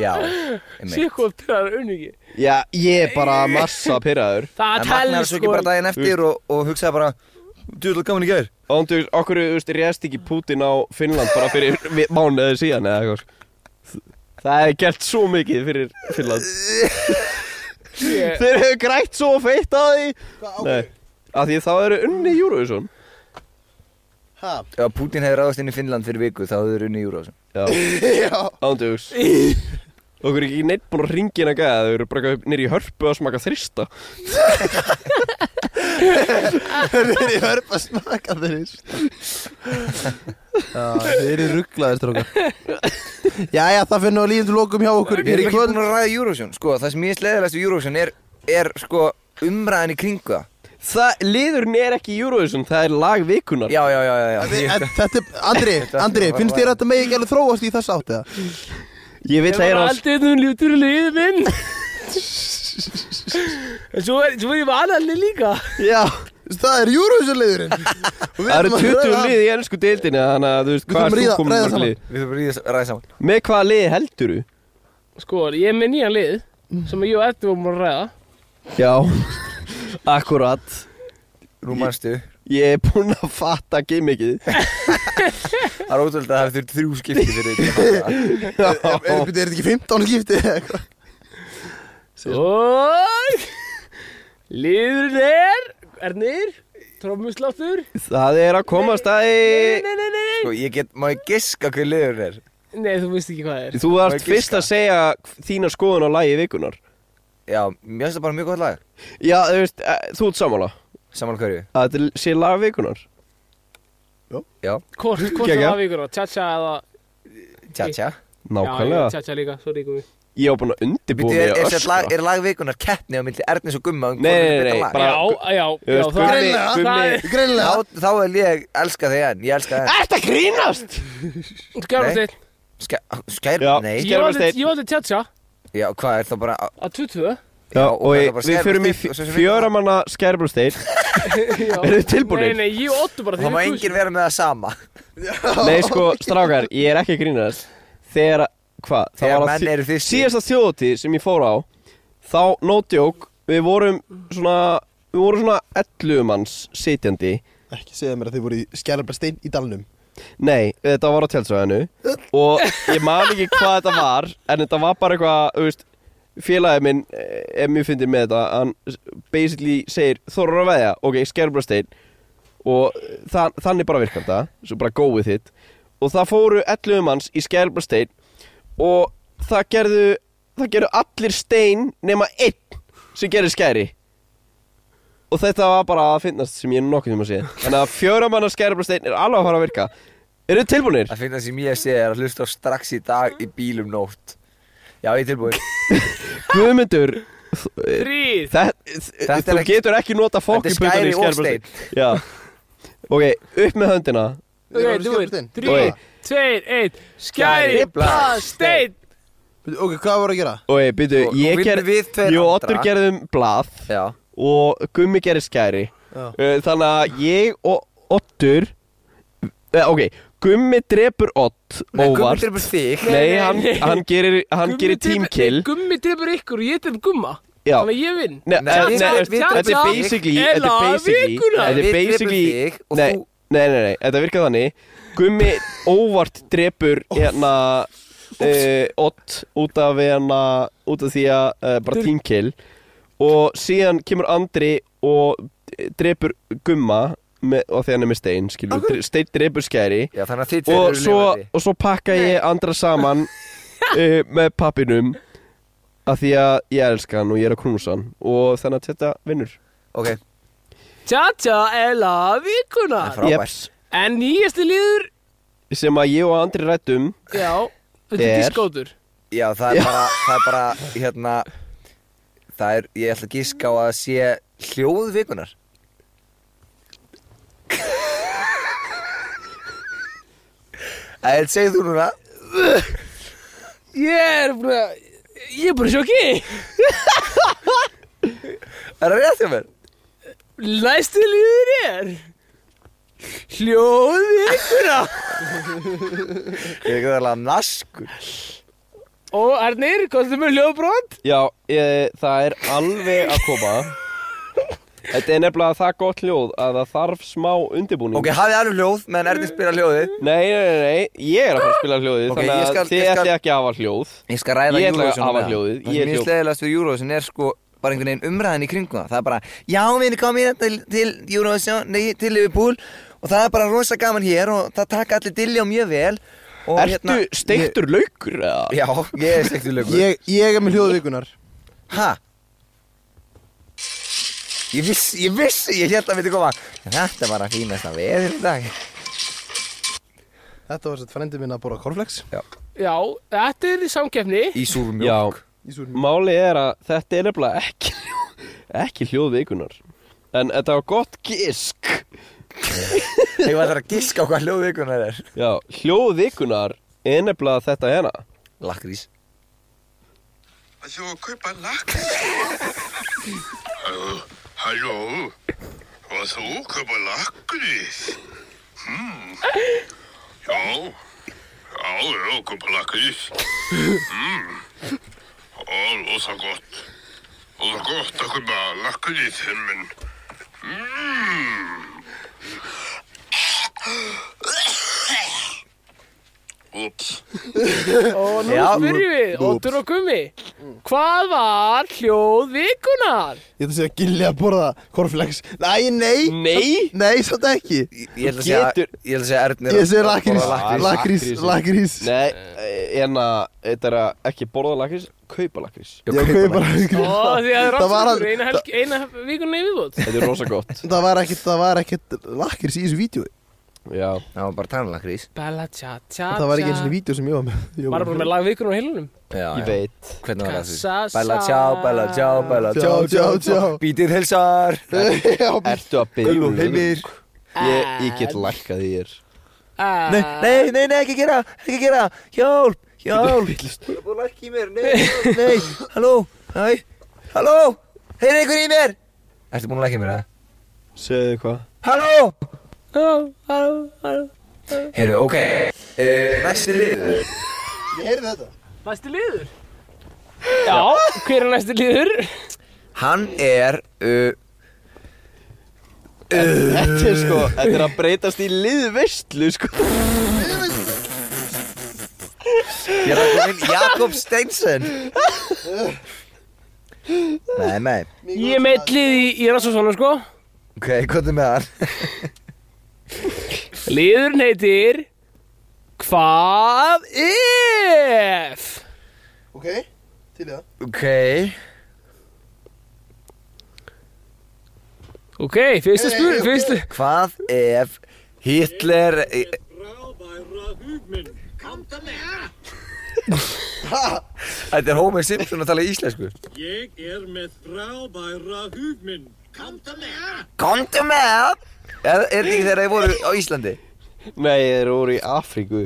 Speaker 4: Já,
Speaker 2: Sér
Speaker 4: einmitt
Speaker 2: hvað pyrraður unningi
Speaker 1: já, ég er bara massa pyrraður
Speaker 2: Það
Speaker 4: En magnaður
Speaker 2: telst sko.
Speaker 4: svo ekki bara daginn eftir og, og hugsaði bara Djúðlega gaman í gær
Speaker 1: Og þú veist, okkur, þú veist, réðst ekki Putin á Finnland bara fyrir vi- mánuði síðan eða eitthvað sko. Það hefði gert svo mikið fyrir Finnland
Speaker 2: Ég-
Speaker 1: Þeir hefur grætt svo feitt á því Nei, af því þá eru unni Eurovision
Speaker 3: Ha? (laughs)
Speaker 4: Ef að Putin hefði ráðast inn í Finnland fyrir viku þá hefur unni Júrósum
Speaker 1: Já,
Speaker 3: Já
Speaker 1: ándugs
Speaker 3: (laughs)
Speaker 1: Okkur er ekki neitt búin að ringja inn að gæða Þau eru bara nýri í hörpu að smaka þrista
Speaker 3: Þeir eru í hörpa smaka þeir Já, þeir eru rugglaðir strókar Jæja, það finnum við lífum til lokum hjá okkur
Speaker 4: Við erum ekki búin að ræða Júrósum Sko, það sem ég sleðilegast við Júrósum er, er sko umræðan í kringu það
Speaker 1: Það, liðurinn er ekki Eurovision, það er lag vikunar
Speaker 4: Já, já, já, já, já.
Speaker 3: Við- en Þetta er, Andri, Andri, finnst þér að þetta megi ekki alveg þróast í þess átt eða?
Speaker 1: Ég vil
Speaker 2: Ég var
Speaker 1: heyra hans
Speaker 2: aldrei um ljútur liðið minn En svo er, svo er ég með annað lið líka
Speaker 3: Já, það er Eurovision liðurinn
Speaker 1: Það eru 20 lið í ennsku deildinni Þannig að þú veist,
Speaker 3: Við
Speaker 1: hvað er þú
Speaker 3: þurfum að ríða-
Speaker 1: komin
Speaker 3: ræða
Speaker 1: mörg
Speaker 3: saman.
Speaker 1: lið
Speaker 4: Við þurfum að ríða- ræða saman
Speaker 1: Með hvaða lið heldur þú?
Speaker 2: Sko, ég er með nýjan lið Sem ég og Eddi vorum að ræða
Speaker 1: Já, (laughs) akkurat
Speaker 4: Nú manstu
Speaker 1: Ég er búinn að fatta gimmikið
Speaker 4: Það er ótrúlega að það hefur þurft þrjú skipti fyrir þetta
Speaker 3: Er er- byrju, er þetta ekki 15 skipti eða eitthvað?
Speaker 2: Og Liðurinn er Ernir Trómmusláttur
Speaker 1: Það er að koma
Speaker 2: Nei,
Speaker 1: staði
Speaker 2: nei, nei, nei, nei
Speaker 4: Sko, ég get, má ég giska hver liður er
Speaker 2: Nei, þú veist ekki hvað það er
Speaker 1: Þú
Speaker 4: Má
Speaker 1: varst
Speaker 4: ég
Speaker 1: fyrst
Speaker 4: giska?
Speaker 1: að segja þína skoðun á lagi vikunar
Speaker 4: Já, mér finnst það bara mjög gott lag
Speaker 1: Já, þú veist, eh, þú ert sammála
Speaker 4: Samal hverju
Speaker 1: að þetta sé lag vikunar
Speaker 4: Já,
Speaker 2: Hvort, hvort það
Speaker 1: Geggjað.
Speaker 2: var vikur á Tja-tja eða
Speaker 4: tja, tja
Speaker 2: Já,
Speaker 1: Nákvæmlega
Speaker 2: Tja-tja líka, svo ríkum við
Speaker 1: Ég var búinn að undirbúa
Speaker 4: Býtu,
Speaker 1: mig
Speaker 4: er,
Speaker 1: að
Speaker 4: er, er,
Speaker 1: öskra
Speaker 4: lag, er lagvikunar keppni á milli Ernis og Gumma um
Speaker 1: Nei,
Speaker 4: hvort er
Speaker 1: nei,
Speaker 4: betra
Speaker 1: nei,
Speaker 4: lag?
Speaker 1: bara-
Speaker 2: Já, já,
Speaker 1: Ég
Speaker 2: já
Speaker 1: veist,
Speaker 2: það er-
Speaker 1: Gummi-
Speaker 2: það er-
Speaker 1: Gummi-
Speaker 3: Greinlega
Speaker 4: þá, þá er ég, elska þig enn, ég elska þig enn
Speaker 1: Ertu að (laughs) grínast?
Speaker 2: Gerðarsteinn
Speaker 4: Skæ, Skær,
Speaker 1: Já.
Speaker 4: nei,
Speaker 1: Ég-
Speaker 2: Ég
Speaker 1: Gerðarsteinn.
Speaker 2: valdi- ég valdi Tja-tja
Speaker 4: já, hvað er það bara
Speaker 2: á 22
Speaker 1: Já,
Speaker 4: og
Speaker 1: og
Speaker 4: það er
Speaker 1: ég-
Speaker 4: bara
Speaker 1: við förum í
Speaker 4: skærusteinn og svo sem
Speaker 1: fjöramanna skærbrústeinn (laughs) Eru þið tilbúinir?
Speaker 2: Nei, nei, ég og Otto bara
Speaker 4: Það má
Speaker 2: þeir eru
Speaker 4: enginn vera með það sama
Speaker 1: Nei, sko,
Speaker 4: (laughs)
Speaker 1: strákar, ég er ekki að grínast Þegar, hvað? það
Speaker 4: Þegar
Speaker 1: var á
Speaker 4: menn
Speaker 1: þi-
Speaker 4: eru þyrstir.
Speaker 1: Síðasta þjóðatíð sem ég fór á Þá, no joke, við vorum svona Við vorum svona 11 manns sitjandi
Speaker 3: Ekki segja mér að þið voru í skjærabrestein í dalnum
Speaker 1: Nei, þetta var á tjálsvæðinu Og ég man ekki hvað þetta var En þetta var bara eitthvað, þú veist Félagið minn, eh, ef mér fyndir með þetta Hann basically segir Þorur að veðja, ok, skerbrastein Og það, þannig bara virkar þetta Svo bara go with it Og það fóru 11 manns í skerbrastein Og það gerðu Það gerðu allir stein nema einn Sem gerir skæri Og þetta var bara að finnast sem ég nokkuð um að sé Þannig að fjóra manna skærabrasteinn er alveg að fara að virka Eru þið tilbúinir?
Speaker 4: Það finna sem ég sé er að hlusta á strax í dag í bílum nótt Já, ég er tilbúin
Speaker 1: Guðmundur
Speaker 2: Þrýr
Speaker 1: það, Þú
Speaker 4: Þetta er ekki-
Speaker 1: getur ekki nota
Speaker 4: Þetta
Speaker 1: fokki
Speaker 4: er skæri og stein
Speaker 1: Já Ok, upp með höndina
Speaker 3: Þið voru
Speaker 2: Ok,
Speaker 3: í
Speaker 2: þú veit,
Speaker 3: skjærabresteinn.
Speaker 1: Oi.
Speaker 2: þrýr, tveir, einn Skæri, blað, stein
Speaker 3: Bíddu, Ok, hvað voru að gera?
Speaker 1: Ok, byrju,
Speaker 4: Og nú
Speaker 1: ég
Speaker 4: vinnum
Speaker 1: ger
Speaker 4: Sko, við tveir
Speaker 1: Jú,
Speaker 4: andra.
Speaker 1: Otur gerðum blað
Speaker 4: Já,
Speaker 1: Og Gummi gerir skæri
Speaker 3: Já.
Speaker 1: Eh, Þannig að ég og Otur eh, Ok, Gummi drepur Ott
Speaker 4: Nei, Gummi
Speaker 1: Óvart
Speaker 4: drefur þig
Speaker 1: Nei,
Speaker 2: Nei,
Speaker 1: hann,
Speaker 2: nei.
Speaker 1: hann gerir, hann
Speaker 2: Gummi
Speaker 1: gerir
Speaker 2: drepur-
Speaker 1: teamkill
Speaker 2: nei, Gummi drefur ykkur og ég drefur gumma
Speaker 1: Já.
Speaker 2: Þannig að ég vinn
Speaker 1: Nei,
Speaker 4: Nei,
Speaker 1: eh,
Speaker 4: við-
Speaker 1: nei,
Speaker 4: við-
Speaker 1: þetta er
Speaker 4: við-
Speaker 1: basically
Speaker 2: við-
Speaker 1: Þetta er
Speaker 2: Ella,
Speaker 1: basically
Speaker 2: vikuna.
Speaker 1: Þetta
Speaker 4: Við
Speaker 1: er basically
Speaker 4: drepum þig og
Speaker 1: nei,
Speaker 4: þú-
Speaker 1: nei, nei, nei, þetta virkar þannig Gummi óvart drepur hérna uh, Ott út af hérna út af því að uh, bara tímkill og síðan kemur Andri og drepur Gumma með, og því hann er með stein skilur, dre, stein drepur skæri
Speaker 4: Já, þannig að þið tveir
Speaker 1: og
Speaker 4: eru
Speaker 1: svo,
Speaker 4: lifandi.
Speaker 1: og svo pakka ég andra saman uh, með pappinum af því að ég elska hann og ég er að knúsa hann og þannig að þetta vinnur
Speaker 4: Ok,
Speaker 2: Tja, tja, ela, vikuna
Speaker 4: það er frábært
Speaker 1: Jeps.
Speaker 2: En nýjasti liður,
Speaker 1: sem að ég og Andri rættum
Speaker 2: já, þetta er
Speaker 1: Er.
Speaker 2: diskótur
Speaker 4: Já, það er bara, það er bara, hérna Það er, ég ætla að gíska á að sé hljóð (laughs) vikunar En segðu þú núna
Speaker 2: Ég er bara Ég er bara í sjokki
Speaker 4: Er það rétt hjá mér?
Speaker 2: Læstu líður er Hljóð vikuna
Speaker 4: Ég er ekki alveg naskur
Speaker 2: Og Arnir, komstu með hljóðbrot?
Speaker 1: Já, ég, það er alveg að koma Þetta er nefnilega það gott hljóð að það þarf smá undirbúning
Speaker 4: Ok, hafið alveg hljóð, meðan Erni spila hljóði
Speaker 1: Nei, nei, nei, nei, ég er að fara að spila hljóðið
Speaker 4: Ok,
Speaker 1: Þannig
Speaker 4: ég
Speaker 1: að
Speaker 4: skal-
Speaker 1: þið
Speaker 4: ég skal-
Speaker 1: ætti ekki að hafa hljóð
Speaker 4: Ég skal ræða
Speaker 1: Ég ætla að
Speaker 4: Eurovision
Speaker 1: hafa
Speaker 4: með það.
Speaker 1: hljóðið,
Speaker 4: Það
Speaker 1: ég er
Speaker 4: sem ég
Speaker 1: hljóð.
Speaker 4: sleðilegast við Eurovision er sko bara einhvern veginn umræðan í kringum það Það er bara, já, við erum komin til, til Eurovision, nei, til Liverpool Og það er bara rosa gaman hér og það taka allir dilljá mjög vel og
Speaker 1: Ertu
Speaker 4: hérna-
Speaker 1: steiktur laukur eða?
Speaker 4: Ég, já, ég er steiktur lögur
Speaker 3: Ég, ég er með hljóðvíkunar
Speaker 4: Ha? Ég vissi, ég vissi, ég held að myndi koma Þetta var að fínasta veður í dag
Speaker 3: Þetta var sett frendi minn að borða korflex
Speaker 2: Já, þetta er samkeppni
Speaker 4: Í súrmjólk
Speaker 1: Já,
Speaker 3: Í súrmjólk.
Speaker 1: máli er að þetta er nefnilega ekki, ekki hljóð vikunar En þetta var gott gisk
Speaker 4: Ég var þar að giska á hvað hljóðvikunar er
Speaker 1: Já, hljóð vikunar er nefnilega þetta hérna
Speaker 4: Lakrís
Speaker 6: Þú að kaupa lakrís? Halló? Og þú að kaupa lakrís? Hmm. Já. Já, já, kaupa lakrís. Hmm. Ó, rosa gott. Rosa gott að kaupa lakrís, himmin. Hmm. Ups.
Speaker 2: Og nú
Speaker 4: Já.
Speaker 2: spyrjum við, Óttur og Gummi Hvað var hljóð vikunar?
Speaker 3: Ég ætla að segja gilli að borða korflex Nei, nei
Speaker 1: Nei?
Speaker 3: Nei, svolítið ekki
Speaker 4: Ég ég held að segja,
Speaker 1: Getur-
Speaker 4: ég held að segja Erni
Speaker 3: Ég segi lakrís
Speaker 1: lakrís.
Speaker 3: Lakrís, lakrís
Speaker 1: Nei, en að þetta er að ekki borða lakrís, kaupa lakrís
Speaker 3: Ég kaupi bara
Speaker 2: Ó, því að
Speaker 3: (laughs) Það var
Speaker 2: rannsóknur,
Speaker 3: að-
Speaker 2: eina, helgi, eina vikuna í viðbútt
Speaker 1: Þetta er rosa gott
Speaker 3: Það var ekkert, það var ekkert lakrís í þessu vídeo
Speaker 1: Já,
Speaker 4: Það var bara um tannlakrís
Speaker 2: Bella tja Ah, tja
Speaker 3: Það var ekki eins og
Speaker 2: vídeo
Speaker 3: vídeo sem ég var með (laughs) Ég
Speaker 2: Bara bara með lag vikunar á heilunum
Speaker 4: Já,
Speaker 1: ég veit
Speaker 4: Hvernig var það
Speaker 2: Kassa,
Speaker 4: því? Bella tjá, bella tjá, bella tjá
Speaker 3: Tjá, tjá, tjá.
Speaker 4: Bítið hilsar
Speaker 3: (laughs)
Speaker 1: Ertu að byggja
Speaker 4: Gull og heimir
Speaker 1: Ég, ég get lækkað í þér
Speaker 2: Ah,
Speaker 4: Nei, nei, nei, nei, ekki gera, ekki gera Hjálp, hjálp Það er búin að lækka í mér, nei, nei, nei Halló, hæ, halló Heyrðu ykkur í mér Ertu búin að lækka í mér, eða?
Speaker 1: Segðu hvað
Speaker 4: Halló
Speaker 2: já, já, já.
Speaker 4: Heyrðu, ok Eh, Næsti liður
Speaker 2: Næsti liður Já, hver er næsti liður?
Speaker 4: Hann er uh,
Speaker 1: Þetta er sko, þetta er að breytast í liðvistlu sko
Speaker 4: Ég er að koma inn Jakob Steinsen Nei, nei
Speaker 2: Ég er meitt lið í, í rannsóknum sko
Speaker 4: Ok, hvað er með hann?
Speaker 2: Liðurinn heitir Hvað if?
Speaker 3: Ok, til í það
Speaker 4: Ok
Speaker 2: Ok, fyrsta spurning, fyrsta
Speaker 4: Hvað ef Hitler eh, Þetta er Homer Simpson að tala íslensku
Speaker 8: Ég er með frábæra hugminn. Komdu með!
Speaker 4: Komdu með Er, er þetta ekki þegar þeir voru á Íslandi?
Speaker 1: Nei, þeir eru úr í Afríku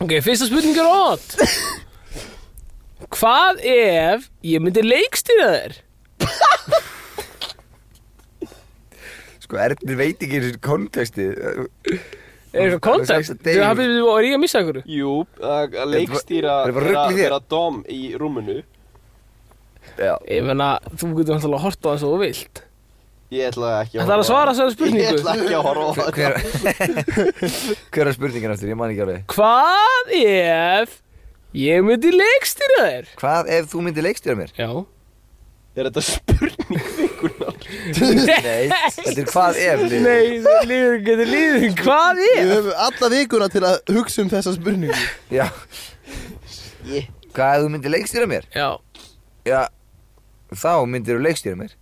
Speaker 2: Ok, fyrsta spurning er
Speaker 1: (laughs)
Speaker 2: ótt Hvað ef ég myndi leikstýra þér?
Speaker 4: Sko, Erfnir veit ekki þessu kontexti
Speaker 2: Er eitthvað kontakt?
Speaker 4: Alveg sex að
Speaker 2: Þú
Speaker 4: deyjum.
Speaker 2: hafið við og er ég að missa ykkur?
Speaker 1: Jú, að að leikstýra
Speaker 4: Þetta er bara rugl í þér.
Speaker 1: vera dom í rúminu
Speaker 4: Já
Speaker 2: Ég meina, þú getur náttúrulega að horta á það svo þú vilt
Speaker 1: Ég ætla ekki að
Speaker 2: Það er að svara þessari
Speaker 1: Ég ætla
Speaker 2: spurningu
Speaker 1: ekki að horfa á það
Speaker 4: Hver, hver (laughs) er spurningin aftur? Ég man ekki alveg
Speaker 2: Hvað ef ég myndi leikstýra þér?
Speaker 4: Hvað ef þú myndir leikstjóra mér?
Speaker 2: Já
Speaker 1: Er þetta spurning vikunar?
Speaker 4: Nei, þetta er hvað ef liður.
Speaker 2: Nei, það líður, getur líður Hvað
Speaker 3: (laughs) Við
Speaker 2: ef?
Speaker 3: höfum alla vikuna til að hugsa um þessa spurningu
Speaker 4: Já Hvað ef þú myndir leikstjóra mér?
Speaker 2: Já,
Speaker 4: Já Þá myndir þú leikstjóra mér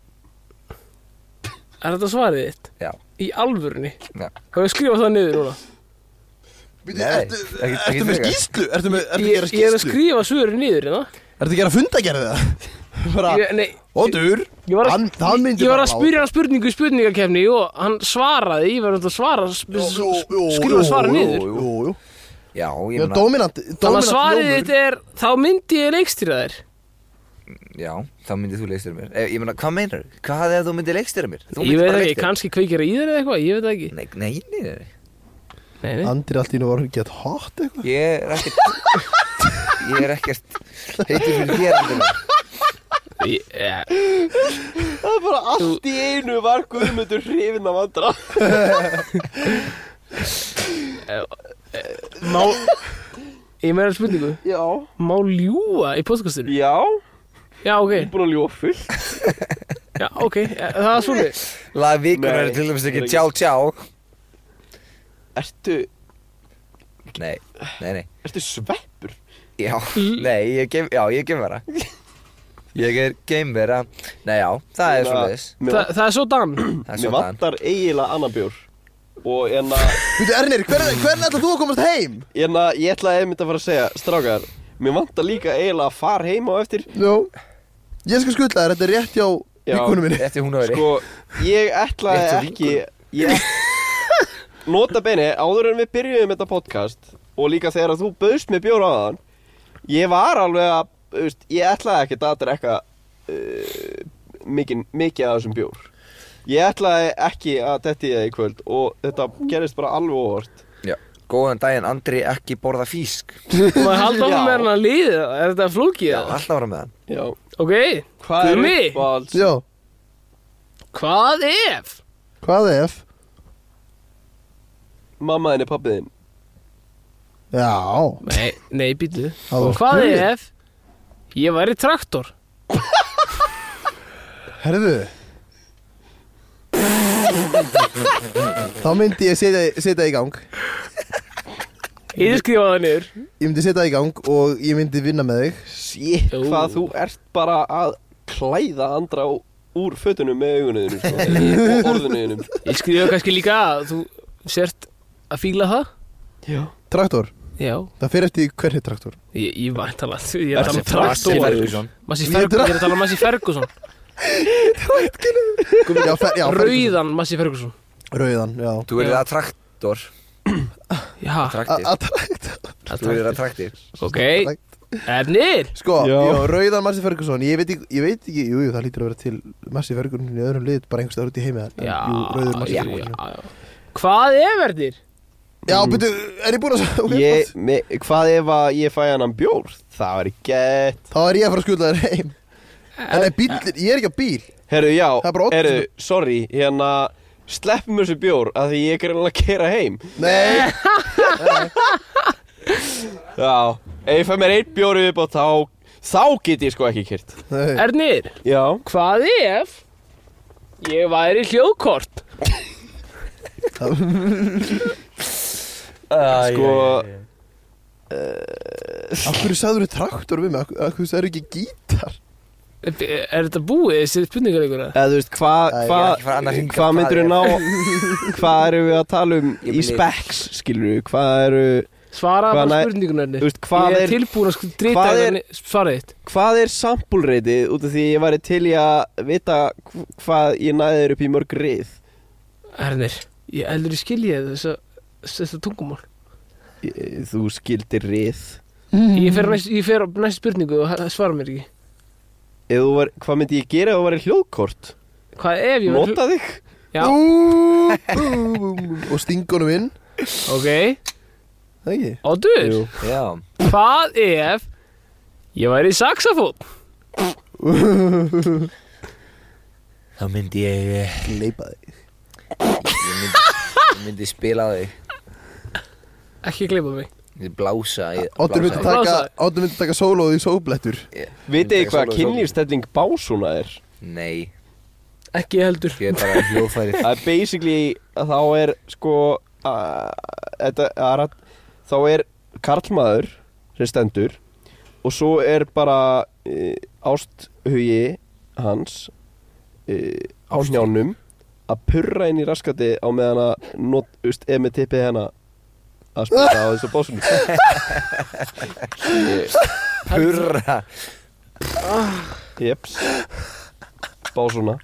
Speaker 2: er þetta svarið þitt?
Speaker 4: Já.
Speaker 2: Í alvörunni?
Speaker 4: Já.
Speaker 2: Hvað við skrifa það niður núna?
Speaker 3: Bíddu,
Speaker 4: Nei,
Speaker 3: Ertu
Speaker 4: ekki- ekki
Speaker 3: ertu með
Speaker 4: frekar.
Speaker 3: skýslu? Ertu með, ertu að
Speaker 2: Ég,
Speaker 3: gera
Speaker 2: ég er að
Speaker 3: skýslu?
Speaker 2: skrifa svörin niður hérna
Speaker 3: Ertu að gera fundagerðið það? (laughs) Bara,
Speaker 2: Ég- Nei,
Speaker 3: ódur
Speaker 2: Ég var að,
Speaker 3: Hann- hann myndi
Speaker 2: ég var
Speaker 3: bara
Speaker 2: að
Speaker 3: láta.
Speaker 2: spyrja hann spurningu í spurningakefni og hann svaraði, ég var að svara sp- sp- skrifa svara niður
Speaker 3: Jú, jú
Speaker 4: Já, ég
Speaker 3: Já,
Speaker 4: meina
Speaker 3: dominant,
Speaker 2: Þannig að
Speaker 3: dominant
Speaker 2: svarið
Speaker 3: hljómur.
Speaker 2: þitt er Þá myndi ég leikstýra þér
Speaker 4: Já, þá myndið þú leikstýra mér Eh, Ég meina, hvað meinar? Hvað ef þú myndið leikstýra mér? Þú
Speaker 2: Ég
Speaker 4: myndir
Speaker 2: veit
Speaker 4: bara
Speaker 2: ekki,
Speaker 4: leikstýra.
Speaker 2: kannski kveikir í þér eða eitthvað Ég veit ekki
Speaker 4: Nei, nei, nei, nei, nei.
Speaker 2: Nei, nei.
Speaker 3: Andri allt í nú var hann gett hot eitthvað
Speaker 4: Ég er ekkert Ég er ekkert Heitir fyrir þér Andri.
Speaker 2: Ég- ja.
Speaker 1: Það er bara allt í einu var Guðmundur hrifin af andra
Speaker 2: Má Ég meira spurningu
Speaker 1: Já
Speaker 2: Má ljúa í podcastinu?
Speaker 1: Já,
Speaker 2: Já,
Speaker 1: ég er
Speaker 2: ok
Speaker 1: búin að ljóa fullt
Speaker 2: Já, ok Eh, Það er svolítið
Speaker 4: Lag vikunar
Speaker 1: Nei,
Speaker 4: er til dæmis
Speaker 1: það
Speaker 4: ekki
Speaker 1: er
Speaker 4: tjá tjá
Speaker 1: Ertu,
Speaker 4: Nei, nei, nei
Speaker 1: ertu sveppur?
Speaker 4: Já, (laughs) nei, ég er geim, já, ég er geimvera Ég er geimvera Nei, já, það er
Speaker 1: Svona-
Speaker 4: svoleiðis
Speaker 1: Hérna, Mér
Speaker 2: Þa, Það er svo dan
Speaker 4: Það er
Speaker 1: Mér
Speaker 4: svona
Speaker 1: vantar eiginlega annan bjór Og en að,
Speaker 3: Býtu Ernir, hvernig hvern ætla þú að komast heim?
Speaker 1: en að hérna, ég ætlaði einmitt að fara að segja Strákar, mér vantar líka eiginlega að fara heim á eftir
Speaker 3: Jó Ég skal skuldla þér, þetta er rétt hjá
Speaker 1: Já.
Speaker 3: vikunum minni
Speaker 4: Eftir hún ári
Speaker 1: Sko, ég
Speaker 4: Rétt hjá
Speaker 1: ætlaði ekki Ég Nota bene, áður en við byrjuðum þetta podcast Og líka þegar að þú bauðst með bjór á þann Ég var alveg að þú veist, Ég ætlaði ekkert að drekka uh, mikið, mikið af þessum bjór Ég ætlaði ekki að detti það í kvöld Og þetta gerist bara alveg óvart
Speaker 4: Já. Góðan daginn, Andri ekki borða físk
Speaker 2: Má ég halda
Speaker 1: Já.
Speaker 2: ofan með hann að líði það? Er þetta flókið?
Speaker 4: Já,
Speaker 2: eða?
Speaker 4: alltaf var hann með hann
Speaker 1: Já,
Speaker 2: Ok,
Speaker 1: hvað er
Speaker 2: Gumi?
Speaker 1: uppáhalds
Speaker 3: Já,
Speaker 2: hvað ef?
Speaker 3: hvað ef?
Speaker 1: mamma þinn er pappið þinn
Speaker 3: Já,
Speaker 2: Nei, nei, býtu
Speaker 3: Það var
Speaker 2: Hvað
Speaker 3: spurning.
Speaker 2: ef ég væri traktor?
Speaker 3: herðu Þá myndi ég setja, setja í gang
Speaker 2: Ég skrifa það niður
Speaker 3: Ég myndi setja í gang og ég myndi vinna með þig
Speaker 1: Sér
Speaker 2: Jú.
Speaker 1: hvað þú ert bara að klæða andra ú- úr fötunum með augunuðinu sko, og orðunuðinu
Speaker 2: Ég skrifa kannski líka að þú sért að fíla það
Speaker 1: Já
Speaker 3: Traktor,
Speaker 2: Já,
Speaker 3: það fyrir eftir hvernig traktor
Speaker 2: ég, ég var að tala Ég er að tala um
Speaker 4: Matti
Speaker 2: traktor
Speaker 4: Ferguson
Speaker 2: Massi
Speaker 3: Ég er
Speaker 2: Ferguson,
Speaker 3: dra-
Speaker 2: ég er að tala um Massi Ferguson
Speaker 3: já, fer, já,
Speaker 2: Rauðan Massi Ferguson
Speaker 3: Rauðan, já
Speaker 4: Þú verður að traktor
Speaker 2: Já,
Speaker 3: A-
Speaker 4: Traktir
Speaker 3: að traktor.
Speaker 2: það
Speaker 4: Þú verður
Speaker 2: er
Speaker 4: að traktir
Speaker 2: Ok, Ernir
Speaker 3: Sko, já.
Speaker 1: Já.
Speaker 3: Rauðan Marci Ferguson Ég veit ekki, ég veit ekki jú, jú, það lítur að vera til Marci Ferguson í öðrum lið bara einhverstað út í heimi en- en
Speaker 2: Já,
Speaker 3: jú, Rauður Marci
Speaker 2: já,
Speaker 3: Ferguson
Speaker 2: já Hvað ef, Ernir?
Speaker 3: Já, betur, er ég búinn að okay,
Speaker 1: ég, me, Hvað ef að ég fæ hann bjór? Það var ekki gett
Speaker 3: Þá er ég að fara að skjóla þér heim En nei, bíl,
Speaker 2: Eh.
Speaker 3: ég er ekki á bíl
Speaker 1: Herru, já,
Speaker 3: Það er bara oddvitað.
Speaker 1: herru, sorry Hérna, sleppum þessu bjór að því ég er greinlega að kera heim
Speaker 2: Eh.
Speaker 3: Nei,
Speaker 1: Já, ef ég fæ mér einn bjór upp og þá Þá get ég sko ekki kert
Speaker 3: nei.
Speaker 2: Ernir,
Speaker 1: Já
Speaker 2: hvað ef ég væri hljóðkort?
Speaker 1: Sko,
Speaker 3: Af hverju sagður þú traktor við mig? Af- Af hverju sagður ekki gítar?
Speaker 2: Er þetta búið, þessi spurningar ykkur að?
Speaker 1: eða þú veist, hvað
Speaker 3: Æ, ég er
Speaker 1: hva,
Speaker 4: ekki fara annað hringa,
Speaker 1: Hvað
Speaker 4: hvað
Speaker 1: myndir
Speaker 4: er-
Speaker 1: ná Hvað eru við að tala um
Speaker 4: Ég
Speaker 1: í
Speaker 4: blir-
Speaker 1: specs, skilur við Hvað eru,
Speaker 2: Svara
Speaker 1: Hvað,
Speaker 2: bara
Speaker 1: nei,
Speaker 2: spurningun Ernir
Speaker 1: þú veist, hvað
Speaker 2: Ég
Speaker 1: er
Speaker 2: er tilbúin að sko drita
Speaker 1: hvað er-
Speaker 2: er... svarið þitt
Speaker 1: Hvað er sampulreitið út af því ég væri til í að vita hv- hvað ég næði þér upp í mörg rið?
Speaker 2: Ernir, ég heldur ég skilja þess að þess að tungumál
Speaker 1: Ég- Þú skildir rið.
Speaker 2: Ég fer, á næst, ég fer á næst spurningu og það svarar mér ekki
Speaker 1: Ef þú var, hvað myndi ég gera ef þú væri hljóðkort?
Speaker 2: Hvað ef ég væri
Speaker 1: Nota þig?
Speaker 2: Já,
Speaker 3: Ú, bú, bú, bú. Og stingunum inn
Speaker 2: ok
Speaker 3: Það ekki?
Speaker 2: Oddur,
Speaker 1: Jú.
Speaker 4: Já
Speaker 2: hvað ef ég væri saxofón?
Speaker 4: Þá myndi ég eh, Ég
Speaker 3: Leipa þig
Speaker 4: myndi, ég myndi spila á þig
Speaker 2: Ekki gleypa mig
Speaker 4: Ég blása í-
Speaker 3: Áttur myndi
Speaker 4: blása í-
Speaker 3: taka,
Speaker 2: Blása.
Speaker 3: Oddur myndi taka sólóð í sóblettur
Speaker 4: Ég- myndi
Speaker 1: Vitið þið
Speaker 4: taka
Speaker 1: hvað
Speaker 4: solo í
Speaker 1: kynlífstelling básúna er?
Speaker 4: sólinni. Nei,
Speaker 2: Ekki heldur
Speaker 4: ég er bara hljófærið
Speaker 1: (laughs) Það er basically, að þá er sko, að- þetta er að- þá er karlmaður sem stendur og svo er bara e, ásthugi hans e, á njánum að purra inn í raskati á meðan að not,ust, ef með tippið hérna að spila á þessu bósunum
Speaker 4: Purra
Speaker 1: Jeps Básuna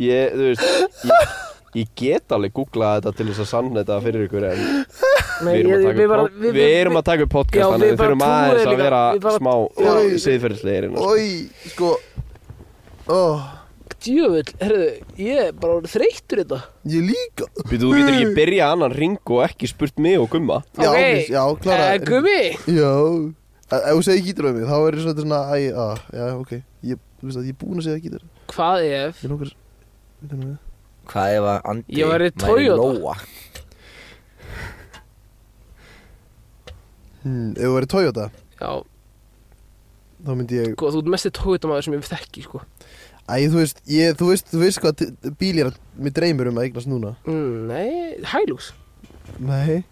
Speaker 1: Ég, þú veist Ég, ég get alveg googlað þetta til þess að sanna þetta fyrir ykkur en
Speaker 2: Nei,
Speaker 1: við erum að
Speaker 2: ég-
Speaker 1: taka
Speaker 2: við
Speaker 1: upp
Speaker 2: bara-
Speaker 1: pod-
Speaker 2: við-
Speaker 1: við erum að taka upp
Speaker 2: Já,
Speaker 1: podcast þannig
Speaker 2: við
Speaker 1: að við
Speaker 2: bara
Speaker 1: þurfum
Speaker 2: trúum
Speaker 1: aðeins
Speaker 2: þér
Speaker 1: að
Speaker 2: líka.
Speaker 1: vera
Speaker 2: Við bara-
Speaker 1: smá
Speaker 3: Já.
Speaker 1: siðferðislegir innan.
Speaker 3: Oi, sko oh,
Speaker 2: Djöfull, herruðu, ég er bara orðinn þreyttur hérna. í þetta
Speaker 3: Ég líka
Speaker 1: Býtu, þú getur ekki byrja annan ring og ekki spurt mig og gumma
Speaker 3: Já,
Speaker 2: Ok,
Speaker 3: já, klára
Speaker 2: eh, Gummi,
Speaker 3: Já Ef ef þú segir gítur um mig, þá er ég svolítið svona Æ, á, já, ok Ég, þú veist að ég er búinn að segja gítur
Speaker 2: hvað ef
Speaker 3: Ég nokkar Þetta er nú við
Speaker 4: Hvað ef að Andi
Speaker 2: Ég væri Toyota.
Speaker 4: Lóa
Speaker 3: Hmm, Ef þú verið Toyota,
Speaker 2: Já,
Speaker 3: þá myndi ég
Speaker 2: sko, þú ert mesti tóitamaður sem ég þekki, sko
Speaker 3: Æ, þú veist, ég, þú veist, þú veist hvað t- bíl ég er að Mér dreymir um að eignast núna
Speaker 2: mm, Nei, hælús
Speaker 3: Nei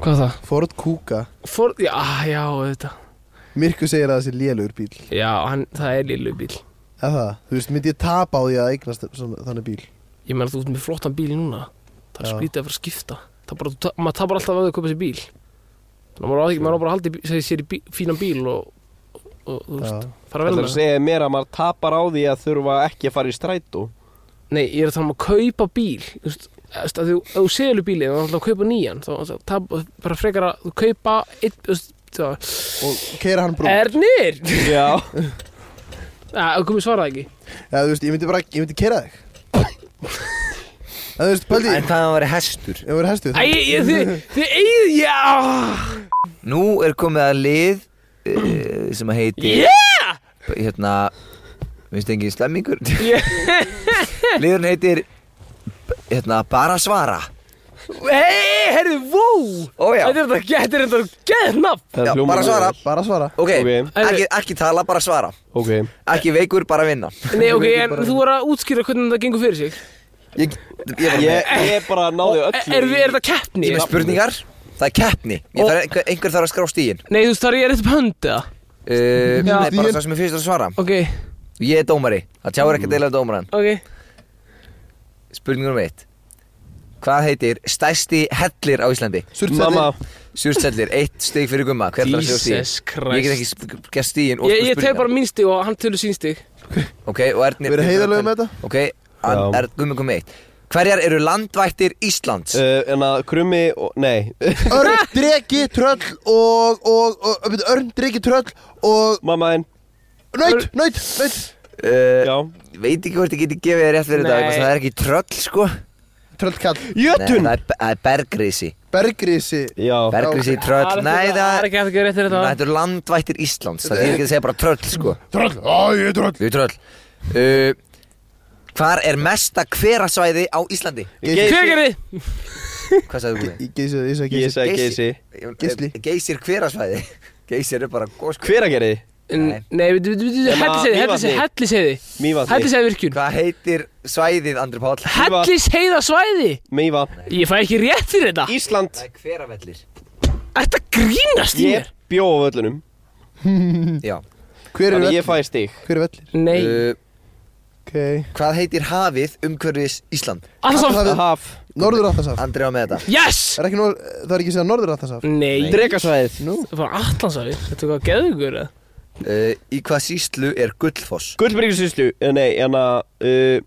Speaker 2: Hvað það?
Speaker 3: Ford Kuga
Speaker 2: For, já, já, þetta
Speaker 3: Mirku segir að það sé lélugur bíl
Speaker 2: Já, hann, það er lillu bíl
Speaker 3: Eða það, þú veist, myndi ég tapa á því að eignast svona, þannig bíl
Speaker 2: Ég meina þú ert með flottan bíl núna Það er
Speaker 3: Já.
Speaker 2: skrítið að fara að skipta Það er bara, þú ta- maður tapar alltaf að það kaupa sér bíl Þannig að maður á ekki, maður á bara að haldi segja sér í bí, fínan bíl og, og þú veist,
Speaker 3: Já.
Speaker 2: fara
Speaker 1: Það
Speaker 2: vel
Speaker 1: er
Speaker 2: með
Speaker 1: að
Speaker 2: það
Speaker 1: segja mér að maður tapar á því að þurfa ekki að fara í strætó
Speaker 2: Nei, ég er að tala um að kaupa bíl Þú veist, þú veist, að þú, ef þú selur bílið þá er alltaf að kaupa nýjan þá, þá tap, bara frekar að þú kaupa eitt, þú veist, þá,
Speaker 3: Og keira hann
Speaker 2: Eh.
Speaker 3: brú
Speaker 2: Ernir!
Speaker 1: Já
Speaker 2: Það komið svarað ekki
Speaker 3: Já, þú veist, ég myndi bara, ég myndi kera þig En þú veist, Paldi,
Speaker 4: En hvað ef hann væri hestur?
Speaker 3: ef þú verið hestu
Speaker 2: Æ, ég- ég- þið, þið eigið, já
Speaker 4: Nú er komið að lið uh, sem að heiti
Speaker 2: Yeah!
Speaker 4: Hérna Minnst engin
Speaker 2: (laughs)
Speaker 4: slemmingur
Speaker 2: Yeah.
Speaker 4: Liðurinn heitir Hérna bara svara
Speaker 2: Hei, herðu, vó!
Speaker 4: Ó já,
Speaker 2: Þetta er þetta þetta er þetta geðið nafn
Speaker 1: (laughs) Það
Speaker 4: Já,
Speaker 1: hljómar
Speaker 4: bara svara.
Speaker 1: vel.
Speaker 3: Bara svara
Speaker 4: ok,
Speaker 1: Ok.
Speaker 4: Ekki, ekki tala, bara svara
Speaker 1: Ok,
Speaker 4: Ekki veikur, bara vinna
Speaker 2: Nei, ok, en þú voru að útskýra hvernig þetta gengur fyrir sig
Speaker 4: Ég, ég var með,
Speaker 1: ég, ég bara náði
Speaker 2: Er,
Speaker 1: öllu
Speaker 2: er,
Speaker 1: í-
Speaker 2: er þetta keppni?
Speaker 4: ég er með spurningar Það er keppni Ég
Speaker 2: Og-
Speaker 4: þarf, einhver, einhver þarf að skrá stíin
Speaker 2: Nei, þú veist, þar er ég rétt upp höndið
Speaker 4: uh,
Speaker 2: Já.
Speaker 4: Nei, bara það sem er fyrst að svara
Speaker 2: Ok,
Speaker 4: Ég er dómari, það tjáir
Speaker 1: Mm.
Speaker 4: ekki að deila dómaran
Speaker 2: ok
Speaker 4: Spurningur um eitt Hvað heitir stærsti hellir á Íslandi?
Speaker 1: Mamma,
Speaker 4: Sjúrstsellir, eitt stig fyrir gumma Hver þarf að sjá stíin?
Speaker 2: Jesus
Speaker 4: Ég get
Speaker 2: Christ
Speaker 4: ekki sp- gert stíin og
Speaker 2: Ég, ég teg
Speaker 4: spurningar.
Speaker 2: bara mín stig og hann tölur sín stig
Speaker 4: Ok, og Ernir
Speaker 3: Við erum heiðarlega með þetta
Speaker 4: Ok, hann
Speaker 1: Já.
Speaker 4: er gummi kom eitt Hverjar eru landvættir Íslands?
Speaker 1: uh, en að krummi, og, nei (laughs)
Speaker 3: Örn, dregi, tröll og, og, og byrju, Örn, dregi, tröll og
Speaker 1: Mamma en,
Speaker 3: Naut, naut, naut
Speaker 4: Uh,
Speaker 1: já
Speaker 4: veit ekki hvort ég geti gefið þér rétt fyrir
Speaker 2: Nei.
Speaker 4: þetta vegna þess að Það er ekki tröll sko
Speaker 3: Tröllkall,
Speaker 4: Nei,
Speaker 1: Jötun
Speaker 4: það er, það er bergrisi
Speaker 3: bergrisi
Speaker 1: Já,
Speaker 4: Bergrisi,
Speaker 2: Það
Speaker 4: tröll
Speaker 2: er
Speaker 4: Nei,
Speaker 2: ekki- það er
Speaker 4: það
Speaker 2: ekki hægt að gera rétt fyrir
Speaker 4: Nei,
Speaker 2: þetta
Speaker 4: Þetta eru landvættir Íslands Það er ekki að segja bara tröll sko
Speaker 3: Tröll, á ég er tröll
Speaker 4: Við tröll uh, Hvar er mesta hverasvæði á Íslandi?
Speaker 2: Hver
Speaker 1: geysir
Speaker 2: gerði?
Speaker 4: Hvað sagði þú?
Speaker 3: Ég geysi, ég segi
Speaker 1: Ég
Speaker 3: geysi
Speaker 1: segi
Speaker 4: Geysi.
Speaker 1: geysi
Speaker 3: Geisli.
Speaker 4: eh, Geysir hverasvæði (laughs) Geysir er bara góð sko
Speaker 1: Hver að gerði?
Speaker 4: Nei.
Speaker 2: Nei, við veitum,
Speaker 1: Ég maður- Mývatni.
Speaker 2: helliseiði, helliseiði
Speaker 1: Mývatni
Speaker 2: Helliseiði virkun
Speaker 4: Hvað heitir svæðið Andri Páll?
Speaker 1: Mývatn.
Speaker 2: Helliseiða svæði
Speaker 1: Mývatn
Speaker 2: Ég fæ ekki rétt fyrir þetta
Speaker 1: Ísland
Speaker 4: Það er hveravellir
Speaker 2: Þetta grínast í
Speaker 1: Ég
Speaker 2: mér
Speaker 1: bjó á völlunum
Speaker 4: Hmm. Já
Speaker 3: Hver er
Speaker 1: Þannig ég
Speaker 3: vellir?
Speaker 1: fæ stig
Speaker 3: Hver er vellir?
Speaker 2: Nei,
Speaker 4: uh,
Speaker 3: Ok
Speaker 4: Hvað heitir hafið umhverfis Ísland?
Speaker 2: alltaf
Speaker 3: Atlantshafið.
Speaker 1: Haf
Speaker 3: Norður Atlasaf
Speaker 4: Andri á með þetta
Speaker 2: Yes!
Speaker 3: Er ekki, nor- það er ekki séð Norður Atlasaf
Speaker 2: Nei,
Speaker 1: Drekasvæðið
Speaker 3: Nú,
Speaker 2: Það var Atlansafi, þetta var geðugur eða?
Speaker 4: uh, Í hvað síslu er Gullfoss?
Speaker 1: Gullbyrgisvíslu, Eh, nei, en að uh,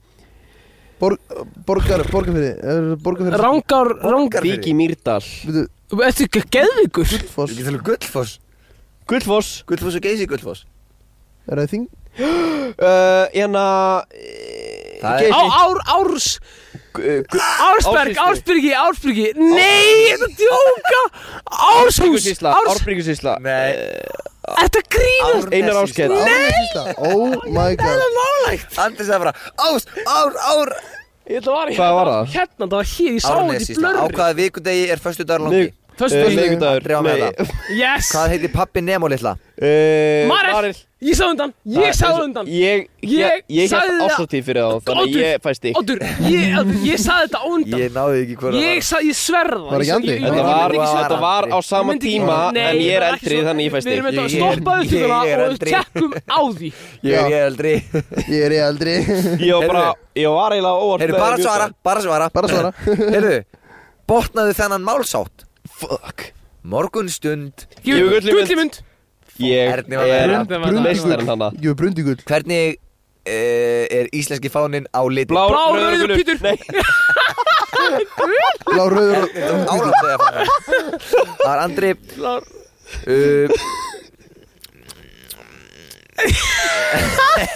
Speaker 3: borg, borgar, borgarfyrir er Borgarfyrir
Speaker 2: Rangar, rangar
Speaker 4: Borgarfirði.
Speaker 1: Víki Mýrdal
Speaker 3: Byrju,
Speaker 2: Þetta er ekki geðugur
Speaker 4: Þú
Speaker 3: Gullfoss
Speaker 4: getur alveg um Gullfoss
Speaker 1: Gullfoss
Speaker 4: Gullfoss og Geysi Gullfoss
Speaker 3: Er það þing?
Speaker 1: uh, En að
Speaker 4: Það
Speaker 1: Geysi.
Speaker 2: Á, ár, árs Ársberg,
Speaker 1: eh, Ársýslu.
Speaker 2: Ársbyrgi, Ársbyrgi Nei, þetta djóka Árshús,
Speaker 1: Árbyrgisvísla
Speaker 2: Árs
Speaker 1: Árbyrgisvísla
Speaker 4: Nei
Speaker 2: Þetta grínast
Speaker 1: Einar Áskell
Speaker 3: Nei Oh my god
Speaker 4: Nálægt Andri sagði bara Ás, ár, ár
Speaker 2: Þetta var
Speaker 1: Hvað var það?
Speaker 2: Hérna, það var hér, ég sá þetta í
Speaker 4: Árnesísla Á
Speaker 2: blörri
Speaker 4: hvaða vikudegi er föstu dagar langi?
Speaker 1: eh,
Speaker 2: Föstudagur.
Speaker 4: Andri á með
Speaker 1: (laughs) Miðvíkudagur
Speaker 4: þetta
Speaker 2: Yes,
Speaker 4: Eh, Hvað heitir pappi Nemo litla?
Speaker 2: Marel Ég sá undan, ég sá undan
Speaker 1: Eh, Ég, ég,
Speaker 2: Ég
Speaker 1: ég
Speaker 2: sagði
Speaker 1: held
Speaker 2: það.
Speaker 1: ástáttíð fyrir þá Þannig að
Speaker 2: Oddur,
Speaker 1: ég fæ stík
Speaker 2: Oddur, ég, ég sá þetta á undan
Speaker 4: Ég náði ekki hvora
Speaker 2: Ég sá, ég sverða
Speaker 3: Var ekki Andri?
Speaker 1: Þetta
Speaker 3: Ég
Speaker 1: var,
Speaker 4: myndi ekki svara.
Speaker 1: þetta var á sama tíma En ég er eldri þannig ég fæ
Speaker 2: Við
Speaker 1: stík
Speaker 2: erum þetta að
Speaker 4: Ég-
Speaker 2: stoppa
Speaker 4: ég- ég
Speaker 2: þau
Speaker 4: er
Speaker 2: og
Speaker 4: eldri.
Speaker 2: tekkum á
Speaker 1: (laughs)
Speaker 2: því
Speaker 4: Ég er ég eldri
Speaker 3: Ég er ég eldri
Speaker 1: Ég var bara, ég var eiginlega óvart
Speaker 4: Heyrðu, bara svara Bara svara
Speaker 3: Bara svara
Speaker 4: (laughs) Heyrðu Botnaðu þennan málsátt
Speaker 1: Fuck
Speaker 4: Morgunstund
Speaker 1: Ég var gull í mynd.
Speaker 2: mynd
Speaker 1: Ég
Speaker 4: Erni var með
Speaker 1: er
Speaker 4: þetta.
Speaker 1: meistarinn hana
Speaker 3: Ég er brundigull
Speaker 4: Hvernig uh, e, er íslenski fáninn á liti?
Speaker 1: Blár, rauður
Speaker 2: Blár,
Speaker 1: og
Speaker 2: rauður,
Speaker 1: gulur.
Speaker 2: hvítur.
Speaker 1: Nei,
Speaker 3: Lá rauður og
Speaker 4: Árum þegar fara Það var Andri uh,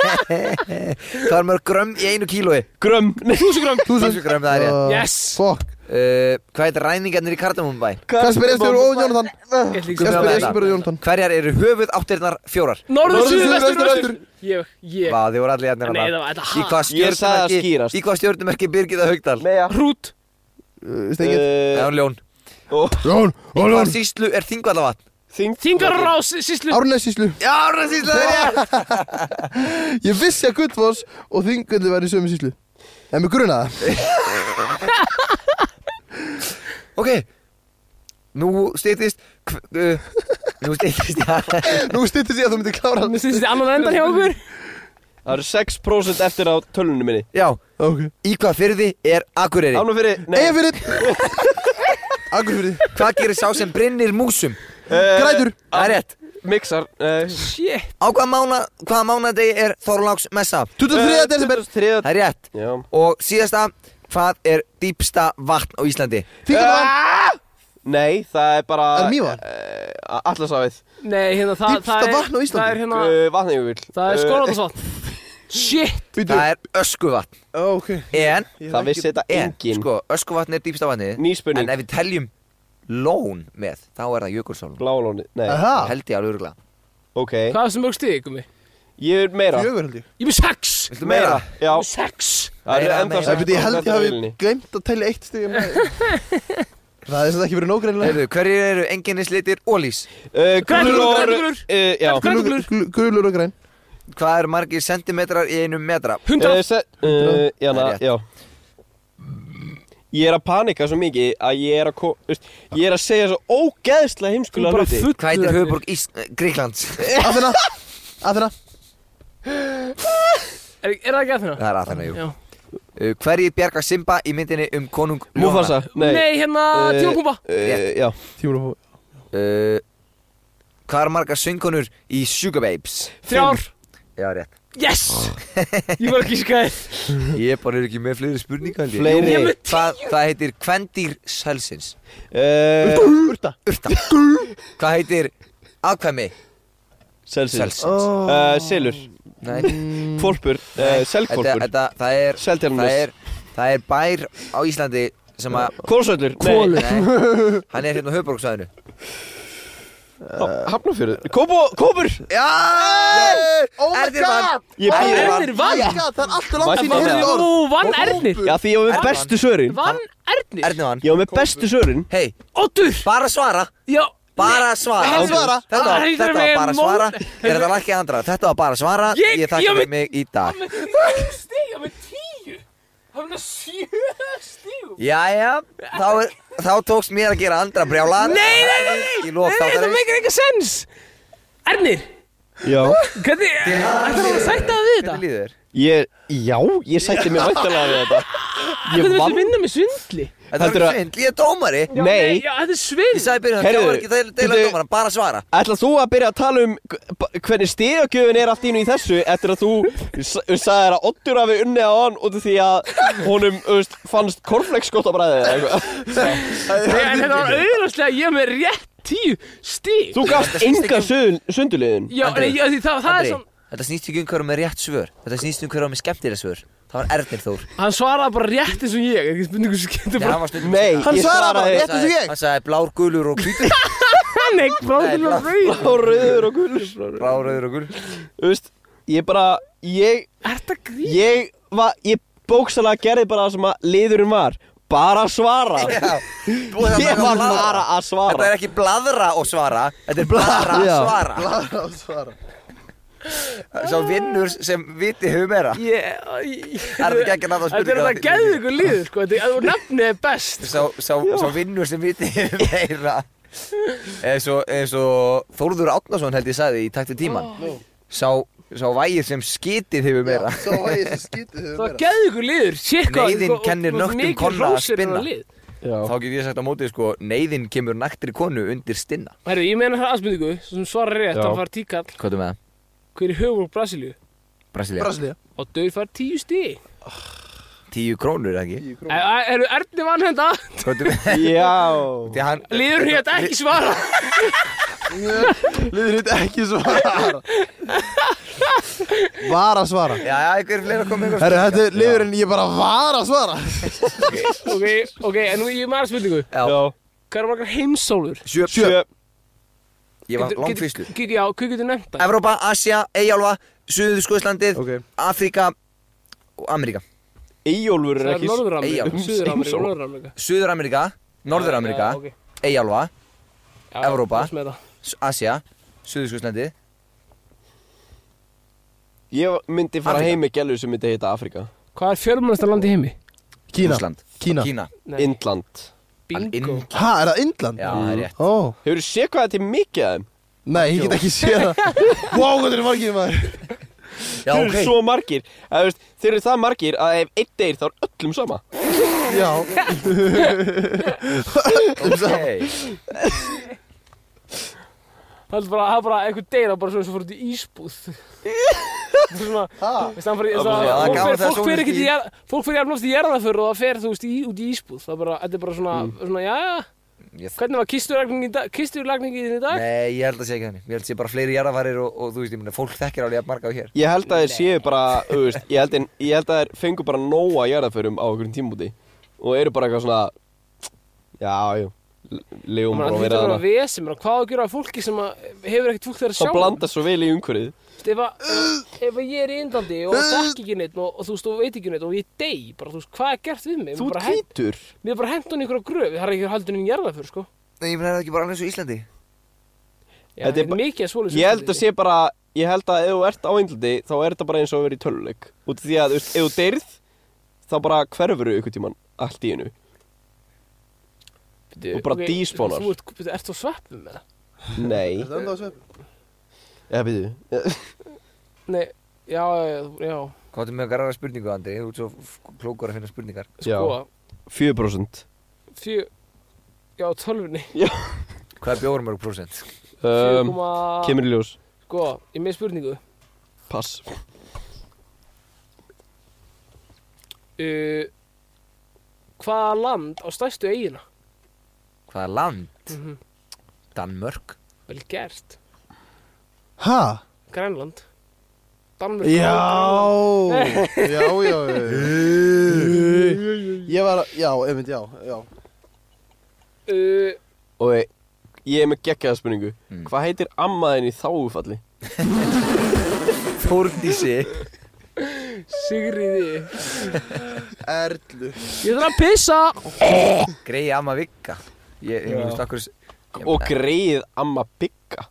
Speaker 4: Hvað er mörg grömm í einu kílói?
Speaker 1: Grömm, (laughs) nei,
Speaker 2: Túsu grömm
Speaker 4: Þúsund grömm það er ég
Speaker 3: Ah,
Speaker 2: Yes.
Speaker 3: Fuck
Speaker 4: uh, Hvað heitir ræningarnir í Kardamumabæ?
Speaker 1: um
Speaker 3: Kasper Estur og Óðun Jónatan
Speaker 2: Ég ætla ekki að
Speaker 3: Kasper
Speaker 2: segja
Speaker 3: Estur og Jónatan
Speaker 4: Hverjar eru höfuð áttirnar fjórar?
Speaker 2: Norður, suður, vestur,
Speaker 3: vestur,
Speaker 2: austur Ég, ég
Speaker 4: Vá, þið voru allir hérna
Speaker 2: Nei, það var þetta
Speaker 4: Í hvað
Speaker 1: Ég sagði að
Speaker 4: stjórnumerki
Speaker 1: skýrast.
Speaker 4: Í hvað stjórnumerki Birgitta Haugdal? Nei,
Speaker 2: Hrút
Speaker 3: Stengið
Speaker 4: það
Speaker 1: uh,
Speaker 4: er ljón
Speaker 3: Jón,
Speaker 4: Hvað
Speaker 3: Óðun
Speaker 4: síslu er þingvallavatn?
Speaker 1: Þing
Speaker 2: Þingarrás,
Speaker 1: Eh.
Speaker 2: síslu
Speaker 3: Árnessíslu
Speaker 4: Já, það síslu það er ég
Speaker 3: Ég vissi að Gullfoss og Þingöldu væri í sömu síslu En mér grunaði það.
Speaker 4: (laughs) Ok Nú styttist hv- uh, Nú styttist (laughs)
Speaker 1: Eh.
Speaker 3: Nú styttist ég að þú myndir klára
Speaker 2: Mér syns þetta annan endan hjá okkur
Speaker 1: Það eru 6% eftir á tölunum minni
Speaker 4: Já,
Speaker 3: Ok
Speaker 4: í hvað fyrði er Akureyri?
Speaker 1: Ánum fyrir, nei
Speaker 3: Egin fyrir Akkur fyrir
Speaker 4: Hvað gerir sá sem brinnir músum?
Speaker 1: eh,
Speaker 3: Grætur
Speaker 4: Það er rétt
Speaker 1: Mixar eh,
Speaker 2: Shit
Speaker 4: Á hvaða mána, hvaða mánadegi er Þorláks messa?
Speaker 3: 23.
Speaker 1: Eh.
Speaker 3: desember
Speaker 1: 23.
Speaker 4: Það er rétt
Speaker 1: Já
Speaker 4: Og síðasta, hvað er dýpsta vatn á Íslandi?
Speaker 3: Þingöldu
Speaker 1: Nei, það er bara
Speaker 3: Er Mývatn?
Speaker 1: eh, Atlasafið
Speaker 2: Nei, hérna, það,
Speaker 3: Dýpsta
Speaker 2: það
Speaker 3: vatn á
Speaker 2: er
Speaker 3: Íslandi.
Speaker 2: Það er
Speaker 4: Eh,
Speaker 2: hérna
Speaker 1: uh, Vatnajökull
Speaker 2: Það er
Speaker 1: Eh,
Speaker 2: skorðarsvatn Shit
Speaker 4: Það er öskuvatn
Speaker 3: Eh, Ok
Speaker 1: Eh,
Speaker 4: En,
Speaker 1: Það vissi þetta
Speaker 4: en,
Speaker 1: engin
Speaker 4: sko, öskuvatn er dýpsta vatnið
Speaker 1: Ný spurning.
Speaker 4: En ef við teljum lón með, þá er það jökulsálun
Speaker 1: Blálóni, nei
Speaker 3: Aha
Speaker 4: Held ég alveg öruglega
Speaker 1: Ok
Speaker 2: Hvað er sem mörg stig, gummi?
Speaker 1: Ég er meira
Speaker 3: Fjögur held ég
Speaker 1: Eh,
Speaker 2: Ég er með sex
Speaker 4: Viltu meira?
Speaker 1: Já
Speaker 2: Sex
Speaker 1: Það er
Speaker 4: Meira,
Speaker 1: enda
Speaker 4: meira.
Speaker 3: Það byrja ég held ég hafi
Speaker 4: hérna
Speaker 1: Vélni.
Speaker 3: glemt að telja eitt stig um daginn. Það er sem ekki verið nógreinilega
Speaker 4: Heyrðu, hverjir eru enginnislitir ólís?
Speaker 1: Eh,
Speaker 2: Grænur,
Speaker 1: gulur-
Speaker 2: grænur.
Speaker 1: eh, Já
Speaker 2: Grænur. Grænuglur.
Speaker 3: Grulur og græn
Speaker 4: Hvað eru margir sentimetrar í einum metra?
Speaker 2: Hundrað
Speaker 1: Eh, se- eh, Jana,
Speaker 4: Það er rétt.
Speaker 1: já Ég er að panika svo mikið að ég er að ko- veist, Ég er að segja svo ógeðslega
Speaker 2: Þú er
Speaker 1: heimskulega
Speaker 2: bara
Speaker 1: hluti
Speaker 2: fullur
Speaker 4: Hvað heitir höfuborg Ís... eh, Gríklands?
Speaker 1: Eh.
Speaker 3: Athena Athena
Speaker 2: Er, er það ekki að þérna?
Speaker 4: (laughs) Það er aðeina, jú
Speaker 2: Já.
Speaker 4: Uh, Hverjir bjarga Simba í myndinni um konung
Speaker 1: Mufasa,
Speaker 2: Nei,
Speaker 1: nei
Speaker 2: hérna,
Speaker 1: Eh,
Speaker 2: tímapúmpa
Speaker 1: eh, Já
Speaker 3: Tímur og
Speaker 4: Uh, Hvað eru margar söngkonur í Sugar Babes?
Speaker 2: Þrjár
Speaker 4: Já, rétt
Speaker 2: Yes Ég var ekki skæð
Speaker 4: Ég bara er ekki með fleiri spurningar held ég.
Speaker 1: Fleiri. Ég er með
Speaker 4: Hvað, hvað heitir kvendýr sælsins?
Speaker 1: Eh,
Speaker 3: Urta
Speaker 4: Urta Hvað heitir afkvæmi
Speaker 1: Selsins
Speaker 4: sælsins?
Speaker 1: Eh, Selur Eh,
Speaker 4: Nei
Speaker 1: Mm. Kvolpur
Speaker 4: Nei. Þetta,
Speaker 1: Selkvolpur
Speaker 4: þetta, það er
Speaker 1: Seltjarnarnes.
Speaker 4: Það er, það er bær á Íslandi sem að
Speaker 1: Kólsöllur
Speaker 4: Nei, nei, hann er hérna á höfuborgsvæðinu
Speaker 1: Eh, Hafnafjörður Kóbo- Kópur
Speaker 4: Já!
Speaker 3: Oh my
Speaker 4: Erðir vann
Speaker 3: god
Speaker 1: Ég
Speaker 4: Erðir
Speaker 1: býð
Speaker 4: vann.
Speaker 2: Ernir vann
Speaker 3: Oh my god, Það er alltaf langt sín
Speaker 1: Vann.
Speaker 3: heilt orð
Speaker 2: Ú, vann Ernir
Speaker 1: Já því ég var með bestu svörin
Speaker 2: Vann Ernir
Speaker 4: Erðir vann
Speaker 1: Ég var með bestu svörin
Speaker 4: Hei,
Speaker 2: Oddur
Speaker 4: bara svara
Speaker 2: Já
Speaker 4: Bara svara
Speaker 2: Bara svara.
Speaker 4: Þetta
Speaker 2: Það
Speaker 4: var,
Speaker 2: hlýtur
Speaker 4: þetta
Speaker 2: að
Speaker 4: var
Speaker 2: vera
Speaker 4: bara
Speaker 2: mó-
Speaker 4: svara Er þetta lakki andra? Þetta var bara svara
Speaker 2: Ég-
Speaker 4: Ég þakka
Speaker 2: ég
Speaker 4: fyrir
Speaker 2: veit-
Speaker 4: mig í dag
Speaker 2: með nýju stig Hann með tíu Hann með sjö stig
Speaker 4: Jæja, þá, er- þá tókst mér að gera andra brjálar
Speaker 2: Nei, nei, nei, nei,
Speaker 4: Í lok
Speaker 2: nei, þetta
Speaker 4: þáttarins.
Speaker 2: meikir ekki sens Ernir,
Speaker 1: Já
Speaker 2: hvernig, ætlar þú að sætta það við
Speaker 4: Hvernig
Speaker 2: þetta?
Speaker 4: líður þér?
Speaker 1: Ég Já Ég sætti mig væntalega við þetta
Speaker 2: Hvernig
Speaker 1: Ég
Speaker 2: viltu
Speaker 1: vann
Speaker 2: vinna með svindli?
Speaker 4: Þetta
Speaker 1: Heldurðu
Speaker 4: var
Speaker 1: að-
Speaker 4: ekki svindl, ég er dómari Ég
Speaker 1: Nei
Speaker 2: Já, þetta er svindl
Speaker 4: sagði byrjun, það
Speaker 1: Heyrðu,
Speaker 4: var ekki deila- deila
Speaker 1: bíddu.
Speaker 4: dómara, bara svara
Speaker 1: Ætla þú að byrja að tala um hv- hvernig stigagjöfin er allt í nú í þessu eftir að þú s- sagðir að Oddur hafi unnið á hann út af því að honum þú veist, fannst korflex gott á bræðið eða eitthvað
Speaker 2: Nei,
Speaker 1: Eh,
Speaker 2: En
Speaker 1: hérna-
Speaker 2: þetta var auðvarslega ég er með rétt tíu stig
Speaker 1: Þú gafst enga sundulegin
Speaker 2: Já,
Speaker 4: Andri,
Speaker 2: nei, já, því það, það er
Speaker 4: Andri,
Speaker 2: svona
Speaker 4: þetta snýst ekki um hverju með rétt svör Þetta snýst um hverju með skemmtilega svör Það var Ernir Þór
Speaker 2: Hann svaraði bara rétt eins og ég Ekki spurningu sem getur
Speaker 4: Nei, hann
Speaker 2: bara
Speaker 4: var stundum
Speaker 1: Nei,
Speaker 3: Hann
Speaker 1: ég
Speaker 3: svaraði bara, rétt eins og
Speaker 4: sagði-
Speaker 3: ég.
Speaker 4: Hann sagði blár, gulur og hvítur
Speaker 2: Hann ekki
Speaker 4: Nei,
Speaker 2: bráðin
Speaker 4: blá-
Speaker 2: og rauð
Speaker 1: Blá, rauður og gulur
Speaker 4: Blár, rauður og gul
Speaker 1: Þú veist, ég bara, ég,
Speaker 2: Er þetta grín?
Speaker 1: ég, va, ég bóksalega gerði bara það sem að liðurinn var Bara svara Ég var bara að
Speaker 4: Þetta
Speaker 1: svara
Speaker 4: er ekki bladra og svara Þetta er bladra og
Speaker 1: Já.
Speaker 4: svara
Speaker 3: Blaðra og svara
Speaker 4: Sá vinnur sem viti hugum er að
Speaker 2: Ég, ég-
Speaker 4: Það er ekki ekki náttúrulega
Speaker 2: Þetta er
Speaker 4: spurningar
Speaker 2: þetta geðveikur líður, sko Þetta er, þú nefnið er best
Speaker 4: Sá, sá, sá vinnur sem viti hugum er að Eins og, eins og Þórður Átnason held ég sagði í takti tíman Sá, sá vægir sem skitið hugum er að
Speaker 3: Svo var ég sem skítið
Speaker 2: Það var
Speaker 3: hefur verið
Speaker 2: geðveikur líður Sér hvað
Speaker 4: Neyðin
Speaker 2: sko, og-
Speaker 4: kennir
Speaker 2: og
Speaker 4: nöktum
Speaker 2: mikið
Speaker 4: konna að
Speaker 2: hrósir er
Speaker 4: spinna.
Speaker 2: á lið.
Speaker 1: Já,
Speaker 4: Þá get ég sagt á mótið sko Neiðin kemur naktri konu undir stinna
Speaker 2: Herru, ég meina það aðspendingu sem svarar rétt
Speaker 1: Já.
Speaker 2: að fara tíkall
Speaker 4: Hvað er með það?
Speaker 2: hver er höfuborg Brasilíu
Speaker 4: Brasilia
Speaker 3: Brasilia
Speaker 2: og döð fara tíu stig
Speaker 4: Tíu krónur, eða ekki?
Speaker 2: Eh, Eru Erni vann hérna? þetta?
Speaker 4: Hvort-
Speaker 1: (laughs) Já
Speaker 4: Því hann-
Speaker 2: Líður hér ekki svara
Speaker 3: Liður hitt ekki svara Var að svara
Speaker 4: Já, já, einhver fleira komið eitthvað
Speaker 3: Herru, þetta er liðurinn ég bara var að svara
Speaker 2: Ok, ok, en nú ég maður spurningu
Speaker 4: Já,
Speaker 2: Hvað eru margar heimsólur?
Speaker 4: sjö,
Speaker 1: Sjö
Speaker 4: Ég var langfýslu
Speaker 2: Getur, já, hvað getur nefnt það?
Speaker 4: Evrópa, Asia, Eyjálfa, Suður Skoðslandið,
Speaker 1: Ok.
Speaker 4: Afríka og Ameríka
Speaker 1: Eyjólfur er
Speaker 2: Það er
Speaker 1: ekki
Speaker 2: Norður-Ameríka,
Speaker 4: Eyjálf.
Speaker 2: Suður-Ameríka, Norður-Ameríka
Speaker 4: Suður Ameríka, Norður Ameríka,
Speaker 2: Já, ok.
Speaker 4: Eyjálfa,
Speaker 2: Já,
Speaker 4: Evrópa.
Speaker 2: pass með það.
Speaker 4: Asia, Suður Skoðslandið
Speaker 1: Ég myndi fara
Speaker 4: Afrika.
Speaker 1: heim með gælu sem myndi heita Afrika
Speaker 2: Hvað er fjölmennasta land í heimi?
Speaker 3: Kína
Speaker 4: Rússland.
Speaker 3: Kína
Speaker 4: Kína
Speaker 2: Nei.
Speaker 1: Indland
Speaker 2: Bingo
Speaker 4: Inn-
Speaker 3: Ha, er það Indland?
Speaker 4: Já, það er rétt
Speaker 3: Ó,
Speaker 1: Hefur þú séð hvað þetta er mikið af þeim?
Speaker 3: nei, ég get ekki séð það (laughs) Vá, hvað þetta er margir maður
Speaker 4: Já,
Speaker 1: Þeir eru
Speaker 4: ok
Speaker 1: svo margir að, þú veist, Þeir eru það margir að ef einn deyr þá er öllum sama
Speaker 3: Já,
Speaker 4: Ok,
Speaker 2: Það er bara, það er bara einhver deyra bara svona sem fór út í ísbúð
Speaker 4: (laughs)
Speaker 2: Bara svona, veist það fyrir
Speaker 4: bara- það er
Speaker 2: fólk
Speaker 4: gaman
Speaker 2: fer-
Speaker 4: þegar
Speaker 2: fólk
Speaker 4: sólin
Speaker 2: fer ekkert í
Speaker 4: skín.
Speaker 2: jar- fólk fer jafnlóft í jarðaför og það fer þú veist í, út í ísbúð það er bara, þetta er bara svona,
Speaker 4: Mm.
Speaker 2: svona já,
Speaker 4: Ég-
Speaker 2: hvernig var kisturlagningin í dag, kisturlagningin í dag?
Speaker 4: Nei, ég held að sé ekki þannig Ég held að sé bara fleiri jarðafarir og, og þú veist, ég meina, fólk þekkir alveg að marga á hér
Speaker 1: Ég held að þeir séu bara þú veist, ég, held en, ég held að þeir fengu bara nóa jarðaförum um á einhverjum tímúti og eru bara eitthvað svona Já, jú Leum
Speaker 2: Það
Speaker 1: bara að
Speaker 2: hlýtur
Speaker 1: vera
Speaker 2: að vera
Speaker 1: þarna
Speaker 2: vesen, bara hvað á að gera að fólki sem að hefur ekkert fólk þegar að sjá
Speaker 1: Það blandast svo vel í umhverfið
Speaker 2: Þú veist, ef, að- ef að ég er í Indlandi og þekki ekki neitt og, og þú veist, og veit ekki neitt og ég dey, bara þú veist, hvað er gert við mig?
Speaker 1: Þú
Speaker 2: Mér
Speaker 1: ert
Speaker 2: bara hent-
Speaker 1: hvítur
Speaker 2: Mér er bara hent hún í einhverja gröf, það er ekki haldin í jarða sko.
Speaker 4: Nei, ég meina, er það ekki bara alveg eins og Íslandi?
Speaker 2: Já,
Speaker 1: Þetta er
Speaker 2: þetta er
Speaker 1: ba-
Speaker 2: mikið að svoleiðis.
Speaker 1: Ég held að sé bara Ég held að ef þú ert á einldi þá er þetta bara eins og að vera í töluleik Út af því að þú veist, ef þú deyrð þá bara hverfuru ykkur tíman allt í einu og bara despawnar.
Speaker 2: Þú ert, betur, ert þú á sveppum með það?
Speaker 1: Nei Já, býðu
Speaker 2: Nei, já, já, já,
Speaker 4: Hvað er með garðara spurningu, Andri? Þú ert svo f- klókur að finna spurningar
Speaker 1: Já.
Speaker 2: sko,
Speaker 1: 4%
Speaker 2: fjö, já, tölvunni,
Speaker 4: Hvað er bjóður mörg prósent?
Speaker 1: um,
Speaker 2: 4,...
Speaker 1: Kemur í ljós
Speaker 2: Sko, ég er með spurningu.
Speaker 1: Pass
Speaker 2: Uh, hvaða land á stærstu eigina?
Speaker 4: Hvaða land? Danmörk
Speaker 2: Vel gert.
Speaker 3: ha
Speaker 2: Grænland. Danmörk.
Speaker 3: Já, já, já Ég var, að- já, einmitt, já, já
Speaker 2: Uh,
Speaker 1: Og ég- ég er með geggjaða spurningu
Speaker 4: Mm.
Speaker 1: Hvað heitir ammaðin í þáufalli?
Speaker 4: Þórdísi
Speaker 2: Sigriði.
Speaker 3: Erlu
Speaker 2: Ég þarf að pissa.
Speaker 4: Grei amma vikka Ég, ég veist okkur
Speaker 1: Og greið amma bygga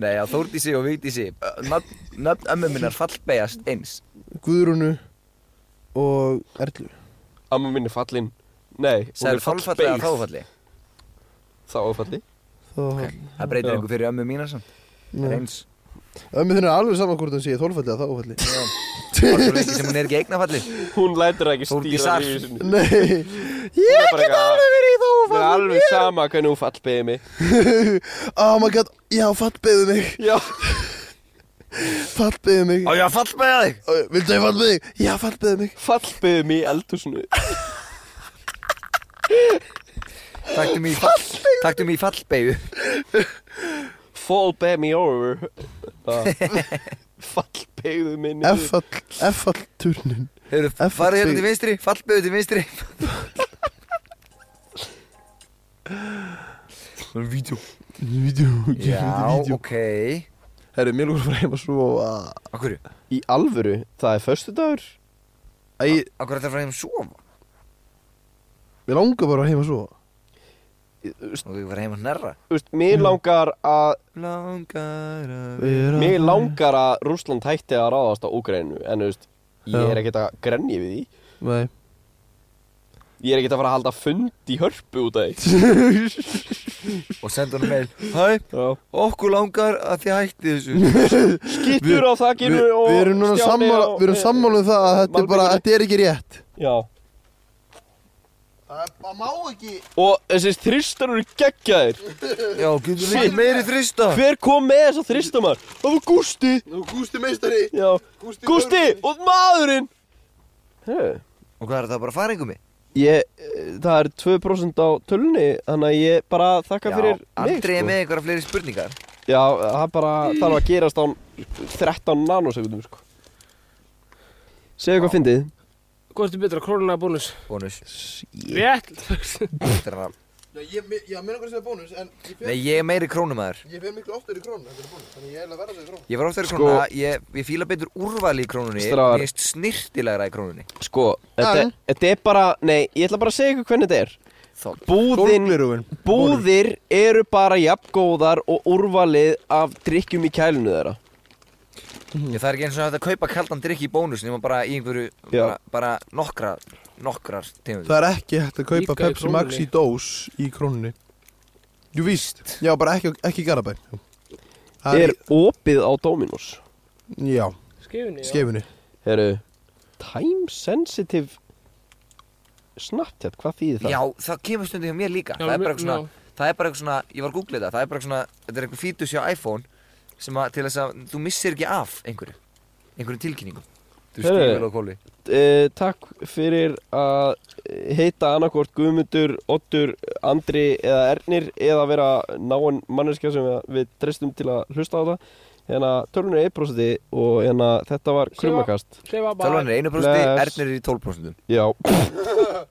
Speaker 4: Nei, já, Þórdísi og Vigdísi Nöfn nöfn ömmu minnar fallbegast eins
Speaker 3: Guðrúnu og Erlu
Speaker 1: Amma minni fallin Nei,
Speaker 4: Sæður fallfalli eða
Speaker 1: þáufalli
Speaker 4: þáfalli
Speaker 1: Þáufalli
Speaker 3: Þó,
Speaker 4: Það breytir
Speaker 1: Já.
Speaker 4: einhver fyrir ömmu mínar samt Það er
Speaker 3: Nei.
Speaker 4: eins
Speaker 3: Ömmu þinn er alveg saman hvort hún sé þólfalli eða
Speaker 4: (laughs)
Speaker 3: þáfalli
Speaker 4: Það er ekki sem hún er ekki eignafalli
Speaker 1: Hún lætur ekki stýra
Speaker 4: Þórdísar.
Speaker 1: lífið sinni.
Speaker 3: Nei,
Speaker 1: Hún
Speaker 3: ég
Speaker 1: er bara
Speaker 3: get
Speaker 1: eitthvað-
Speaker 3: alveg verið í
Speaker 1: Það er
Speaker 3: þófalli
Speaker 1: alveg sama hvernig hún fallbegið mig
Speaker 3: (laughs) Oh my god, já, fallbeðu mig
Speaker 1: Já
Speaker 3: Fallbeðu mig
Speaker 4: Á ég að fallbega þig
Speaker 3: Ó, Viltu að ég fallbeðu mig? Já, fallbeðu mig
Speaker 1: Fallbegið mig í eldhúsinu
Speaker 4: Taktu mig í fall Taktu mig í fallbegu
Speaker 1: Fallbegið mig
Speaker 3: (laughs)
Speaker 1: over Ah. Fallbegið mig niður
Speaker 3: F-fall, F-fall turnin
Speaker 4: Hefur
Speaker 3: F-
Speaker 4: farið hérna
Speaker 3: beyg.
Speaker 4: til vinstri Fallbegu til vinstri Það er vídeo
Speaker 3: Vídeó,
Speaker 4: Já, ok
Speaker 3: Herru, mér lúkur frá heim að sofa
Speaker 4: Á hverju?
Speaker 1: Í alvöru, það er föstudagur
Speaker 3: Æ,
Speaker 4: Á hverju ætlar að fara heim að sofa?
Speaker 3: mér langar bara heim að sofa
Speaker 4: Og ég var heim að nærra
Speaker 1: Þú veist, Mér langar að
Speaker 4: Langar að
Speaker 3: Vera-
Speaker 1: Mér langar að Rússland hætti að ráðast á Úgrænu En þú veist, ég
Speaker 3: Já.
Speaker 1: er ekkert að grenni við því
Speaker 3: Nei
Speaker 1: Ég er ekkert að fara að halda fund í hörpu út af því
Speaker 3: (laughs)
Speaker 4: Og senda hún
Speaker 1: (laughs)
Speaker 4: meil Hæ, okkur langar að þið hætti þessu
Speaker 1: Skittur á þakkinu
Speaker 3: Við
Speaker 1: og
Speaker 3: við erum núna
Speaker 1: Stjáni
Speaker 3: sammála,
Speaker 1: á-
Speaker 3: við erum sammála um það að þetta er bara,
Speaker 1: Malbikinu.
Speaker 3: þetta er ekki rétt
Speaker 1: Já
Speaker 3: Það má ekki
Speaker 1: Og þessi þristar eru geggjaðir
Speaker 4: Já, getur við ekki meiri þrista
Speaker 1: Ah. Hver kom með þessa þristamar? Það var Gústi
Speaker 3: Nú, Gústi meistari
Speaker 1: Já, Gústi, og maðurinn Hei.
Speaker 4: Og hvað er það bara að fara einhver mig?
Speaker 1: Ég, eh, það er 2% á tölunni Þannig að ég bara þakka fyrir
Speaker 4: Andrei er
Speaker 1: sko.
Speaker 4: með einhverja fleiri spurningar
Speaker 1: Já, það bara þarf að gerast á 13 nanosekundum sko. Segðu hvað fyndið
Speaker 2: Hvað ertu betra, krónulega bónus?
Speaker 4: Bónus
Speaker 2: Rétt (laughs)
Speaker 4: Þetta er hann.
Speaker 9: Já, ég, ég, ég meina hvað sem er bónus, en ég fer,
Speaker 4: Nei, ég er meiri krónumæður
Speaker 9: ég fer miklu oftar í krónu, þetta er bónus, þannig ég er að verða þetta í krónu.
Speaker 4: Ég var oftar í
Speaker 1: Sko-
Speaker 4: krónuna, ég, ég fíla betur úrvali í krónunni
Speaker 1: Strákar.
Speaker 4: Mér finnst snirtilegra í krónunni
Speaker 1: Sko, þetta,
Speaker 3: En?
Speaker 1: þetta er bara Nei, ég ætla bara að segja ykkur hvernig þetta er Búðin,
Speaker 3: Gólfgleraugun.
Speaker 1: búðir eru bara jafngóðar og úrvalið af drikkjum í kælinu þeirra
Speaker 4: Ég Það er ekki eins og hægt að kaupa kaldan drikk í bónus Nýma bara í einhverju,
Speaker 1: Mhm. Já.
Speaker 4: bara, bara nokkra, nokkrar tegundur
Speaker 3: Það er ekki hægt að kaupa
Speaker 2: Líka í
Speaker 3: Pepsi Max í
Speaker 2: krónunni.
Speaker 3: dós í krónunni Jú víst Já, bara ekki, ekki í Garabæ Það
Speaker 1: Er opið á Dominos
Speaker 3: Já,
Speaker 2: Skifinni,
Speaker 3: skefinni
Speaker 1: Heru, Time sensitive Snapchat, hvað þýðir það?
Speaker 4: Já, það kemur stundum hjá mér líka
Speaker 2: Já,
Speaker 4: Það er bara
Speaker 2: mér-
Speaker 4: eitthvað svona,
Speaker 2: já.
Speaker 4: það er bara eitthvað svona Ég var að googla þetta, það er bara eitthvað svona Þetta er einhver fítus hjá iPhone Sem að til þess að þú missir ekki af einhverju Einhverju tilkynningum Þú
Speaker 1: Heyrðu.
Speaker 4: stígur á kóli
Speaker 1: Eh, takk fyrir að heita annarkvort Guðmundur, Ottur, Andri eða Ernir eða vera náin manneskja sem við treystum til að hlusta á það hérna tölunni 1% og hérna þetta var
Speaker 2: Sjá.
Speaker 1: krumakast
Speaker 2: Klefa bara
Speaker 4: Tölvan er 1%,
Speaker 1: Bless.
Speaker 4: Ernir er í 12%
Speaker 1: já